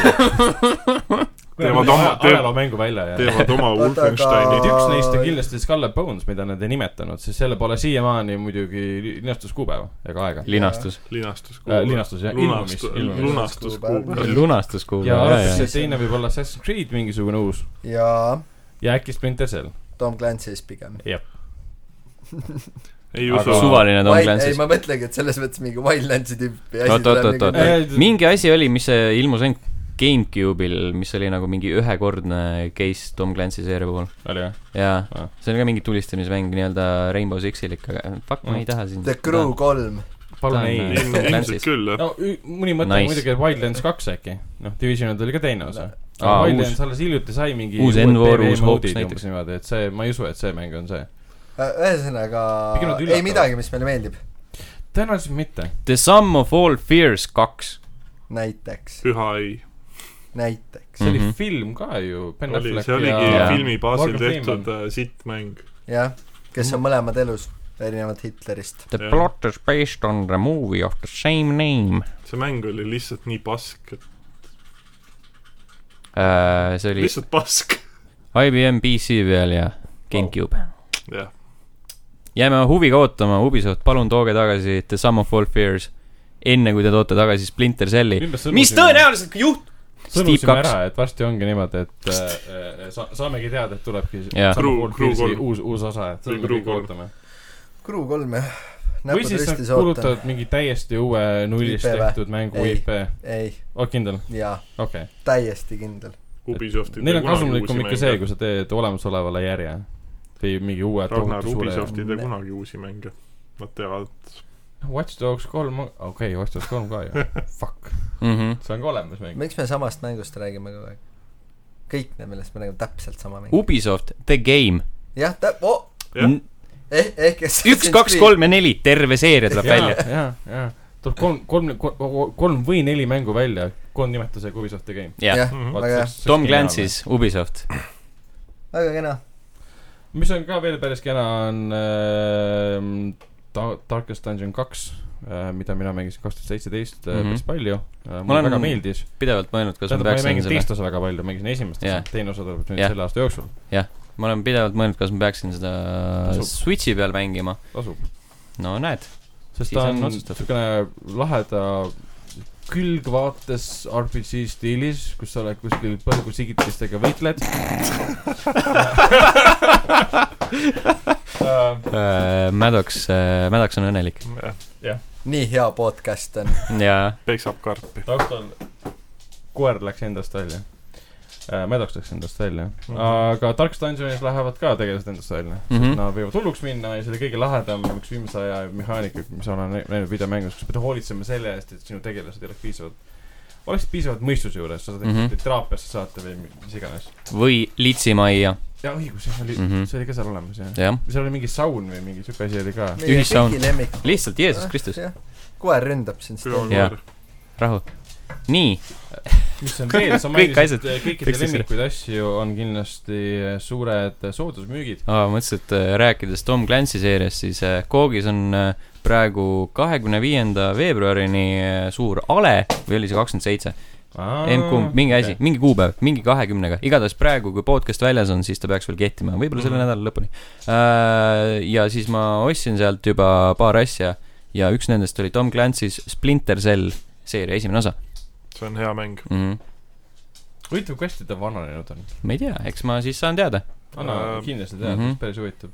[SPEAKER 4] teevad oma , teevad ,
[SPEAKER 2] ajaloomängu välja ja
[SPEAKER 4] teevad oma
[SPEAKER 3] Oota, aga-
[SPEAKER 4] Wolfensteini .
[SPEAKER 2] üks neist on kindlasti Skull and Bones , mida nad ei nimetanud , sest selle pole siiamaani muidugi linastuskuupäeva ega aega .
[SPEAKER 1] linastus .
[SPEAKER 4] linastus .
[SPEAKER 2] Äh, linastus, jah,
[SPEAKER 4] lunastus
[SPEAKER 2] ilmumis- ilmumis- ,
[SPEAKER 4] lunastus .
[SPEAKER 1] lunastuskuupäev ,
[SPEAKER 2] ja
[SPEAKER 1] jaa ,
[SPEAKER 2] arvatakse ,
[SPEAKER 1] jaa .
[SPEAKER 2] et teine võib olla Assassin's Creed mingisugune uus
[SPEAKER 3] jaa ,
[SPEAKER 2] ja äkki Splinter Cell .
[SPEAKER 3] Tom Clancy's pigem .
[SPEAKER 4] ei
[SPEAKER 2] Aga-
[SPEAKER 4] usu .
[SPEAKER 1] suvaline Tom
[SPEAKER 3] ei ,
[SPEAKER 1] Clancy's .
[SPEAKER 3] ma mõtlengi , et selles mõttes mingi Wildlandsi tüüpi asi
[SPEAKER 1] oot , oot , oot , oot ,
[SPEAKER 2] Ei,
[SPEAKER 1] oot
[SPEAKER 2] ei, ,
[SPEAKER 1] mingi asi oli , mis see ilmus ainult GameCube'il , mis oli nagu mingi ühekordne case Tom Clancy seeria puhul .
[SPEAKER 2] oli jah ?
[SPEAKER 1] jaa
[SPEAKER 2] Ah. ,
[SPEAKER 1] see oli ka mingi tulistamismäng nii-öelda Rainbow Sixil ikka , aga fuck , ma
[SPEAKER 2] Mm.
[SPEAKER 1] ei taha siin .
[SPEAKER 3] The Crew kolm .
[SPEAKER 2] palun
[SPEAKER 1] Ta on,
[SPEAKER 2] ei
[SPEAKER 1] äh, .
[SPEAKER 4] ilmselt küll , jah .
[SPEAKER 2] no ü- mõni mõte
[SPEAKER 1] Nice.
[SPEAKER 2] nice. muidugi , et Wildlands kaks äkki , noh , Divisionid oli ka teine osa . aga
[SPEAKER 1] Aa,
[SPEAKER 2] Wildlands alles hiljuti sai mingi
[SPEAKER 1] uus
[SPEAKER 2] uued
[SPEAKER 1] Envor,
[SPEAKER 2] PvE
[SPEAKER 1] uus
[SPEAKER 2] mode'id
[SPEAKER 1] Hops näiteks.
[SPEAKER 2] umbes niimoodi , et see , ma ei usu , et see mäng on see .
[SPEAKER 3] ühesõnaga
[SPEAKER 2] Pigem nad
[SPEAKER 3] ei
[SPEAKER 2] üllatavad.
[SPEAKER 3] midagi , mis meile meeldib ,
[SPEAKER 2] tõenäoliselt mitte .
[SPEAKER 1] The Sum of All Fears kaks .
[SPEAKER 3] näiteks ,
[SPEAKER 4] püha ei .
[SPEAKER 3] näiteks
[SPEAKER 2] see oli
[SPEAKER 1] Mhm.
[SPEAKER 2] mm -hmm. film ka ju .
[SPEAKER 4] oli , see oligi
[SPEAKER 1] ja-
[SPEAKER 4] filmi baasil
[SPEAKER 2] Morgan
[SPEAKER 4] tehtud äh, sittmäng .
[SPEAKER 3] jah , kes on mõlemad elus , erinevalt Hitlerist .
[SPEAKER 1] The
[SPEAKER 4] Jah.
[SPEAKER 1] plot is based on the movie of the same name
[SPEAKER 4] see mäng oli lihtsalt nii pask , et
[SPEAKER 1] uh, . see oli
[SPEAKER 4] lihtsalt pask .
[SPEAKER 1] IBM PC peal ja GameCube .
[SPEAKER 4] jah ,
[SPEAKER 1] jääme huviga ootama , Ubisoft , palun tooge tagasi The Sum of All Fears , enne kui te toote tagasi Splinter Celli . mis ? tõenäoliselt ka juhtub . Steve
[SPEAKER 2] sõnusime
[SPEAKER 1] kaks ,
[SPEAKER 2] ära , et varsti ongi niimoodi , et äh, äh, sa- , saamegi teada , et tulebki
[SPEAKER 1] Jah.
[SPEAKER 2] Summer
[SPEAKER 4] Crew-
[SPEAKER 2] Wars
[SPEAKER 4] Crew
[SPEAKER 2] Fearsi
[SPEAKER 4] kolm.
[SPEAKER 2] uus , uus osa , et
[SPEAKER 4] Või
[SPEAKER 2] seda me
[SPEAKER 4] Crew
[SPEAKER 2] kõik
[SPEAKER 4] kolm.
[SPEAKER 2] ootame .
[SPEAKER 3] Crew kolm jah ,
[SPEAKER 2] või
[SPEAKER 3] näpud
[SPEAKER 2] siis nad
[SPEAKER 3] ristis ootan .
[SPEAKER 2] kuulutavad mingi täiesti uue nullist
[SPEAKER 3] IP või?
[SPEAKER 2] tehtud mängu
[SPEAKER 3] Ei.
[SPEAKER 2] IP .
[SPEAKER 3] ei ,
[SPEAKER 2] oled kindel ?
[SPEAKER 3] jaa ,
[SPEAKER 2] okei .
[SPEAKER 3] täiesti kindel .
[SPEAKER 4] Ubisoftil .
[SPEAKER 2] Neil on kasumlikum ikka see , kui sa teed olemasolevale järje või mingi uue
[SPEAKER 4] Ragnar
[SPEAKER 2] tohutu suure
[SPEAKER 4] Ubisoft ei tee
[SPEAKER 3] Ne-
[SPEAKER 4] kunagi uusi mänge . Nad teevad ,
[SPEAKER 2] Watch Dogs kolm , okei , Watch Dogs kolm ka ju . Fuck , see on ka olemas mäng .
[SPEAKER 3] miks me samast mängust räägime kogu aeg ? kõik need , millest me räägime , täpselt sama mäng .
[SPEAKER 1] Ubisoft , The Game ,
[SPEAKER 3] jah , täp- , oo ,
[SPEAKER 4] Jah.
[SPEAKER 3] eh- , ehk kes
[SPEAKER 1] üks , kaks , kolm ja neli , terve seeria tuleb välja ..
[SPEAKER 2] jaa , jaa . tuleb kolm , kolm , kolm või neli mängu välja , koondnimetusega Ubisofti game .
[SPEAKER 1] jah ,
[SPEAKER 3] jah ,
[SPEAKER 4] Mhm.
[SPEAKER 3] väga hea ,
[SPEAKER 1] Tom Clancy's Ubisoft .
[SPEAKER 3] väga kena .
[SPEAKER 2] mis on ka veel päris kena , on äh, Da- Darkest Dungeon kaks , mida mina mängisin kaks tuhat seitseteist äh,
[SPEAKER 1] Mhm.
[SPEAKER 2] päris palju .
[SPEAKER 1] olen-
[SPEAKER 2] mulle väga meeldis .
[SPEAKER 1] pidevalt mõelnud , kas ma
[SPEAKER 2] tähendab , ma ei
[SPEAKER 1] peaksin
[SPEAKER 2] mänginud
[SPEAKER 1] selle ,
[SPEAKER 2] teist osa väga palju , mängisin esimest
[SPEAKER 1] Jah.
[SPEAKER 2] osa , teine osa tuleb nüüd
[SPEAKER 1] Jah.
[SPEAKER 2] selle aasta jooksul .
[SPEAKER 1] ma olen pidevalt mõelnud , kas ma peaksin seda
[SPEAKER 2] Tasub.
[SPEAKER 1] Switchi peal mängima .
[SPEAKER 2] tasub .
[SPEAKER 1] no näed , Siis
[SPEAKER 2] sest ta
[SPEAKER 1] on
[SPEAKER 2] on
[SPEAKER 1] otsustatud.
[SPEAKER 2] niisugune laheda külgvaates RPG stiilis , kus sa oled kuskil põrgusigitistega võitled . Äh,
[SPEAKER 1] Maddox , Maddox on õnnelik
[SPEAKER 4] jah ,
[SPEAKER 3] nii hea podcast on .
[SPEAKER 1] ja
[SPEAKER 4] peksab karpi .
[SPEAKER 2] taustal koer läks endast välja . Maddox läks endast välja ,
[SPEAKER 4] Mhm.
[SPEAKER 2] aga Dark Dungeonis lähevad ka tegelased endast välja .
[SPEAKER 1] mm . -hmm.
[SPEAKER 2] Nad võivad hulluks minna ja see oli kõige lahedam üks viimase aja mehaanika , mis olen nä- näinud videomängus , kus pead hoolitsema selle eest , et sinu tegelased ei oleks piisavalt , oleksid piisavalt mõistuse juures , sa saad mm
[SPEAKER 1] Mhm.
[SPEAKER 2] -hmm. teraapiasse saata või mi- mis iganes .
[SPEAKER 1] või litsimajja ,
[SPEAKER 2] jaa , õigus , jah , oli mm ,
[SPEAKER 1] Mhm.
[SPEAKER 2] -hmm. see oli ka seal olemas , jah .
[SPEAKER 1] jah .
[SPEAKER 2] seal oli mingi saun või mingi siuke asi oli ka .
[SPEAKER 3] meie
[SPEAKER 1] Ühissaun.
[SPEAKER 3] kõigi lemmik .
[SPEAKER 1] lihtsalt Jeesus Kristus ,
[SPEAKER 3] koer ründab sind .
[SPEAKER 1] Jah. rahu . nii ,
[SPEAKER 2] mis on veel , sa
[SPEAKER 1] Kõik
[SPEAKER 2] mainisid
[SPEAKER 1] asjad
[SPEAKER 2] et eh, kõikide
[SPEAKER 1] tekstis ära.
[SPEAKER 2] lemmikuid asju on kindlasti eh, suured soodusmüügid .
[SPEAKER 1] mõtlesin , et äh, rääkides Tom Clancy seeriast , siis äh, Koogis on äh, praegu kahekümne viienda veebruarini äh, suur ale või oli see kakskümmend seitse , m-kumb , mingi asi , mingi kuupäev , mingi kahekümnega , igatahes praegu , kui podcast väljas on , siis ta peaks veel kehtima , võib-olla selle
[SPEAKER 4] Mhm.
[SPEAKER 1] nädala lõpuni . ja siis ma ostsin sealt juba paar asja ja üks nendest oli Tom Clancy's Splinter Cell seeria esimene osa
[SPEAKER 4] see on hea mäng .
[SPEAKER 1] mm . -hmm.
[SPEAKER 2] huvitav , kui hästi ta vananenud on .
[SPEAKER 1] ma ei tea , eks ma siis saan teada .
[SPEAKER 2] anna
[SPEAKER 4] Ähm,
[SPEAKER 2] kindlasti teada
[SPEAKER 1] mhm.
[SPEAKER 2] mm , -hmm. päris huvitav .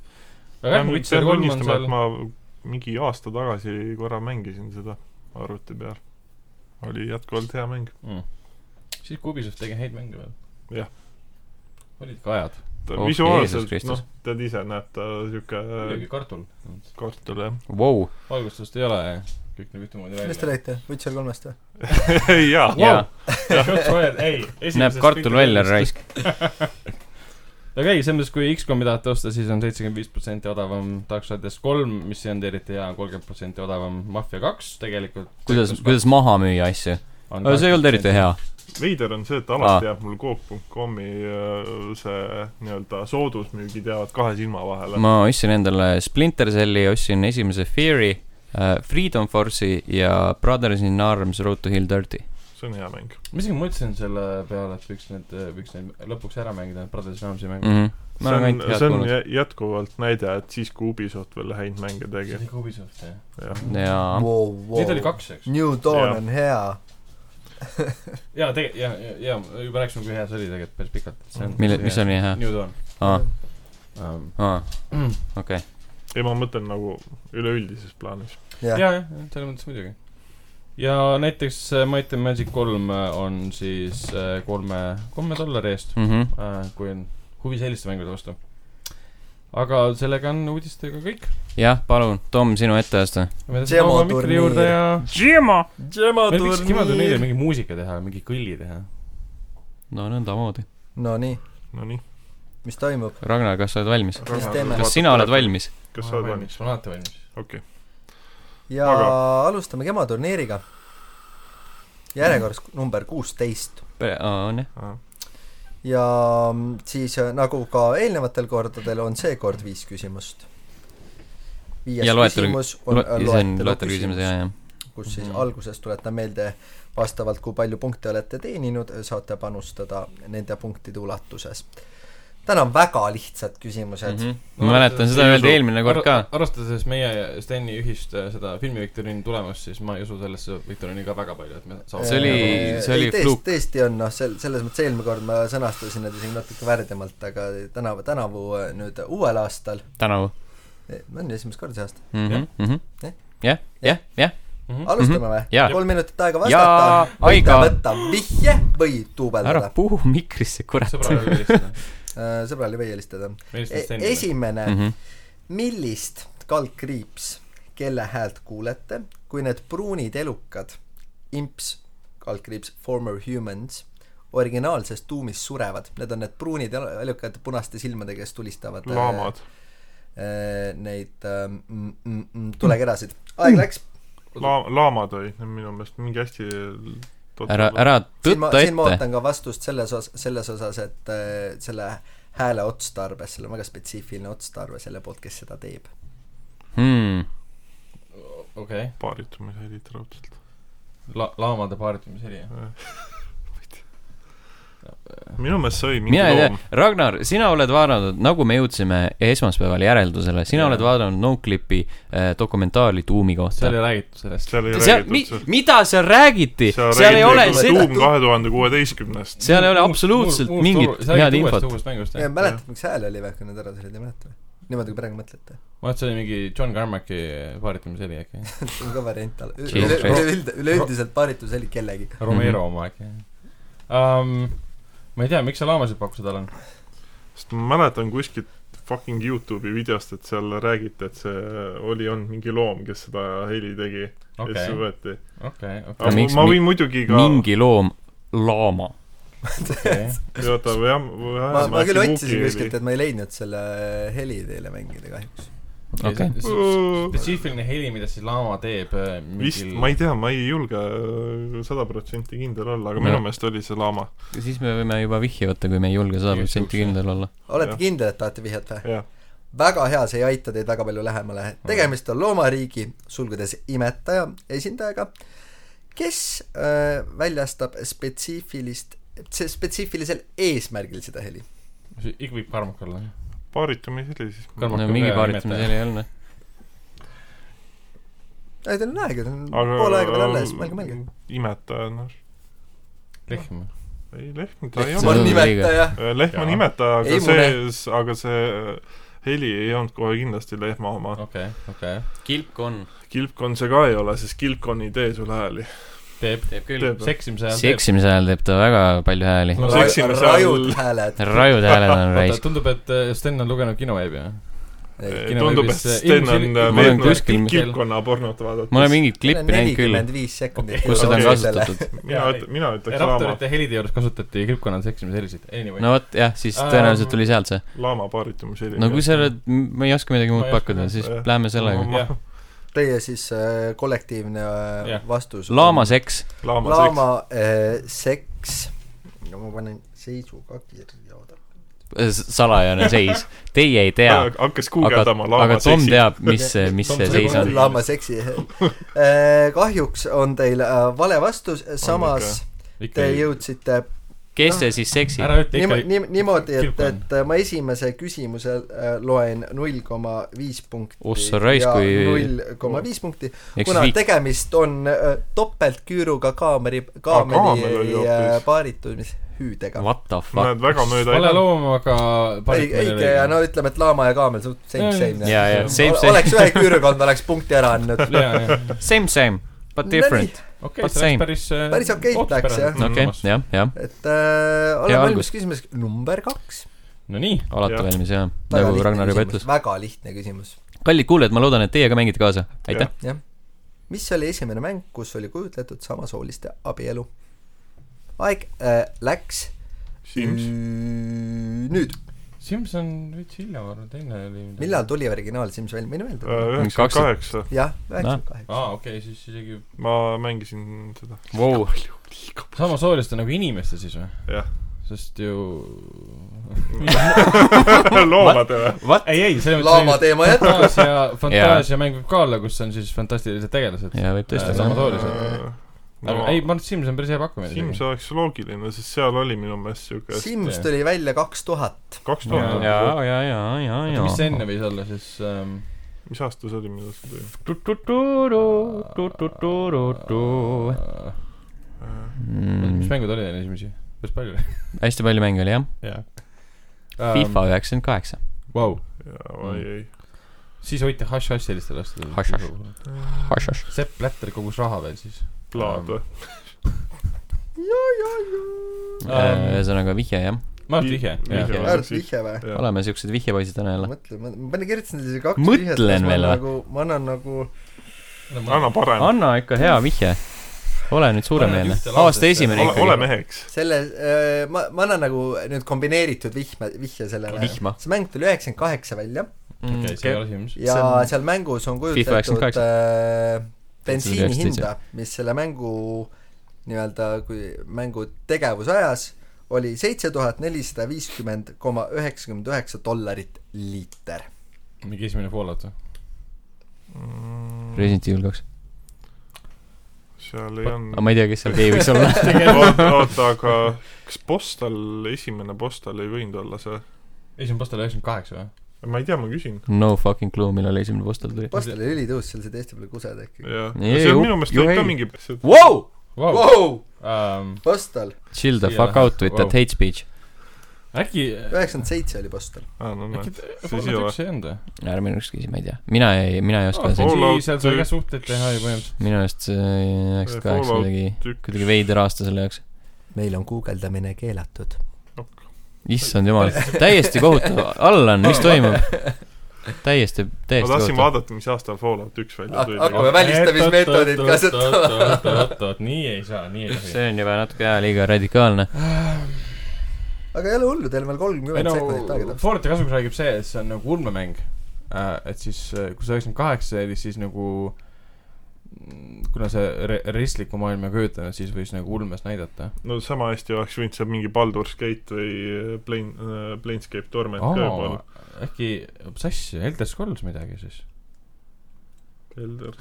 [SPEAKER 2] aga jah , Witcher
[SPEAKER 4] pean
[SPEAKER 2] kolm on
[SPEAKER 4] tunnistama ,
[SPEAKER 2] seal
[SPEAKER 4] et , ma mingi aasta tagasi korra mängisin seda arvuti peal . oli jätkuvalt hea mäng .
[SPEAKER 1] Mm.
[SPEAKER 2] siis kui Ubisoft tegi häid mänge veel .
[SPEAKER 4] Jah. .
[SPEAKER 2] olid ka ajad ,
[SPEAKER 4] ta
[SPEAKER 1] Oh,
[SPEAKER 4] oh,
[SPEAKER 1] Jeesus
[SPEAKER 4] visuaalselt ,
[SPEAKER 1] Kristus.
[SPEAKER 4] noh , tead ise , näeb ta siuke äh,
[SPEAKER 2] muidugi kartul .
[SPEAKER 4] kartul , jah .
[SPEAKER 1] Vau ,
[SPEAKER 2] valgustust ei ole , kõik näeb ühtemoodi
[SPEAKER 3] millest te
[SPEAKER 2] välja .
[SPEAKER 3] räägite , Witcher kolmest või ?
[SPEAKER 4] jaa ,
[SPEAKER 1] jaa ,
[SPEAKER 2] Shots fired , ei .
[SPEAKER 1] näeb kartul välja , raisk .
[SPEAKER 2] aga ei , selles mõttes , kui X-komi tahate osta , siis on seitsekümmend viis protsenti odavam Dark Siders kolm , mis ei olnud eriti hea , kolmkümmend protsenti odavam Mafia kaks tegelikult .
[SPEAKER 1] kuidas , kuidas maha müüa asju ? see ei olnud eriti hea .
[SPEAKER 4] veider on see , et
[SPEAKER 1] Ah.
[SPEAKER 4] alati jääb mul Coop.com-i äh, see nii-öelda soodusmüügid jäävad kahe silma vahele .
[SPEAKER 1] ma ostsin endale Splinter Celli , ostsin äh, esimese Fury , Freedom Force'i ja Brothers in Arms Road to Hill Dirty .
[SPEAKER 4] see on hea mäng .
[SPEAKER 2] ma isegi mõtlesin selle peale , et võiks need , võiks need lõpuks ära mängida , need Brothers Ramsey mängud
[SPEAKER 1] mm . -hmm.
[SPEAKER 4] see on , see on jä- jätkuvalt näide , et siis , kui Ubisoft veel häid mänge
[SPEAKER 2] see
[SPEAKER 1] Mm.
[SPEAKER 4] tegi ,
[SPEAKER 2] oli ka Ubisoft jah
[SPEAKER 4] jah .
[SPEAKER 1] jaa .
[SPEAKER 3] wow, wow.
[SPEAKER 2] Neid oli kaks eks
[SPEAKER 3] New Dawn
[SPEAKER 4] Jah.
[SPEAKER 3] on hea
[SPEAKER 2] jaa tegelikult jaa jaa jaa juba rääkisime kui hea see oli tegelikult päris pikalt et see on
[SPEAKER 1] mille , mis
[SPEAKER 2] see-
[SPEAKER 1] on nii hea ?
[SPEAKER 2] New Dawn
[SPEAKER 1] aa ,
[SPEAKER 2] um,
[SPEAKER 1] aa ,
[SPEAKER 2] Mm.
[SPEAKER 1] okei .
[SPEAKER 4] ei , ma mõtlen nagu üleüldises plaanis .
[SPEAKER 3] jah ja. ,
[SPEAKER 2] jaa , jah , selles mõttes muidugi . ja näiteks äh, Might and Magic kolm äh, on siis äh, kolme , kolme dollari eest ,
[SPEAKER 1] Mhm.
[SPEAKER 2] kui on huvi selliste mängude vastu . aga sellega on uudistega kõik .
[SPEAKER 1] jah , palun , Tom , sinu etteaste .
[SPEAKER 2] me
[SPEAKER 3] Demo
[SPEAKER 2] tõstame oma mikri
[SPEAKER 3] turniir.
[SPEAKER 2] juurde ja
[SPEAKER 4] Džema !
[SPEAKER 3] Gemma
[SPEAKER 2] meil võiks kimoturniiril mingi muusika teha , mingi kõlli teha .
[SPEAKER 1] no nõndamoodi .
[SPEAKER 3] Nonii ,
[SPEAKER 4] Nonii .
[SPEAKER 3] mis toimub ?
[SPEAKER 1] Ragnar , kas sa oled valmis ?
[SPEAKER 3] Mis teeme?
[SPEAKER 1] kas sina oled ? valmis ?
[SPEAKER 4] kas sa oled valmis ?
[SPEAKER 2] ma olen alati valmis .
[SPEAKER 4] okei .
[SPEAKER 3] ja
[SPEAKER 4] Aga-
[SPEAKER 3] Aga. alustame Gemma turniiriga . järjekorras number kuusteist
[SPEAKER 1] on jah .
[SPEAKER 3] ja mm, siis äh, nagu ka eelnevatel kordadel on seekord viis küsimust . viies
[SPEAKER 1] Ja loetelu-
[SPEAKER 3] küsimus on äh,
[SPEAKER 1] see on loetelu
[SPEAKER 3] küsimus,
[SPEAKER 1] küsimus , jaa , jah .
[SPEAKER 3] kus siis
[SPEAKER 2] Mhm.
[SPEAKER 3] alguses tuletan meelde , vastavalt kui palju punkte olete teeninud , saate panustada nende punktide ulatuses . täna on väga lihtsad küsimused mm . -hmm.
[SPEAKER 1] Mhm. ma mäletan , seda öeldi eelmine kord ka .
[SPEAKER 2] arvestades meie ja Steni ühist äh, seda filmiviktoriini tulemust , siis ma ei usu sellesse viktoriini ka väga palju , et me saame
[SPEAKER 1] See oli- see oli fluke.
[SPEAKER 3] tõesti on noh , sel- , selles mõttes eelmine kord ma sõnastasin need isegi natuke värdjamalt , aga tänavu , tänavu äh, nüüd uuel aastal ,
[SPEAKER 1] tänavu .
[SPEAKER 3] on ju esimest korda see aasta ,
[SPEAKER 1] jah , jah , jah , jah ,
[SPEAKER 3] alustame või
[SPEAKER 1] Mhm. Jaa.
[SPEAKER 3] kolm minutit aega
[SPEAKER 1] Jaa,
[SPEAKER 3] vastata , võite
[SPEAKER 1] aega.
[SPEAKER 3] võtta vihje või
[SPEAKER 1] ära
[SPEAKER 3] duubeldada ,
[SPEAKER 1] puhu mikrisse , kurat .
[SPEAKER 2] sõbrale veel helistada .
[SPEAKER 3] Äh, sõbrale või helistada .
[SPEAKER 2] meil
[SPEAKER 3] E,
[SPEAKER 2] vist Stenile .
[SPEAKER 3] esimene
[SPEAKER 1] Mhm.
[SPEAKER 3] millist kaldkriips , kelle häält kuulete , kui need pruunid elukad , imps , kaldkriips , former humans , originaalses tuumis surevad , need on need pruunid el- elukad punaste silmadega , kes tulistavad äh,
[SPEAKER 4] laamad .
[SPEAKER 3] äh, neid äh, mm, mm, mm, tulekerasid . aeg läks ,
[SPEAKER 4] Laa- , laamad olid need minu meelest mingi hästi
[SPEAKER 1] ära , ära
[SPEAKER 3] siin ma ,
[SPEAKER 1] tõtta
[SPEAKER 3] siin ma
[SPEAKER 1] ette .
[SPEAKER 3] ootan ka vastust selles osas , selles osas , et äh, selle hääle otstarve , sellel on väga spetsiifiline otstarve selle poolt , kes seda teeb .
[SPEAKER 1] Hmm.
[SPEAKER 2] okei ,
[SPEAKER 4] paaritumise olid raudselt .
[SPEAKER 2] la- , laamade paaritumiseri , jah ?
[SPEAKER 4] minu meelest see oli mingi
[SPEAKER 1] mina ei tea
[SPEAKER 4] loom .,
[SPEAKER 1] Ragnar , sina oled vaadanud , nagu me jõudsime esmaspäeval järeldusele , sina
[SPEAKER 2] Jaa.
[SPEAKER 1] oled vaadanud Noclipi eh, dokumentaali tuumi kohta
[SPEAKER 2] seal . ei räägitud sellest .
[SPEAKER 4] seal ei
[SPEAKER 1] seal , mi-
[SPEAKER 4] räägitud ,
[SPEAKER 1] mida seal räägiti ?
[SPEAKER 4] seal
[SPEAKER 1] seal ei ole
[SPEAKER 4] räägiti
[SPEAKER 1] seda ,
[SPEAKER 4] tuum kahe tuhande kuueteistkümnest .
[SPEAKER 1] seal ei ole absoluutselt mingit head infot .
[SPEAKER 2] uuest mängust , jah ?
[SPEAKER 3] mäletad , mis hääl oli või , kui need ära tulid , ei mäleta või ? niimoodi , kui praegu mõtlete .
[SPEAKER 2] ma arvan , et see oli mingi John Carmacki paaritumiseri äkki .
[SPEAKER 3] see on Nagu ka variant all .
[SPEAKER 1] Jesus Christ.
[SPEAKER 3] üleüldiselt , üleüldiselt paaritus oli kellegi .
[SPEAKER 2] Romero oma äkki , jah um, . ma ei tea , miks sa laamasid pakkusid , Alan ?
[SPEAKER 4] sest ma mäletan kuskilt fucking Youtube'i videost , et seal räägiti , et see oli olnud mingi loom , kes seda heli tegi okay. , et
[SPEAKER 2] okei
[SPEAKER 4] see , võeti .
[SPEAKER 2] okei ,
[SPEAKER 1] No
[SPEAKER 4] aga
[SPEAKER 2] okei ,
[SPEAKER 4] ma,
[SPEAKER 1] miks
[SPEAKER 4] ma
[SPEAKER 1] mi-
[SPEAKER 4] võin muidugi ka
[SPEAKER 1] mingi loom , laama .
[SPEAKER 2] okei .
[SPEAKER 4] oota , jah ,
[SPEAKER 3] ma , ma küll otsisin kuskilt , et ma ei leidnud selle heli teile mängida kahjuks .
[SPEAKER 1] Okei.
[SPEAKER 2] spetsiifiline heli , mida siis laama teeb äh,
[SPEAKER 4] vist ,
[SPEAKER 2] mingil
[SPEAKER 4] ma ei tea , ma ei julge äh, sada protsenti kindel olla , aga
[SPEAKER 1] No.
[SPEAKER 4] minu meelest oli see laama .
[SPEAKER 1] siis me võime juba vihje võtta , kui me ei julge sada protsenti kindel olla .
[SPEAKER 3] olete
[SPEAKER 4] Jah.
[SPEAKER 3] kindel , et tahate vihjet või ?
[SPEAKER 4] jah ,
[SPEAKER 3] väga hea , see ei aita teid väga palju lähemale . tegemist on loomariigi , sulgudes imetaja esindajaga , kes äh, väljastab spetsiifilist , spetsiifilisel eesmärgil seda heli .
[SPEAKER 2] see ikka võib karmak olla , jah ?
[SPEAKER 4] paaritumise heli siis .
[SPEAKER 2] Karmo-
[SPEAKER 1] no
[SPEAKER 2] Rohkem
[SPEAKER 1] mingi
[SPEAKER 2] ei
[SPEAKER 1] paaritamise
[SPEAKER 2] imeta.
[SPEAKER 1] seal ei olnud .
[SPEAKER 3] ei , teil on aega , teil on pool aega veel alles , mõelge , mõelge ..
[SPEAKER 4] imetaja , noh ,
[SPEAKER 2] lehm .
[SPEAKER 4] ei lehm , ta ei
[SPEAKER 1] Lehm
[SPEAKER 3] ma
[SPEAKER 1] on
[SPEAKER 3] olen
[SPEAKER 4] olnud .
[SPEAKER 1] liiga.
[SPEAKER 3] imetaja ,
[SPEAKER 4] lehm on
[SPEAKER 2] Jaa.
[SPEAKER 4] imetaja ,
[SPEAKER 3] Ei
[SPEAKER 4] aga see , aga see äh, heli ei olnud kohe kindlasti lehma oma .
[SPEAKER 2] okei , okei .
[SPEAKER 1] kilk on .
[SPEAKER 4] kilpkonn see ka ei ole , sest kilpkonn ei tee sulle hääli .
[SPEAKER 2] teeb ,
[SPEAKER 1] teeb küll .
[SPEAKER 4] teeb või ?
[SPEAKER 2] seksimise ajal teeb .
[SPEAKER 1] seksimise ajal teeb ta väga palju hääli .
[SPEAKER 2] No
[SPEAKER 4] seksime seal-
[SPEAKER 3] rajud hääled .
[SPEAKER 1] rajud hääled on
[SPEAKER 2] oota ,
[SPEAKER 1] raisk .
[SPEAKER 2] tundub , et äh, Sten on lugenud kinoveebi , jah ?
[SPEAKER 4] tundub , et
[SPEAKER 2] Kineveebis, äh,
[SPEAKER 4] Sten on
[SPEAKER 2] ilmsil-
[SPEAKER 1] ma olen
[SPEAKER 4] veetnud
[SPEAKER 1] kuskil-
[SPEAKER 4] kilpkonna pornot vaadates .
[SPEAKER 1] ma olen mingit klippi näinud küll ,
[SPEAKER 3] nelikümmend viis sekundit
[SPEAKER 2] Okei.
[SPEAKER 1] kus seda on
[SPEAKER 4] Okei.
[SPEAKER 1] kasutatud .
[SPEAKER 4] mina üt- , mina ütleks laama ,
[SPEAKER 2] raptorite helide juures kasutati kilpkonnad seksimise helisid , anyway .
[SPEAKER 1] no vot , jah , siis tõenäoliselt tuli sealt see .
[SPEAKER 4] laama paaritumisheli .
[SPEAKER 1] no kui sa oled , ma ei oska midagi
[SPEAKER 2] Ma
[SPEAKER 1] muud
[SPEAKER 2] ei oska
[SPEAKER 1] pakkuda ,
[SPEAKER 2] jah.
[SPEAKER 1] siis
[SPEAKER 4] Jah.
[SPEAKER 1] lähme sellega .
[SPEAKER 2] jah ,
[SPEAKER 3] Teie siis äh, kollektiivne äh,
[SPEAKER 2] Jah.
[SPEAKER 3] vastus .
[SPEAKER 1] laama . seks .
[SPEAKER 4] laama, laama. ,
[SPEAKER 3] laama äh, seks . no ma panen seisuga kirja , oota .
[SPEAKER 1] salajane seis . Teie ei tea ,
[SPEAKER 4] Äh, hakkas
[SPEAKER 1] aga ,
[SPEAKER 4] guugeldama
[SPEAKER 1] aga
[SPEAKER 4] laama
[SPEAKER 1] Tom
[SPEAKER 4] seksi .
[SPEAKER 1] teab , mis see , mis
[SPEAKER 2] Tom
[SPEAKER 1] see
[SPEAKER 2] Seegi
[SPEAKER 1] seis on .
[SPEAKER 3] laama seksi . kahjuks on teil äh, vale äh, vastus , samas te jõudsite
[SPEAKER 1] kes see siis seksib
[SPEAKER 2] ära ütle
[SPEAKER 3] niim-
[SPEAKER 2] ikka ,
[SPEAKER 3] niim- niimoodi , et ,
[SPEAKER 2] kilpan.
[SPEAKER 3] et äh, ma esimese küsimuse äh, loen null koma viis punkti
[SPEAKER 1] Ossa raisk,
[SPEAKER 3] ja
[SPEAKER 1] kui-
[SPEAKER 3] null koma viis punkti ,
[SPEAKER 1] ehk
[SPEAKER 3] kuna
[SPEAKER 1] siis viik-
[SPEAKER 3] tegemist on äh, topeltküüruga kaameri ,
[SPEAKER 4] kaamel oli
[SPEAKER 3] kaameri äh,
[SPEAKER 4] hoopis.
[SPEAKER 3] paaritudmishüüdega .
[SPEAKER 1] what the fuck
[SPEAKER 4] näed , väga mööda
[SPEAKER 2] vale
[SPEAKER 4] ei lähe .
[SPEAKER 2] loom , aga
[SPEAKER 3] õige ja no ütleme , et laama ja kaamel , suht same ,
[SPEAKER 2] Mm.
[SPEAKER 3] same .
[SPEAKER 1] ja ja same same
[SPEAKER 3] oleks ühe küüruga olnud , oleks punkti ära andnud .
[SPEAKER 2] jaa , jaa ,
[SPEAKER 1] same same but different
[SPEAKER 2] okei ,
[SPEAKER 1] But
[SPEAKER 2] see läks
[SPEAKER 1] same.
[SPEAKER 2] päris äh,
[SPEAKER 3] Päris okeilt läks, jah.
[SPEAKER 4] Mm.
[SPEAKER 1] okei jah jah
[SPEAKER 3] et äh,
[SPEAKER 1] Hea
[SPEAKER 3] oleme valmis
[SPEAKER 1] algus.
[SPEAKER 3] küsimuseks number kaks .
[SPEAKER 2] no nii ,
[SPEAKER 1] alati
[SPEAKER 4] Jah.
[SPEAKER 1] valmis jah
[SPEAKER 3] Väga
[SPEAKER 1] nagu
[SPEAKER 3] lihtne
[SPEAKER 1] Ragnar juba
[SPEAKER 3] küsimus,
[SPEAKER 1] ütles
[SPEAKER 3] väga lihtne küsimus .
[SPEAKER 1] kallid kuulajad ma loodan et teie ka mängite kaasa aitäh
[SPEAKER 3] mis oli esimene mäng , kus oli kujutletud samasooliste abielu ? aeg äh, läks
[SPEAKER 4] Sims ,
[SPEAKER 3] nüüd .
[SPEAKER 2] Simson veits hilja , ma arvan , teine oli
[SPEAKER 3] millal tuli originaal Sims välja , ma ei mäleta .
[SPEAKER 4] Äh, üheksakümmend kaheksa ,
[SPEAKER 3] jah , üheksakümmend kaheksa .
[SPEAKER 2] aa , okei okay, , siis isegi
[SPEAKER 4] ma mängisin seda .
[SPEAKER 1] wow.
[SPEAKER 2] samasooliste nagu inimeste siis või ?
[SPEAKER 4] Jah. .
[SPEAKER 2] sest ju
[SPEAKER 4] loomade või ?
[SPEAKER 2] ei , ei , selles
[SPEAKER 3] laama
[SPEAKER 2] mõttes
[SPEAKER 3] teema jätkub .
[SPEAKER 2] fantaasia , fantaasiamäng võib ka olla , kus on siis fantastilised tegelased .
[SPEAKER 1] ja võib tõesti
[SPEAKER 2] Äh,
[SPEAKER 1] olla
[SPEAKER 2] samasoolise. aga ei , ma arvan , et Sims on päris hea pakkumine .
[SPEAKER 4] Sims oleks loogiline , sest seal oli minu meelest siuke
[SPEAKER 3] Sims tuli välja kaks tuhat .
[SPEAKER 4] kaks
[SPEAKER 1] ja
[SPEAKER 2] Jaa.
[SPEAKER 4] tuhat ,
[SPEAKER 1] ja ja ja ja
[SPEAKER 2] mis see enne võis olla siis ähm, ?
[SPEAKER 4] mis aasta see oli , millal see tuli ?
[SPEAKER 2] äh,
[SPEAKER 1] tu-tu-tu-ru-tu-tu-tu-ru-tu.
[SPEAKER 2] mis
[SPEAKER 4] Äh,
[SPEAKER 1] Mm,
[SPEAKER 2] mängud olid enne esimesi ? päris palju oli .
[SPEAKER 1] hästi palju mänge oli jah
[SPEAKER 2] jaa .
[SPEAKER 1] FIFA üheksakümmend kaheksa
[SPEAKER 2] Vau ,
[SPEAKER 4] jaa , oi ei .
[SPEAKER 2] siis hoiti hash-hash sellistel asjadel .
[SPEAKER 1] Hash-hash. . hašhaš
[SPEAKER 2] Sepp Blatter kogus raha veel siis .
[SPEAKER 4] plaad või ?
[SPEAKER 2] Ähm.
[SPEAKER 1] Äh, ühesõnaga vihje jah
[SPEAKER 2] ma arvan , et vihje .
[SPEAKER 4] Vihje.
[SPEAKER 2] jah.
[SPEAKER 3] äärmiselt vihje või ?
[SPEAKER 4] Jah.
[SPEAKER 1] oleme siuksed vihjepoisid täna jälle
[SPEAKER 3] mõtle , ma ma enne kirjutasin teile kaks
[SPEAKER 1] Mõtlen
[SPEAKER 3] vihjet, kas ma
[SPEAKER 1] veel või?
[SPEAKER 3] nagu , ma annan nagu
[SPEAKER 4] anna parem ,
[SPEAKER 1] anna ikka hea vihje ole nüüd suuremeelne
[SPEAKER 2] Äh. ühte lausesse.
[SPEAKER 1] aasta esimene
[SPEAKER 4] ole , ole
[SPEAKER 1] ikkagi
[SPEAKER 4] meheks .
[SPEAKER 3] selle , ma , ma annan nagu nüüd kombineeritud vihma , vihje sellele .
[SPEAKER 1] vihma
[SPEAKER 3] see mäng tuli üheksakümmend kaheksa välja
[SPEAKER 1] Mm.
[SPEAKER 2] okei , see ei ole Sims .
[SPEAKER 3] ja
[SPEAKER 1] See on-
[SPEAKER 3] seal mängus on
[SPEAKER 1] FIFA
[SPEAKER 3] kujutletud
[SPEAKER 1] 98.
[SPEAKER 3] äh, bensiini
[SPEAKER 1] 19,
[SPEAKER 3] hinda , mis selle mängu nii-öelda , kui mängu tegevusajas oli seitse tuhat nelisada viiskümmend koma üheksakümmend üheksa dollarit liiter .
[SPEAKER 2] mingi esimene Fallout või ?
[SPEAKER 1] Resident Evil kaks
[SPEAKER 4] seal ei olnud
[SPEAKER 1] aga ma ei tea kes seal keegi võiks olla
[SPEAKER 4] oota , oota , aga kas Postal , esimene Postal ei võinud olla see ?
[SPEAKER 2] esimene post oli üheksakümmend kaheksa või ?
[SPEAKER 4] ma ei tea , ma küsin .
[SPEAKER 1] no fucking clue millal esimene postel tuli
[SPEAKER 3] postel oli ülitõus , seal said Eesti peale kuseda ikka .
[SPEAKER 4] jah ,
[SPEAKER 1] Ei,
[SPEAKER 4] see
[SPEAKER 1] ju-
[SPEAKER 4] on minu meelest
[SPEAKER 1] ju
[SPEAKER 4] oli ka
[SPEAKER 1] ei.
[SPEAKER 4] mingi
[SPEAKER 1] wow!
[SPEAKER 2] Vau , Ähm,
[SPEAKER 3] Vau , postel ,
[SPEAKER 1] chill the
[SPEAKER 2] Jaa.
[SPEAKER 1] fuck out with that
[SPEAKER 2] Wow.
[SPEAKER 1] hate speech
[SPEAKER 2] äkki ,
[SPEAKER 3] üheksakümmend seitse oli postel .
[SPEAKER 4] aa , Ah, no
[SPEAKER 2] äkki
[SPEAKER 4] näed , siis ei
[SPEAKER 2] Fallout
[SPEAKER 4] ole
[SPEAKER 2] üks . ei olnud või ?
[SPEAKER 1] ärme nüüd küsi ma ei tea mina ei mina ei oska
[SPEAKER 2] Ah,
[SPEAKER 1] siin
[SPEAKER 4] Fallout
[SPEAKER 2] seal sai ka
[SPEAKER 4] üks.
[SPEAKER 2] suhteid teha ju põhimõtteliselt .
[SPEAKER 1] minu arust see üheksakümmend kaheksa
[SPEAKER 4] Fallout
[SPEAKER 1] kuidagi
[SPEAKER 4] üks.
[SPEAKER 1] kuidagi veider aasta selle jaoks
[SPEAKER 3] meil on guugeldamine keelatud .
[SPEAKER 1] issand jumal täiesti kohutav Allan mis toimub täiesti
[SPEAKER 4] ma
[SPEAKER 1] täiesti kohutav
[SPEAKER 4] tahtsin vaadata , mis aastal Fallout üks välja
[SPEAKER 3] Ah,
[SPEAKER 4] tuli .
[SPEAKER 3] hakkame välistamismeetodit kasutama. .
[SPEAKER 2] oot , oot , oot , nii ei saa , nii ei tohi .
[SPEAKER 1] see on juba natuke jah liiga radikaalne
[SPEAKER 3] aga ei ole hullu , teil on veel
[SPEAKER 2] ei
[SPEAKER 3] kolmkümmend
[SPEAKER 2] no
[SPEAKER 3] sekundit aega , täpselt .
[SPEAKER 2] Fallouti kasuks räägib see , et see on nagu ulmemäng . et siis , kui see üheksakümmend kaheksa oli , siis nagu mm, kuna see re- , realistliku maailma ei kujutanud , siis võis nagu ulmes näidata .
[SPEAKER 4] no sama hästi oleks võinud seal mingi Baldur's Gate või eh, Plane , Planescape Torment ka juba olla .
[SPEAKER 2] äkki , sass , Elder Scrolls midagi siis ?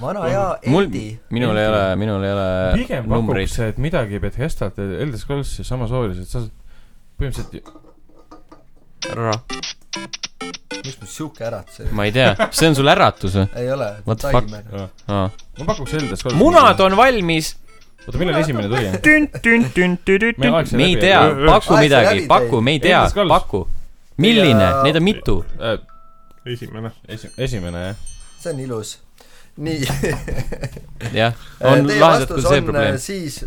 [SPEAKER 3] vana hea
[SPEAKER 1] mul
[SPEAKER 3] Edi ,
[SPEAKER 1] minul ei ole minul ei ole
[SPEAKER 2] pigem
[SPEAKER 1] Äh, numbreid
[SPEAKER 2] pakuks , et midagi Bethesda't ja Elder Scrolls ja samasoolised , sa saad põhimõtteliselt ju-
[SPEAKER 1] ära
[SPEAKER 3] miks mul siuke äratus oli ?
[SPEAKER 1] ma ei tea , see on sul äratus või ?
[SPEAKER 3] ei ole ,
[SPEAKER 1] What the fuck?
[SPEAKER 3] taimer .
[SPEAKER 1] aa .
[SPEAKER 2] ma pakuks Elder Scrolls .
[SPEAKER 1] munad on valmis .
[SPEAKER 2] oota , millal esimene tuli ?
[SPEAKER 1] me
[SPEAKER 2] Meil aeg sai
[SPEAKER 1] me ei
[SPEAKER 2] läbi,
[SPEAKER 1] tea
[SPEAKER 4] jah. ,
[SPEAKER 1] paku
[SPEAKER 3] Aeg sai
[SPEAKER 1] midagi
[SPEAKER 3] läbi ,
[SPEAKER 1] paku , me ei tea
[SPEAKER 2] Elder , Scrolls.
[SPEAKER 1] paku . milline
[SPEAKER 3] Ja- ,
[SPEAKER 1] neid on mitu .
[SPEAKER 4] esimene .
[SPEAKER 2] Äh, esi- , esimene jah .
[SPEAKER 3] see on ilus . nii .
[SPEAKER 1] jah , on lahendatud see probleem .
[SPEAKER 3] äh, siis ,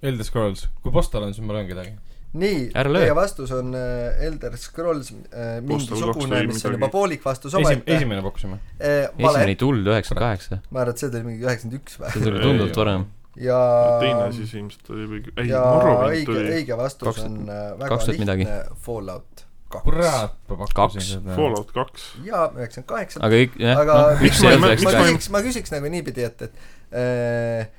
[SPEAKER 2] Elder Scrolls , kui postal on , siis ma löön kedagi .
[SPEAKER 3] nii ,
[SPEAKER 1] Ära löö.
[SPEAKER 3] teie vastus on äh, Elder Scrolls äh,
[SPEAKER 4] kaks
[SPEAKER 3] mingisugune ,
[SPEAKER 4] või
[SPEAKER 3] mis on
[SPEAKER 4] midagi.
[SPEAKER 3] juba poolik vastus
[SPEAKER 2] Esim- ,
[SPEAKER 3] omaette .
[SPEAKER 2] esimene pakkusime .
[SPEAKER 3] vale
[SPEAKER 1] esimene , ei tulnud üheksakümmend kaheksa ,
[SPEAKER 3] ma arvan , et see tuli mingi üheksakümmend üks
[SPEAKER 1] see
[SPEAKER 3] või ?
[SPEAKER 1] tuli tunduvalt varem .
[SPEAKER 3] ja
[SPEAKER 4] teine siis ilmselt oli või , ei ,
[SPEAKER 3] ja
[SPEAKER 4] Morrowind
[SPEAKER 3] õige ,
[SPEAKER 4] tuli .
[SPEAKER 3] õige vastus
[SPEAKER 1] Kaks-
[SPEAKER 3] on äh, väga
[SPEAKER 1] 2000 midagi.
[SPEAKER 3] lihtne , Fallout kaks .
[SPEAKER 2] kurat , ma
[SPEAKER 1] Kaks.
[SPEAKER 2] pakkusin seda .
[SPEAKER 4] Fallout kaks .
[SPEAKER 3] ja üheksakümmend kaheksa .
[SPEAKER 1] aga kõik , jah ,
[SPEAKER 3] aga
[SPEAKER 1] noh , miks see
[SPEAKER 4] ma
[SPEAKER 1] ei
[SPEAKER 4] ei
[SPEAKER 1] olnud
[SPEAKER 4] mä-
[SPEAKER 3] ma
[SPEAKER 4] miks
[SPEAKER 1] üheksakümmend kaheksa ?
[SPEAKER 3] küsiks , ma küsiks nagu niipidi , et , et äh,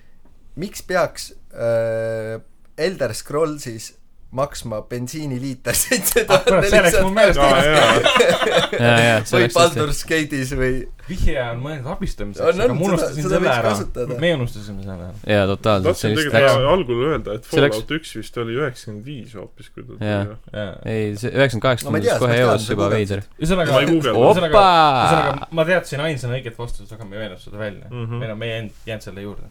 [SPEAKER 3] miks peaks äh, Elder Scrollsis maksma bensiiniliiter seitse
[SPEAKER 2] Ah, kurat,
[SPEAKER 3] tuhat
[SPEAKER 2] see läks mul meelest
[SPEAKER 4] ära.
[SPEAKER 1] jaa , jaa , see
[SPEAKER 3] või
[SPEAKER 1] oleks hästi .
[SPEAKER 3] Baldur's Gate'is või
[SPEAKER 2] vihje on mõeldud abistamiseks ,
[SPEAKER 3] On, on,
[SPEAKER 2] aga ma
[SPEAKER 3] seda-
[SPEAKER 2] unustasin
[SPEAKER 3] seda
[SPEAKER 2] selle
[SPEAKER 3] võiks
[SPEAKER 2] ära
[SPEAKER 3] kasutada. .
[SPEAKER 2] me unustasime selle ära .
[SPEAKER 1] jaa , totaalselt , see
[SPEAKER 4] tahtsin
[SPEAKER 1] vist
[SPEAKER 4] tegelikult
[SPEAKER 1] läks
[SPEAKER 4] läks... algul öelda , et
[SPEAKER 1] See läks-
[SPEAKER 4] Fallout üks vist oli üheksakümmend viis hoopis , kui ta
[SPEAKER 1] Jaa.
[SPEAKER 4] tuli .
[SPEAKER 2] Jaa.
[SPEAKER 1] ei , see üheksakümmend kaheksa
[SPEAKER 3] No ma ei tea,
[SPEAKER 1] tundus kohe
[SPEAKER 3] sa
[SPEAKER 1] eos
[SPEAKER 3] tead,
[SPEAKER 1] juba
[SPEAKER 3] sa
[SPEAKER 1] veider .
[SPEAKER 4] ma ei
[SPEAKER 2] ühesõnaga ,
[SPEAKER 4] guugelda .
[SPEAKER 2] Opa!
[SPEAKER 1] opa
[SPEAKER 2] ühesõnaga , ma teadsin ainsana õiget vastust , aga me ei öelnud seda välja mm .
[SPEAKER 4] Mhm.
[SPEAKER 2] -hmm. meil on , meie end , jäänud selle juurde .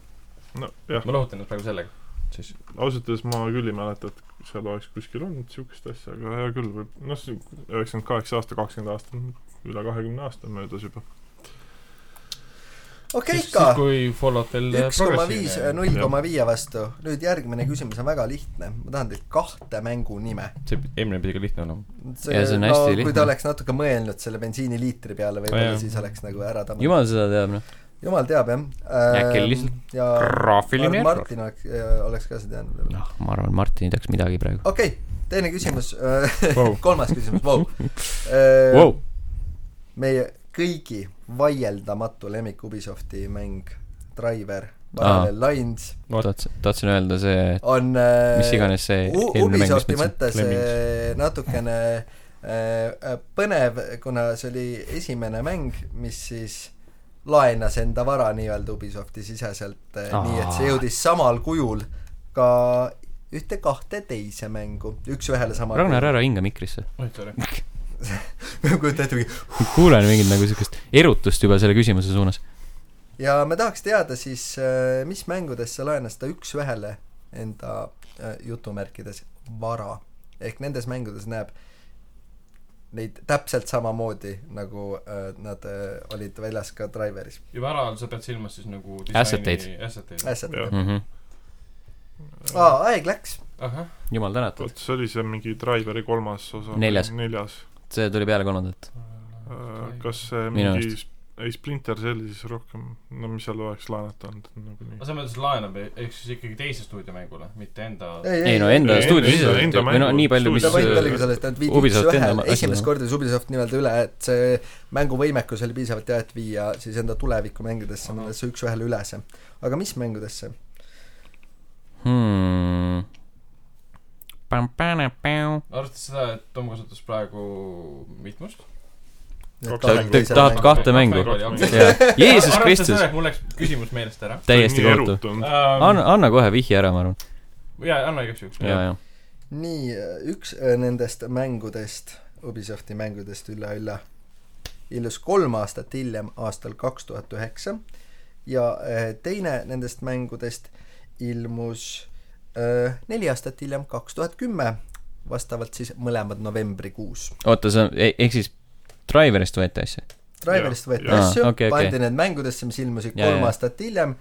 [SPEAKER 4] nojah ,
[SPEAKER 2] ma lohutan nüüd praegu sellega . siis .
[SPEAKER 4] ausalt öeldes ma küll ei mäleta , et seal oleks kuskil olnud niisugust asja , aga hea küll , võib , noh , see üheksakümmend kaheksa aasta , kakskümmend aastat , üle kahekümne aasta on möödas juba .
[SPEAKER 3] okei
[SPEAKER 2] siis ,
[SPEAKER 3] ikka
[SPEAKER 2] siis , kui Fallout veel
[SPEAKER 3] üks koma viis ,
[SPEAKER 2] progressiivne .
[SPEAKER 3] null koma viie vastu . nüüd järgmine küsimus on väga lihtne , ma tahan teilt kahte mängu nime .
[SPEAKER 2] see eelmine pidi ka lihtne olema .
[SPEAKER 1] Ja see on hästi
[SPEAKER 3] kui
[SPEAKER 1] lihtne.
[SPEAKER 3] ta oleks natuke mõelnud selle bensiiniliitri peale , võib-olla
[SPEAKER 2] Jaa.
[SPEAKER 3] siis oleks nagu ära tabanud .
[SPEAKER 1] jumal seda teab , noh .
[SPEAKER 3] jumal teab , jah .
[SPEAKER 1] Äkki oli lihtsalt
[SPEAKER 3] ja
[SPEAKER 1] graafiline
[SPEAKER 3] Mar- Martin oleks , oleks ka seda teadnud võib-olla .
[SPEAKER 1] noh , ma arvan , Martin ei teaks midagi praegu .
[SPEAKER 3] okei okay, , teine küsimus wow.
[SPEAKER 2] Vau. ,
[SPEAKER 3] kolmas küsimus , vau .
[SPEAKER 1] Wow.
[SPEAKER 3] meie kõigi vaieldamatu lemmik Ubisofti mäng , Driver ,
[SPEAKER 1] Aa.
[SPEAKER 3] Parallel Lines
[SPEAKER 1] tahtsin , tahtsin öelda see ,
[SPEAKER 3] on äh,
[SPEAKER 1] mis iganes see
[SPEAKER 3] U-
[SPEAKER 1] E- eelmine mäng , mis
[SPEAKER 3] Ubisofti
[SPEAKER 1] ma
[SPEAKER 3] mõttes
[SPEAKER 1] ütlesin .
[SPEAKER 3] äh, natukene äh, põnev , kuna see oli esimene mäng , mis siis laenas enda vara nii-öelda Ubisofti siseselt äh, ,
[SPEAKER 1] Aa.
[SPEAKER 3] nii et see jõudis samal kujul ka ühte kahte teise mängu , üks-ühele sama .
[SPEAKER 1] Ragnar , ära hinga mikrisse .
[SPEAKER 2] oi , sorry .
[SPEAKER 3] kujuta ette ,
[SPEAKER 1] kuulen mingit nagu siukest erutust juba selle küsimuse suunas .
[SPEAKER 3] ja me tahaks teada siis , mis mängudesse laenas ta üks-ühele enda äh, jutumärkides vara . ehk nendes mängudes näeb neid täpselt samamoodi , nagu äh, nad äh, olid väljas ka Driveris .
[SPEAKER 2] juba ära , sa pead silmas siis nagu
[SPEAKER 1] Asset eid. .
[SPEAKER 2] Asset eid .
[SPEAKER 3] äsja
[SPEAKER 4] Jah. .
[SPEAKER 1] Mhm.
[SPEAKER 3] aa , aeg läks .
[SPEAKER 2] ahah ,
[SPEAKER 1] jumal tänatud ,
[SPEAKER 4] vot see oli see mingi Driveri kolmas osa .
[SPEAKER 1] Neljas.
[SPEAKER 4] neljas .
[SPEAKER 1] see tuli peale kolmandat .
[SPEAKER 4] kas see
[SPEAKER 1] Minu
[SPEAKER 4] mingi sp- ei , Splinter Cell siis rohkem , no mis seal oleks laenata olnud nagu nagunii .
[SPEAKER 2] aga sa mõtled , et laenab , ehk siis ikkagi teise stuudiomängule , mitte enda .
[SPEAKER 1] ei no enda
[SPEAKER 4] ei,
[SPEAKER 1] stuudio
[SPEAKER 4] enda-
[SPEAKER 1] siseselt ju ,
[SPEAKER 4] enda
[SPEAKER 1] või no
[SPEAKER 4] mängu-
[SPEAKER 1] nii palju , mis
[SPEAKER 3] ta
[SPEAKER 4] stuudio-
[SPEAKER 3] point
[SPEAKER 4] äh,
[SPEAKER 3] oligi selles , et nad viidi
[SPEAKER 1] Ubisoft
[SPEAKER 3] üks-ühe
[SPEAKER 1] enda ma- ,
[SPEAKER 3] esimest
[SPEAKER 1] asjad-
[SPEAKER 3] korda siis Ubisoft nii-öelda üle , et see mänguvõimekus oli piisavalt hea , et viia siis enda tulevikumängudesse ,
[SPEAKER 2] Ahah.
[SPEAKER 3] millesse üks-ühele ülese . aga mis mängudesse ?
[SPEAKER 1] hmm. . tahad ,
[SPEAKER 2] arvestades seda , et Tom kasutas praegu mitmust .
[SPEAKER 1] tahad kahte mängu ? Jeesus Kristus ,
[SPEAKER 2] mul läks küsimus meelest ära .
[SPEAKER 1] täiesti kohutav .. anna , anna kohe vihje ära , ma arvan .
[SPEAKER 2] jaa , anna igaks juhuks .
[SPEAKER 1] ja , ja .
[SPEAKER 3] nii , üks äh, nendest mängudest , Ubisofti mängudest üle-üle , illus kolm aastat hiljem , aastal kaks tuhat üheksa ja äh, teine nendest mängudest ilmus äh, neli aastat hiljem , kaks tuhat kümme , vastavalt siis mõlemad novembrikuus .
[SPEAKER 1] oota , see on , ehk siis Driverist võeti asja ?
[SPEAKER 3] Driverist võeti
[SPEAKER 1] Jaa,
[SPEAKER 3] asju ,
[SPEAKER 1] okei, okei.
[SPEAKER 3] pandi need mängudesse , mis ilmusid
[SPEAKER 1] Jaa,
[SPEAKER 3] kolm
[SPEAKER 1] jaa.
[SPEAKER 3] aastat hiljem .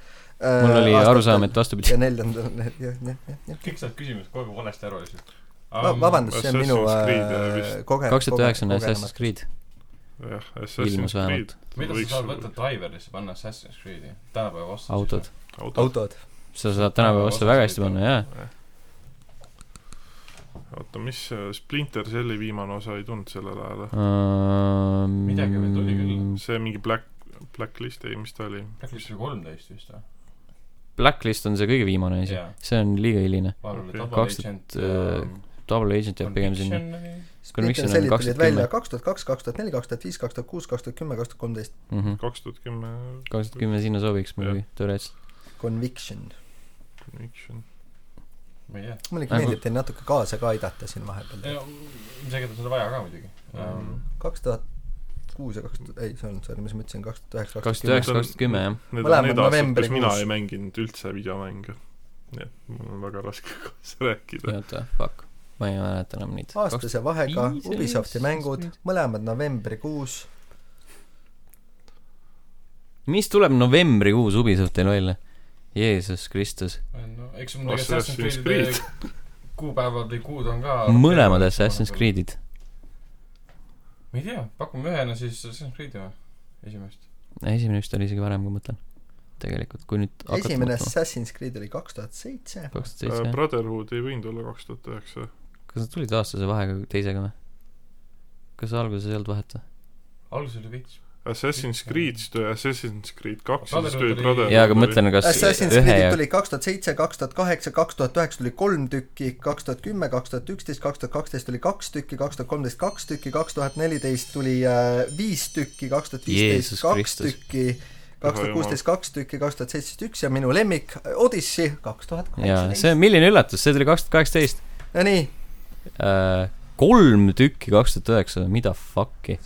[SPEAKER 1] mul oli arusaam , et vastupidi .
[SPEAKER 3] ja neljandal , jah , jah , jah , jah .
[SPEAKER 2] kõik saavad küsimust kogu aeg valesti aru lihtsalt . Ehm,
[SPEAKER 3] vabandust , see on minu
[SPEAKER 4] Assassin's Creed, äh,
[SPEAKER 3] äh,
[SPEAKER 4] vist.
[SPEAKER 3] koge- .
[SPEAKER 1] kaks tuhat üheksa on Assassin's Creed . Ilmus
[SPEAKER 4] jah , Assassin's
[SPEAKER 1] vähemalt.
[SPEAKER 4] Creed .
[SPEAKER 2] mida sa saad võtta Driverisse , panna Assassin's Creed'i tänapäeva vastu ?
[SPEAKER 1] autod ..
[SPEAKER 4] autod .
[SPEAKER 3] autod .
[SPEAKER 1] sa saad tänapäeva vastu väga hästi panna , jaa .
[SPEAKER 4] oota , mis see Splinter Celli viimane osa ei tulnud sellel ajal ?
[SPEAKER 1] Ehm,
[SPEAKER 2] Midagi veel tuli
[SPEAKER 1] Mm.
[SPEAKER 2] küll.
[SPEAKER 4] see mingi Black , Blacklist , ei , mis ta oli ?
[SPEAKER 2] Blacklist oli kolmteist vist või ?
[SPEAKER 1] Blacklist on see kõige viimane asi
[SPEAKER 2] Jaa. ,
[SPEAKER 1] see on liiga hiline .
[SPEAKER 2] vahepeal oli
[SPEAKER 4] Okei.
[SPEAKER 2] Double
[SPEAKER 1] Kaks
[SPEAKER 2] Agent ähm,
[SPEAKER 1] tuhat, äh,
[SPEAKER 4] Ähm,
[SPEAKER 1] Double Agent jääb pigem sinna . Conviction
[SPEAKER 3] Splinter
[SPEAKER 1] on
[SPEAKER 3] Cellid
[SPEAKER 1] 2010.
[SPEAKER 3] tulid välja kaks tuhat kaks , kaks tuhat neli , kaks tuhat viis , kaks tuhat kuus , kaks tuhat kümme , kaks tuhat kolmteist .
[SPEAKER 4] kaks tuhat kümme
[SPEAKER 1] Mhm. kaks tuhat kümme sinna sobiks muidugi , teoreetiliselt .
[SPEAKER 3] Conviction .
[SPEAKER 4] Conviction .
[SPEAKER 2] ma ei
[SPEAKER 3] mulle ikka
[SPEAKER 1] Nagu-
[SPEAKER 3] meeldib teil natuke kaasa ka aidata siin vahepeal .
[SPEAKER 2] tea , isegi ta seda vaja ka muidugi
[SPEAKER 1] Ähm,
[SPEAKER 2] um, .
[SPEAKER 4] Ähm,
[SPEAKER 3] kaks tuhat kuus ja kaks tuhat , ei , see on , sorry , mis ma ütlesin , kaks tuhat üheksa ,
[SPEAKER 1] kaks
[SPEAKER 3] kaks
[SPEAKER 1] tuhat
[SPEAKER 3] tuhat
[SPEAKER 1] üheksa , kaks tuhat kümme , jah .
[SPEAKER 4] Need on
[SPEAKER 3] Mõlemad
[SPEAKER 4] need aastad , kus
[SPEAKER 3] novembrikuus.
[SPEAKER 4] mina ei mänginud üldse videomänge . nii et mul on väga raske kaasa rääkida .
[SPEAKER 1] oota , fuck . ma ei mäleta enam neid .
[SPEAKER 3] kümme . aastase vahega
[SPEAKER 1] viis oli
[SPEAKER 3] Ubisofti
[SPEAKER 1] siis
[SPEAKER 3] mängud
[SPEAKER 1] nüüd. ,
[SPEAKER 3] mõlemad novembrikuus .
[SPEAKER 1] mis tuleb novembrikuus Ubisoftil välja ? Jeesus Kristus .
[SPEAKER 2] no eks mul muidugi
[SPEAKER 4] Assassin's
[SPEAKER 2] Assassin's Creed'i kuupäevad või kuud on ka .
[SPEAKER 1] mõlemad Assassin's . Creed'id .
[SPEAKER 2] ma ei tea , pakume ühena siis Assassin's Creed'i või ? esimest .
[SPEAKER 1] esimene vist oli isegi varem , kui ma mõtlen . tegelikult , kui nüüd hakata
[SPEAKER 3] esimene
[SPEAKER 1] mõtlema .
[SPEAKER 3] Assassin's Creed oli kaks tuhat seitse .
[SPEAKER 1] kaks tuhat seitse , jah .
[SPEAKER 4] Äh, Brotherhood ei võinud olla kaks tuhat üheksa .
[SPEAKER 1] kas nad tulid aastase vahega teisega või ? kas alguses ei olnud vahet või ?
[SPEAKER 2] alguses oli veits
[SPEAKER 4] Assassin's Creed'is tuli Assassin's Creed kaks ja siis
[SPEAKER 2] Brotherhood
[SPEAKER 4] tuli
[SPEAKER 2] oli-
[SPEAKER 4] Brotherhood .
[SPEAKER 1] jaa , aga mõtlen , kas
[SPEAKER 3] Assassin's
[SPEAKER 1] ühe
[SPEAKER 3] Creed'id
[SPEAKER 1] ja
[SPEAKER 3] tulid kaks tuhat seitse , kaks tuhat kaheksa , kaks tuhat üheksa tuli kolm tükki , kaks tuhat kümme , kaks tuhat üksteist , kaks tuhat kaksteist tuli kaks tükki , kaks tuhat kolmteist kaks tükki , kaks tuhat neliteist tuli äh, viis tükki , kaks tuhat
[SPEAKER 1] Jeesus
[SPEAKER 3] viisteist kaks
[SPEAKER 1] Kristus.
[SPEAKER 3] tükki , kaks tuhat kuusteist kaks tükki , kaks tuhat seitseteist üks ja minu lemmik äh, Odyssey kaks tuhat
[SPEAKER 1] jaa , see
[SPEAKER 3] kaheksateist .
[SPEAKER 1] on , milline üllatus , see tuli kaks tuhat kaheksateist .
[SPEAKER 3] Nonii ,
[SPEAKER 1] kolm tükki kaks tuhat üheksa , mida fuck'i .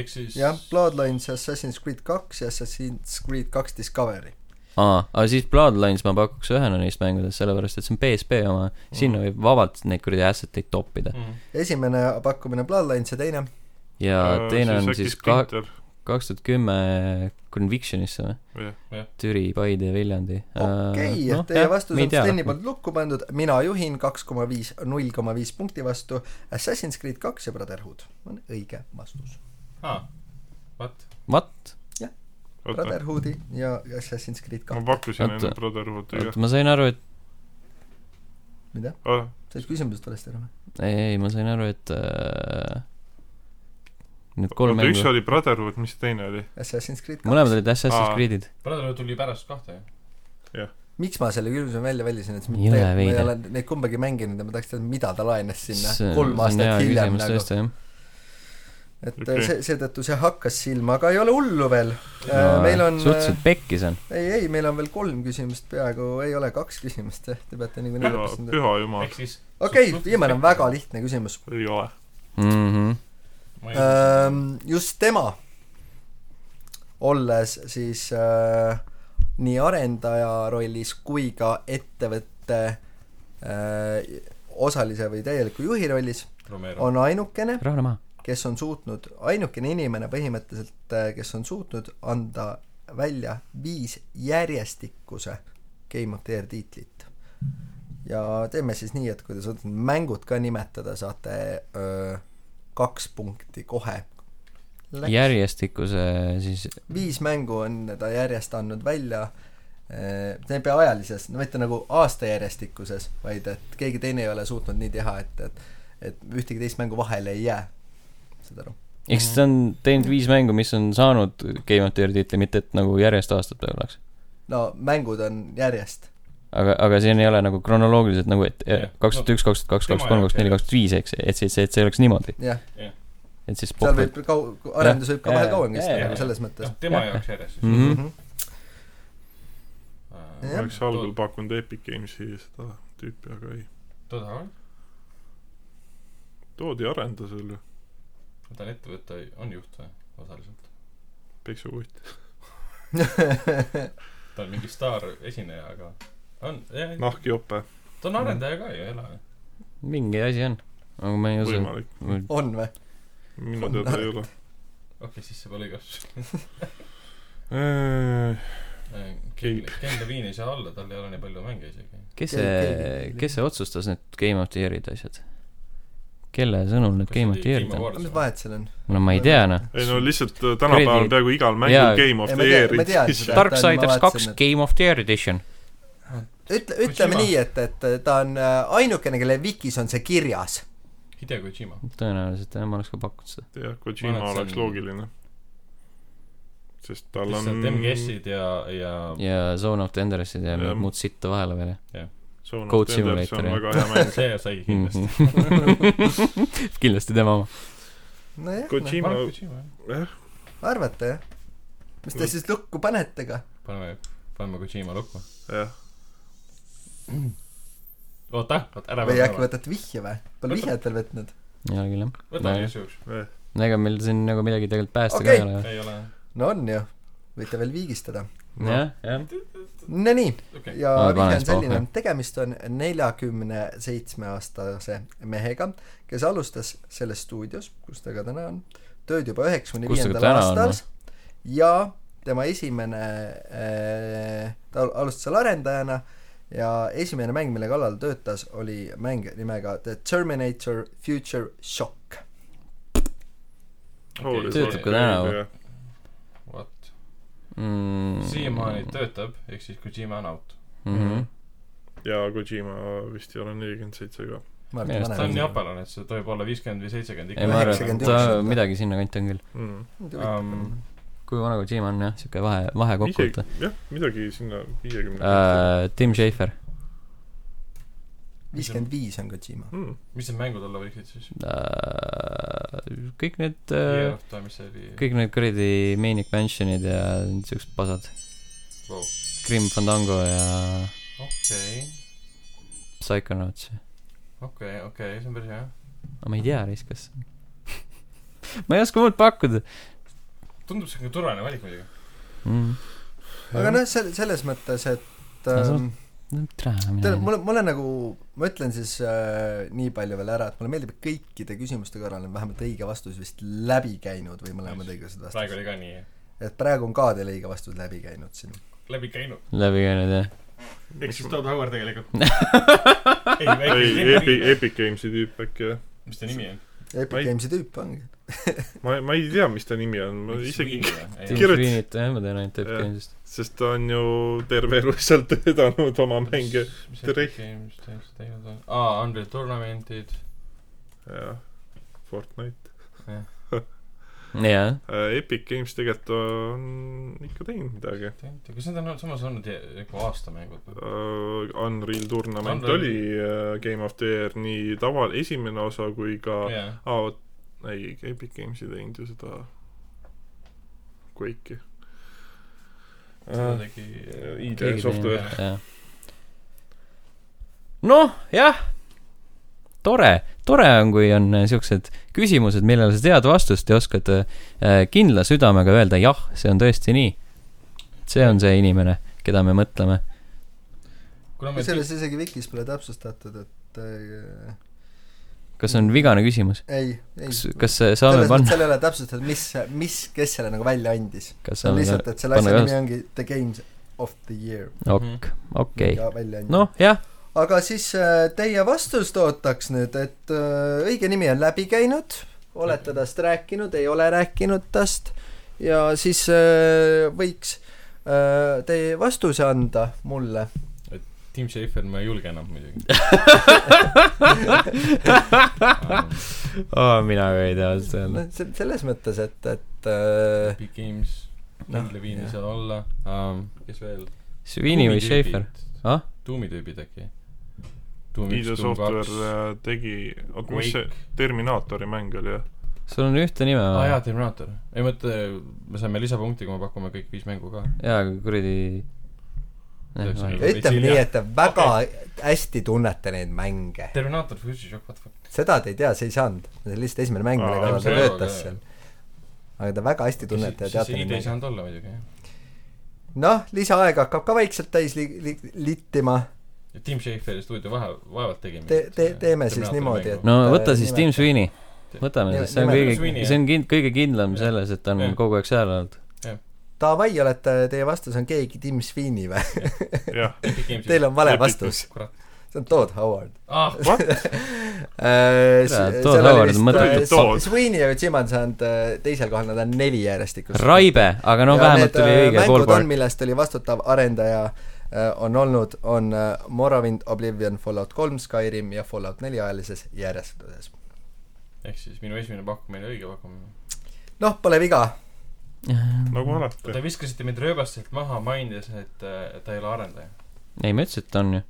[SPEAKER 2] ehk siis
[SPEAKER 3] ehm, jah , Bloodlines , Assassin's Creed kaks ja Assassin's Creed kaks Discovery .
[SPEAKER 1] aa , aga siis Bloodlines ma pakuks ühena neist mängudest , sellepärast et see on PSP oma , sinna võib vabalt neid kuradi asset eid toppida .
[SPEAKER 2] mm.
[SPEAKER 3] esimene pakkumine Bloodlines ja teine
[SPEAKER 1] ja
[SPEAKER 4] Äh,
[SPEAKER 1] teine on siis kahe , kaks tuhat kümme Convictionisse või ? Türi , Paide ja Viljandi . Äh,
[SPEAKER 3] okei ,
[SPEAKER 1] noh,
[SPEAKER 3] teie vastus on Steni poolt lukku pandud , mina juhin kaks koma viis , null koma viis punkti vastu , Assassin's Creed kaks ja Brotherhood on õige vastus .
[SPEAKER 2] ah, vat
[SPEAKER 1] What ?
[SPEAKER 4] oota ,
[SPEAKER 3] Brotherhoodi ja Assassin's Creed
[SPEAKER 4] ma
[SPEAKER 3] kaks ,
[SPEAKER 4] pakkusin
[SPEAKER 1] Oota.
[SPEAKER 4] enne Brotherhoodi
[SPEAKER 1] oot , ma sain aru , et ,
[SPEAKER 3] mida ?
[SPEAKER 4] ka .
[SPEAKER 3] said küsimusest valesti aru või ?
[SPEAKER 1] ei , ei , ma sain aru , et äh, need kolm
[SPEAKER 4] oota , üks
[SPEAKER 1] mängu ,
[SPEAKER 4] oli Brotherhood , mis teine oli ?
[SPEAKER 3] Assassin's Creed
[SPEAKER 1] mõlemad
[SPEAKER 3] kaks .
[SPEAKER 1] olid Assassin's
[SPEAKER 4] Aa.
[SPEAKER 1] Creed'id .
[SPEAKER 2] Brotherhood tuli pärast kahte ju
[SPEAKER 3] miks ma selle küsimuse välja välisin , et
[SPEAKER 1] Jõle
[SPEAKER 3] tegelikult ma ei
[SPEAKER 1] veider.
[SPEAKER 3] ole neid kumbagi mänginud ja ma tahaks teada , mida ta laenas sinna
[SPEAKER 1] See-
[SPEAKER 3] kolm
[SPEAKER 1] see on hea
[SPEAKER 3] aastat hiljem
[SPEAKER 1] küsimus
[SPEAKER 3] nagu .
[SPEAKER 1] tõesti, jah.
[SPEAKER 3] et
[SPEAKER 4] Okei.
[SPEAKER 3] okay. see , seetõttu see hakkas silma , aga ei ole hullu veel .
[SPEAKER 1] No,
[SPEAKER 3] Äh, meil on ,
[SPEAKER 1] suhteliselt pekkis on .
[SPEAKER 3] ei , ei , meil on veel kolm küsimust peaaegu , ei ole kaks küsimust , te peate niikuinii
[SPEAKER 4] püha ,
[SPEAKER 3] lõpetama .
[SPEAKER 4] püha jumal
[SPEAKER 2] ehk , siis
[SPEAKER 3] okei
[SPEAKER 2] Suht-
[SPEAKER 3] okay, , viimane on
[SPEAKER 2] suhteliselt
[SPEAKER 3] väga lihtne küsimus .
[SPEAKER 4] ei ole .
[SPEAKER 1] Mhm.
[SPEAKER 2] ma ei
[SPEAKER 3] Ähm, Ehm, just tema , olles siis äh, nii arendaja rollis kui ka ettevõtte äh, osalise või täieliku juhi rollis ,
[SPEAKER 2] Romero
[SPEAKER 3] on ainukene ,
[SPEAKER 1] rahune maha .
[SPEAKER 3] kes on suutnud , ainukene inimene põhimõtteliselt , kes on suutnud anda välja viis järjestikuse Game of the Year tiitlit . ja teeme siis nii , et kui te suudate mängud ka nimetada , saate öö, kaks punkti kohe .
[SPEAKER 1] järjestikuse äh, siis ,
[SPEAKER 3] viis mängu on ta järjest andnud välja , see ei pea ajalises , no mitte nagu aasta järjestikuses , vaid et keegi teine ei ole suutnud nii teha , et , et et ühtegi teist mängu vahele ei jää . saad aru ?
[SPEAKER 1] ehk siis ta on teinud viis mängu , mis on saanud Game of the Year tiitli , mitte et nagu järjest aastate oleks .
[SPEAKER 3] no mängud on järjest .
[SPEAKER 1] aga , aga siin ei ole nagu kronoloogiliselt nagu , et
[SPEAKER 2] Jah.
[SPEAKER 1] kaks tuhat üks , kaks tuhat kaks , kaks tuhat kolm , kaks tuhat neli , kaks tuhat viis , eks , et see , see , et see oleks niimoodi ,
[SPEAKER 3] jah ,
[SPEAKER 1] et siis
[SPEAKER 3] seal
[SPEAKER 1] pohvel-
[SPEAKER 3] võib kau- , arendus võib ka
[SPEAKER 1] Jah,
[SPEAKER 3] vahel
[SPEAKER 1] jah,
[SPEAKER 3] kauem kesta
[SPEAKER 1] jah, jah,
[SPEAKER 3] nagu selles mõttes
[SPEAKER 2] noh . tema
[SPEAKER 1] Jah.
[SPEAKER 2] jaoks järjest siis Ah,
[SPEAKER 1] Mhm.
[SPEAKER 3] Mhm.
[SPEAKER 2] Äh,
[SPEAKER 3] Jah.
[SPEAKER 4] oleks algul pakkunud Epic Gamesi seda tüüpi , aga ei .
[SPEAKER 2] toda on
[SPEAKER 4] toodi arendas veel ju ,
[SPEAKER 2] ta on ettevõte on juht või osaliselt
[SPEAKER 4] peksukutt .
[SPEAKER 2] ta on mingi staar esineja aga on jah
[SPEAKER 4] Noh,
[SPEAKER 2] no.
[SPEAKER 4] nahkjope ,
[SPEAKER 2] ta on arendaja
[SPEAKER 4] noh.
[SPEAKER 2] ka ju ei ole või
[SPEAKER 1] mingi asi on , aga ma ei usu ,
[SPEAKER 4] võimalik .
[SPEAKER 3] on või ?
[SPEAKER 4] minu teada ei ole .
[SPEAKER 2] okei okay, siis see pole igas
[SPEAKER 4] Keegi-
[SPEAKER 2] Äh, Ken Ken Levine ei saa olla tal ei ole nii palju mänge isegi
[SPEAKER 1] kes see
[SPEAKER 3] Keegi- ,
[SPEAKER 1] kes see otsustas need Game of the Year'id asjad ? kelle sõnul need
[SPEAKER 2] Kas
[SPEAKER 1] Game of
[SPEAKER 2] oli
[SPEAKER 1] the Year'id on ?
[SPEAKER 2] Awards
[SPEAKER 3] mis
[SPEAKER 2] või?
[SPEAKER 3] vahet seal on ?
[SPEAKER 1] no ma ei tea , noh .
[SPEAKER 4] ei no lihtsalt äh, tänapäeval
[SPEAKER 1] Kuradi-
[SPEAKER 4] on peaaegu igal
[SPEAKER 1] jaa.
[SPEAKER 4] mängul Game of
[SPEAKER 3] Ei, ma
[SPEAKER 4] the
[SPEAKER 3] tean- ma tean
[SPEAKER 4] Year'id
[SPEAKER 3] seda.
[SPEAKER 4] sisse .
[SPEAKER 1] Darksiders
[SPEAKER 3] Ma
[SPEAKER 1] kaks
[SPEAKER 3] vaatasin, et-
[SPEAKER 1] Game of the Year edition .
[SPEAKER 3] ütle , ütleme
[SPEAKER 2] Kojima.
[SPEAKER 3] nii , et , et ta on äh, ainukene , kelle vikis on see kirjas .
[SPEAKER 2] Hideo Kojima
[SPEAKER 1] tõenäoliselt jah , ma oleks ka pakkunud seda .
[SPEAKER 4] jah ,
[SPEAKER 2] Ma arvan, et
[SPEAKER 4] Kojima
[SPEAKER 2] see
[SPEAKER 4] oleks
[SPEAKER 2] on-
[SPEAKER 4] loogiline . sest tal on
[SPEAKER 2] lihtsalt MGS-id ja ja
[SPEAKER 1] ja Zone of the Enderessid ja
[SPEAKER 4] Jah.
[SPEAKER 1] mingit muud sitta vahele veel
[SPEAKER 4] Zone of
[SPEAKER 1] Code
[SPEAKER 4] the Enders
[SPEAKER 1] Simulator,
[SPEAKER 4] on
[SPEAKER 1] jah.
[SPEAKER 4] väga hea mäng .
[SPEAKER 2] see sai
[SPEAKER 4] Mhm.
[SPEAKER 2] kindlasti
[SPEAKER 1] kindlasti . kindlasti tema oma .
[SPEAKER 3] nojah , noh ,
[SPEAKER 4] Kojima ,
[SPEAKER 2] Mark Kojima jah
[SPEAKER 3] arvate jah ? mis te siis lukku panete ka ?
[SPEAKER 2] paneme paneme Kojima lukku
[SPEAKER 4] jah ,
[SPEAKER 2] oota oota ära
[SPEAKER 3] või äkki võtate vihje või ? Pole
[SPEAKER 2] Võta-
[SPEAKER 3] vihjet veel võtnud ?
[SPEAKER 1] ei ole küll jah .
[SPEAKER 2] võta igaks juhuks
[SPEAKER 4] jah .
[SPEAKER 1] no ega meil siin nagu midagi tegelikult päästa
[SPEAKER 3] Okei.
[SPEAKER 1] ka ei ole .
[SPEAKER 2] ei ole
[SPEAKER 3] no on ju , võite veel viigistada .
[SPEAKER 1] jah , jah .
[SPEAKER 3] Nonii ,
[SPEAKER 2] okei
[SPEAKER 3] ja
[SPEAKER 1] Ma
[SPEAKER 3] vihje
[SPEAKER 1] panen
[SPEAKER 3] on
[SPEAKER 1] siis pausi.
[SPEAKER 3] selline , tegemist on neljakümne seitsme aastase mehega , kes alustas selles stuudios , kus ta ka täna on , tööd juba üheksakümne
[SPEAKER 1] Kus ta ka
[SPEAKER 3] viiendal
[SPEAKER 1] täna on,
[SPEAKER 3] aastal ja tema esimene äh, , ta al- alustas seal arendajana ja esimene mäng , mille kallal töötas , oli mäng nimega The Terminator Future Shock .
[SPEAKER 2] Okei,
[SPEAKER 1] Töötab ka
[SPEAKER 2] see-
[SPEAKER 1] täna või? ?
[SPEAKER 2] vot siiamaani . töötab ehk siis Kojima on out
[SPEAKER 1] Mm -hmm.
[SPEAKER 4] ja Kojima vist ei ole nelikümmend seitse ka .
[SPEAKER 3] ma
[SPEAKER 1] Minu
[SPEAKER 3] arvan ,
[SPEAKER 1] arust
[SPEAKER 3] et
[SPEAKER 2] ta on
[SPEAKER 3] vanem .
[SPEAKER 2] jaapalane , et see tohib olla viiskümmend või seitsekümmend
[SPEAKER 1] ei , ma
[SPEAKER 2] ikka .
[SPEAKER 1] arvan , et
[SPEAKER 3] 91
[SPEAKER 1] ta
[SPEAKER 3] ta-
[SPEAKER 1] midagi sinnakanti on küll .
[SPEAKER 4] mm. .
[SPEAKER 2] Um,
[SPEAKER 1] kui vana Kojima on jah , siuke vahe , vahe kokkuvõte .
[SPEAKER 4] jah , midagi sinna viiekümne
[SPEAKER 1] Uh, Tim Schafer
[SPEAKER 3] viiskümmend viis on Kojima .
[SPEAKER 4] mm. .
[SPEAKER 2] mis need mängud olla võiksid
[SPEAKER 1] Äh,
[SPEAKER 2] siis ?
[SPEAKER 1] uh, , kõik need
[SPEAKER 2] Year
[SPEAKER 1] uh, ,
[SPEAKER 2] of Time , mis see oli ?
[SPEAKER 1] kõik need kuradi Maniac Mansionid ja siuksed pasad .
[SPEAKER 2] Wow.
[SPEAKER 1] Grim Fandango ja
[SPEAKER 2] okei ,
[SPEAKER 1] Psychonauts .
[SPEAKER 2] okei , okei , see on päris hea .
[SPEAKER 1] aga ma ei tea , Reis , kas ma ei oska muud pakkuda
[SPEAKER 2] tundub siuke turvaline valik muidugi .
[SPEAKER 1] mm. .
[SPEAKER 3] aga noh , sel- , selles mõttes , et
[SPEAKER 1] No see on-
[SPEAKER 3] ähm,
[SPEAKER 1] no tere , Noh, mina
[SPEAKER 3] tead ,
[SPEAKER 1] ei
[SPEAKER 3] mulle , mulle nagu , ma ütlen siis äh, nii palju veel ära , et mulle meeldib , et kõikide küsimuste korral on vähemalt õige vastus vist läbi käinud või mõlemad õiglased
[SPEAKER 2] praegu
[SPEAKER 3] vastused .
[SPEAKER 2] oli ka nii .
[SPEAKER 3] et praegu on ka teil õige vastus läbi käinud siin .
[SPEAKER 2] läbi käinud .
[SPEAKER 1] tea. läbi käinud jah .
[SPEAKER 2] ehk siis Todd Howard tegelikult . ei ,
[SPEAKER 4] ei ,
[SPEAKER 2] väike
[SPEAKER 4] Epic , Epic Games'i tüüp äkki jah .
[SPEAKER 2] mis ta nimi on ?
[SPEAKER 3] Epic
[SPEAKER 4] Ma ei-
[SPEAKER 3] Games'i tüüp ongi .
[SPEAKER 4] ma , ma ei tea , mis ta nimi on , ma isegi ,
[SPEAKER 1] Tim
[SPEAKER 4] Kirjutas-
[SPEAKER 1] Sweeney't jah , ma tean ainult Epic
[SPEAKER 4] Jah.
[SPEAKER 1] Games'ist .
[SPEAKER 4] sest ta on ju terve elu seal töötanud oma mänge . Drake.
[SPEAKER 2] aa , Unreal Tournamentid .
[SPEAKER 4] jah , Fortnite .
[SPEAKER 1] jah ,
[SPEAKER 4] Epic Games tegelikult on ikka teinud midagi .
[SPEAKER 2] kas need on olnud- samas olnud je- nagu aastamängud või ?
[SPEAKER 4] Uh, Unreal Tournament
[SPEAKER 2] Unreal.
[SPEAKER 4] oli uh, Game of the Year nii tava- , esimene osa kui ka yeah.
[SPEAKER 2] jah ,
[SPEAKER 4] ah, oot, ei , Epic Games ei teinud ju seda Quake'i
[SPEAKER 2] seda
[SPEAKER 4] uh, .
[SPEAKER 2] tegi E
[SPEAKER 4] ID software .
[SPEAKER 1] jah . noh , jah . tore , tore on , kui on äh, siuksed küsimused , millele sa tead vastust ja oskad äh, äh, kindla südamega öelda jah , see on tõesti nii . see on see inimene , keda me mõtleme .
[SPEAKER 2] kuna me
[SPEAKER 3] selles isegi Vikis pole täpsustatud , et äh,
[SPEAKER 1] kas on vigane küsimus ?
[SPEAKER 3] ei , ei .
[SPEAKER 1] kas , kas äh, saame panna ,
[SPEAKER 3] seal ei ole täpsustatud , mis , mis , kes selle nagu välja andis .
[SPEAKER 1] kas
[SPEAKER 3] see on
[SPEAKER 1] saame
[SPEAKER 3] lihtsalt , et selle
[SPEAKER 1] panna
[SPEAKER 3] asja nimi
[SPEAKER 1] kaasa?
[SPEAKER 3] ongi The Games of the Year .
[SPEAKER 2] Mhm.
[SPEAKER 1] ok , okei .
[SPEAKER 3] okei
[SPEAKER 1] noh , jah ,
[SPEAKER 3] aga siis äh, teie vastust ootaks nüüd , et äh, õige nimi on läbi käinud , olete tast rääkinud , ei ole rääkinud tast ja siis äh, võiks äh, teie vastuse anda mulle .
[SPEAKER 2] Tim Schafer , ma ei julge enam muidugi
[SPEAKER 1] oh, mina ka ei tea ausalt öelda
[SPEAKER 3] no . se- selles mõttes , et , et äh,
[SPEAKER 2] Big Games ,
[SPEAKER 3] Noh,
[SPEAKER 2] kindla viini
[SPEAKER 3] jah.
[SPEAKER 2] seal olla um, , kes veel ?
[SPEAKER 1] Sweeney või Schaefer ?? Ah? ?
[SPEAKER 2] Doom'i tüübid äkki ?
[SPEAKER 4] ID Software uh, tegi , oot , mis see Terminaatori mäng oli jah ?
[SPEAKER 1] sul on ühte nime
[SPEAKER 2] aa
[SPEAKER 1] vaja
[SPEAKER 2] Ah, jaa ,. Terminaator . ei mõtle , me saame lisapunkti , kui me pakume kõik viis mängu ka .
[SPEAKER 1] jaa , aga kuradi .
[SPEAKER 2] Täpselt.
[SPEAKER 3] ütleme
[SPEAKER 2] Vitsil,
[SPEAKER 3] nii ,
[SPEAKER 2] jah.
[SPEAKER 3] et te väga hästi tunnete neid mänge .
[SPEAKER 2] Terminaator , Future Shock , what the fuck .
[SPEAKER 3] seda te ei tea , see ei saanud . see oli lihtsalt esimene mäng , mille
[SPEAKER 4] Aa,
[SPEAKER 3] kallal ta
[SPEAKER 2] see ei ole,
[SPEAKER 3] töötas
[SPEAKER 2] aga-
[SPEAKER 3] seal . aga te väga hästi tunnete ja
[SPEAKER 2] neid
[SPEAKER 3] teate neid
[SPEAKER 2] mänge . ei
[SPEAKER 3] mänge .
[SPEAKER 2] saanud olla muidugi , jah .
[SPEAKER 3] noh , lisaaeg hakkab ka vaikselt täis li- , li- , littima
[SPEAKER 2] ja Tim Schaferi stuudio vahe , vaevalt äh, tegime .
[SPEAKER 3] Te- te- teeme siis niimoodi, et-
[SPEAKER 1] no
[SPEAKER 3] Äh,
[SPEAKER 1] võta siis Tim
[SPEAKER 3] nimeta.
[SPEAKER 1] Sweeney . võtame
[SPEAKER 3] Nime-
[SPEAKER 1] siis , see on
[SPEAKER 3] nimeta.
[SPEAKER 1] kõige
[SPEAKER 2] Sweeney, ,
[SPEAKER 1] see on kind- , kõige kindlam
[SPEAKER 2] Jah.
[SPEAKER 1] selles , et ta on
[SPEAKER 2] Jah.
[SPEAKER 1] kogu aeg seal olnud .
[SPEAKER 3] Davai , olete , teie vastus on keegi Tim Sweeney või ?
[SPEAKER 4] jah ,
[SPEAKER 3] Teil on vale
[SPEAKER 4] Lepiti.
[SPEAKER 3] vastus .
[SPEAKER 2] kurat .
[SPEAKER 3] see on Todd Howard . Äh,
[SPEAKER 2] ah ,
[SPEAKER 1] Tere, Todd Howard, mõtletud
[SPEAKER 4] Todd.
[SPEAKER 3] Sweeney ja Jim on saanud äh, teisel kohal , nad on neli järjestikust .
[SPEAKER 1] Raibe , aga noh , vähemalt oli õige
[SPEAKER 3] äh, mängud on ,
[SPEAKER 1] ballpark .
[SPEAKER 3] millest oli vastutav arendaja äh, on olnud , on äh, Morrowind , Oblivion , Fallout kolm , Skyrim ja Fallout neli ajalises järjestuses .
[SPEAKER 2] ehk siis minu esimene pakkumine oli õige pakkumine .
[SPEAKER 3] noh , pole viga .
[SPEAKER 4] nagu
[SPEAKER 2] Te
[SPEAKER 4] alati .
[SPEAKER 2] viskasite mind rööbastelt maha , mainides , et äh, ta ei ole arendaja .
[SPEAKER 1] ei , ma ütlesin , et on ju .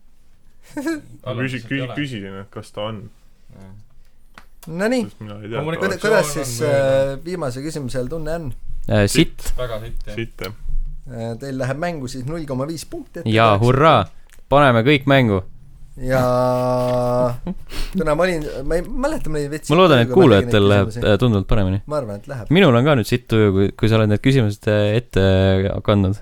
[SPEAKER 4] ma küsi- , küsi- , küsisin , et kas ta on ,
[SPEAKER 3] Nonii ,
[SPEAKER 4] sest mina ei
[SPEAKER 2] Loomulikult-
[SPEAKER 4] tea .
[SPEAKER 3] kuidas , kuidas siis äh, viimase küsimuse all tunne on ?
[SPEAKER 1] Äh, sitt
[SPEAKER 2] väga sitt , jah .
[SPEAKER 4] siit jah .
[SPEAKER 3] Äh, Teil läheb mängu siis null koma viis punkti .
[SPEAKER 1] ja hurraa , paneme kõik mängu .
[SPEAKER 3] ja täna ma olin , ma ei mäleta , ma olin veits
[SPEAKER 1] ma loodan , et kuulajatel läheb äh, tunduvalt paremini .
[SPEAKER 3] ma arvan , et läheb .
[SPEAKER 1] minul on ka nüüd sitt tuju , kui , kui sa oled need küsimused äh, ette äh, kandnud .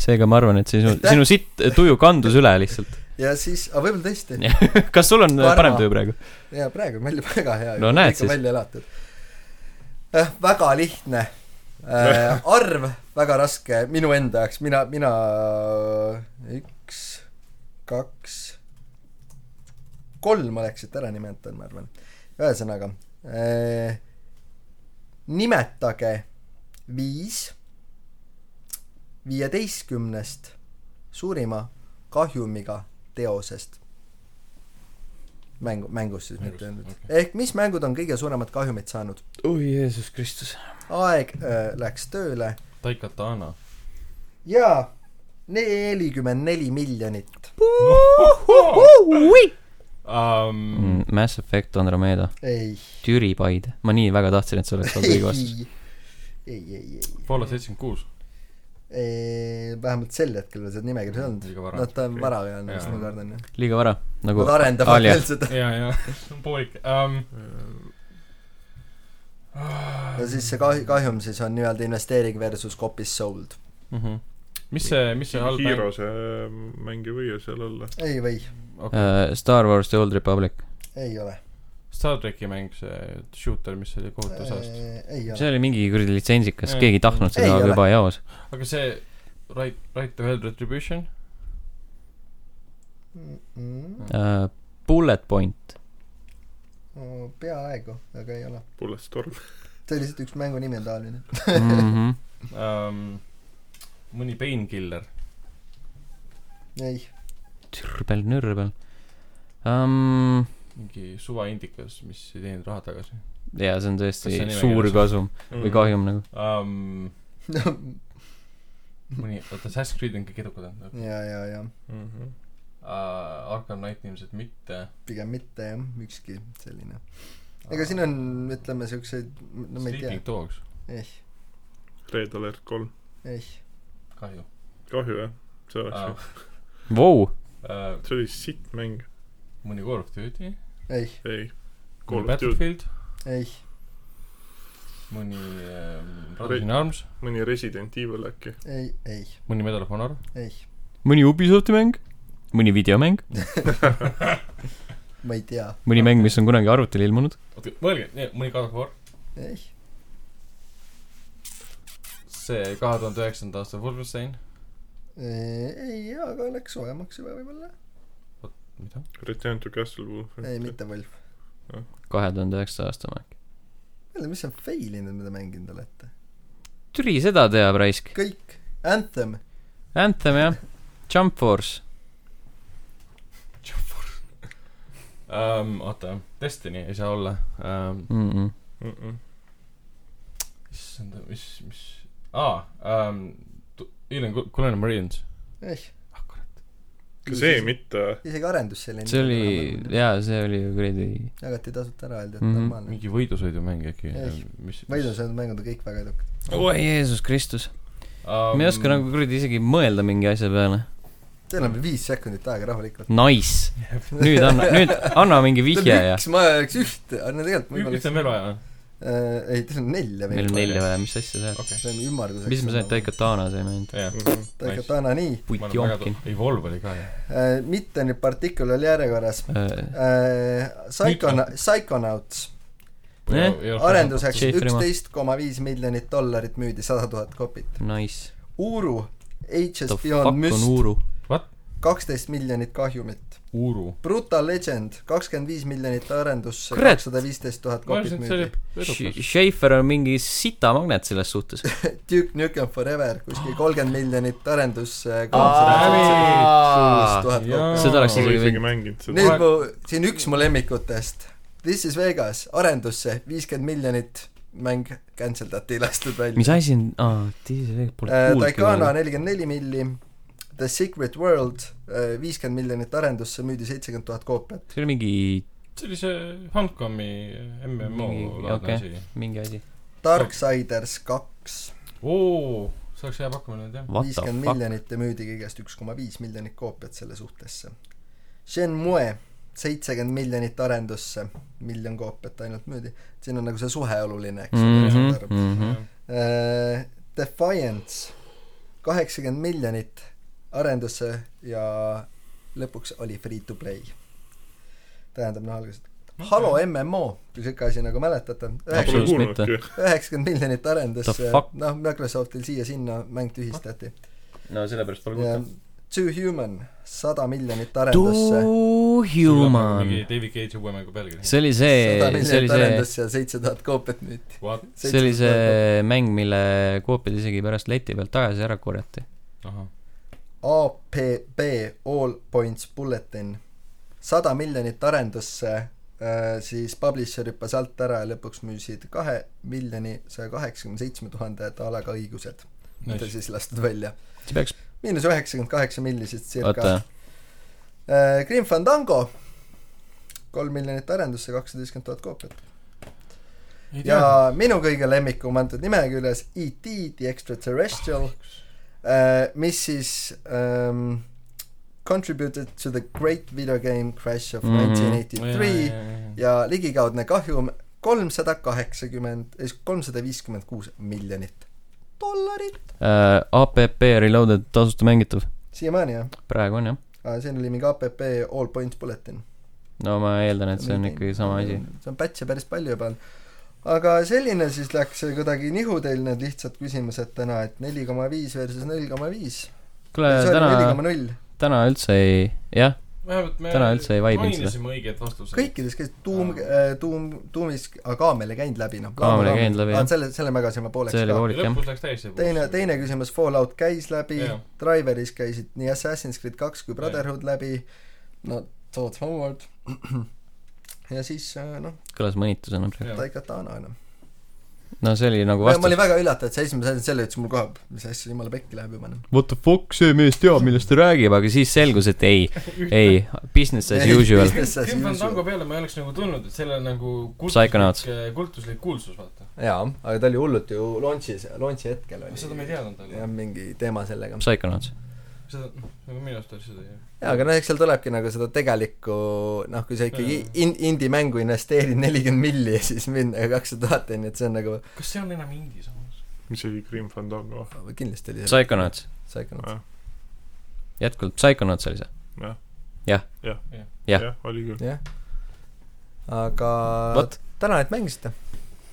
[SPEAKER 1] seega ma arvan , et sinu ,
[SPEAKER 3] Aitäh!
[SPEAKER 1] sinu sitt äh, tuju kandus üle lihtsalt .
[SPEAKER 3] ja siis , aga võib-olla tõesti .
[SPEAKER 1] kas sul on äh,
[SPEAKER 3] Varma.
[SPEAKER 1] parem tuju praegu ?
[SPEAKER 3] ja praegu on meil väga hea .
[SPEAKER 1] No näed siis.
[SPEAKER 3] välja elatud äh, . väga lihtne äh, . arv väga raske minu enda jaoks , mina , mina äh, üks , kaks , kolm oleks siit ära nimetanud , ma arvan . ühesõnaga äh, , nimetage viis viieteistkümnest suurima kahjumiga teosest . mängu , mängus siis
[SPEAKER 2] Mängus,
[SPEAKER 3] mitte ainult
[SPEAKER 2] okei.
[SPEAKER 3] okay. . ehk mis mängud on kõige suuremat kahjumit saanud ?
[SPEAKER 1] oi Oh, Jeesus Kristus .
[SPEAKER 3] aeg äh, läks tööle
[SPEAKER 2] Taikatana .
[SPEAKER 3] ja nelikümmend neli miljonit .
[SPEAKER 2] Um,
[SPEAKER 1] Mm, Mass Effect Andromeda ,
[SPEAKER 3] ei ,
[SPEAKER 1] Türipaide , ma nii väga tahtsin , et see oleks olnud
[SPEAKER 3] ei
[SPEAKER 1] õige , vastus .
[SPEAKER 3] ei , ei ,
[SPEAKER 2] Fallout seitsekümmend kuus .
[SPEAKER 3] ei , vähemalt sel hetkel veel seda nimekirja ei olnud .
[SPEAKER 2] liiga vara
[SPEAKER 3] no . ta on
[SPEAKER 4] okei.
[SPEAKER 3] vara veel , mis
[SPEAKER 2] Jaa.
[SPEAKER 3] ma kardan jah .
[SPEAKER 1] liiga vara , nagu
[SPEAKER 3] Nad arendavad
[SPEAKER 1] Alia.
[SPEAKER 3] veel seda .
[SPEAKER 2] ja , ja poolik um, .
[SPEAKER 3] ja siis see kahju , kahjum siis on nii-öelda investeering versus copies sold .
[SPEAKER 1] mm . -hmm.
[SPEAKER 2] mis see , mis see halb mäng
[SPEAKER 4] Hero see äh, mäng ei või ju seal olla .
[SPEAKER 3] ei või ,
[SPEAKER 2] okay. ?
[SPEAKER 1] Uh, Star Wars The Old Republic ,
[SPEAKER 3] ei ole .
[SPEAKER 2] Star tracki mäng , see shooter , mis oli kohutav
[SPEAKER 3] Äh.
[SPEAKER 2] sajast .
[SPEAKER 3] ei
[SPEAKER 1] see
[SPEAKER 3] ole .
[SPEAKER 1] oli mingi kuradi litsentsikas , keegi ei tahtnud
[SPEAKER 3] Ei
[SPEAKER 1] seda
[SPEAKER 3] ole.
[SPEAKER 1] aga juba jaos .
[SPEAKER 2] aga see Right , Right to Hell Retribution ,
[SPEAKER 1] Uh, Bullet Point ,
[SPEAKER 3] peaaegu , aga ei ole .
[SPEAKER 4] Bulletstorm .
[SPEAKER 3] see oli lihtsalt üks mängu nimi on taoline .
[SPEAKER 1] -hmm.
[SPEAKER 2] um, mõni Painkiller ,
[SPEAKER 3] ei ,
[SPEAKER 1] türbel , nürbel um, .
[SPEAKER 2] mingi suva indikas , mis ei teeninud raha tagasi
[SPEAKER 1] jaa , see on
[SPEAKER 2] Kas
[SPEAKER 1] tõesti
[SPEAKER 2] see on
[SPEAKER 1] suur
[SPEAKER 2] nimekirjas?
[SPEAKER 1] kasum
[SPEAKER 2] Mhm.
[SPEAKER 1] või kahjum nagu .
[SPEAKER 2] um, . mõni , oota , Assassin's Creed on kõik edukad olnud nagu.
[SPEAKER 3] ja , ja , ja
[SPEAKER 2] Mhm.
[SPEAKER 4] -hmm.
[SPEAKER 2] uh, . Arkham Knight ilmselt mitte .
[SPEAKER 3] pigem mitte jah , ükski selline . ega siin on , ütleme siukseid , no ma ei tea
[SPEAKER 2] Sleeping , Dogs ,
[SPEAKER 3] ei ,
[SPEAKER 4] Red Alert kolm ,
[SPEAKER 3] ei ,
[SPEAKER 2] kahju
[SPEAKER 4] kahju jah , see oleks
[SPEAKER 2] uh,
[SPEAKER 4] ju ,.
[SPEAKER 1] Vau ,
[SPEAKER 2] Uh,
[SPEAKER 4] see oli sitt mäng ,
[SPEAKER 2] mõni Call of Duty ,
[SPEAKER 3] ei ,
[SPEAKER 4] ei . Call
[SPEAKER 2] mõni
[SPEAKER 4] of Duty ,
[SPEAKER 2] Battlefield ,
[SPEAKER 3] ei ,
[SPEAKER 2] mõni um, Brothers in Arms ,
[SPEAKER 4] mõni Resident Evil äkki .
[SPEAKER 3] ei , ei ,
[SPEAKER 2] mõni Medal of Honor ,
[SPEAKER 3] ei ,
[SPEAKER 1] mõni Ubisofti mäng , mõni videomäng ,
[SPEAKER 3] ma ei tea ,
[SPEAKER 1] mõni mäng , mis on kunagi arvutile ilmunud .
[SPEAKER 2] oota , mõelge , mõni God of War ,
[SPEAKER 3] ei ,
[SPEAKER 2] see kahe tuhande üheksanda aasta Wolfenstein ,
[SPEAKER 3] ei , aga läks soojemaks juba võib-olla .
[SPEAKER 2] mida ?
[SPEAKER 4] Return to Castle Wolf .
[SPEAKER 3] ei , mitte Wolf .
[SPEAKER 1] kahe tuhande üheksanda aasta mäng .
[SPEAKER 3] mõtle , mis on fail inud , mida mänginud olete .
[SPEAKER 1] Türi seda teab raisk .
[SPEAKER 3] kõik , Anthem ,
[SPEAKER 1] Anthem jah , Jump Force ,
[SPEAKER 2] um, . oota , Destiny ei saa olla um, .
[SPEAKER 1] Mhm.
[SPEAKER 2] issand , mis , mis , aa um, , Alien Col- Colonial Marines .
[SPEAKER 3] ei .
[SPEAKER 2] ah kurat ,
[SPEAKER 4] ka see . mitte ,
[SPEAKER 3] isegi arendus selline .
[SPEAKER 1] see oli , jaa , see oli ju kuradi
[SPEAKER 3] jagati tasuta ära , öeldi , et
[SPEAKER 1] Mhm.
[SPEAKER 3] normaalne .
[SPEAKER 2] mingi võidusõidumäng äkki
[SPEAKER 3] Ei. .
[SPEAKER 2] mis ?
[SPEAKER 3] võidusõidu mängud on kõik väga edukad .
[SPEAKER 1] oi Jeesus Kristus ,
[SPEAKER 2] Ähm,
[SPEAKER 1] ma ei oska nagu . kuradi isegi mõelda mingi asja peale .
[SPEAKER 3] Teil on veel viis sekundit aega rahulikult .
[SPEAKER 1] Nice , nüüd anna , nüüd anna mingi vihje ja
[SPEAKER 3] üks , ma oleks ühte , no tegelikult ma
[SPEAKER 2] ühte on veel vaja ,
[SPEAKER 3] Äh, ei , teil on nelja
[SPEAKER 1] meil on nelja vaja , mis asja see on ?
[SPEAKER 2] okei .
[SPEAKER 3] see on ümmarguseks .
[SPEAKER 1] mis me saime , Taikatana saime ainult .
[SPEAKER 2] jah ,
[SPEAKER 3] Taikatana , nii .
[SPEAKER 1] Putjonkin .
[SPEAKER 2] Evolve oli ka ju .
[SPEAKER 3] Äh, mitte nüüd particulari järjekorras .
[SPEAKER 1] Äh,
[SPEAKER 3] Psychona- , Psychonauts
[SPEAKER 2] Eh?
[SPEAKER 1] Nojah.
[SPEAKER 3] arenduseks
[SPEAKER 1] Chief Remo.
[SPEAKER 3] üksteist koma viis miljonit dollarit müüdi sada tuhat kopit .
[SPEAKER 1] Nice .
[SPEAKER 3] Uru ,
[SPEAKER 1] The
[SPEAKER 3] Ages
[SPEAKER 1] fuck
[SPEAKER 3] Beyond
[SPEAKER 1] on
[SPEAKER 3] Myst ,
[SPEAKER 1] Uru ?
[SPEAKER 3] kaksteist miljonit kahjumit .
[SPEAKER 2] Uru .
[SPEAKER 3] Brutal Legend , kakskümmend viis miljonit arendusse ,
[SPEAKER 1] Kurat!
[SPEAKER 3] kakssada viisteist
[SPEAKER 2] ma
[SPEAKER 3] tuhat kopit
[SPEAKER 2] arvasin , et see
[SPEAKER 3] müüdi .
[SPEAKER 2] oli edukas .
[SPEAKER 1] Schaefer on mingi sitamagnet selles suhtes .
[SPEAKER 3] Duke Nukem Forever , kuskil kolmkümmend miljonit arendusse ,
[SPEAKER 1] Aa,
[SPEAKER 3] kolmsada kuus tuhat
[SPEAKER 2] jaa.
[SPEAKER 3] kopit .
[SPEAKER 1] seda oleks
[SPEAKER 4] pole
[SPEAKER 1] isegi
[SPEAKER 4] isegi
[SPEAKER 1] võinud .
[SPEAKER 4] mänginud seda .
[SPEAKER 3] nüüd mu , siin üks mu lemmikutest , This is Vegas , arendusse viiskümmend miljonit , mäng cancel dati , lastud välja .
[SPEAKER 1] mis asi on , aa , teise , pole
[SPEAKER 3] Taikana
[SPEAKER 1] kuulnudki .
[SPEAKER 3] nelikümmend neli milli , The Secret World äh, viiskümmend miljonit arendusse , müüdi seitsekümmend tuhat koopiat .
[SPEAKER 1] see oli mingi ,
[SPEAKER 2] see oli see Handcomi MMO
[SPEAKER 1] Mingi-
[SPEAKER 2] laadne
[SPEAKER 1] okei.
[SPEAKER 2] asi .
[SPEAKER 1] mingi asi .
[SPEAKER 3] Darksiders kaks ,
[SPEAKER 2] oo , see oleks hea pakkumine olnud jah .
[SPEAKER 1] What the
[SPEAKER 3] viiskümmend
[SPEAKER 1] fuck ?
[SPEAKER 3] miljonit ja müüdi kõigest üks koma viis miljonit koopiat selle suhtesse . Shenmue seitsekümmend miljonit arendusse , miljon koopiat ainult müüdi , siin on nagu see suhe oluline , eks
[SPEAKER 1] Mhm,
[SPEAKER 3] ole .
[SPEAKER 1] mhm.
[SPEAKER 3] Äh, Defiance kaheksakümmend miljonit arendusse ja lõpuks oli free to play . tähendab noh , alguses Halo MMO , kui siuke asi nagu mäletate ,
[SPEAKER 4] Pole
[SPEAKER 1] Absoluutselt
[SPEAKER 4] kuulnudki .
[SPEAKER 3] üheksakümmend miljonit arendusse
[SPEAKER 1] The fuck? ,
[SPEAKER 3] noh , Microsoftil siia-sinna mäng tühistati .
[SPEAKER 2] no sellepärast pole kuulda .
[SPEAKER 3] Two Human sada miljonit arendusse ,
[SPEAKER 1] Too human .
[SPEAKER 2] mingi David Cage uue mängu pealkiri .
[SPEAKER 1] see oli see
[SPEAKER 3] sada ,
[SPEAKER 1] see oli
[SPEAKER 3] miljonit
[SPEAKER 1] see ,
[SPEAKER 3] arendusse ja seitse tuhat koopiat müüti .
[SPEAKER 2] What ?
[SPEAKER 1] see oli see mäng , mille koopiad isegi pärast leti pealt tagasi ära korjati .
[SPEAKER 2] ahah .
[SPEAKER 3] APB All Points Bulletin sada miljonit arendusse , siis publisher hüppas alt ära ja lõpuks müüsid kahe miljoni saja kaheksakümne seitsme tuhande daalaga õigused , mida
[SPEAKER 2] Nice.
[SPEAKER 3] siis lastud välja .
[SPEAKER 1] see peaks ,
[SPEAKER 3] miinus üheksakümmend kaheksa miljonit circa Äh,
[SPEAKER 1] oota .,
[SPEAKER 3] Grim Fandango , kolm miljonit arendusse , kakssada viiskümmend tuhat koopiat .
[SPEAKER 2] ei tea ja... .
[SPEAKER 3] ja minu kõige lemmikum antud nimeküljes E.T. The Extraterrestrial , mis siis um, contributed to the great video game crash of
[SPEAKER 1] Mhm.
[SPEAKER 3] nineteen eighty three
[SPEAKER 2] ja... .
[SPEAKER 3] ja ligikaudne kahjum kolmsada kaheksakümmend , kolmsada viiskümmend kuus miljonit dollarit .
[SPEAKER 1] Äh, APP Reloaded tasuta mängitav ,
[SPEAKER 3] siiamaani jah ,
[SPEAKER 1] praegu on jah .
[SPEAKER 3] siin oli mingi APP All Points Bulletin .
[SPEAKER 1] no ma eeldan , et see on ikkagi sama asi .
[SPEAKER 3] see on pätse päris palju juba olnud . aga selline siis läks see kuidagi nihu teil need lihtsad küsimused täna , et neli koma viis versus null koma viis .
[SPEAKER 1] kuule ,
[SPEAKER 3] see oli neli
[SPEAKER 1] täna ,
[SPEAKER 3] koma null .
[SPEAKER 1] täna üldse ei , jah ,
[SPEAKER 2] vähemalt me
[SPEAKER 1] Täna üldse ei vaibinud seda.
[SPEAKER 2] mainisime õiged vastused .
[SPEAKER 3] kõikides käis tuum äh,
[SPEAKER 2] Aa. ,
[SPEAKER 3] tuum , tuumis , aga kaamel ei käinud läbi , noh .
[SPEAKER 1] Kaamel ei käinud läbi, jah.
[SPEAKER 3] selle , selle magasime pooleks
[SPEAKER 1] see oli
[SPEAKER 3] ka .
[SPEAKER 1] poolik jah .
[SPEAKER 2] lõpus läks täiesti .
[SPEAKER 3] teine , teine . küsimus , Fallout käis läbi
[SPEAKER 2] Jaa. ,
[SPEAKER 3] Driveris käisid nii Assassin's Creed kaks kui Brotherhood läbi , no Todd Howard ja siis äh, noh ,
[SPEAKER 1] kõlas mõnitusena .
[SPEAKER 3] Taika Tana enam .
[SPEAKER 1] no see oli nagu
[SPEAKER 3] ma olin
[SPEAKER 1] vastus .
[SPEAKER 3] väga üllatunud , see esimese asjana selle ütles mul kohe , mis asja jumala pekki läheb juba noh .
[SPEAKER 1] What the fuck , see mees teab , millest ta räägib , aga siis selgus , et ei , ei , business as usual .
[SPEAKER 2] Kim Van Tango peale ma ei oleks nagu tulnud , et sellel nagu äh,
[SPEAKER 1] Psychonauts. ,
[SPEAKER 2] kultuslik kuulsus , vaata .
[SPEAKER 3] jaa , aga ta oli hullult ju launch'is , launch'i hetkel oli
[SPEAKER 2] seda ma ei teadnud
[SPEAKER 3] jah ,
[SPEAKER 2] talle .
[SPEAKER 3] mingi teema sellega .
[SPEAKER 1] Psychonauts .
[SPEAKER 2] seda , nagu minu arust oli seda jah .
[SPEAKER 3] jaa , aga noh , eks seal tulebki nagu seda tegelikku noh , kui sa ikkagi in- , indie-mängu investeerid nelikümmend milli ja siis minna kakssada tuhat on ju , et see on nagu
[SPEAKER 2] kas see on enam indie samas ?
[SPEAKER 4] mis see Grim Fandango ,
[SPEAKER 3] kindlasti oli see
[SPEAKER 1] Psychonauts ,
[SPEAKER 3] Psychonauts .
[SPEAKER 1] jätkuvalt Psychonauts oli see . Jah.
[SPEAKER 4] jah , oli küll .
[SPEAKER 3] jah . aga
[SPEAKER 1] Vot.
[SPEAKER 3] tänan , et mängisite .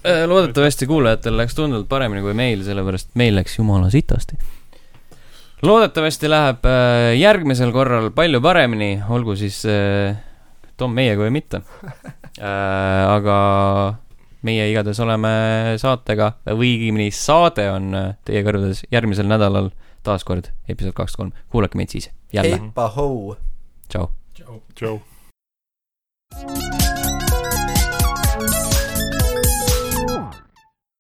[SPEAKER 1] Äh, loodetavasti kuulajatel läks tunduvalt paremini kui meil , sellepärast et meil läks jumala sitasti . loodetavasti läheb äh, järgmisel korral palju paremini , olgu siis äh, Tom meiega või mitte äh, . aga meie igatahes oleme saatega , või õigemini saade on äh, teie kõrvades järgmisel nädalal taas kord episood kaks , kolm , kuulake meid siis jälle ,
[SPEAKER 3] Heipa-hoo
[SPEAKER 1] tšau .
[SPEAKER 2] tšau .
[SPEAKER 4] tšau .
[SPEAKER 5] Thank you.